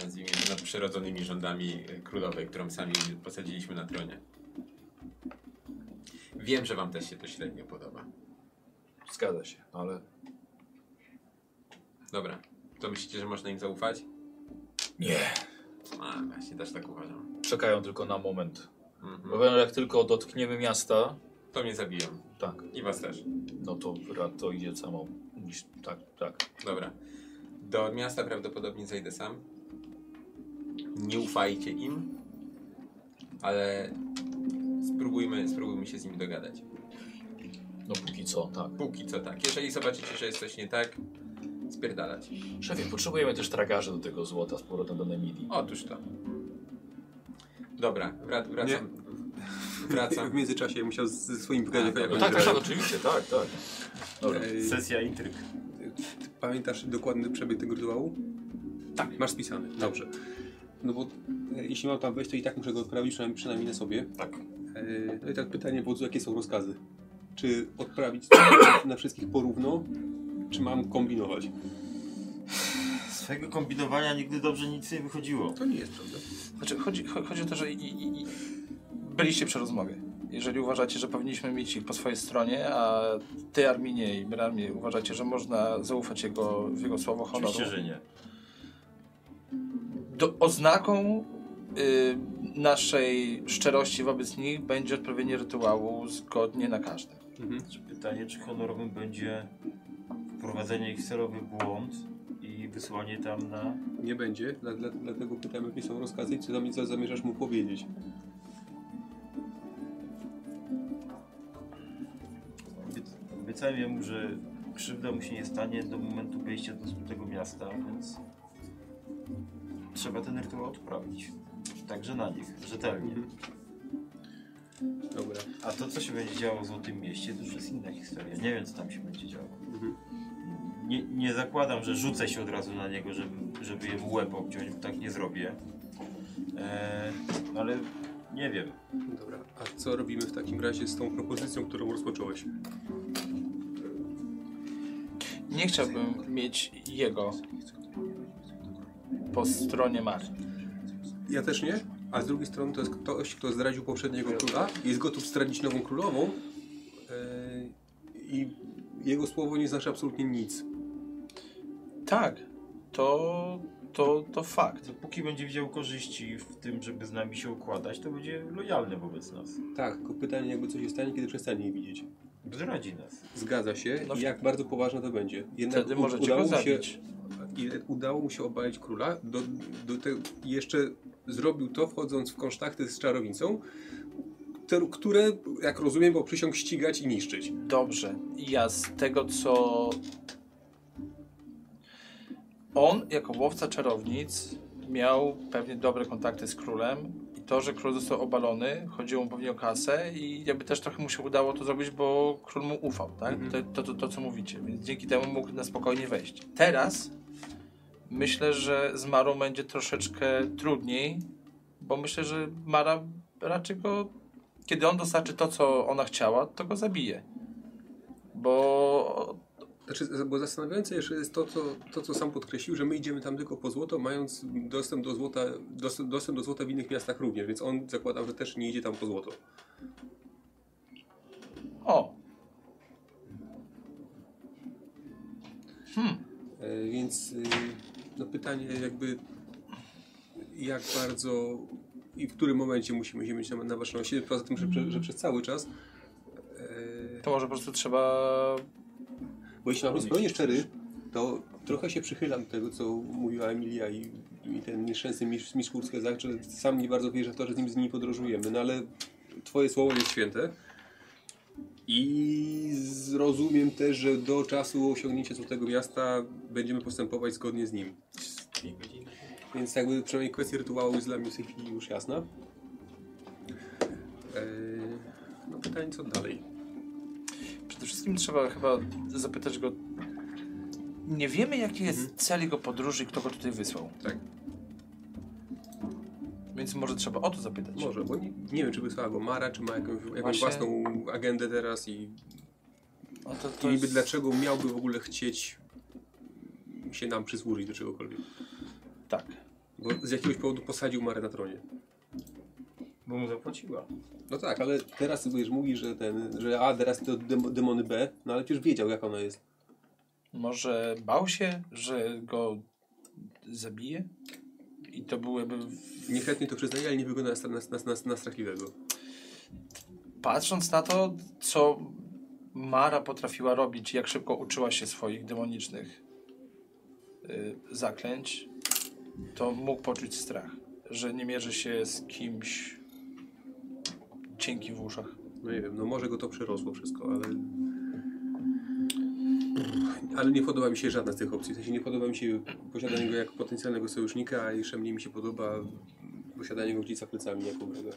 nazwijmy to, nadprzyrodzonymi rządami e, królowej, którą sami posadziliśmy na tronie. Wiem, że wam też się to średnio podoba. Zgadza się, no ale Dobra, to myślicie, że można im zaufać? nie. A, właśnie, też tak uważam. Czekają tylko na moment. Mhm. Bo jak tylko dotkniemy miasta, To mnie zabiją. tak, I was też. no to rad to idzie samo. Niż, tak, tak. Dobra. Do miasta prawdopodobnie zejdę sam. Nie ufajcie im, ale spróbujmy, spróbujmy się z nimi dogadać. No póki co, tak. Póki co tak. Jeżeli zobaczycie, że jest coś nie tak, spierdalać. Szefie, potrzebujemy też tragarzy do tego złota z powrotem do Nemidii. Otóż to. Dobra, wrac wracam. W Wracam. międzyczasie musiał z- ze swoim wygadać. dobra. No tak, tak, tak, oczywiście, tak, tak. Dobra. Sesja intryg. E, Pamiętasz dokładny przebieg tego rytuału? Tak. Masz spisany, dobrze. No bo e, jeśli mam tam wejść, to i tak muszę go odprawić przynajmniej, przynajmniej na sobie. Tak. E, no i tak pytanie wodzu, jakie są rozkazy? Czy odprawić na wszystkich porówno, czy mam kombinować? Swojego kombinowania nigdy dobrze nic nie wychodziło. To nie jest prawda. Znaczy, chodzi, cho- chodzi o to, że i, i, i byliście przy rozmowie. Jeżeli uważacie, że powinniśmy mieć ich po swojej stronie, a ty Arminie i Bramie uważacie, że można zaufać jego, w jego słowo honoru, Oczywiście, że nie. do, oznaką y, naszej szczerości wobec nich będzie odpowiednie rytuału zgodnie na każdy. Mhm. Czy Pytanie, czy honorowym będzie wprowadzenie ich w celowy błąd i wysłanie tam na... Nie będzie, dla, dla, dlatego pytam, jakie są rozkazy i co tam za- zamierzasz mu powiedzieć. Obiecałem mu, że krzywda mu się nie stanie do momentu wejścia do tego miasta, więc trzeba ten rytuał odprawić. Także na nich, rzetelnie. Mhm. Dobra. A to, co się będzie działo w Złotym Mieście, to już jest inna historia. Nie wiem, co tam się będzie działo. Mhm. Nie, nie zakładam, że rzucę się od razu na niego, żeby, żeby jemu łeb obciąć, bo tak nie zrobię. Eee, ale nie wiem. Dobra. A co robimy w takim razie z tą propozycją, którą rozpocząłeś? Nie chciałbym mieć jego po stronie Marii. Ja też nie. A z drugiej strony to jest ktoś, kto zdradził poprzedniego króla i jest gotów zdradzić nową królową. Yy, I jego słowo nie znaczy absolutnie nic. Tak, to, to, to fakt. Dopóki będzie widział korzyści w tym, żeby z nami się układać, to będzie lojalny wobec nas. Tak, tylko pytanie jakby co się stanie, kiedy przestanie je widzieć. Zdradzi nas. Zgadza się. No I jak bardzo poważne to będzie. Jednak Wtedy u- możecie udało go mu się- zabić. I udało mu się obalić króla. Do, do te, jeszcze zrobił to, wchodząc w kontakty z czarownicą, te, które, jak rozumiem, bo przysiąg ścigać i niszczyć. Dobrze. Ja z tego, co. On, jako łowca czarownic, miał pewnie dobre kontakty z królem. I to, że król został obalony, chodziło mu pewnie o kasę, i jakby też trochę mu się udało to zrobić, bo król mu ufał, tak? To, to, to, to, co mówicie. Więc dzięki temu mógł na spokojnie wejść. Teraz myślę, że z Marą będzie troszeczkę trudniej, bo myślę, że Mara raczej go kiedy on dostarczy to, co ona chciała, to go zabije. Bo Znaczy, bo zastanawiające jeszcze jest to co, to, co sam podkreślił, że my idziemy tam tylko po złoto, mając dostęp do złota, dostęp, dostęp do złota w innych miastach również, więc on zakładam, że też nie idzie tam po złoto. o, E, Więc y, no pytanie jakby jak bardzo i w którym momencie musimy się mieć na, na baczności, poza tym, że, prze- że przez cały czas e, to może po prostu trzeba. bo jeśli mam być zupełnie szczery, to trochę się przychylam do tego, co mówiła Emilia i, i ten nieszczęsny mistrz, mistrz Kurskezak, że sam nie bardzo wierzę w to, że z nim, z nim podróżujemy, no ale twoje słowo jest święte i zrozumiem też, że do czasu osiągnięcia Złotego Miasta będziemy postępować zgodnie z nim. Więc jakby przynajmniej kwestia rytuału jest dla mnie w tej chwili już jasna. Eee, no pytanie co dalej? Przede wszystkim trzeba chyba zapytać go. Nie wiemy, jaki jest cel jego podróży i kto go tutaj wysłał. Tak. Więc może trzeba o to zapytać. Może, bo nie, nie wiem, czy wysłała go Mara, czy ma jakąś, jakąś Właśnie- własną agendę teraz i, O, to, i to niby jest... dlaczego miałby w ogóle chcieć się nam przysłużyć do czegokolwiek. Tak. Bo z jakiegoś powodu posadził Marę na tronie. Bo mu zapłaciła. No tak, ale teraz wiesz, mówi, że ten, że A, teraz to dem, demony B, no ale przecież wiedział, jak ona jest. Może bał się, że go zabije? I to byłyby. Niechętnie to przyznaje, ale nie wygląda na, na, na, na strachliwego. patrząc na to, co Mara potrafiła robić, jak szybko uczyła się swoich demonicznych y, zaklęć, to mógł poczuć strach, że nie mierzy się z kimś cienki w uszach. No nie wiem, no może go to przerosło wszystko, ale... Ale nie podoba mi się żadna z tych opcji. W sensie nie podoba mi się posiadanie go jako potencjalnego sojusznika, a jeszcze mniej mi się podoba posiadanie go gdzieś za plecami jako wroga.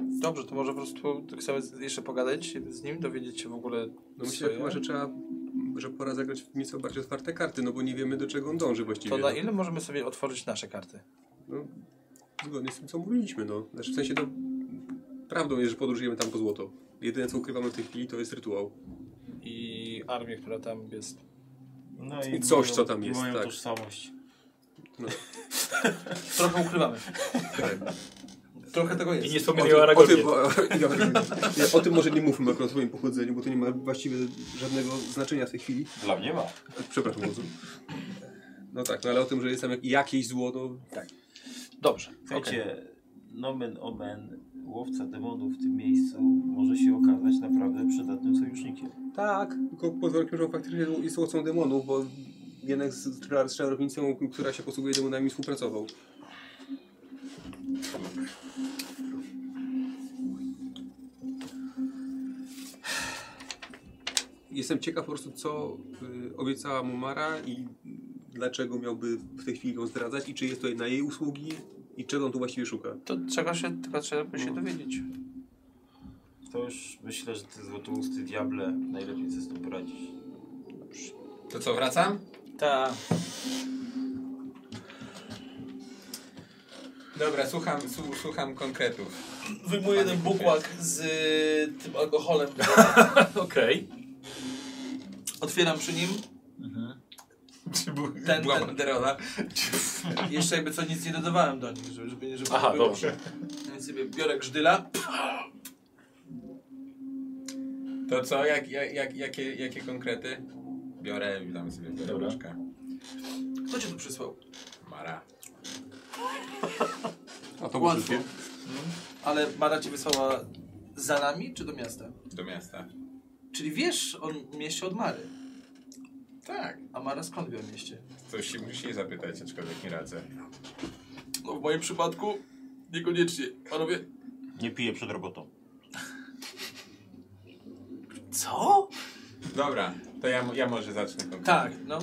Dobrze, to może po prostu chcemy jeszcze pogadać z nim, dowiedzieć się w ogóle. No myślę, że swoje. chyba, że trzeba, że pora zagrać w nieco bardziej otwarte karty, no bo nie wiemy do czego on dąży właściwie. To na no. ile możemy sobie otworzyć nasze karty? No, zgodnie z tym, co mówiliśmy, no. Znaczy, w sensie to prawdą jest, że podróżujemy tam po złoto. Jedyne, co ukrywamy w tej chwili, to jest rytuał. I armię, która tam jest. No I coś, co tam jest, Moją tak. tożsamość. Trochę ukrywamy. Trochę tego I jest. nie O wspomnieli o tym, o, tym, Aragonie. o, o, o tym może nie mówmy akurat o swoim pochodzeniu, bo to nie ma właściwie żadnego znaczenia w tej chwili. Dla mnie ma. Przepraszam bardzo. No tak, no ale o tym, że jest tam jak- jakieś zło, no... Dobrze. okej. Słuchajcie, nomen omen, łowca demonów w tym miejscu może się okazać naprawdę przydatnym sojusznikiem. Tak, tylko pod warunkiem, że on faktycznie jest łowcą demonów, bo jednak z, z czarownicą, która się posługuje demonami, współpracował. jestem ciekaw po prostu, co y, obiecała mu Mara i dlaczego miałby w tej chwili ją zdradzać i czy jest tutaj na jej usługi i czego on tu właściwie szuka. To trzeba się, tylko trzeba by się dowiedzieć. To już myślę, że ty złotousty diable najlepiej sobie z tym poradzisz. To co, wracam? Ta. Dobra, słucham, słu- słucham konkretów. Wyjmuję ten bukłak z y, tym alkoholem. Okej. Otwieram przy nim. Czy był, Ten, była ten. banderola? Jeszcze jakby co nic nie dodawałem do nich, żeby, żeby, żeby Aha, było. dobrze. Więc sobie biorę grzdyla. To co, jak, jak, jak, jakie, jakie konkrety? Biorę, witam sobie biorę Dobra. łyżkę. Kto cię tu przysłał? Mara. A to Łatwo. Mhm. Ale Mara cię wysłała za nami czy do miasta? Do miasta. Czyli wiesz o mieście od Mary. Tak. A Mara skąd wie o mieście? Coś się musi zapytać, aczkolwiek nie radzę. No w moim przypadku niekoniecznie. Panowie. Nie piję przed robotą. Co? Dobra, to ja, ja może zacznę konkretnie. Tak, no.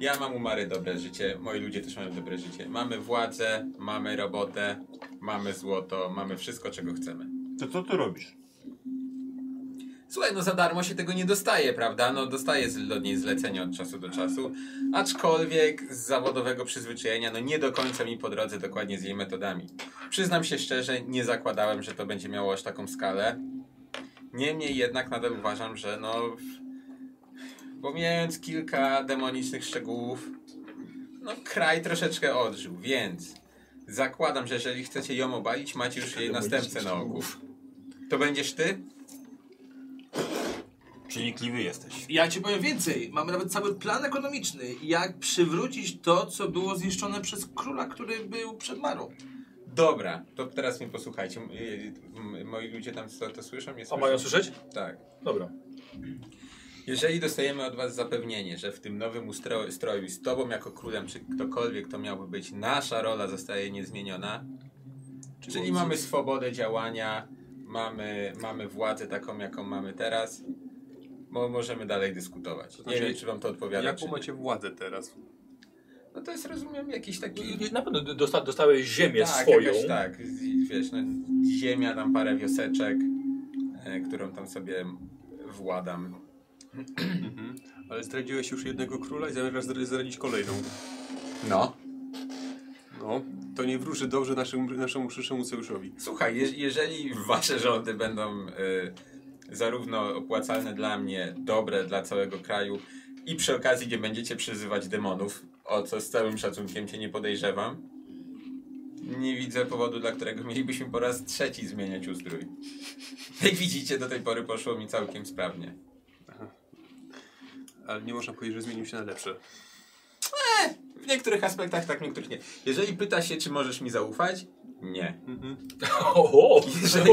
Ja mam u Mary dobre życie, moi ludzie też mają dobre życie. Mamy władzę, mamy robotę, mamy złoto, mamy wszystko, czego chcemy. To co ty robisz? Słuchaj, no za darmo się tego nie dostaje, prawda? No dostaję z- od niej zlecenie od czasu do czasu, aczkolwiek z zawodowego przyzwyczajenia, no nie do końca mi po drodze dokładnie z jej metodami. Przyznam się szczerze, nie zakładałem, że to będzie miało aż taką skalę. Niemniej jednak nadal uważam, że no... w- Pomijając kilka demonicznych szczegółów, no kraj troszeczkę odżył, więc zakładam, że jeżeli chcecie ją obalić, macie już jej następcę na oku. To będziesz ty? Przenikliwy jesteś. Ja ci powiem więcej. Mamy nawet cały plan ekonomiczny, jak przywrócić to, co było zniszczone przez króla, który był przed Marą. Dobra, to teraz mnie posłuchajcie. M- y- m- Moi ludzie tam to, to słyszą? Nie A słyszą? mają słyszeć? Tak. Dobra. Jeżeli dostajemy od was zapewnienie, że w tym nowym ustro- stroju z tobą jako królem, czy ktokolwiek to miałby być, nasza rola zostaje niezmieniona, czyli mamy swobodę działania, mamy, mamy władzę taką, jaką mamy teraz, mo- możemy dalej dyskutować. Nie znaczy, wiem, czy wam to tak odpowiada, czy Jaką nie. macie władzę teraz? No to jest, rozumiem, jakiś taki... I- i Na pewno dosta, dostałeś ziemię tak, swoją. Jakoś, tak, Z- wiesz, no, ziemia, tam parę wioseczek, e, którą tam sobie władam. Ale zdradziłeś już jednego króla i zamierzasz zdra- zdradzić kolejną. No. No, to nie wróży dobrze naszemu, naszemu przyszłemu sojuszowi. Słuchaj, je, jeżeli wasze rządy będą e, zarówno opłacalne dla mnie, dobre dla całego kraju i przy okazji nie będziecie przyzywać demonów, o co z całym szacunkiem cię nie podejrzewam, nie widzę powodu, dla którego mielibyśmy po raz trzeci zmieniać ustrój. Jak widzicie, do tej pory poszło mi całkiem sprawnie. Ale nie można powiedzieć, że zmienił się na lepsze. W niektórych aspektach tak, w niektórych nie. Jeżeli pyta się, czy możesz mi zaufać, nie. Oho! Jeżeli,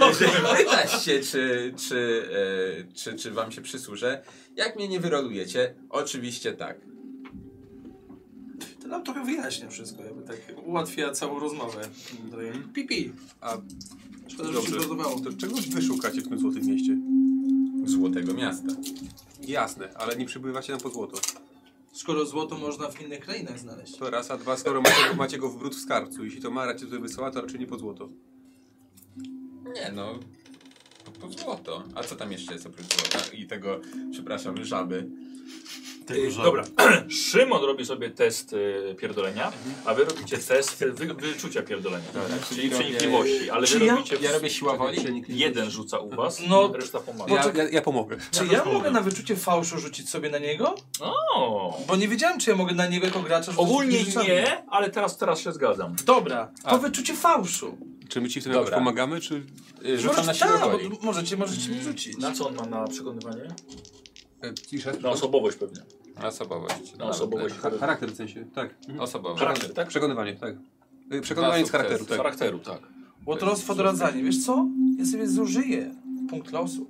jeżeli pyta się, czy, czy, e, czy, czy wam się przysłużę, jak mnie nie wyrolujecie, oczywiście tak. To nam trochę wyjaśnia wszystko, jakby tak ułatwia całą rozmowę. Pipi. A Szkoda, że się zgodowało. to czego wy szukacie w tym złotym mieście? Złotego miasta. Jasne, ale nie przybywacie nam po złoto. Skoro złoto można w innych krainach znaleźć. To raz, a dwa, skoro macie, macie go w brud w skarbcu. Jeśli to Mara cię tutaj wysyła, to raczej nie po złoto. Nie no, po, po złoto. A co tam jeszcze jest oprócz złota i tego, przepraszam, żaby? Tego, że... Dobra, Szymon robi sobie test y, pierdolenia, a wy robicie test y, wy, wyczucia pierdolenia, czyli robię- przenikliwości, ale Czy wy ja- robicie... Ja robię siła woli. Jeden rzuca u was, No. reszta pomaga. Ja, ja, ja pomogę. Czy ja mogę na wyczucie fałszu rzucić sobie na niego? O. Bo nie wiedziałem, czy ja mogę na niego jako gracza rzucić No. Ogólnie rzucami. nie, ale teraz, teraz się zgadzam. Dobra, to wyczucie fałszu. Czy my ci w tym Dobra. jakoś pomagamy, czy... Y, Rzucam na siłę tak, woli. bo możecie, możecie mi rzucić. Na co on ma na przekonywanie? Cisza? Na osobowość pewnie. Osobowość. Na osobowość. Charakter w sensie, tak. Osobowość. Charakter, tak? Przekonywanie, tak. Y, Przekonywanie z Dwa charakteru, tak. sukcesy. Charakteru, tak. Łotrostwo doradzanie. Wiesz co? Ja sobie zużyję punkt losu.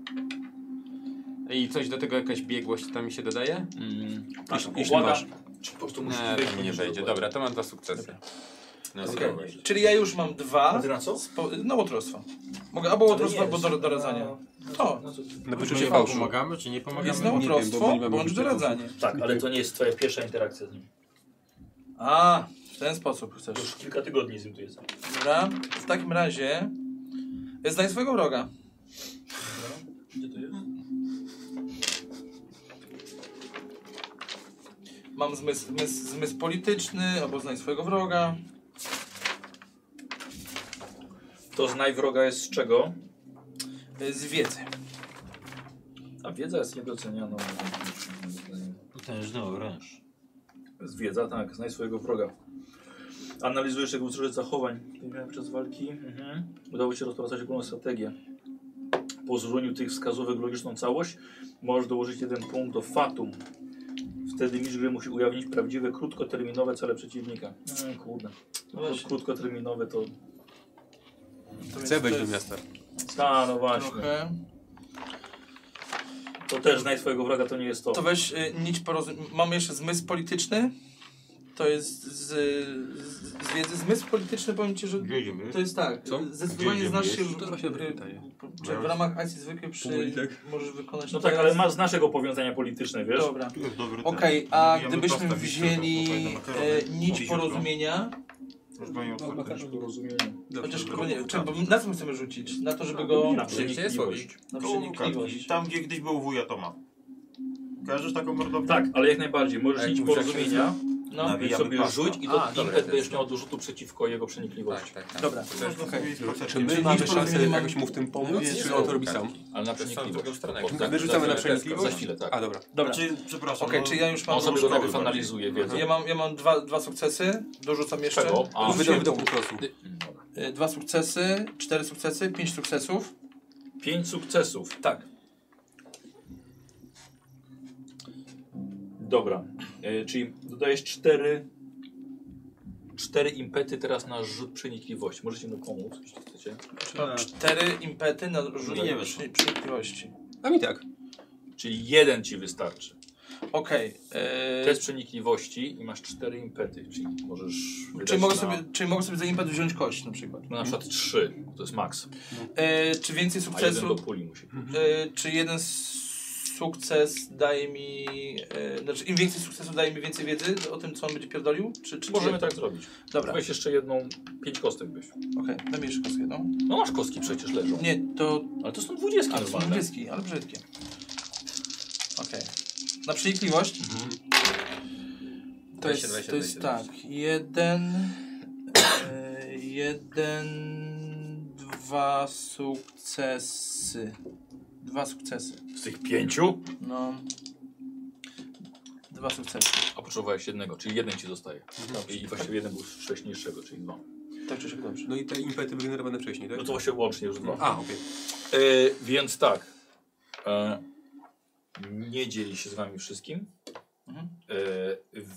I coś do tego jakaś biegłość tam mi się dodaje? Mm. Jeśli- jeśli masz. Czy po prostu Nie, to mi nie wejdzie. Dobra, to mam dwa sukcesy. No, Okej. okay. Czyli ja już mam dwa. na co? Spo... No łotrostwo. Mogę albo łotrostwo, albo do, doradzanie. To. Na Czy wyczucie fałszu. No pomagamy, czy nie pomagamy? Jest na nie wiem, bo łotrostwo, nie mamy bądź wyczucia doradzanie. Tak, ale to nie jest twoja pierwsza interakcja z nim. A, w ten sposób chcesz. Już kilka tygodni z nim tu jest. Dobra. W takim razie znaj swojego wroga. Gdzie to jest? Mam zmysł, zmysł, zmysł polityczny, albo znaj swojego wroga. To znaj wroga jest z czego? Y, Z wiedzy. A wiedza jest niedocenianą. no, Potężny oręż. Z wiedza, tak, znaj swojego wroga. Analizujesz jego wzorze zachowań wymienianych przez walki. Mhm. Udało ci się rozpracać ogólną strategię. Po złożeniu tych wskazówek logiczną całość możesz dołożyć jeden punkt do fatum. Wtedy mistrz gry musi ujawnić prawdziwe, krótkoterminowe cele przeciwnika. Mm, kurde. No, to krótkoterminowe to... Chcę wejść do miasta. Ta, no właśnie. Trochę. To też znaj swojego wroga, to nie jest to. To weź y, nić porozumienia. Mam jeszcze zmysł polityczny. To jest z, z, z wiedzy. Zmysł polityczny powiem ci, że Wiedzimy. to jest tak. Co? Zdecydowanie Gdzie znasz się idziemy? w, To właśnie dobre w- pytanie. czy w ramach akcji zwykłej przy, Powoli, tak. możesz wykonać. No tak, teraz- ale masz naszego powiązania polityczne, wiesz? Dobra. Tu jest dobry ten. Okej, a Jemy gdybyśmy pasta wzięli wiśniowa, bo fajne e, makarony. nić no. Dziś jutro. porozumienia, Już mają otwarte. chociaż dobra. kurwa nie, czy, bo na co my chcemy rzucić? Na to, żeby go Na Przyjście przenikliwość. słowić. na Koło Łukawki, przenikliwość. Tam, gdzie kiedyś był wuja Toma. Kojarzysz taką mordowkę? Tak, ale jak najbardziej. Możesz Tak, mieć mówisz, jak porozumienia, No, Nawijamy więc sobie pasta. rzuć i to A, dobra, impet to będziesz jest- miał do rzutu przeciwko jego przenikliwości. Tak, tak, tak. Dobra. Można sobie spacerkiem. Czy my Czyli mamy nic szansę porozumienia jakoś mu w tym pomóc, Nie, czy nie, on to tak. robi sam? Ale na To jest w drugą przenikliwość. stronę. O, tak, Wyrzucamy za- na za- przenikliwość? Za chwilę, tak. A, dobra. dobra. Znaczy, przepraszam. Okej, no, czy ja już mam On sobie tak to zrzucone. najpierw analizuje wiedzę. Ja mam, ja mam dwa, dwa sukcesy, dorzucam jeszcze. Czego? A, A, Dorzuciłem wydał, wydał po prostu. y, Dwa sukcesy, cztery sukcesy, pięć sukcesów. Pięć sukcesów. Tak. Dobra. E, czyli dodajesz cztery... Cztery impety teraz na rzut przenikliwości. Możecie mu pomóc, jeśli chcecie. Cztery impety na No nie różne przy- przenikliwości. A mi tak. Czyli jeden ci wystarczy. Okej. y, Test przenikliwości i masz cztery impety, czyli możesz wydać Czy mogę, na, sobie, czy mogę sobie za impet wziąć kość na przykład? na przykład trzy, to jest maks, E, czy więcej a jeden do sukcesów? puli musi. E, czy jeden s- sukces daje mi. E, znaczy, im więcej sukcesów daje mi więcej wiedzy o tym, co on będzie pierdolił? Czy, czy, Możemy czy... tak zrobić. Dobra, okej, Weź jeszcze jedną, pięć kostek byś. dam jeszcze kostkę. No. No masz kostki przecież leżą. Nie, to. Ale to są dwudziestki Ale są normalne. brzydkie, ale brzydkie. Okej. Na przenikliwość? To jest, 20, to jest 20, tak. 20. Jeden. E, jeden. Dwa sukcesy. Dwa sukcesy. Z tych pięciu? No. Dwa sukcesy. A potrzebowałeś jednego, czyli jeden ci zostaje. I właściwie jeden był z wcześniejszego, czyli dwa. Tak czy siak dobrze. No i te impety wygenerowane wcześniej, tak? No to właśnie łącznie już dwa. A, okej. E, więc tak. E, nie dzieli się z wami wszystkim. Mhm. E,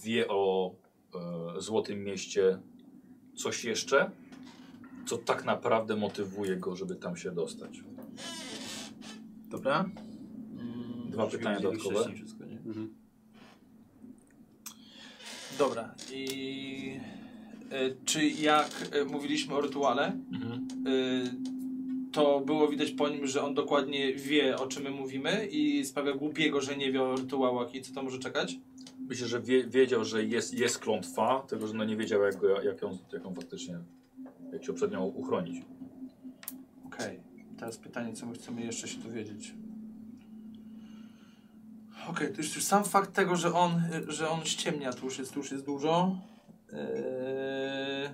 wie o e, Złotym Mieście coś jeszcze, co tak naprawdę motywuje go, żeby tam się dostać. Dobra. Mm, Dwa pytania dodatkowe. Mhm. Dobra. I e, czy jak e, mówiliśmy o rytuale, Mhm. e, to było widać po nim, że on dokładnie wie o czym my mówimy i sprawia głupiego, że nie wie o rytuałach i co to może czekać? Myślę, że wie, wiedział, że jest, jest klątwa, tylko że no nie wiedział, jak, go- jak, ją, jak ją faktycznie, jak się przed nią uchronić. Okej. Teraz pytanie, co my chcemy jeszcze się dowiedzieć. Okej, to już, już sam fakt tego, że on, że on ściemnia, to już jest, to już jest dużo. Eee,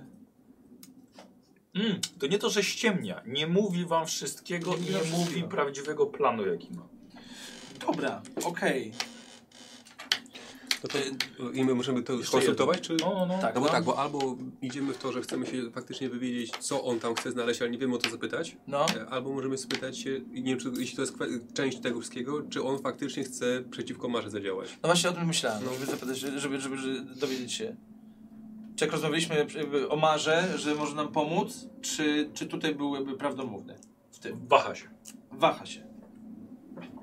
Mm, to nie to, że ściemnia. Nie mówi wam wszystkiego i nie mówi prawdziwego planu, jaki ma. dobra, okej. No to I my możemy to skonsultować, czy... No, no, no. Tak, No bo no. tak, bo albo idziemy w to, że chcemy się faktycznie wywiedzieć, co on tam chce znaleźć, ale nie wiemy o co zapytać, No. e, albo możemy spytać się, i nie wiem, czy, jeśli to jest kwe- część tego wszystkiego, czy on faktycznie chce przeciwko Marze zadziałać. No właśnie o tym myślałem, żeby zapytać, żeby, żeby, żeby dowiedzieć się. Czy jak rozmawialiśmy jakby o Marze, że może nam pomóc, czy, czy tutaj był jakby prawdomówny w tym? Waha się. Waha się.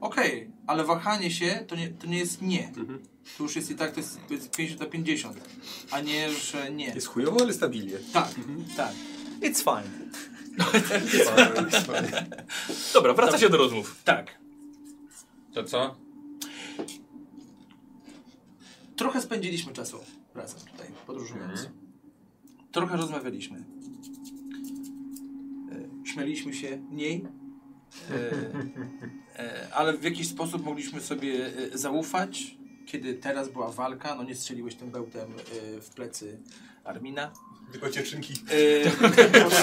Okej, Okej, ale wahanie się to nie, to nie jest nie. To już jest i tak, to jest, to jest 50 na 50. A nie, że nie. Jest chujowo, ale stabilnie. Tak, tak. It's fine. Dobra, wracacie do rozmów. Tak. To co? Trochę spędziliśmy czasu razem tutaj, podróżując. Trochę rozmawialiśmy. E, Śmialiśmy się mniej, e, e, ale w jakiś sposób mogliśmy sobie e, zaufać. Kiedy teraz była walka, no nie strzeliłeś tym bełtem e, w plecy Armina. Tylko cieczynki. E, podczas,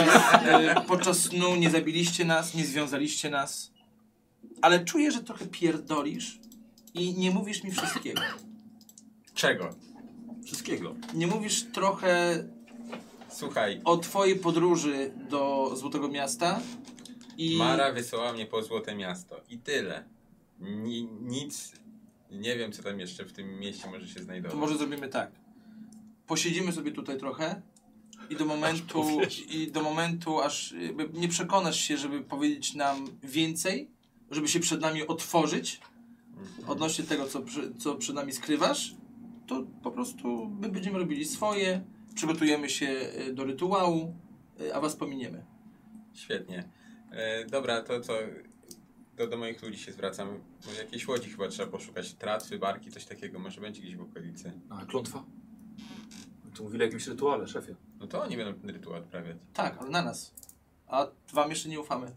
e, podczas snu nie zabiliście nas, nie związaliście nas, ale czuję, że trochę pierdolisz i nie mówisz mi wszystkiego. Czego? Wszystkiego. Nie mówisz trochę Słuchaj, o twojej podróży do Złotego Miasta i... Mara wysłała mnie po Złote Miasto i tyle. Ni, nic, nie wiem co tam jeszcze w tym mieście może się To znajdować. może zrobimy tak. Posiedzimy sobie tutaj trochę i do momentu, i do momentu aż jakby nie przekonasz się, żeby powiedzieć nam więcej, żeby się przed nami otworzyć odnośnie tego, co, przy- co przed nami skrywasz, to po prostu my będziemy robili swoje, przygotujemy się y, do rytuału, y, a was pominiemy. Świetnie. E, dobra, to co? Do, do moich ludzi się zwracam. Może jakiejś łodzi chyba trzeba poszukać. Tracy, barki, coś takiego. Może będzie gdzieś w okolicy. A, klątwa? Tu mówili o jakimś rytuale, szefie. No to oni będą ten rytuał odprawiać. Tak, ale na nas. A wam jeszcze nie ufamy.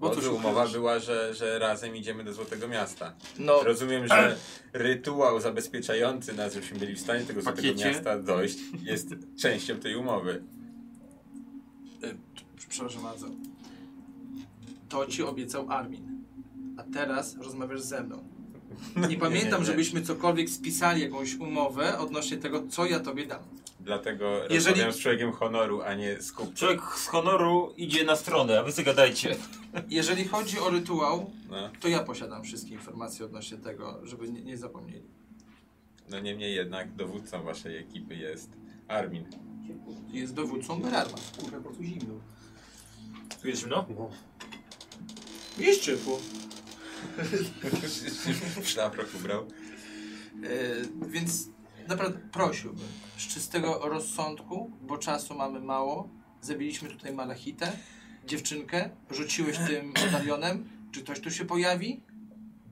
Bo cóż, tu umowa była, że, że razem idziemy do Złotego Miasta. No, Rozumiem, że rytuał zabezpieczający nas, żebyśmy byli w stanie tego Złotego Pakiecie. Miasta dojść, jest częścią tej umowy. Przepraszam bardzo. To ci obiecał Armin. A teraz rozmawiasz ze mną. Nie pamiętam, nie. żebyśmy cokolwiek spisali jakąś umowę odnośnie tego, co ja tobie dam. Dlatego Jeżeli- rozmawiam z człowiekiem honoru, a nie z kupcem. Człowiek z honoru idzie na stronę, a wy sobie gadajcie. Jeżeli chodzi o rytuał, No, to ja posiadam wszystkie informacje odnośnie tego, żeby nie, nie zapomnieli. no niemniej jednak dowódcą waszej ekipy jest Armin. Jest dowódcą Berarma. Kurwa, po prostu zimno. Jest no? zimno? Jest ciepło. W szlafrok ubrał. Yy, więc naprawdę prosiłbym z czystego rozsądku, bo czasu mamy mało. Zabiliśmy tutaj Malachitę, dziewczynkę, rzuciłeś tym medalionem. Czy ktoś tu się pojawi?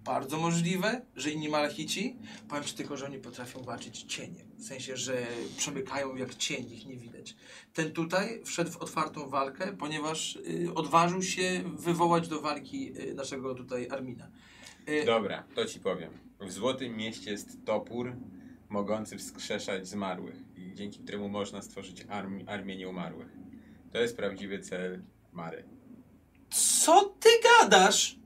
Bardzo możliwe, że inni Malachici. Powiem ci tylko, że oni potrafią walczyć cieniem. W sensie, że przemykają jak cień, ich nie widać. Ten tutaj wszedł w otwartą walkę, ponieważ y, odważył się wywołać do walki y, naszego tutaj Armina. Y, Dobra, to ci powiem. W Złotym Mieście jest topór mogący wskrzeszać zmarłych, i dzięki któremu można stworzyć armi- armię nieumarłych. To jest prawdziwy cel Mary. Co ty gadasz?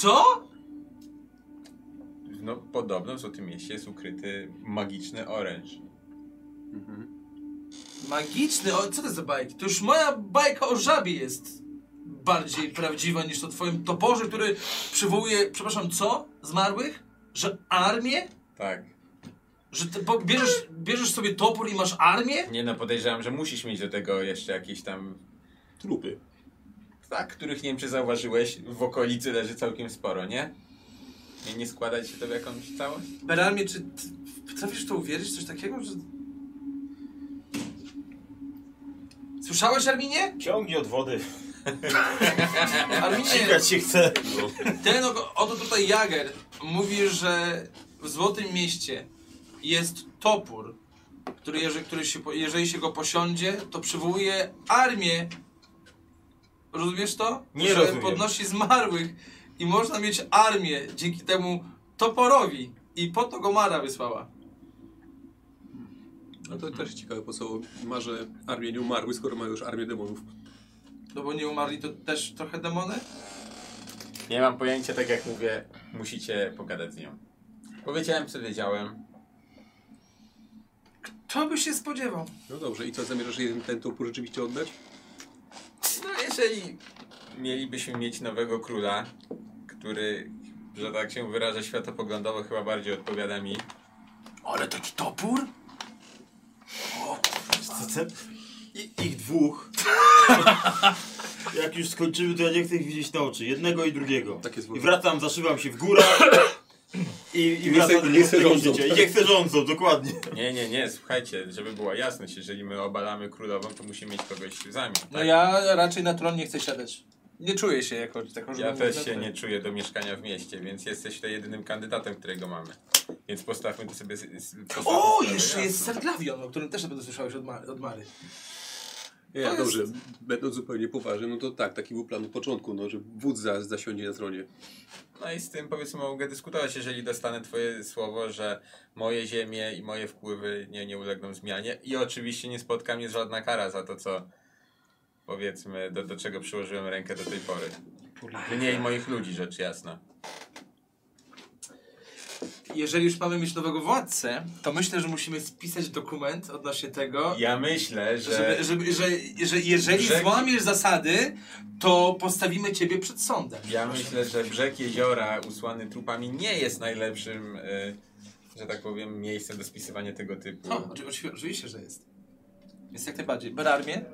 Co? No, podobno w Złotym Mieście jest ukryty magiczny oręż. Magiczny, o, co to za bajki? To już moja bajka o żabie jest bardziej prawdziwa niż to twoim toporze, który przywołuje, przepraszam, co? Zmarłych? Że armię? Tak. Że ty, bo bierzesz, bierzesz sobie topór i masz armię? Nie no, podejrzewam, że musisz mieć do tego jeszcze jakieś tam... Trupy. Tak, których nie wiem, czy zauważyłeś, w okolicy leży całkiem sporo, nie? Nie, nie składać się to w jakąś całość? Berarmie, czy ty potrafisz w to uwierzyć? Coś takiego, że... Słyszałeś, Arminie? Ciągnij od wody. Arminie, Cikać się chce. Ten o- oto tutaj Jager mówi, że w Złotym Mieście jest topór, który, jeżeli, który się, po- jeżeli się go posiądzie, to przywołuje armię. Rozumiesz to? Nie że rozumiem. podnosi zmarłych i można mieć armię dzięki temu toporowi. I po to go Mara wysłała. No to też ciekawe, po co marzę armię nie umarły, skoro ma już armię demonów. No bo nie umarli to też trochę demony? Nie mam pojęcia, tak jak mówię, musicie pogadać z nią. Powiedziałem, co wiedziałem. To by się spodziewał. No dobrze, i co, zamierzasz jeden ten topór rzeczywiście oddać? No, jeżeli mielibyśmy mieć nowego króla, który, że tak się wyrażę, światopoglądowo chyba bardziej odpowiada mi. Ale taki topór? Co ty? I, ich dwóch. Jak już skończymy, to ja nie chcę ich widzieć na oczy. Jednego i drugiego. Tak jest w I ogóle. wracam, zaszywam się w górę. I, i nie wracam chcę- do nie chcę tego rządzą. życia. I nie chcę rządzą, dokładnie. Nie, nie, nie, słuchajcie, żeby była jasność, jeżeli my obalamy królową, to musimy mieć kogoś w zamian. Tak? No ja raczej na tron nie chcę siadać. Nie czuję się jako taką, żeby Ja był też na się tronie. nie czuję do mieszkania w mieście, więc jesteś tutaj jedynym kandydatem, którego mamy. Więc postawmy to sobie. z- z- postawmy O, sprawę jeszcze jest jasno. Serglavion, o którym też na pewno słyszałeś od, Mar- od Mary. Ja, dobrze, będąc zupełnie poważnym, no to tak, taki był plan od początku, no, że wódz za, zasiądzie na tronie. No i z tym powiedzmy mogę dyskutować, jeżeli dostanę Twoje słowo, że moje ziemie i moje wpływy nie, nie ulegną zmianie. I oczywiście nie spotka mnie żadna kara za to, co powiedzmy, do, do czego przyłożyłem rękę do tej pory. Mnie i moich ludzi, rzecz jasna. Jeżeli już mamy mieć nowego władcę, to myślę, że musimy spisać dokument odnośnie tego, Ja myślę, że. żeby, żeby, że, że jeżeli Że- złamiesz zasady, to postawimy ciebie przed sądem. Ja myślę, że brzeg jeziora usłany trupami nie jest najlepszym, y, że tak powiem, miejscem do spisywania tego typu. O, oczy- oczy- oczywiście, że jest. Jest jak najbardziej. Berarmie,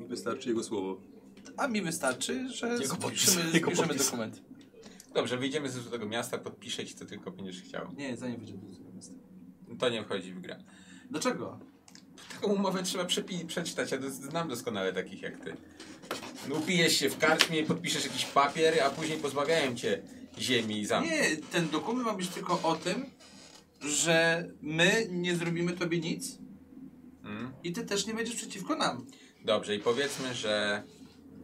Mi wystarczy jego słowo. a mi wystarczy, że Jego podpis, spiszemy, jego spiszemy podpis. dokument. Dobrze, wyjdziemy z tego miasta, podpiszę ci co tylko będziesz chciał. Nie, zanim wyjdziemy do dokumentu. To nie wchodzi w grę. Dlaczego? Taką umowę trzeba przepi- przeczytać, ja do- znam doskonale takich jak ty. No, upijesz się w karczmie, podpiszesz jakiś papier, a później pozbawiają cię ziemi i zamku. Nie, ten dokument ma być tylko o tym, że my nie zrobimy tobie nic Mm. i ty też nie będziesz przeciwko nam. Dobrze, i powiedzmy, że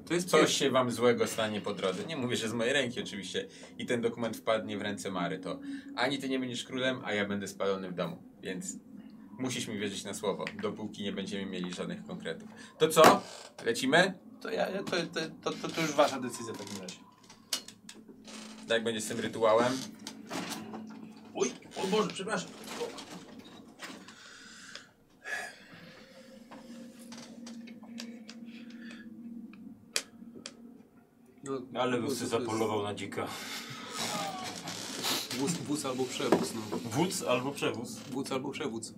To jest coś się wam złego stanie po drodze. Nie mówię, że z mojej ręki oczywiście. I ten dokument wpadnie w ręce Mary, to ani ty nie będziesz królem, a ja będę spalony w domu. Więc musisz mi wierzyć na słowo, dopóki nie będziemy mieli żadnych konkretów. To co? Lecimy? To, ja, ja- to, to, to, to, to już wasza decyzja w takim razie. Tak będzie z tym rytuałem. Oj, o Boże, przepraszam. No, Ale wódz łysy to jest zapolował na dzika. Wóz, wóz albo przewóz, no. Wódz albo przewóz. Wódz albo przewódz.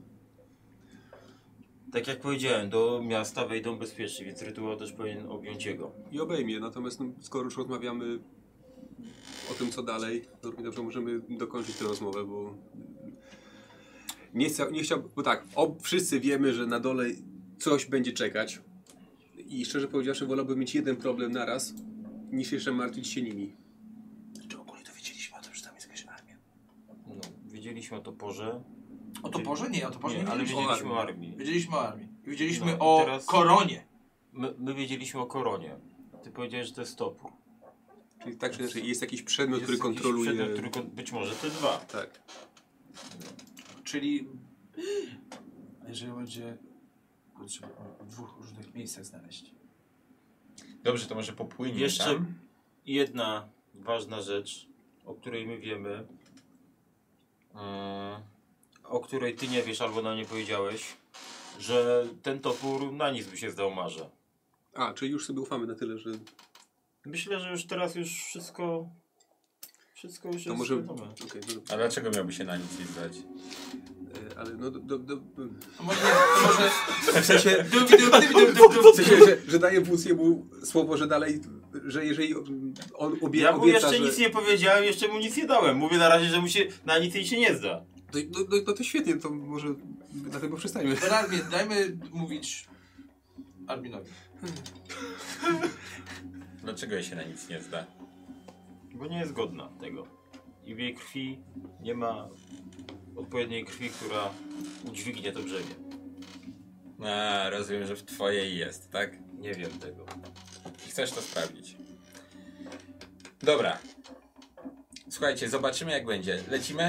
Tak jak powiedziałem, do miasta wejdą bezpiecznie, więc rytuał też powinien objąć jego. I obejmie, natomiast no, skoro już rozmawiamy o tym, co dalej, to równie dobrze możemy dokończyć tę rozmowę, bo... Nie, chcę, nie chciałbym, bo tak, ob, wszyscy wiemy, że na dole coś będzie czekać i szczerze powiedziawszy wolałbym mieć jeden problem naraz, niż jeszcze martwić się nimi. Czy ogólnie to wiedzieliśmy o tym, że tam jest jakaś armia? No, wiedzieliśmy o toporze, O toporze? Nie, o toporze nie, nie, ale wiedzieliśmy o wiedzieliśmy armii. o armii. Wiedzieliśmy o armii. I Wiedzieliśmy No, i o teraz- koronie. My, my wiedzieliśmy o koronie. Ty powiedziałeś, że to jest topór. Czyli tak czy inaczej jest jakiś przedmiot, który Jest jakiś kontroluje... przedmiot, który kon- być może te dwa. Tak. Czyli... A Jeżeli będzie... go Trzeba w dwóch różnych miejscach znaleźć. Dobrze, to może popłynie Jeszcze tam. jedna ważna rzecz, o której my wiemy, e, o której ty nie wiesz albo nam nie powiedziałeś, że ten topór na nic by się zdał marze. A, czyli już sobie ufamy na tyle, że Myślę, że już teraz już wszystko, wszystko już to jest może... wiadome. Okej, no dobra. A dlaczego miałby się na nic nie zdać? E, ale no... Do, do, do, To może... To może... w sensie... Dum, dum, dum, dum, dum, dum. W sensie, że, że daje wóz jemu słowo, że dalej, że jeżeli on obie, Ja mu obieca, jeszcze że... nic nie powiedziałem, jeszcze mu nic nie dałem. Mówię na razie, że mu się na nic jej się nie zda. No, no, no, no to świetnie, to może na tym poprzestańmy. Dobra, Armię, dajmy mówić Arminowi. Dlaczego jej się na nic nie zda? Bo nie jest godna tego. I w jej krwi nie ma odpowiedniej krwi, która udźwignie to brzemię. A, rozumiem, że w twojej jest, tak? Nie wiem tego. I Chcesz to sprawdzić. Dobra. Słuchajcie, zobaczymy jak będzie. Lecimy?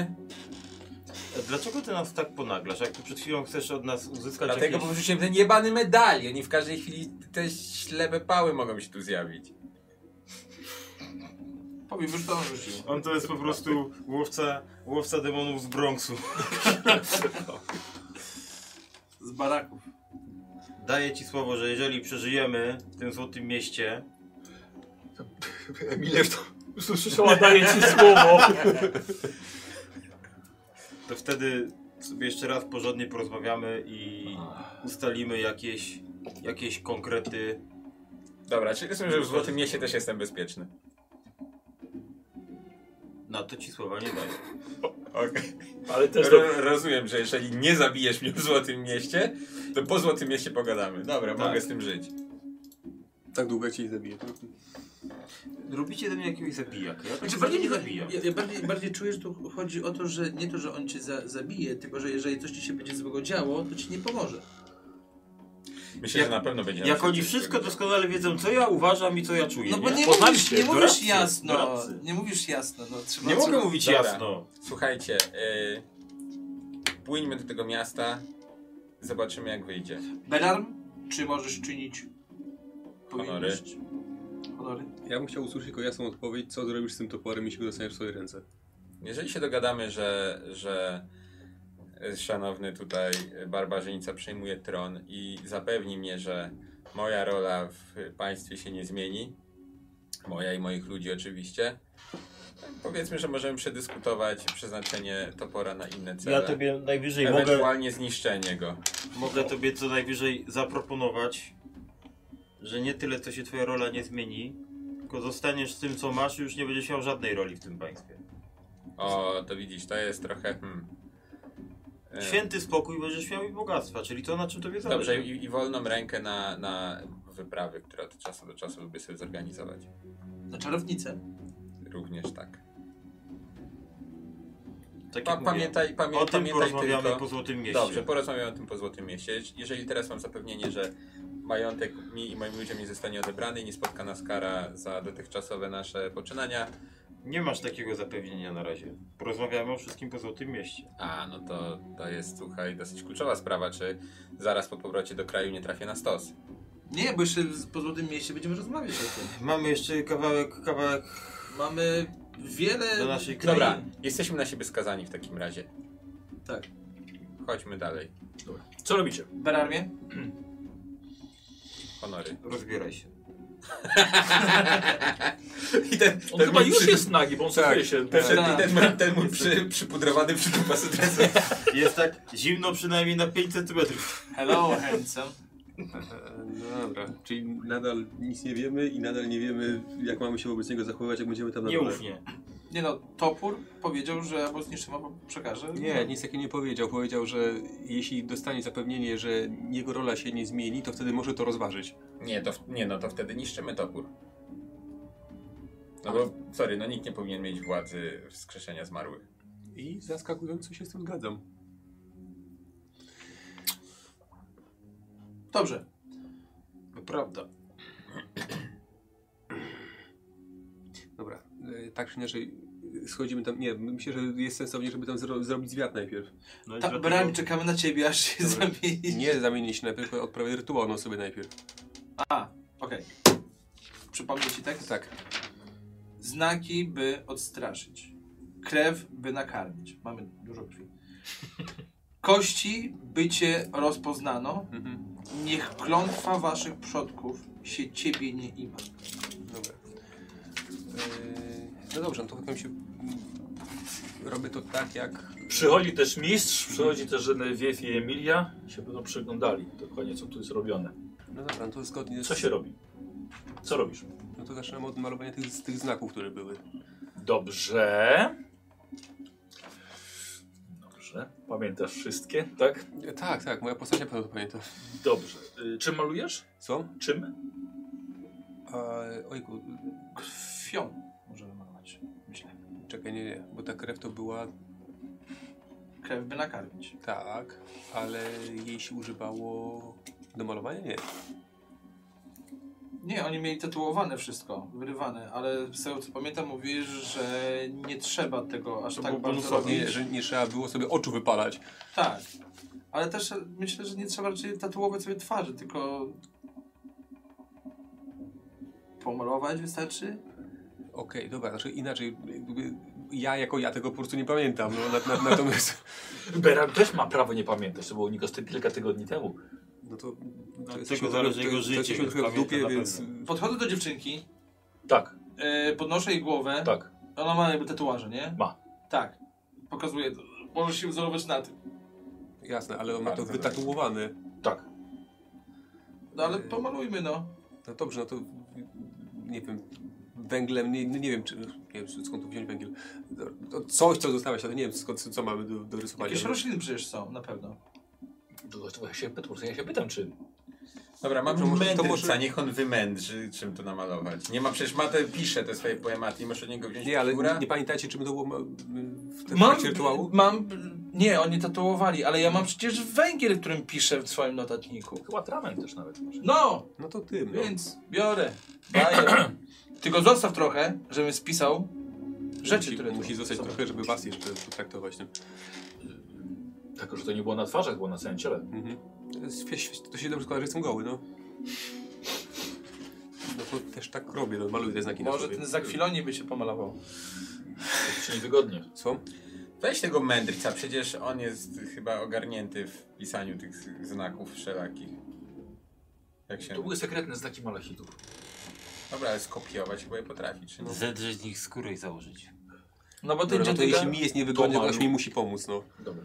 E, Dlaczego ty nas tak ponaglasz? Jak ty przed chwilą chcesz od nas uzyskać Dlatego, bo jakieś... wrzuciłem ten jebany medalion i w każdej chwili te ślepe pały mogą się tu zjawić. Powiem już to on rzucił. On to jest po prostu łowca, łowca demonów z Bronxu. Z baraków. Daję ci słowo, że jeżeli przeżyjemy w tym złotym mieście, Emilew to usłyszała, daje ci słowo. to wtedy sobie jeszcze raz porządnie porozmawiamy i ustalimy jakieś, jakieś konkrety Dobra, czyli rozumiem, że w Złotym Mieście też jestem bezpieczny. No to ci słowa nie daję. Okej. Ale też do... Ro- Rozumiem, że jeżeli nie zabijesz mnie w Złotym Mieście, to po Złotym Mieście pogadamy. Dobra, Tak. mogę z tym żyć. Tak długo jak cię nie zabiję. Robicie ze mnie jakiegoś zabijaka. Ja tak Znaczy, bardziej bardziej, nie zabijam. ja, ja bardziej, bardziej czuję, że tu chodzi o to, że nie to, że on cię za, zabije, tylko że jeżeli coś ci się będzie złego działo, to ci nie pomoże. Myślę, że na pewno będzie Jak nam oni się wszystko doskonale wiedzą, co ja uważam i co ja czuję. No bo nie mówisz, Poznaliście, nie mówisz doradcy, jasno. doradcy. Nie mówisz jasno, no trzeba nie co- mogę mówić Dobra. jasno. Słuchajcie, y, płyńmy do tego miasta, zobaczymy jak wyjdzie. Belarm, czy możesz czynić Honory. powinność? Honory. Ja bym chciał usłyszeć tylko jasną odpowiedź, co zrobisz z tym toporem, jeśli go dostaniesz w swoje ręce. Jeżeli się dogadamy, że, że y, szanowny tutaj barbarzyńca przejmuje tron i zapewni mnie, że moja rola w państwie się nie zmieni, moja i moich ludzi oczywiście, powiedzmy, że możemy przedyskutować przeznaczenie topora na inne cele. Ja tobie najwyżej mogę, Ewentualnie zniszczenie go. mogę tobie co najwyżej zaproponować, że nie tyle co się twoja rola nie zmieni, tylko zostaniesz z tym co masz i już nie będziesz miał żadnej roli w tym państwie. O, to widzisz, to jest trochę. Hmm. E, Święty spokój będziesz miał i bogactwa, czyli to na czym tobie zależy. Dobrze, i, i wolną rękę na, na wyprawy, które od czasu do czasu lubię sobie zorganizować. Na czarownicę. Również tak. tak Pa, jak mówię, pamiętaj, pamię, o tym pamiętaj porozmawiamy tylko. po Złotym Mieście. Dobrze, porozmawiamy o tym po Złotym Mieście. Jeż- Jeżeli teraz mam zapewnienie, że majątek mi i moim ludziom nie zostanie odebrany i nie spotka nas kara za dotychczasowe nasze poczynania, Nie masz takiego zapewnienia na razie. Porozmawiamy o wszystkim po Złotym Mieście. a no to, to jest, słuchaj, dosyć kluczowa sprawa, czy zaraz po powrocie do kraju nie trafię na stos. Nie, bo jeszcze z- po złotym mieście będziemy rozmawiać o tym. Mamy jeszcze kawałek, kawałek Mamy wiele... do naszej kraj- Dobra, jesteśmy na siebie skazani w takim razie. Tak. Chodźmy dalej. Co robicie? Berarmie? Honory. Rozbieraj się. I ten, On chyba już jest nagi, bo on Tak. sobie się... Ten, Tak. ten, ten, ten mój przy, przypudrowany przytupasy dresem. Jest tak zimno przynajmniej na 5 centymetrów. Hello, handsome. E, No dobra. Czyli nadal nic nie wiemy i nadal nie wiemy, jak mamy się wobec niego zachowywać, jak będziemy tam na Nie dole. mów nie. Nie no, Topór powiedział, że albo zniszczy mapę, przekaże. Nie, nic takiego nie powiedział. Powiedział, że jeśli dostanie zapewnienie, że jego rola się nie zmieni, to wtedy może to rozważyć. Nie, to, w- nie, no to wtedy niszczymy topór. No bo, sorry, no nikt nie powinien mieć władzy wskrzeszenia zmarłych. I zaskakująco się z tym zgadzam. Dobrze. Prawda. Dobra, e, tak czy inaczej e, schodzimy tam. Nie, myślę, że jest sensownie, żeby tam zro zrobić zwiat najpierw. No i Ta, dlatego- Berarmie, czekamy na ciebie, aż się Dobra. zamieni. Nie zamienić się najpierw, tylko odprawię rytuał no sobie najpierw. A, okej. Przypomnę ci tekst. Tak. Znaki, by odstraszyć. Krew, by nakarmić. Mamy dużo krwi. Kości, by cię rozpoznano. Mhm. Niech klątwa waszych przodków się ciebie nie ima. Dobra. E, no dobrze, no to potem się. Robię to tak jak. Przychodzi też mistrz, przychodzi też Genevieve i Emilia. Się będą przyglądali dokładnie, co tu jest robione. No dobra, no to zgodnie z. Co się robi? Co robisz? No to zaczynamy od malowania tych, z tych znaków, które były. Dobrze. Dobrze. Pamiętasz wszystkie, tak? E, Tak, tak, moja postać na pewno to pamięta. Dobrze. Y, Czym malujesz? Co? Czym? E, ojku, Krwią możemy malować, myślę. czekaj, nie, nie, bo ta krew to była Krew, by nakarmić. tak, ale jej się używało do malowania? Nie. Nie, oni mieli tatuowane wszystko, wyrywane, ale z tego co pamiętam mówisz, że nie trzeba tego aż To tak było bardzo bonusowe. robić. Nie, że nie trzeba było sobie oczu wypalać. Tak. Ale też e, myślę, że nie trzeba raczej tatuować sobie twarzy, tylko pomalować wystarczy. Okej, dobra, znaczy inaczej, jakby ja jako ja tego po prostu nie pamiętam, no, na, na, natomiast Beram też ma prawo nie pamiętać. To było Nikos ty- kilka tygodni temu. no to, Od to tego zależy jego to, życie, to jesteśmy więc trochę w dupie, pamięta na więc Podchodzę do dziewczynki, Tak, yy, podnoszę jej głowę. tak. Ona ma jakby tatuaże, nie? Ma. Tak. Pokazuję. to. Możesz się wzorować na tym. jasne, ale on ma to Bardzo wytatuowane. Tak. No ale Yy. pomalujmy no. No dobrze, no to nie wiem, węglem, nie, nie wiem, czy, nie wiem skąd tu wziąć węgiel. To coś, co dostałeś, ale nie wiem skąd, co mamy do, do rysowania. Jakieś rośliny przecież są, na pewno. To, to ja, się, pytam- ja się pytam, czy Dobra, mam Dobrze, może- to mędrca, może- niech on wymędrzy, czym to namalować. Nie ma, przecież Matę pisze te swoje poematy i masz od niego wziąć Nie, ale pióra. nie, nie pamiętacie, czym to było ma- w tym Mam, trakcie rytuału? mam, nie, oni tatuowali, ale ja mam przecież węgiel, którym piszę w swoim notatniku. chyba tramen też nawet może. No, No to tym, no. więc biorę, daję. Tylko zostaw trochę, żebym spisał rzeczy, musi, które tu musi zostać są. trochę, żeby was jeszcze no. potraktować tym. Tylko, Tak, że to nie było na twarzach, było na całym ciele. Mhm. To jest świeć- To się dobrze składa, że jestem goły, no. No to też tak robię, no maluję te znaki na Może sobie. ten za chwilę by się pomalował. To się niewygodnie. Co? Weź tego mędrca, przecież on jest chyba ogarnięty w pisaniu tych z- znaków wszelakich. Jak się... To były sekretne znaki malachitów. Dobra, ale skopiować chyba je potrafi, czy nie? Zedrzeć z nich skórę i założyć. No bo ty Dobra, no to dziadek, jeśli mi jest niewygodnie, to Pomalu. ktoś mi musi pomóc, no. Dobra,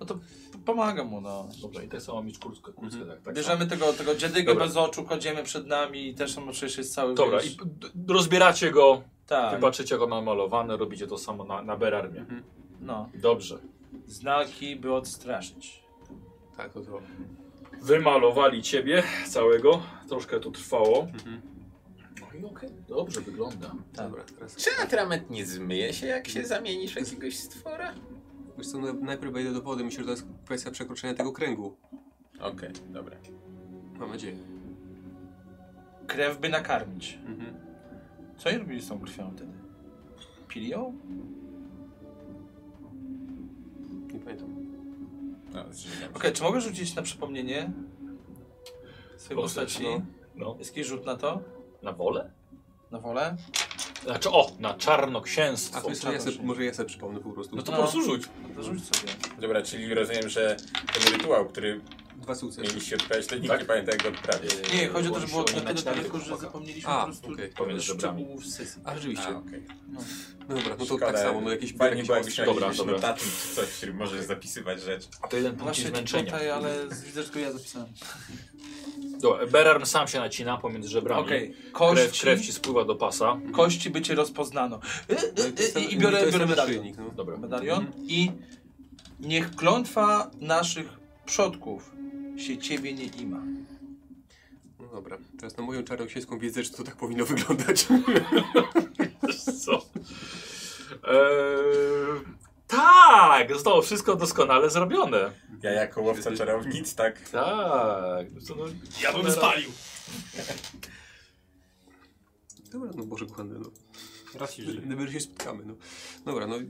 no to p- pomagam mu, no. dobra. I tak samo mieć kurtkę, kurtkę tak, tak. Bierzemy tego, tego dziadyga Dobra. bez oczu, kładziemy przed nami i też on przecież jest cały Tak. Dobra, wiesz, i p- d- rozbieracie go, Tak, wybaczycie go namalowane, robicie to samo na, na Berarmie. no. Dobrze. Znaki, by odstraszyć. Tak, to to. Wymalowali ciebie całego. Troszkę to trwało. Mhm. No i okej, dobrze wygląda. Tak. Dobra, teraz. Czy atrament nie zmyje się, jak się zamienisz w jakiegoś stwora? Wiesz co, no, najpierw wejdę do wody, myślę, że to jest kwestia przekroczenia tego kręgu. Okej, dobra. Mam nadzieję. Krew by nakarmić. Mhm. Co oni robili z tą krwią wtedy? Pili ją? Nie pamiętam. No, zrzygam Okej, czy mogę rzucić na przypomnienie swojej Proszę, postaci? no. No. Jest jakiś rzut na to? Na wolę? Na wolę? Znaczy, o, na A Tak, czarnoksięstwo. to jeszcze ja czarno se, się- może ja sobie przypomnę po prostu. No to No. po prostu rzuć. No to rzuć sobie. Dobra, czyli rozumiem, że ten rytuał, który Dwa sukcesy. mieliście odprawić, to nikt Tak. nie pamięta jak go odprawić. E, Nie, chodzi o to, że było Łączy się odkryte nacinamy tylko, że chłopaka. zapomnieliśmy A, po prostu okej. Pomiędzy żebrami. szczegółów sesji. A A, rzeczywiście. okej. No dobra, no to Szkoda, tak samo, no jakieś Fajnie jakieś było, jakbyś ostre- miał Dobra, jakiś dobra. notatnik czy coś, w którym możesz zapisywać rzeczy. Mhm. A to jeden punkt Właśnie zmęczenia. tutaj, ale z- widzę, że tylko ja zapisałem. Dobra, Berarm sam się nacina pomiędzy żebrami. Okej, Krew, kości, krew ci spływa do pasa. kości by cię rozpoznano. Y, No y, to jest y, ten- y, I biorę, to jest biorę ten medalion. naszyjnik, no. Dobra. medalion i niech klątwa naszych przodków się ciebie nie ima. No dobra, teraz na moją czarnoksięską wiedzę, że to tak powinno wyglądać. Co? Eee, tak, zostało wszystko doskonale zrobione. Ja jako łowca Mhm. czarownic, tak? Tak. Co, no, Ja bym spalił. Dobra, no Boże kochany, no. Raz się żyje. Gdyby się spotkamy, no. Dobra, no i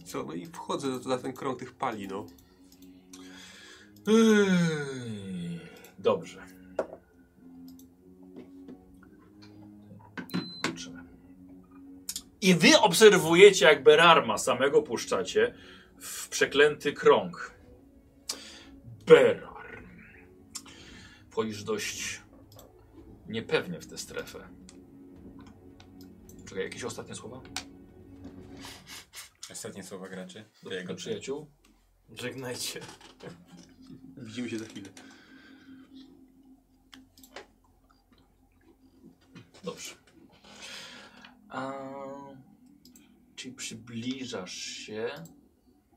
i co, no i wchodzę na- na ten krąg tych pali, no. Yyy, Dobrze. I wy obserwujecie, jak Berarma samego puszczacie w przeklęty krąg. Berarm. Wchodzisz dość niepewnie w tę strefę. Czekaj, jakieś ostatnie słowa Ostatnie słowa graczy. do, Do jego do przyjaciół. przyjaciół? Żegnajcie. Widzimy się za chwilę. Dobrze. A, czyli przybliżasz się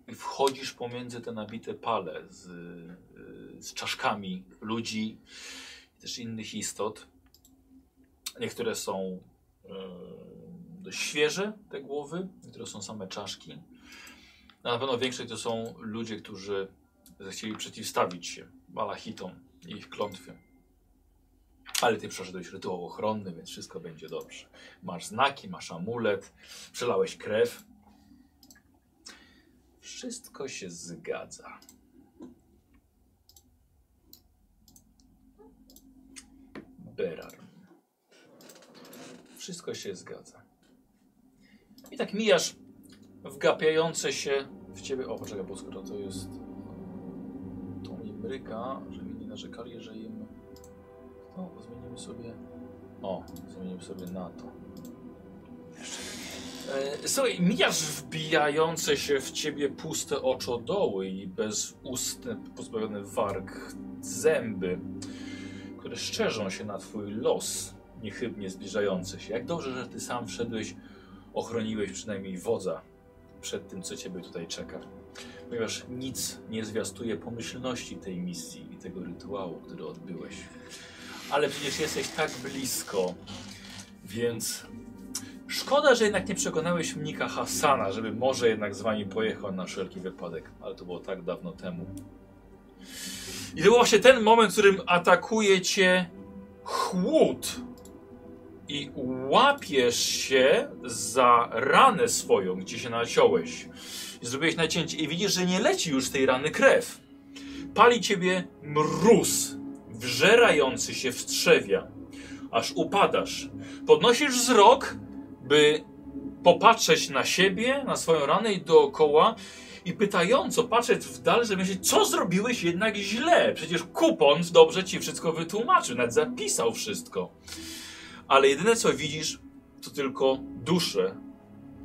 i wchodzisz pomiędzy te nabite pale z, y, z czaszkami ludzi i też innych istot. Niektóre są y, dość świeże, te głowy, niektóre są same czaszki. A No, na pewno większość to są ludzie, którzy zechcieli przeciwstawić się malachitom i ich klątwie. Ale ty przeszedłeś rytuał ochronny, więc wszystko będzie dobrze. Masz znaki, masz amulet, przelałeś krew. Wszystko się zgadza. Berar. Wszystko się zgadza. I tak mijasz wgapiające się w ciebie. O, poczekaj, bo skoro to jest. To imryka, żeby nie narzekali, że im. No, zmienimy sobie. O, zmienimy sobie na to. E, Słuchaj, mijasz wbijające się w ciebie puste oczodoły i bezustne, pozbawione warg zęby, które szczerzą się na twój los, niechybnie zbliżający się. Jak dobrze, że ty sam wszedłeś, ochroniłeś przynajmniej wodza przed tym, co ciebie tutaj czeka. Ponieważ nic nie zwiastuje pomyślności tej misji i tego rytuału, który odbyłeś. Ale przecież jesteś tak blisko, więc szkoda, że jednak nie przekonałeś mnika Hassana, żeby może jednak z wami pojechał na wszelki wypadek. Ale to było tak dawno temu. I to był właśnie ten moment, w którym atakuje cię chłód i łapiesz się za ranę swoją, gdzie się naciąłeś. I zrobiłeś nacięcie i widzisz, że nie leci już z tej rany krew. Pali ciebie mróz, wżerający się wstrzewia, aż upadasz. Podnosisz wzrok, by popatrzeć na siebie, na swoją ranę i dookoła i pytająco patrzeć w dal, żeby myśleć, co zrobiłeś jednak źle. Przecież kupon dobrze ci wszystko wytłumaczył, nawet zapisał wszystko. Ale jedyne co widzisz, to tylko dusze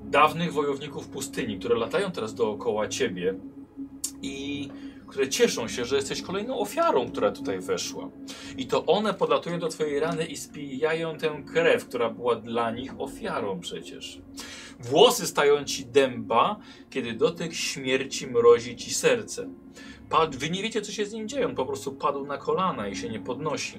dawnych wojowników pustyni, które latają teraz dookoła ciebie i które cieszą się, że jesteś kolejną ofiarą, która tutaj weszła. I to one podlatują do twojej rany i spijają tę krew, która była dla nich ofiarą przecież. Włosy stają ci dęba, kiedy dotyk śmierci mrozi ci serce. Pad, wy nie wiecie, co się z nim dzieje. On po prostu padł na kolana i się nie podnosi.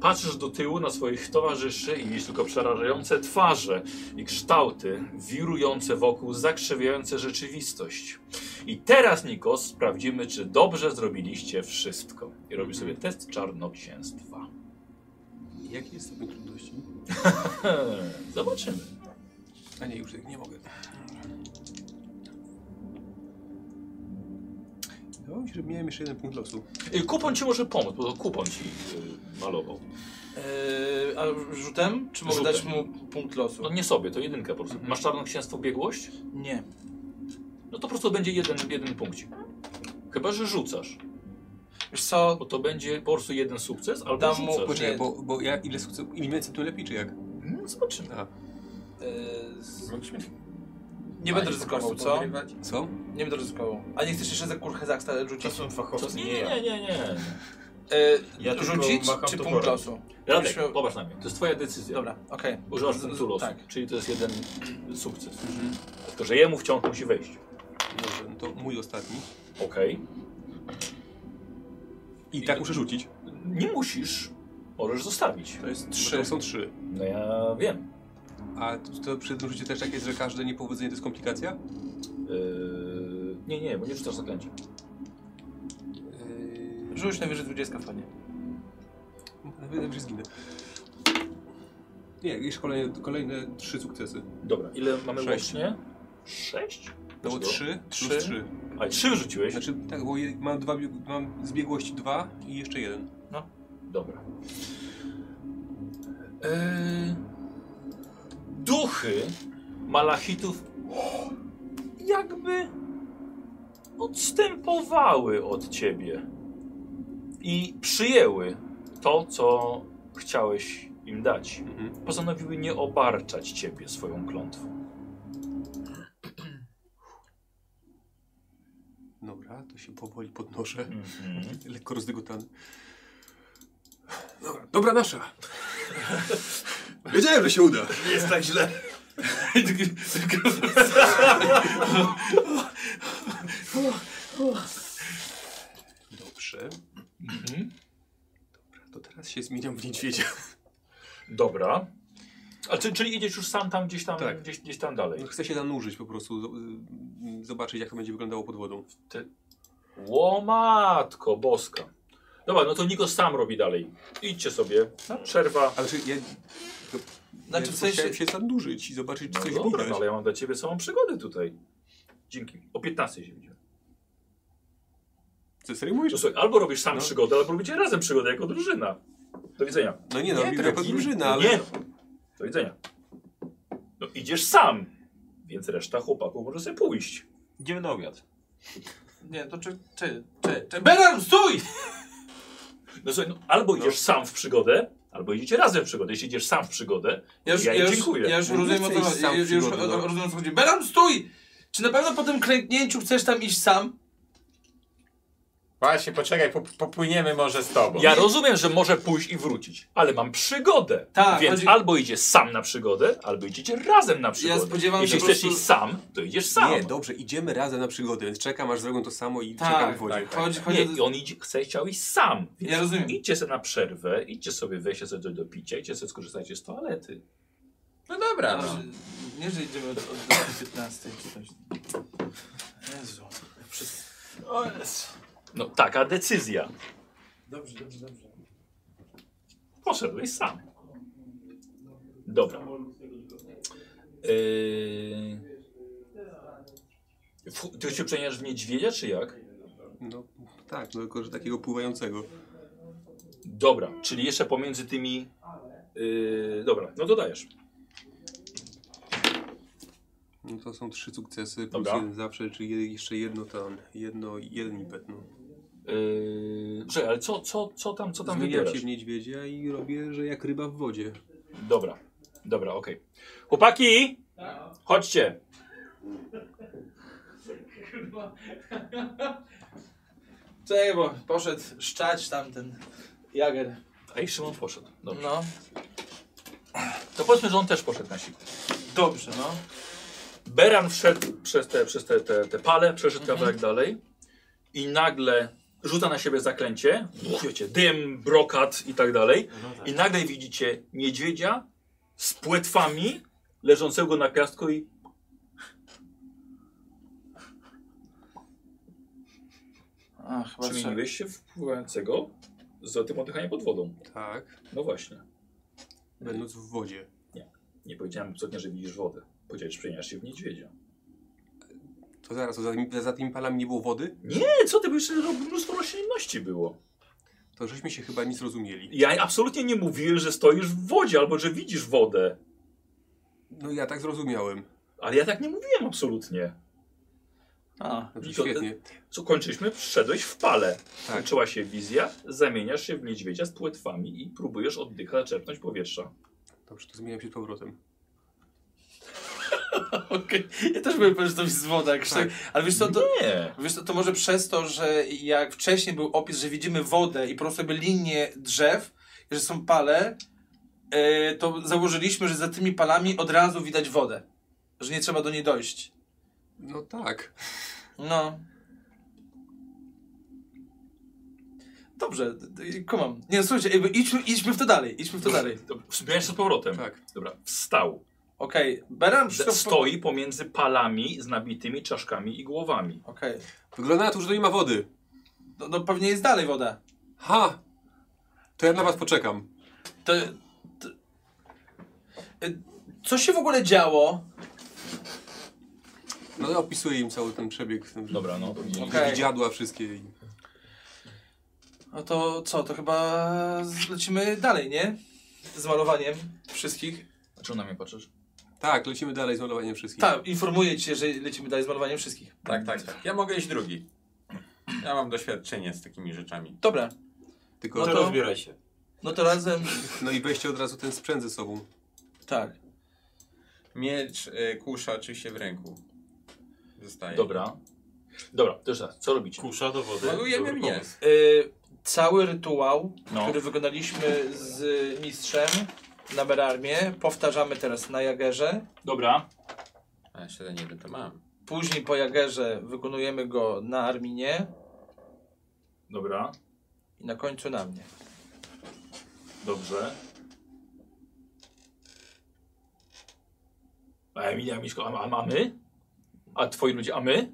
Patrzysz do tyłu na swoich towarzyszy i widzisz tylko przerażające twarze i kształty wirujące wokół, zakrzywiające rzeczywistość. I teraz, Nikos, sprawdzimy, czy dobrze zrobiliście wszystko. I robisz sobie test czarnoksięstwa. Jaki jest stopień trudności? E, Zobaczymy. A nie, już tak nie mogę. Wydawało mi się, No, że miałem jeszcze jeden punkt losu. Y, Kupon ci może pomóc, bo to kupon ci y, malował. Eee, a rzutem? Czy mogę Rzutem. dać mu punkt losu? No nie sobie, to jedynka po prostu. Masz czarnoksięstwo biegłość? Nie. No to po prostu będzie jeden, jeden punkcik. Chyba, że rzucasz. Wiesz co? Bo to będzie po prostu jeden sukces, albo Dam mu- rzucasz. Poczekaj, Nie. bo, bo ja ile sukcesów, im więcej tym lepiej, czy jak? No, zobaczymy. Eee, z- nie Nie będę ryzykował, co? Co? Nie będę ryzykował. A nie chcesz jeszcze za kurchę zaksta To rzucić? są fachowcy, Nie, nie, nie, ja. nie, nie. Eee, Ja tylko rzucić macham czy toporem. punkt losu? Radek, Myśmy- popatrz na mnie. e, To jest twoja decyzja. Dobra, okej. Używasz punktu losu, Tak. czyli to jest jeden sukces. Tylko, że jemu wciąż musi wejść. Dobrze, no to mój ostatni. Okej. I tak muszę rzucić. Nie musisz. Możesz zostawić. To jest trzy. To są trzy. No ja wiem. A to, to przy tym rzucie też tak jest, że każde niepowodzenie to jest komplikacja? Yy... Nie, nie, bo nie rzucasz zaklęcia. Rzuć najwyżej 20 wpadnie. Wydaje zginę. Nie, jeszcze kolejne, kolejne trzy sukcesy. Dobra, ile mamy Sześć. łącznie? Sześć? No bo Dlaczego? trzy, trzy, Trzy? plus trzy. A trzy wyrzuciłeś? Znaczy, tak, bo je, mam, dwa, bieg- mam z biegłości dwa i jeszcze jeden. Dobra. Eee, duchy malachitów jakby odstępowały od ciebie i przyjęły to, co chciałeś im dać. Mhm. Postanowiły nie obarczać ciebie swoją klątwą. Dobra, to się powoli podnoszę. Lekko rozdygotany. Dobra, dobra nasza! Wiedziałem, że się uda! Nie jest tak źle. Dobrze. Dobra, to teraz się zmieniam w niedźwiedzia. Dobra. A czy, czyli idziesz już sam tam gdzieś tam, Tak. gdzieś, gdzieś tam dalej. Chcę się zanurzyć po prostu, zo- y, zobaczyć jak to będzie wyglądało pod wodą. Łomatko boska. Dobra, no to Niko sam robi dalej. Idźcie sobie. Przerwa. Ale czy ja, Znaczy ja w tylko sensie... chciałem się zanurzyć i zobaczyć czy No coś dobra, widać. no ale ja mam dla ciebie samą przygodę tutaj. Dzięki. O 15 się widzimy. Co serio mówisz? No słuchaj, albo robisz sam No. przygodę, albo robicie razem przygodę jako drużyna. Do widzenia. No nie no, Nie, robimy trafimy. jako drużyna, ale... Nie. no. Do widzenia. No idziesz sam. Więc reszta chłopaków może sobie pójść. Idziemy na obiad. Nie, to czy... czy... czy... czy... Beran, stój! No słuchaj, no, albo idziesz sam w przygodę, albo idziecie razem w przygodę. Jeśli idziesz sam w przygodę, Ja już, Ja ja jej już, dziękuję. Ja już Nie rozumiem chcę o co iść chodzi. sam w Ja już przygodę, no. rozumiem o co chodzi. Beran, stój! Czy na pewno po tym klęknięciu chcesz tam iść sam? Właśnie, poczekaj, po, popłyniemy może z tobą. Ja rozumiem, że może pójść i wrócić, ale mam przygodę. Tak, więc chodzi- albo idzie sam na przygodę, albo idziecie razem na przygodę. spodziewam się Jeśli po chcesz prostu- iść sam, to idziesz sam. Nie, dobrze, idziemy razem na przygodę, więc czekam aż zrobią to samo i czekam Tak, w wodzie. tak, chodzi, Nie, chodzi i on idzie, chce, chciał iść sam. Więc Ja rozumiem. Idźcie sobie na przerwę, idźcie sobie, weźcie sobie coś do picia, idźcie sobie, skorzystajcie z toalety. No dobra, Dobrze, no. Nie, że idziemy od, od 15 czy coś. Jezu. No taka decyzja. Dobrze, dobrze, dobrze. Poszedłeś sam. Dobra. Yy... Fu- Ty się przeniesz w niedźwiedzia, czy jak? No tak, no, tylko że takiego pływającego. Dobra, czyli jeszcze pomiędzy tymi... Yy... Dobra, no dodajesz. No to są trzy sukcesy, plus Dobra. jeden zawsze, czyli je- jeszcze jedno tam, jedno, jeden impet, no. Yy... Czekaj, ale co, co, co tam, co tam Zmieniam się wybierasz? w niedźwiedzia i robię, że jak ryba w wodzie. Dobra, dobra, okej. Chłopaki! Chodźcie! Czekaj, bo poszedł szczać tamten Jager. A i Szymon poszedł. Dobrze. No, To powiedzmy, że on też poszedł na siłę. dobrze, no. Beran wszedł przez te, przez te, te, te pale, przeszedł kawałek dalej i nagle rzuca na siebie zaklęcie, wiecie, dym, brokat i tak dalej i nagle widzicie niedźwiedzia z płetwami leżącego na piasku i A, chyba trzeba. przemieniłeś się w pływającego z tym oddychaniem pod wodą. Tak. No właśnie. Będąc w wodzie. Nie powiedziałem cudnie, że widzisz wodę. Powiedziałeś, że przemieniasz się w niedźwiedzia. To zaraz, to za, tymi- za tymi palami nie było wody? Nie, co ty byś robił? Mnóstwo roślinności było. To żeśmy się chyba nic rozumieli. Ja absolutnie nie mówiłem, że stoisz w wodzie albo że widzisz wodę. No ja tak zrozumiałem. Ale ja tak nie mówiłem absolutnie. A, Dobrze, To- Znaczy, świetnie. Co kończyliśmy? Wszedłeś w pale. Tak. Kończyła się wizja, zamieniasz się w niedźwiedzia z płetwami i próbujesz oddychać, czerpnąć powietrza. Dobrze, to zmieniam się z powrotem. okej. Ja też byłem pewien, że to jest woda, jak szczek- Ale wiesz co, to, Nie. Wiesz co, to może przez to, że jak wcześniej był opis, że widzimy wodę i po prostu jakby linie drzew, że są pale, e, to założyliśmy, że za tymi palami od razu widać wodę. Że nie trzeba do niej dojść. No tak. No. Dobrze, d- d- kumam. Nie, no, słuchajcie, jakby idźmy, idźmy w to dalej, idźmy w to dalej. Zmieniasz się z powrotem. Tak. Dobra, wstał. Okej, Beran D- Stoi pomiędzy palami z nabitymi czaszkami i głowami. Okej, Wygląda na to, że tu nie ma wody. no, no pewnie jest dalej woda. Ha! To ja na was poczekam. To, to... E, Co się w ogóle działo? No ja opisuję im cały ten przebieg. Ten, Dobra, no. I- Okej. Widziadła wszystkie. i- No to co, to chyba lecimy dalej, nie? Z malowaniem wszystkich. A czemu na mnie patrzysz? Tak, lecimy dalej z malowaniem wszystkich. Tak, informuję cię, że lecimy dalej z malowaniem wszystkich. Tak, tak, tak. Ja mogę iść drugi. Ja mam doświadczenie z takimi rzeczami. Dobra, Tylko, no To to, rozbieraj się. no to razem. no i weźcie od razu ten sprzęt ze sobą. Tak. Miecz, y, kusza oczywiście w ręku. Zostaje. Dobra. Dobra, też raz. Co robicie? Kusza do wody. Malujemy Dobry mnie. pomysł. Y, cały rytuał, No. który wykonaliśmy z mistrzem na Berarmie, powtarzamy teraz na Jagerze. Dobra. A jeszcze ten jeden to mam. Później po Jagerze wykonujemy go na Arminie Dobra. i na końcu na mnie. Dobrze. A Emilia, Miszko, a, a mamy? A twoi ludzie, a my?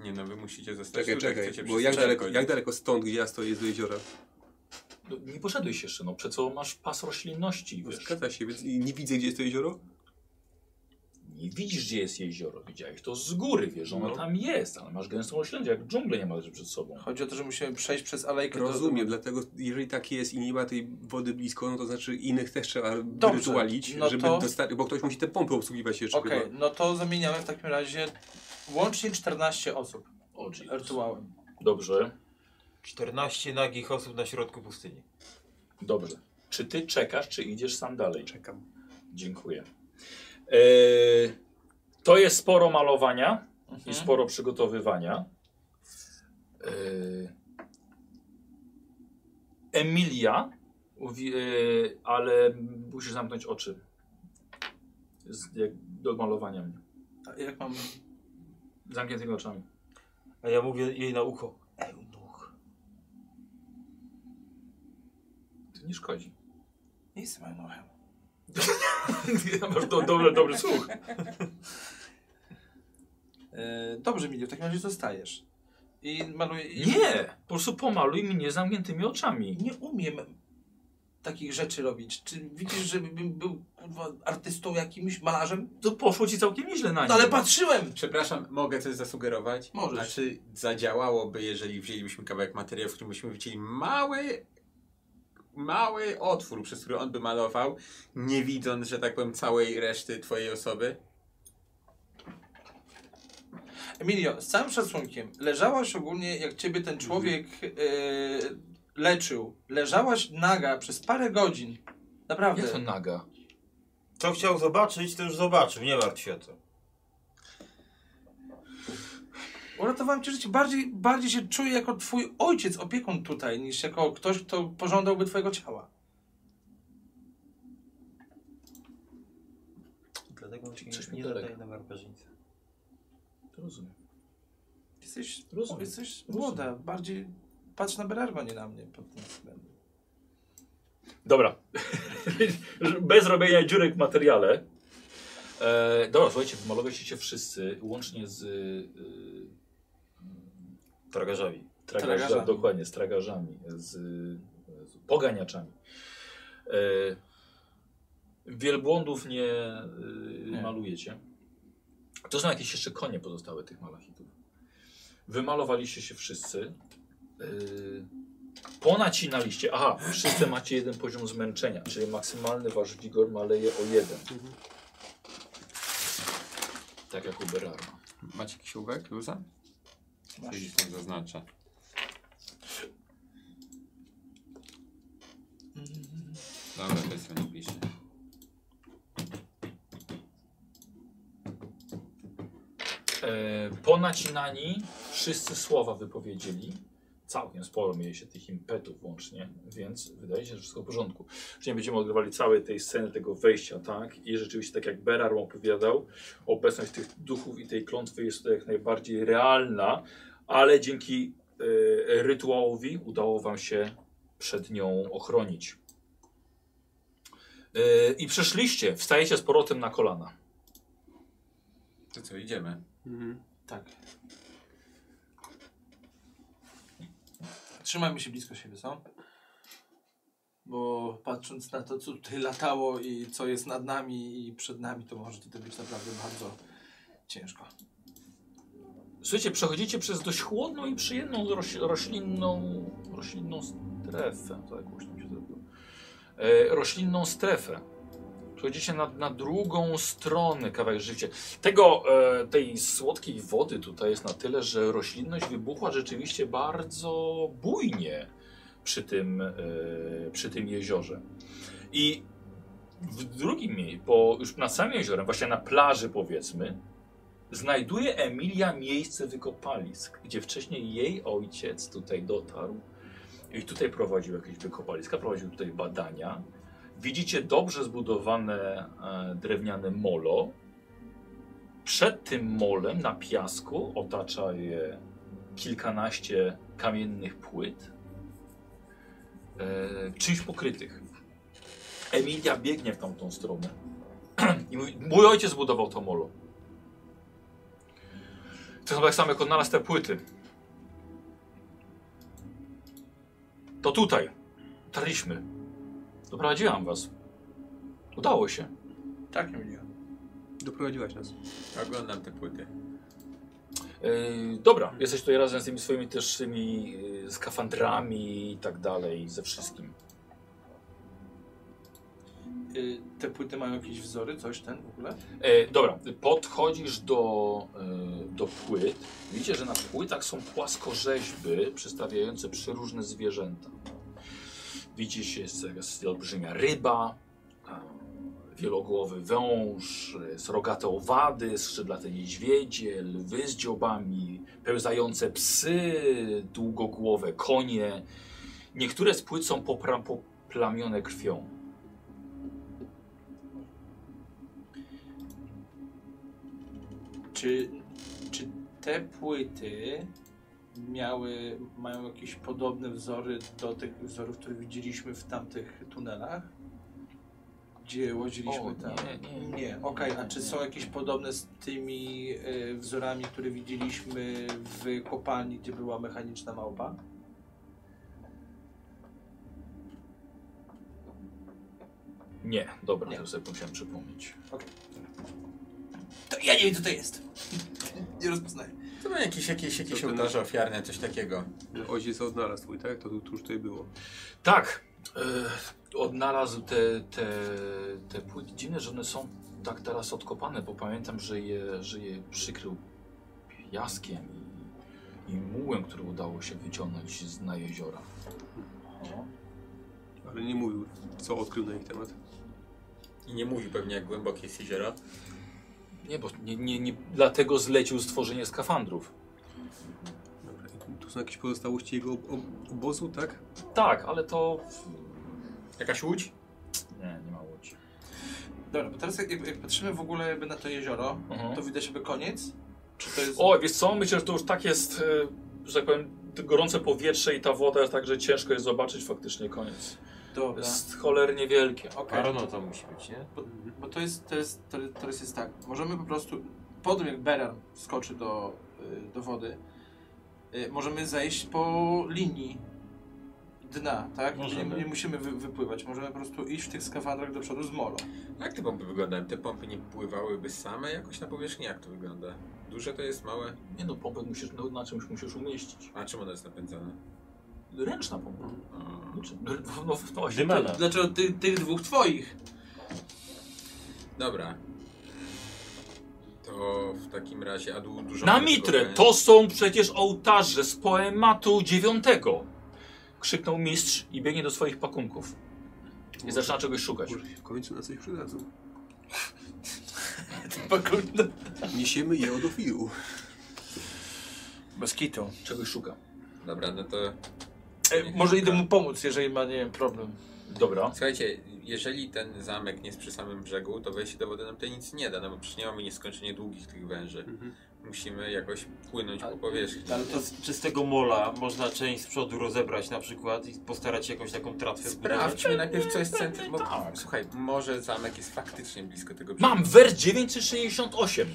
Nie no, wy musicie zostać Czekaj, tutaj, czekaj, chcecie bo przez jak cztery daleko, godziny. jak daleko stąd, gdzie ja stoję, jest do jeziora? No, nie poszedłeś jeszcze, no przed sobą masz pas roślinności, No wiesz. zgadza się, więc i nie widzę, gdzie jest to jezioro? Nie widzisz, gdzie jest jezioro, widziałeś to z góry, wiesz, ono No. tam jest, ale masz gęstą roślinę, jak dżunglę niemalże przed sobą. Chodzi o to, że musimy przejść przez alejkę. do- Rozumiem, dlatego jeżeli tak jest i nie ma tej wody blisko, no to znaczy innych też trzeba Dobrze, rytualić, no żeby to- dostać, bo ktoś musi te pompy obsługiwać jeszcze Okej, chyba. no to zamieniamy w takim razie łącznie 14 osób O, Jezus. rytuałem. Dobrze, 14 nagich osób na środku pustyni. dobrze. Czy ty czekasz, czy idziesz sam dalej? Czekam. Dziękuję. E, Mhm. to jest sporo malowania i sporo przygotowywania. Yy, Emilia, mówi, yy, ale musisz zamknąć oczy. Z, jak, do malowania mnie. A Jak mam... Z Zamkniętymi oczami. A ja mówię jej na ucho. Eunuch. To nie szkodzi. Nie jestem eunuchem. Masz do, dobry, dobry słuch. E, dobrze, Milio, w takim razie zostajesz. I maluję... i- Nie! Po prostu pomaluj mnie zamkniętymi oczami. Nie umiem takich rzeczy robić. Czy widzisz, żebym był kurwa, artystą jakimś, malarzem? To poszło ci całkiem nieźle na nie. No ale patrzyłem! Przepraszam, mogę coś zasugerować? Możesz. A czy zadziałałoby, jeżeli wzięlibyśmy kawałek materiału, w którym byśmy widzieli mały, mały otwór, przez który on by malował, nie widząc, że tak powiem, całej reszty twojej osoby? Emilio, z całym szacunkiem, leżałaś ogólnie, jak ciebie ten człowiek e, leczył. Leżałaś naga przez parę godzin. Naprawdę. Jak to naga? Co chciał zobaczyć, to już zobaczył, nie martw się o to. Uratowałem ci życie. Bardziej, bardziej się czuję jako twój ojciec, opiekun tutaj, niż jako ktoś, kto pożądałby twojego ciała. Dlatego ci Coś mi nie daleko. nadaje na barbarzyńcę. Rozumiem. Jesteś, Rozumiem. jesteś młoda. Bardziej patrz na Berarba, nie na mnie pod tym względem. Dobra. Bez robienia dziurek w materiale. E, dobra, słuchajcie, wymalowaliście się wszyscy, łącznie z e, y, Tragarzowi. Tragarza, Tragarzami. Dokładnie, z tragarzami, z, z poganiaczami. E, wielbłądów nie, e, malujecie. To są jakieś jeszcze konie pozostałe tych malachitów. Wymalowaliście się wszyscy. E, ponacinaliście. Aha, wszyscy macie jeden poziom zmęczenia, czyli maksymalny wasz wigor maleje o jeden. Tak jak u Berarma. Macie jakiś ołówek, luza? Czyli tam zaznaczę. Dobra, to jest nie piszę. E, ponacinani wszyscy słowa wypowiedzieli. Całkiem sporo mieli się tych impetów łącznie, więc wydaje się, że wszystko w porządku. Czyli nie będziemy odgrywali całej tej sceny, tego wejścia, tak? I rzeczywiście, tak jak Berar opowiadał, obecność tych duchów i tej klątwy jest tutaj jak najbardziej realna, ale dzięki e, rytuałowi udało wam się przed nią ochronić. E, I przeszliście, wstajecie z powrotem na kolana. To co, idziemy? Mhm. Tak. Trzymajmy się blisko siebie, co? Bo patrząc na to, co tutaj latało i co jest nad nami i przed nami, to może tutaj być naprawdę bardzo ciężko. Słuchajcie, przechodzicie przez dość chłodną i przyjemną roś, roślinną, roślinną strefę. To jakoś tam się zrobiło. E, roślinną strefę. Przechodzicie na, na drugą stronę kawałek życia. Tego, e, tej słodkiej wody tutaj jest na tyle, że roślinność wybuchła rzeczywiście bardzo bujnie przy tym, e, przy tym jeziorze. I w drugim miejscu, po, już nad samym jeziorem, właśnie na plaży powiedzmy, Znajduje Emilia miejsce wykopalisk, gdzie wcześniej jej ojciec tutaj dotarł i tutaj prowadził jakieś wykopaliska, prowadził tutaj badania. Widzicie dobrze zbudowane e, drewniane molo. Przed tym molem na piasku otacza je kilkanaście kamiennych płyt, e, czymś pokrytych. Emilia biegnie w tamtą stronę i mówi, mój ojciec zbudował to molo. To chyba tak samo jak odnalazł te płyty. To tutaj. Tarliśmy. Doprowadziłam was. Udało się. Tak, Emilio. Doprowadziłaś nas. Oglądam te płyty. Yy, dobra, jesteś tutaj razem z tymi swoimi też tymi yy, skafandrami i tak dalej, ze wszystkim. Y, te płyty mają jakieś wzory, coś ten w ogóle? E, dobra, podchodzisz do, e, do płyt. Widzicie, że na płytach są płaskorzeźby przedstawiające przeróżne zwierzęta. Widzicie, jest jakaś olbrzymia ryba, e, wielogłowy wąż, e, srogate owady, skrzydlate niedźwiedzie, lwy z dziobami, pełzające psy, długogłowe konie. Niektóre z płyt są popra- poplamione krwią. Czy, czy te płyty miały, mają jakieś podobne wzory do tych wzorów, które widzieliśmy w tamtych tunelach? Gdzie łaziliśmy O, tam? nie, nie, tak. Nie, okej, a czy są jakieś podobne z tymi e, wzorami, które widzieliśmy w kopalni, gdzie była mechaniczna małpa? Nie, dobra, Nie. to sobie musiałem przypomnieć. To ja nie wiem, co to jest. Nie rozpoznaję. To był jakiś, jakiś, jakiś To ten- ołtarz ofiarny, coś takiego. Że Ojciec odnalazł twój, tak? To tu- tuż tutaj było. Tak, e, odnalazł te, te, te płyty. Dziwne, że one są tak teraz odkopane, bo pamiętam, że je, że je przykrył piaskiem i, i mułem, który udało się wyciągnąć z na jeziora. Ale nie mówił, co odkrył na ich temat. I nie mówi pewnie jak głębokie jest jezioro. Nie, bo nie, nie, nie, dlatego zlecił stworzenie skafandrów. Dobra. i Tu są jakieś pozostałości jego ob- ob- obozu, tak? Tak, ale to... Jakaś łódź? Nie, nie ma łodzi. Dobra, bo teraz jak, jak patrzymy w ogóle jakby na to jezioro, Mhm. to widać jakby koniec? Czy to jest... O, wiesz co, myślę, że to już tak jest, e, że tak powiem, to gorące powietrze i ta woda jest tak, że ciężko jest zobaczyć faktycznie koniec. Dobra. Jest cholernie wielkie. Okej. Parono to musi być, nie? Bo to jest, to jest, to, to jest, jest tak. Możemy po prostu, po tym jak Beran skoczy do, y, do wody, y, możemy zejść po linii dna, tak? Możemy. Nie, nie musimy wy, wypływać. Możemy po prostu iść w tych skafandrach do przodu z molo. Jak te pompy wyglądają? Te pompy nie pływałyby same jakoś na powierzchni? Jak to wygląda? Duże to jest, małe? Nie no, pompę musisz, no, na czymś musisz umieścić. A czym ono jest napędzane? Ręczna pompa. Mm. Znaczy, No, no, no właśnie, Tak. Dymana. Dlaczego Znaczy, ty, tych dwóch twoich? Dobra. To w takim razie, a du- dużo... Na mitrę! To są przecież ołtarze z poematu dziewiątego! Krzyknął mistrz i biegnie do swoich pakunków. I zaczyna czegoś szukać. Może się w końcu na coś przydadzą. Pakundę. Niesiemy je od ofiru. Bez kitu. Czegoś szuka. Dobra, no to... E, może idę mu pomóc, jeżeli ma, nie wiem, problem. Dobra. Słuchajcie, jeżeli ten zamek nie jest przy samym brzegu, to wejście do wody nam tutaj nic nie da, no bo przecież nie mamy nieskończenie długich tych węży. Musimy jakoś płynąć po powierzchni. Ale to z czystego mola można część z przodu rozebrać na przykład i postarać się jakąś taką tratwę zbudować. Sprawdźmy najpierw, co jest centrum, bo Tak. słuchaj, może zamek jest faktycznie blisko tego brzegu. Mam wers 968.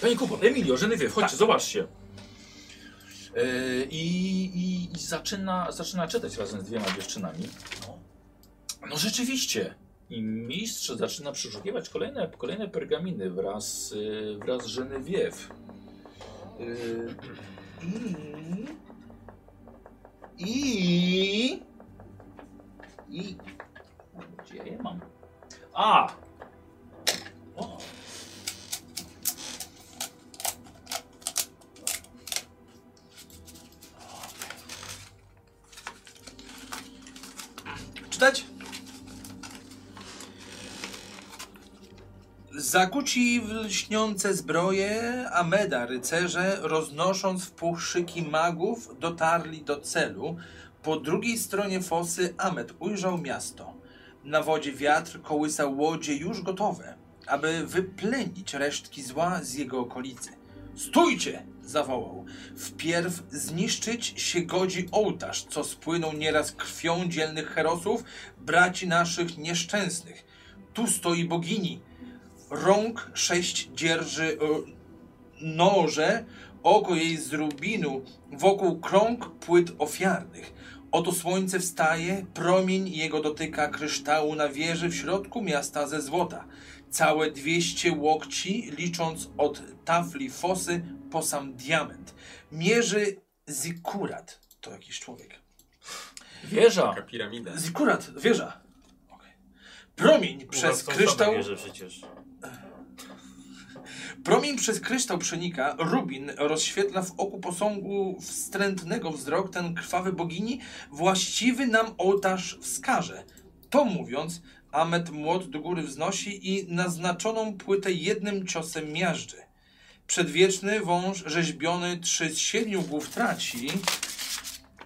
Panie Kupon, Emilio, Genevieve, chodźcie, zobaczcie. Yy, I, i, i zaczyna, zaczyna czytać razem z dwiema dziewczynami. No rzeczywiście. I mistrz zaczyna przeszukiwać kolejne, kolejne pergaminy wraz, yy, wraz z Genevieve. Yy, I... I... I... Gdzie ja je mam? A! O. Czytać? Zakuci w lśniące zbroje, a meda rycerze, roznosząc w puch szyki magów, dotarli do celu. Po drugiej stronie fosy Amet ujrzał miasto. Na wodzie wiatr kołysał łodzie już gotowe, aby wyplenić resztki zła z jego okolicy. Stójcie! zawołał. Wpierw zniszczyć się godzi ołtarz, co spłynął nieraz krwią dzielnych herosów, braci naszych nieszczęsnych. Tu stoi bogini, rąk sześć dzierży e, noże, oko jej z rubinu, wokół krąg płyt ofiarnych. Oto słońce wstaje, promień jego dotyka kryształu na wieży w środku miasta ze złota. Całe 200 łokci, licząc od tafli fosy po sam diament. Mierzy zikurat. To jakiś człowiek. Wieża. Taka piramida. Zikurat, wieża. Okej. Promień przez kryształ. Wierzę przecież. Promień przez kryształ przenika, Rubin rozświetla w oku posągu wstrętnego wzrok ten krwawy bogini, właściwy nam ołtarz wskaże. To mówiąc, Amet młot do góry wznosi i naznaczoną płytę jednym ciosem miażdży. Przedwieczny wąż rzeźbiony trzy z siedmiu głów traci,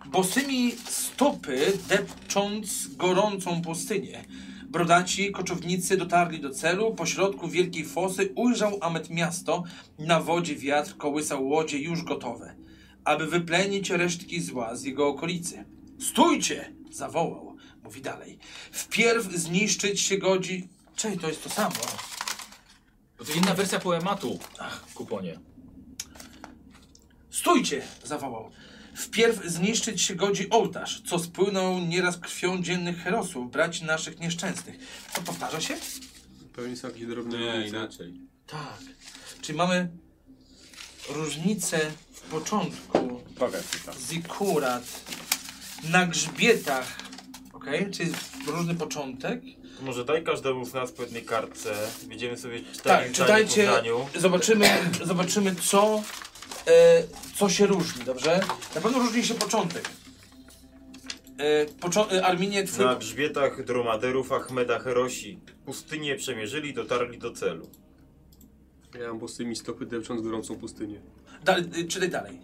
bosymi stopy depcząc gorącą pustynię. Brodaci koczownicy dotarli do celu, pośrodku wielkiej fosy ujrzał Amet miasto, na wodzie wiatr kołysał łodzie już gotowe, aby wyplenić resztki zła z jego okolicy. Stójcie! zawołał, mówi dalej. Wpierw zniszczyć się godzi... Czej, to jest to samo. Bo No to inna wersja poematu. Ach, kuponie. Stójcie! zawołał. Wpierw zniszczyć się godzi ołtarz, co spłynął nieraz krwią dziennych herosów, braci naszych nieszczęsnych. To powtarza się? Pewnie są jakieś drobne Nie, różnice. inaczej. Tak. Czyli mamy różnicę w początku. Zikurat. Na grzbietach. Okej, czyli różny początek. Może daj każdemu z nas po jednej kartce. Będziemy sobie czytać Tak, zdanie czytajcie. po zdaniu. Zobaczymy, zobaczymy co, e, co się różni, dobrze? Na pewno różni się początek. E, poczo- e, Arminie, twój... Na grzbietach dromaderów Ahmeda Herosi pustynię przemierzyli, dotarli do celu. Ja mam pustymi stopy depcząc gorącą pustynię. Dalej, e, czytaj dalej.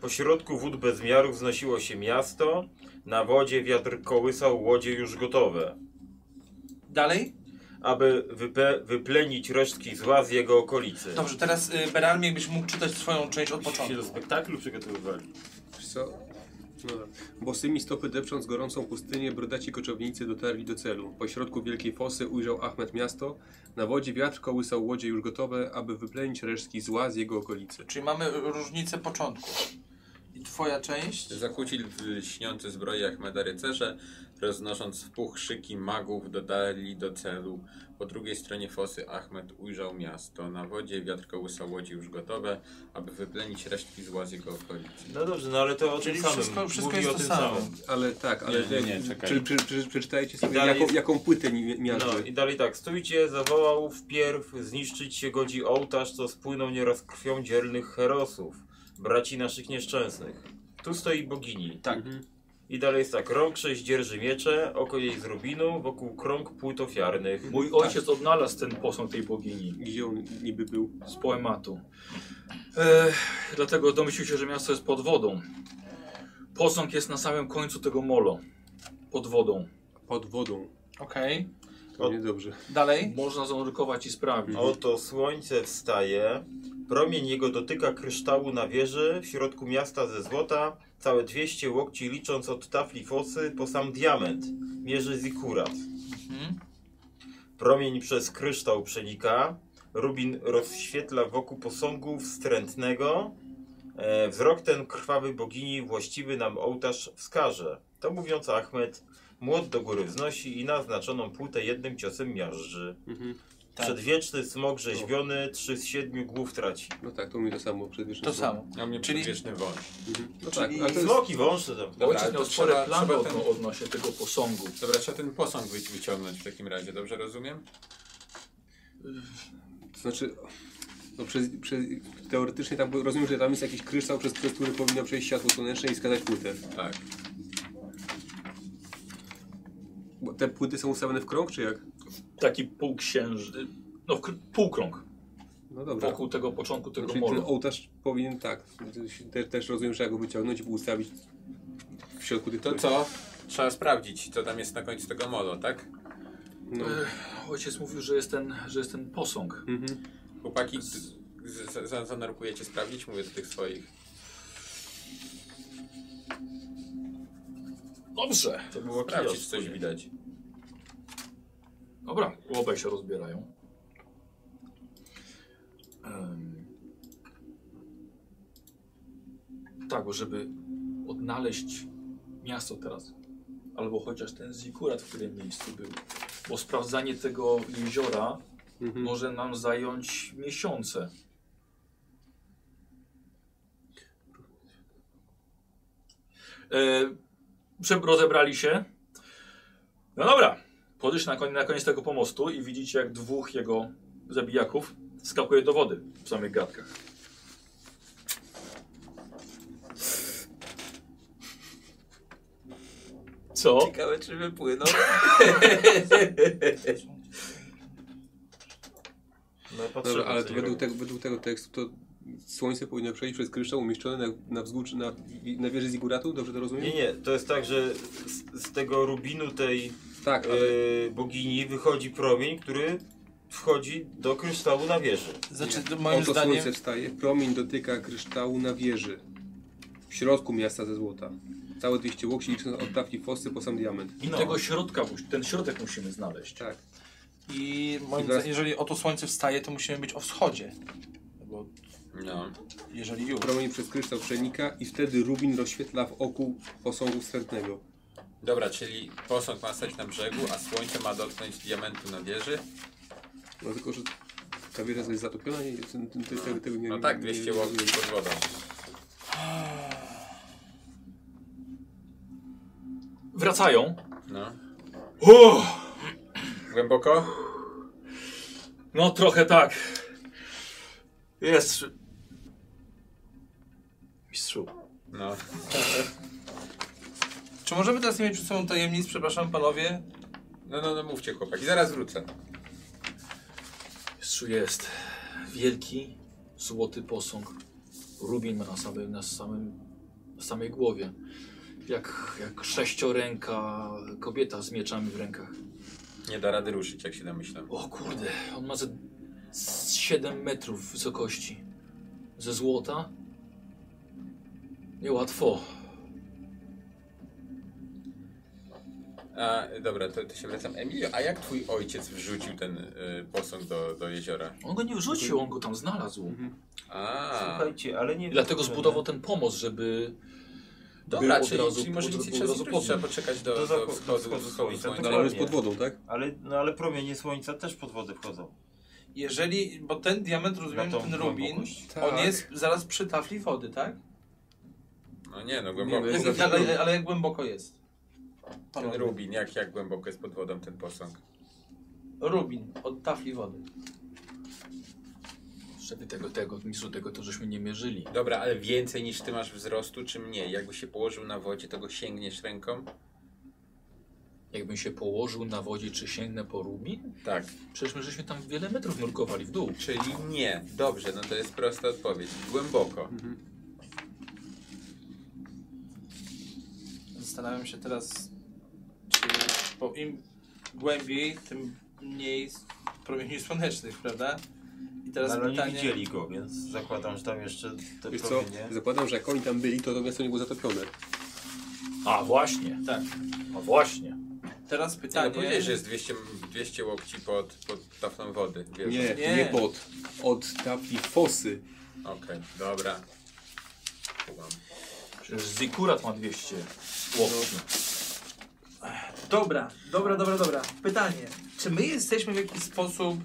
Pośrodku wód bez miaru wznosiło się miasto, na wodzie wiatr kołysał łodzie już gotowe, Dalej? aby wype- wyplenić resztki zła z jego okolicy. Dobrze, teraz e, Berarmie, jakbyś mógł czytać swoją część od się do początku. spektaklu przygotowywali. Wiesz co? No, dobra. bosymi stopy depcząc gorącą pustynię, brodaci koczownicy dotarli do celu. Pośrodku wielkiej fosy ujrzał Ahmed miasto. Na wodzie wiatr kołysał łodzie już gotowe, aby wyplenić resztki zła z jego okolicy. Czyli mamy y, różnicę początku. I twoja część? Zakłócili lśniący zbroi Achmeda rycerze, roznosząc w puch szyki magów, dotarli do celu. Po drugiej stronie fosy Achmed ujrzał miasto. Na wodzie wiatr kołysał łodzi już gotowe, aby wyplenić resztki zła z jego okolicy. No dobrze, no ale to o Czyli tym samym. wszystko- wszystko Mówi jest o to tym samo. samym. Ale tak, ale Nie, nie, nie, czekaj. Czy, czy, czy, przeczytajcie sobie, dalej- jaką, jaką płytę mi- miażdży. No i dalej tak, stójcie, zawołał wpierw, zniszczyć się godzi ołtarz, co spłynął nieraz krwią dzielnych herosów, braci naszych nieszczęsnych. Tu stoi bogini. Tak. I dalej jest tak, rąk sześć dzierży miecze, oko jej z rubinu, wokół krąg płyt ofiarnych. Mój ojciec odnalazł ten posąg tej bogini Gdzie on niby był? z poematu. E, dlatego domyślił się, że miasto jest pod wodą. Posąg jest na samym końcu tego molo. Pod wodą. Pod wodą. Okej. To Od- niedobrze. Dalej? Można zanurkować i sprawić. Oto słońce wstaje, promień jego dotyka kryształu na wieży, w środku miasta ze złota, całe 200 łokci licząc od tafli fosy po sam diament, mierzy zikurat. Mhm. Promień przez kryształ przenika, rubin rozświetla wokół posągu wstrętnego, e, wzrok ten krwawy bogini właściwy nam ołtarz wskaże. To mówiąc Achmed, młot do góry wznosi i naznaczoną płytę jednym ciosem miażdży. Mhm. Przedwieczny smok rzeźbiony, trzy z siedmiu głów traci. No tak, to mi to samo przedwieczne To słowo. samo. Na mnie Czyli- przedwieczny wąż. Mhm. No tak, ale to jest... Smoki wąsze tam. No, Dobra, ale Ojciec to miał trzeba- spore plany trzeba odno- ten- odnośnie tego posągu. Dobra, trzeba ten posąg wy- wyciągnąć w takim razie, dobrze rozumiem? To znaczy, no przez, przez, teoretycznie tam, bo rozumiem, że tam jest jakiś kryształ, przez, przez który powinno przejść światło słoneczne i skazać płytę. Tak. Bo te płyty są ustawione w krąg, czy jak? Taki półksięż... y, No, kr- półkrąg. No Tak. dobra. Wokół tego początku tego Czyli ten molo. ołtarz powinien tak, też, też rozumiem, że jak go wyciągnąć i ustawić w środku tych To płyt. co? Trzeba sprawdzić, co tam jest na końcu tego molo, tak? No. Ech, Ojciec mówił, że jest ten, że jest ten posąg. Hmm. Mhm. Chłopaki, z- z- za- zanurkujecie sprawdzić? Mówię do tych swoich. Dobrze. To było Sprawdzić, czy kiosk. coś widać. Dobra, obaj się rozbierają. Em, Tak, bo żeby odnaleźć miasto teraz, albo chociaż ten zikurat, w którym miejscu był, bo sprawdzanie tego jeziora Mhm. może nam zająć miesiące. E, prze- rozebrali się. No dobra, podejść na, koń, na koniec tego pomostu i widzicie, jak dwóch jego zabijaków skakuje do wody w samych gadkach. Co? Ciekawe, czy wypłyną. No, patrzymy, Dobra, ale co to nie według robią. tego, według tego tekstu to słońce powinno przejść przez kryształ umieszczony na, na wzgórzu, na, na wieży Ziguratu, dobrze to rozumiem? Nie, nie, to jest tak, że z, z tego rubinu tej Tak, ale e, bogini wychodzi promień, który wchodzi do kryształu na wieży. Znaczy, to moim oto zdaniem... słońce wstaje, promień dotyka kryształu na wieży, w środku miasta ze złota. Całe 200 łokci licząc od tafli fosy po sam diament. I tego środka, mus- ten środek musimy znaleźć. Tak. I moim Teraz- zdaniem, jeżeli oto słońce wstaje, to musimy być o wschodzie. Bo No. jeżeli już. Promień przez kryształ przenika i wtedy rubin rozświetla w oku posągu wstrętnego. Dobra, czyli posąg ma stać na brzegu, a słońce ma dotknąć diamentu na wieży. No tylko, że ta wieża jest zatopiona i ten- ten- te- tego, tego nie No tak, nie- 200 nie łokci rozumiem. pod wodą. Wracają. No. Uff, Głęboko? no trochę tak. Jest. Mistrzu. No. Czy możemy teraz nie mieć przed sobą tajemnic, przepraszam panowie? No, no, no mówcie chłopaki, zaraz wrócę. Mistrzu jest wielki, złoty posąg. Rubin na samym, na samym, na samej głowie. Jak, jak sześcioręka kobieta z mieczami w rękach. Nie da rady ruszyć, jak się domyślam. O kurde, on ma ze z 7 metrów wysokości. Ze złota? Niełatwo. A, dobra, to, to się wracam. Emilio, a jak twój ojciec wrzucił ten y, posąg do, do jeziora? On go nie wrzucił, on go tam znalazł. A, Słuchajcie, ale nie I dlatego wykluczone. zbudował ten pomost, żeby. dobra, był od czyli, razu- czyli może od- nic od nie trzeba razu zrobić, trzeba podnieść. poczekać do, Do do, zachodu- wschodu, wschodu wschodu słońca. słońca. No ale on jest pod wodą, tak? Ale, no, ale promienie słońca też pod wodę wchodzą. Jeżeli, bo ten diament, rozumiem, Na tą ten rubin, głębokość. on Tak. jest zaraz przy tafli wody, tak? No nie, no Nie, głęboko. no jest Jak, za- ale, ale jak głęboko jest? Ten rubin, jak, jak głęboko jest pod wodą ten posąg? Rubin od tafli wody. Żeby tego, tego, mistrzu tego to żeśmy nie mierzyli. Dobra, ale więcej niż ty masz wzrostu, czy mniej? Jakby się położył na wodzie, to go sięgniesz ręką? Jakbym się położył na wodzie, czy sięgnę po rubin? Tak. Przecież my żeśmy tam wiele metrów nurkowali w dół. Czyli nie. Dobrze, no to jest prosta odpowiedź. Głęboko. Mhm. Zastanawiam się teraz, czy bo im głębiej, tym mniej s- promieni słonecznych, prawda? I teraz No, Ale nie pytanie... widzieli go, więc zakładam, że tam jeszcze te Wiesz co, promienie... zakładam, że jak oni tam byli, to to miasto nie było zatopione. A właśnie. Tak. A właśnie. Teraz Nie, pytanie... no powiedziałeś, że jest 200, 200 łokci pod, pod taflą wody. Wiesz? Nie, Nie. nie, pod. Od tafli fosy. Okej, dobra. Kumam. Przecież Zikurat ma 200 łokci. Dobra, dobra, dobra, dobra. Pytanie. Czy my jesteśmy w jakiś sposób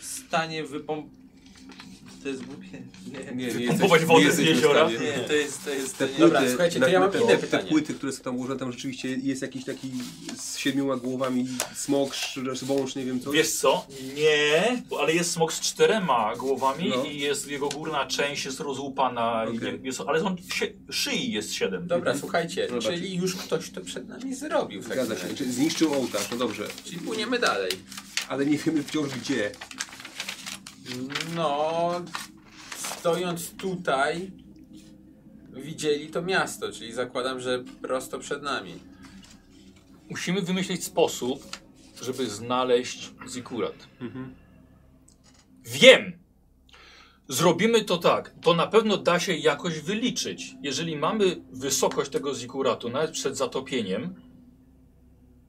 w stanie wypom... To jest głupie. Nie, nie, nie Pompować wodę z jesteśmy w jeziora? stanie. to jest, to jest... To Te nie. płyty, Dobra, słuchajcie, to ja mam te, inne te, te pytanie. płyty, które są tam ułożone, tam rzeczywiście jest jakiś taki z siedmioma głowami smok, sz- wąż, nie wiem co. Wiesz co? Nie, bo- ale jest smok z czterema głowami No. i jest jego górna część jest rozłupana, i Okej. nie, jest, ale on, sie, szyi jest siedem. Mhm. Dobra, słuchajcie, Zobacz. czyli już ktoś to przed nami zrobił w takim Zgadza się, razie. Czy zniszczył ołtarz, no dobrze, Czyli płyniemy dalej. ale nie wiemy wciąż gdzie. No, stojąc tutaj, widzieli to miasto, czyli zakładam, że prosto przed nami. Musimy wymyślić sposób, żeby znaleźć Zikurat. Wiem! Zrobimy to tak. To na pewno da się jakoś wyliczyć. Jeżeli mamy wysokość tego Zikuratu, nawet przed zatopieniem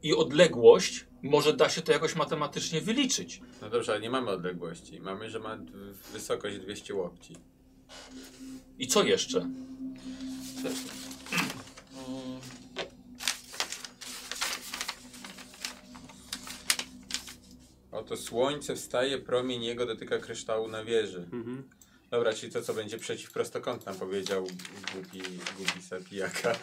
i odległość, może da się to jakoś matematycznie wyliczyć. No dobrze, ale nie mamy odległości. Mamy, że ma d- wysokość 200 łokci. I co jeszcze? Oto słońce wstaje, promień jego dotyka kryształu na wieży. Dobra, czyli to, co będzie przeciw prostokąt nam powiedział głupi, głupi sapijaka.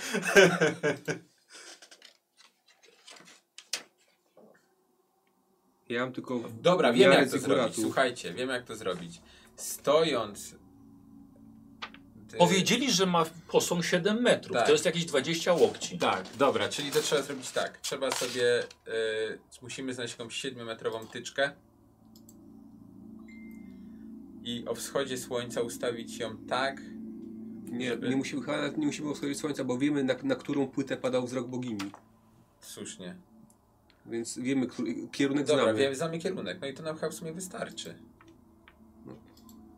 Ja mam tylko... Dobra, wiem miarę jak to zyguratu. zrobić. Słuchajcie, wiem jak to zrobić. Stojąc y, Powiedzieli, że ma posąg 7 metrów. Tak. To jest jakieś 20 łokci. Tak, dobra, czyli to trzeba zrobić tak. Trzeba sobie. y, musimy znaleźć jakąś 7-metrową tyczkę. I o wschodzie słońca ustawić ją tak. Nie, nie musimy, chyba nawet nie musimy wschodzić słońca, bo wiemy na, na którą płytę padał wzrok bogini. Słusznie. Więc wiemy, który, kierunek Dobra, znamy. wiem, znamy kierunek. No i to nam chyba w sumie wystarczy.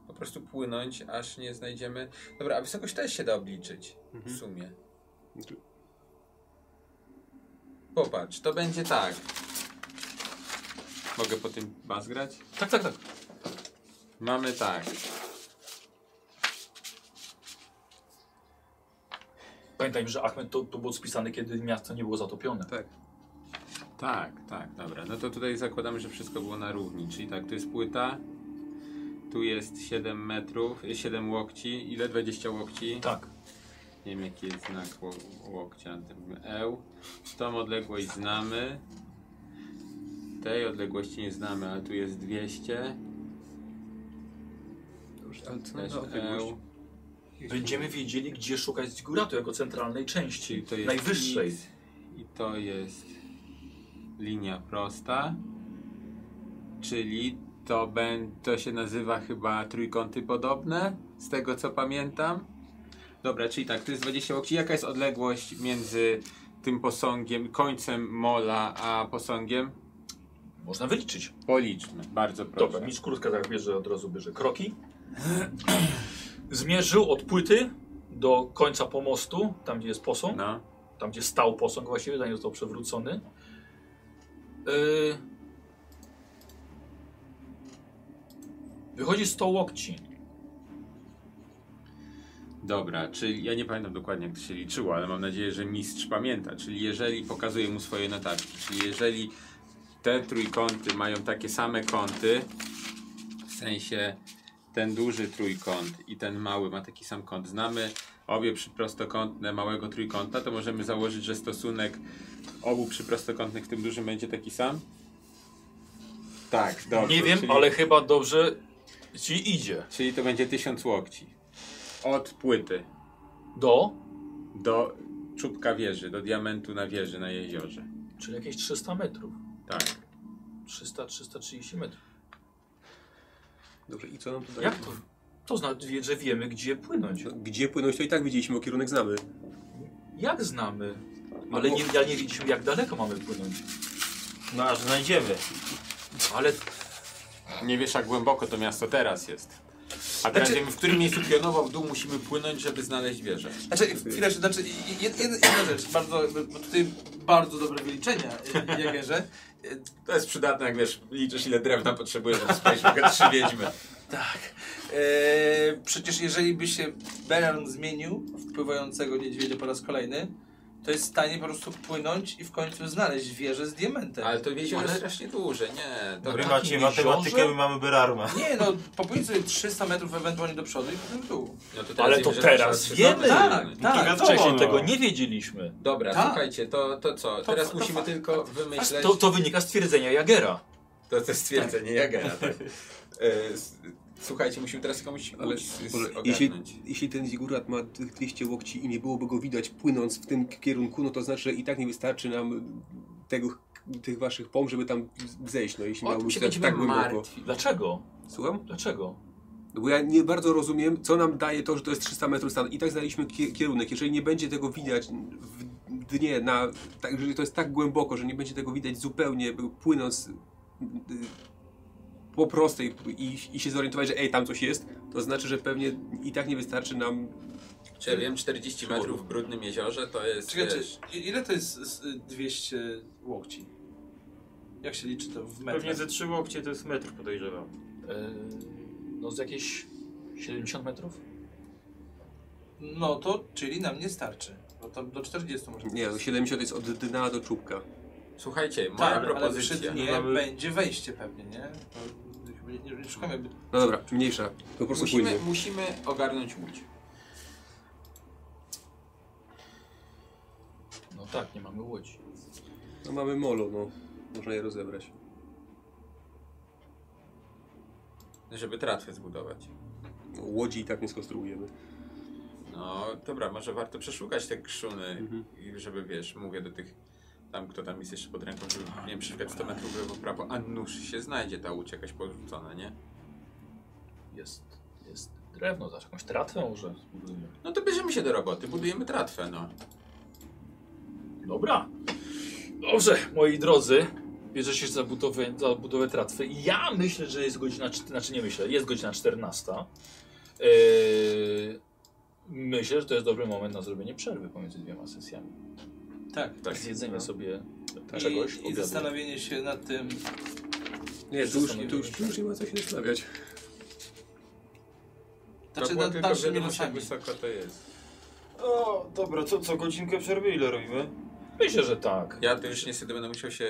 Po prostu płynąć, aż nie znajdziemy. Dobra, a wysokość też się da obliczyć. W sumie. Popatrz, to będzie tak. Mogę po tym bas grać? Tak, tak, tak. Mamy tak. Pamiętajmy, że Achmed to, to było spisane, kiedy miasto nie było zatopione. Tak. Tak, tak, dobra. No to tutaj zakładamy, że wszystko było na równi. Czyli tak, tu jest płyta, tu jest 7 metrów, y, 7 łokci. Ile? 20 łokci? Tak. Nie wiem jaki jest znak ło- łokcia, ten L. Tą odległość znamy. Tej odległości nie znamy, ale tu jest 200. Dobrze, ale co Też na odległość? L. Będziemy wiedzieli, gdzie szukać góratu jako centralnej części, Czyli to jest najwyższej. X I to jest linia prosta. Czyli to, bę- to się nazywa chyba trójkąty podobne, z tego co pamiętam. Dobra, czyli tak, to jest 20 łokci. Jaka jest odległość między tym posągiem, końcem mola, a posągiem? Można wyliczyć. Policzmy, bardzo proszę. Dobra, mistrz krótka tak bierze od razu bierze kroki. Zmierzył od płyty do końca pomostu, tam gdzie jest posąg, No, tam gdzie stał posąg właściwie, zanim został przewrócony. Yy... Wychodzi 100 łokci. dobra, czyli ja nie pamiętam dokładnie jak to się liczyło, ale mam nadzieję, że mistrz pamięta. Czyli jeżeli pokazuje mu swoje notatki, czyli jeżeli te trójkąty mają takie same kąty, w sensie ten duży trójkąt i ten mały ma taki sam kąt, znamy obie przyprostokątne małego trójkąta, to możemy założyć, że stosunek obu przyprostokątnych w tym dużym będzie taki sam? Tak, dobrze. Nie wiem, czyli- ale chyba dobrze ci idzie. Czyli to będzie 1000 łokci. Od płyty Do, do czubka wieży, do diamentu na wieży na jeziorze. czyli jakieś 300 metrów. Tak. 300-330 metrów. Dobrze, i co nam to daje? Jak to? To znaczy, że wiemy, gdzie płynąć. No, Gdzie płynąć, to i tak widzieliśmy, bo kierunek znamy. Jak znamy? Ale nie, ja nie wiedzieliśmy, jak daleko mamy płynąć. No aż znajdziemy. Ale Nie wiesz, jak głęboko to miasto teraz jest. A teraz Znaczy- wiemy, w którym miejscu pionowo w dół musimy płynąć, żeby znaleźć wieżę. Znaczy, chwilę, znaczy, jed, jed, jedna rzecz, bardzo, bo tutaj bardzo dobre wyliczenia, y, Jagerze. Y, To jest przydatne, jak wiesz, liczysz ile drewna potrzebujesz, żeby spalić tylko trzy wiedźmy. Tak. E, przecież jeżeli by się Beran zmienił w pływającego niedźwiedzia po raz kolejny, to jest w stanie po prostu płynąć i w końcu znaleźć wieżę z diamentem. Ale to wiedział jest strasznie duże, nie. Wy Dobra. macie matematykę, my mamy berarma. Nie no, popłyń sobie 300 metrów ewentualnie do przodu i potem w dół. No to teraz Ale to że teraz trzeba wiemy. przyznać. Tak, tak. wiadomo, wcześniej no. tego nie wiedzieliśmy. Dobra, Tak. słuchajcie, to, to co? teraz musimy tylko wymyśleć... To, to wynika z twierdzenia Jagera. To jest stwierdzenie Jagera, tak. E, s- Słuchajcie, musimy teraz komuś Ale Ale, może, jeśli, ogarnąć. jeśli ten zigurat ma tych 200 łokci i nie byłoby go widać płynąc w tym kierunku, no to znaczy, że i tak nie wystarczy nam tego, tych waszych pom, żeby tam zejść, no jeśli O tym miałbyś się tak, będziemy tak głęboko. martwić. Dlaczego? Słucham? Dlaczego? No bo ja nie bardzo rozumiem, co nam daje to, że to jest 300 metrów stan. I tak znaleźliśmy kie- kierunek. Jeżeli nie będzie tego widać w dnie, na, tak, jeżeli to jest tak głęboko, że nie będzie tego widać zupełnie, by płynąc y, po prostej i, i się zorientować, że ej, tam coś jest, to znaczy, że pewnie i tak nie wystarczy nam Czy ja wiem, 40 metrów w brudnym jeziorze to jest... Czekaj, czy, wiesz, i- ile to jest z- y, 200 łokci? Jak się liczy to w Pewnie metrach? ze trzy łokcie to jest metr, podejrzewam. Yy, no z jakieś 70 metrów? No to, czyli nam nie starczy. Bo tam do 40 może Nie, no 70 jest od dna do czubka. Słuchajcie, moja Tak, ale przy propozycja. dnie mamy- będzie wejście pewnie, nie? To chyba Nie, nie, nie szukamy jakby No dobra, mniejsza. To po prostu Musimy, płynie. musimy ogarnąć łódź. No tak, nie mamy łodzi. No mamy molo, no. Można je rozebrać. Żeby tratwę zbudować. No, łodzi i tak nie skonstruujemy. No dobra, może warto przeszukać te krzuny, Mhm. i żeby wiesz, mówię do tych, tam kto tam jest jeszcze pod ręką, żeby nie wiem, przeszukać 100 metrów w lewo, w prawo, a nóż się znajdzie ta łódź jakaś porzucona, nie? Jest, jest drewno, zaś jakąś tratwę może zbudujemy. No to bierzemy się do roboty, budujemy tratwę, no. Dobra. Dobrze, moi drodzy. Bierzecie się za budowę, za budowę tratwy. Ja myślę, że jest godzina, czt- znaczy nie myślę, jest godzina 14. Eee, myślę, że to jest dobry moment na zrobienie przerwy pomiędzy dwiema sesjami. Tak. Tak, zjedzenie sobie I, czegoś. I obiadu. zastanowienie się nad tym. Nie, tu już, tu, już, Zastanowienie. tu już nie ma co się zastanawiać. Znaczy było nad tylko dalszymi wiadomość, jak losami. wysoko to jest. O, dobra, co, co godzinkę przerwy ile robimy? Myślę, że tak. Ja to już niestety będę musiał się,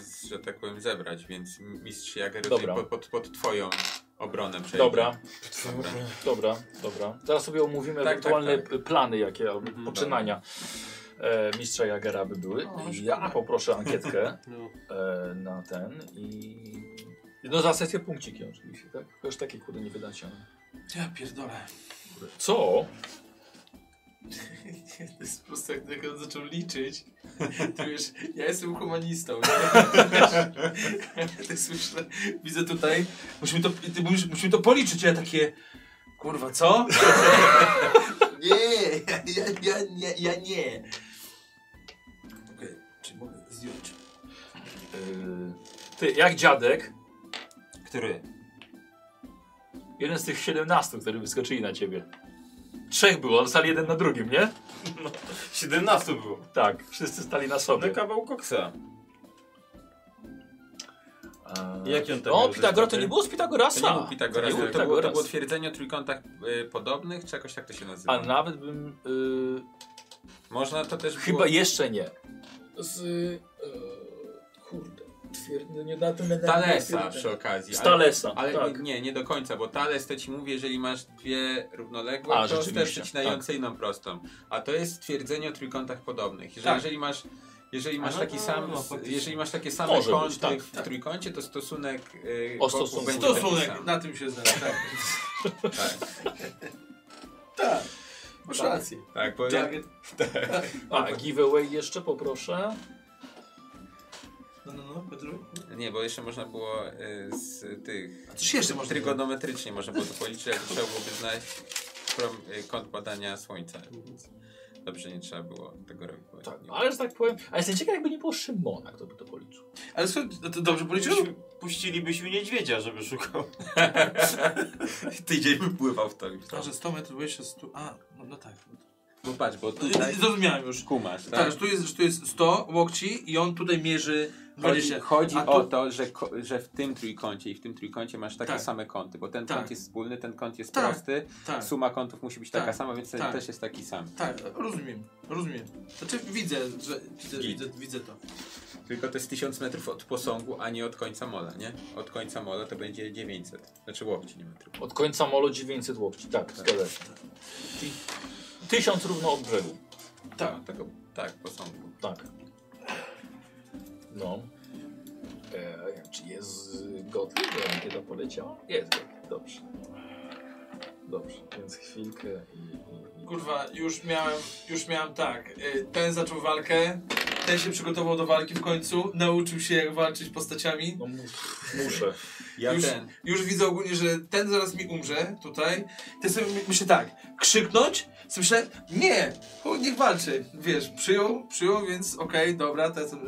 z- że tak powiem, zebrać, więc mistrz Jager tutaj Dobra. pod, pod, pod twoją obronę przejdzie. Dobra, Dobra. dobra, dobra. Teraz sobie omówimy Tak, tak, ewentualne tak. p- plany, jakie albo poczynania e, mistrza Jagera by były. I ja poproszę ankietkę No. e, na ten i... No za sesję punkciki oczywiście, tak? Już takie kurde nie wydacie. ale- Ja pierdolę. Co? To jest po prostu jak tylko zaczął liczyć, to wiesz, ja jestem humanistą. nie? To jest, myślę, Widzę tutaj. Musimy to, ty mówisz, musimy to policzyć, a ja takie. Kurwa, co? Nie, ja, ja, ja, ja, ja nie. Okej, czy mogę zdjąć? E, ty, jak dziadek, Który? jeden z tych 17, który wyskoczyli na ciebie. Trzech było, ale stali jeden na drugim, nie? 17 było. Tak, wszyscy stali na Na No, sobie. kawał koksa. E, Jaki on tam o, miał Pitagora to zestaw, nie było z To Pitagorasa. nie był Pitagoras, To nie był to, to, było, to Pitagoras. było twierdzenie o trójkątach y, podobnych, czy jakoś tak to się nazywa. A nawet bym... y, Można to też Chyba było... jeszcze nie. Z. kurde. Twierdzenie na tym Talesa przy okazji. Z ale- Talesa. Ale tak. nie- nie, nie do końca, bo Thales to ci mówię, jeżeli masz dwie równoległe, A, to rzeczywiście, tak. też przecinające jedną prostą. A to jest twierdzenie o trójkątach podobnych. Jeżeli, Tak. jeżeli masz, jeżeli masz, no taki to- sam, no, faktycznie. jeżeli masz takie same Może być, kąty tak, w trójkącie, to stosunek yy, O stosunek. będzie taki Stosunek, sam. na tym się znalazł. Tak. Tak, Masz rację. tak, bo ja, Tak. A, giveaway jeszcze poproszę. No, no, no, Pedro. nie, bo jeszcze można było y, z tych A coś jeszcze można było? Trygonometrycznie można było to policzyć, ale trzeba byłoby znaleźć prom- y, kąt badania słońca. Więc dobrze, nie trzeba było tego robić. bo Tak, nie- ale że tak powiem. A jestem ciekaw, jakby nie było Szymona, kto by to policzył. Ale co, to dobrze policzyłem? Puścili- Puścilibyśmy niedźwiedzia, żeby szukał. Tydzień wypływał w to już. A, że 100 metrów, jeszcze 100. A, no, no tak. Tak. Bo patrz, bo No, tutaj Zrozumiałem już. kumasz, Tak, że, tu jest, że tu jest 100 łokci i on tutaj mierzy Chodzi, 20. chodzi No A tu- o to, że, ko- że w tym trójkącie i w tym trójkącie masz takie Tak. same kąty, bo ten Tak. kąt jest wspólny, ten kąt jest Tak. prosty, Tak, suma kątów musi być taka Tak. sama, więc ten Tak. też jest taki sam. tak, rozumiem, rozumiem. Znaczy widzę, że widzę, widzę, widzę to. Tylko to jest 1000 metrów od posągu, a nie od końca mola, nie? Od końca mola to będzie 900, znaczy łokci, nie metrów. Od końca molo 900 łokci. Tak, zgadza się. Czyli Tysiąc równo od brzegu. Tak. Tego, tak, posągu. Tak. No. E, czy jest gotowy? Kiedy poleciała? Jest gotowy. Dobrze. Dobrze, więc chwilkę i... i, i... kurwa, już miałem, już miałem tak, y, ten zaczął walkę, ten się przygotował do walki w końcu, nauczył się jak walczyć postaciami, No mus, muszę. Ja już, ten. już widzę ogólnie, że ten zaraz mi umrze tutaj. To sobie my- myślę tak, krzyknąć? Sobie Myślę, nie, chuj, niech walczy. Wiesz, przyjął, przyjął, więc okej, dobra, to ja sobie,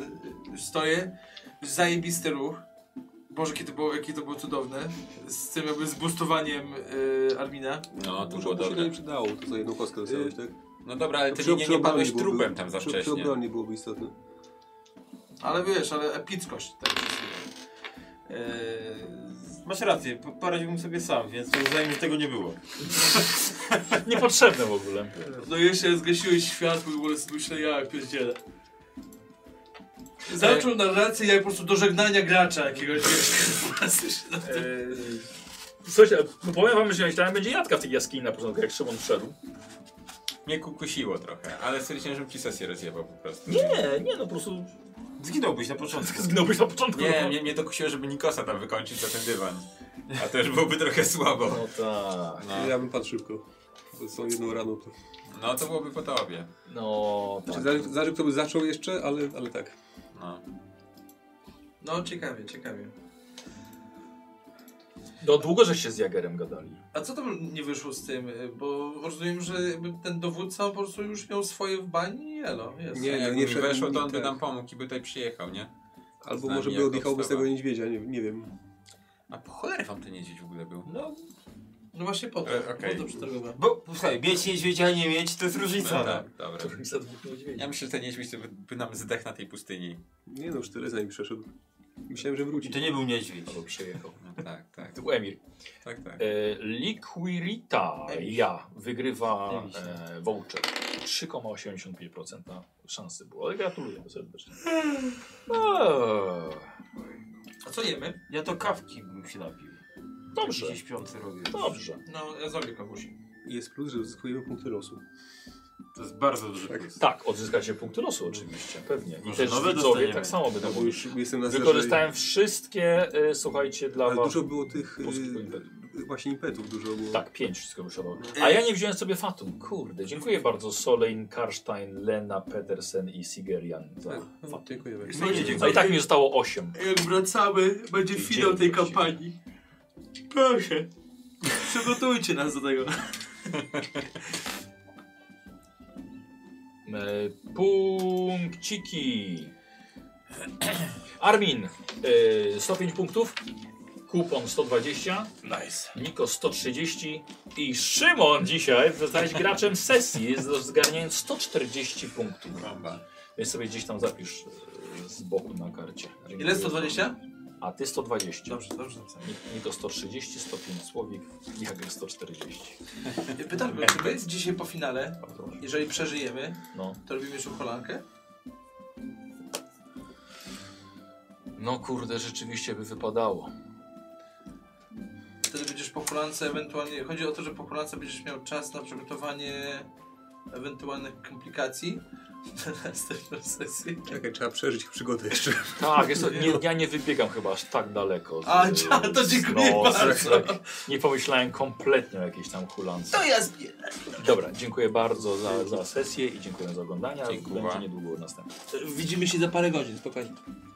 y, stoję. Zajebisty ruch. Boże, jakie to było, jakie to było cudowne. Z tym jakby zbustowaniem y, Armina. No, to Może było by się to dobre. nie przydało, to za jedną kostkę dostałeś, tak? No dobra, ale ty Przy- nie, przy nie padłeś obronie byłoby- trupem tam za przy- Przy wcześnie. obronie byłoby istotne. Ale wiesz, ale epickość tego wszystkiego. Y, Masz rację, po- poradziłbym sobie sam, więc uznajmy, że tego nie było. Niepotrzebne w ogóle. No jeszcze zgasiłeś światło i w ogóle sobie myślę, ja pierdzielę. Zaczął narrację jak po prostu do żegnania gracza jakiegoś, wiesz, Słuchajcie, no powiem wam, że myślałem, będzie jadka w tej jaskini na początku, jak Szymon wszedł. Mnie kukusiło trochę, ale stwierdziłem, żebym ci sesję rozjebał po prostu. Nie, nie, no po prostu Zginąłbyś na początku. zginąłbyś na początku. Nie, no. mnie, mnie to kusiło, żeby Nikosa tam wykończyć za ten dywan. A to już byłoby trochę słabo. No tak. No. Ja bym padł szybko. To są jedną raną. To. No to byłoby po tobie. No, Znaczy, zależy, zależy, kto by zaczął jeszcze, ale, ale tak. No. No ciekawie, ciekawie. no długo żeście z Jagerem gadali. A co tam nie wyszło z tym? y, Bo rozumiem, że jakby ten dowódca po prostu już miał swoje w bani i elo, jest. Nie, Jak nie mi wszedł weszło, to nikt, on by tak. nam pomógł i by tutaj przyjechał, nie? Albo Znam może by jako odjechałby z tego wstawa. niedźwiedzia, nie, nie wiem. A po cholerę wam ten niedźwiedź w ogóle był? No, no właśnie po to. E, okej. Po to przetargowałem. Bo, słuchaj, mieć niedźwiedzia, nie mieć, to jest różnica. No, No, tak, dobra. Za dwóch niedźwiedzi. Ja myślę, że ten niedźwiedź to by, by nam zdech na tej pustyni. Nie no, już tyle zanim przeszedł. Myślałem, że wróci. I to nie był niedźwiedź. Albo przyjechał. No, tak, tak, To był Emir. tak, tak. E, Liquirita ja wygrywa Emiś, e, voucher. 3,85% na szansy było, ale gratuluję serdecznie. No. Eee, A co jemy? Ja to kawki bym się napił. Dobrze, Gdzieś śpiący robię. dobrze. No, ja zrobię kogoś. Jest plus, że uzyskujemy punkty losu. To jest bardzo duży plus. Tak, odzyskacie punkty losu oczywiście, pewnie. I Może też nowe widzowie dostaniemy. tak samo będą No bo mówić. już jestem na zero, Wykorzystałem wszystkie, e, słuchajcie, dla Ale was. dużo było tych y, polskiego impetu. właśnie impetów dużo było. Tak, pięć wszystko wyszadowało. Y- A ja nie wziąłem sobie Fatum. Kurde, dziękuję bardzo Solein, Karstein, Lena, Petersen i Sigerian. Za... Tak, no, dziękujemy. Słuchajcie, A i tak mi zostało osiem. Jak wracamy, będzie Dzień finał tej dobry. kampanii. Proszę. Przygotujcie nas do tego. E, Punkciki. Armin e, 105 punktów, Kupon 120, Nice. Niko 130 i Szymon dzisiaj zostałeś graczem sesji, z- zgarniając 140 punktów. Bomba. Więc sobie gdzieś tam zapisz e, z boku na karcie. Ile? 120? A ty 120. Dobrze, dobrze napisałem. Nik- Niko 130, 105 Słowik, Jager 140. Pytanko, czy my dzisiaj po finale, jeżeli przeżyjemy, No. to robimy jeszcze kolankę? no kurde, rzeczywiście by wypadało. Wtedy będziesz po hulance ewentualnie. Chodzi o to, że po hulance będziesz miał czas na przygotowanie ewentualnych komplikacji na następną sesję. Czekaj, trzeba przeżyć przygodę jeszcze. Tak, jest to, nie, ja nie wybiegam chyba aż tak daleko. z- no. A, ja, to z dziękuję bardzo. tak. Nie pomyślałem kompletnie o jakiejś tam hulance. To ja zbieram. Dobra, dziękuję bardzo za, za sesję i dziękuję za oglądanie. Dziękuję. Będzie niedługo następne. Widzimy się za parę godzin, spokojnie.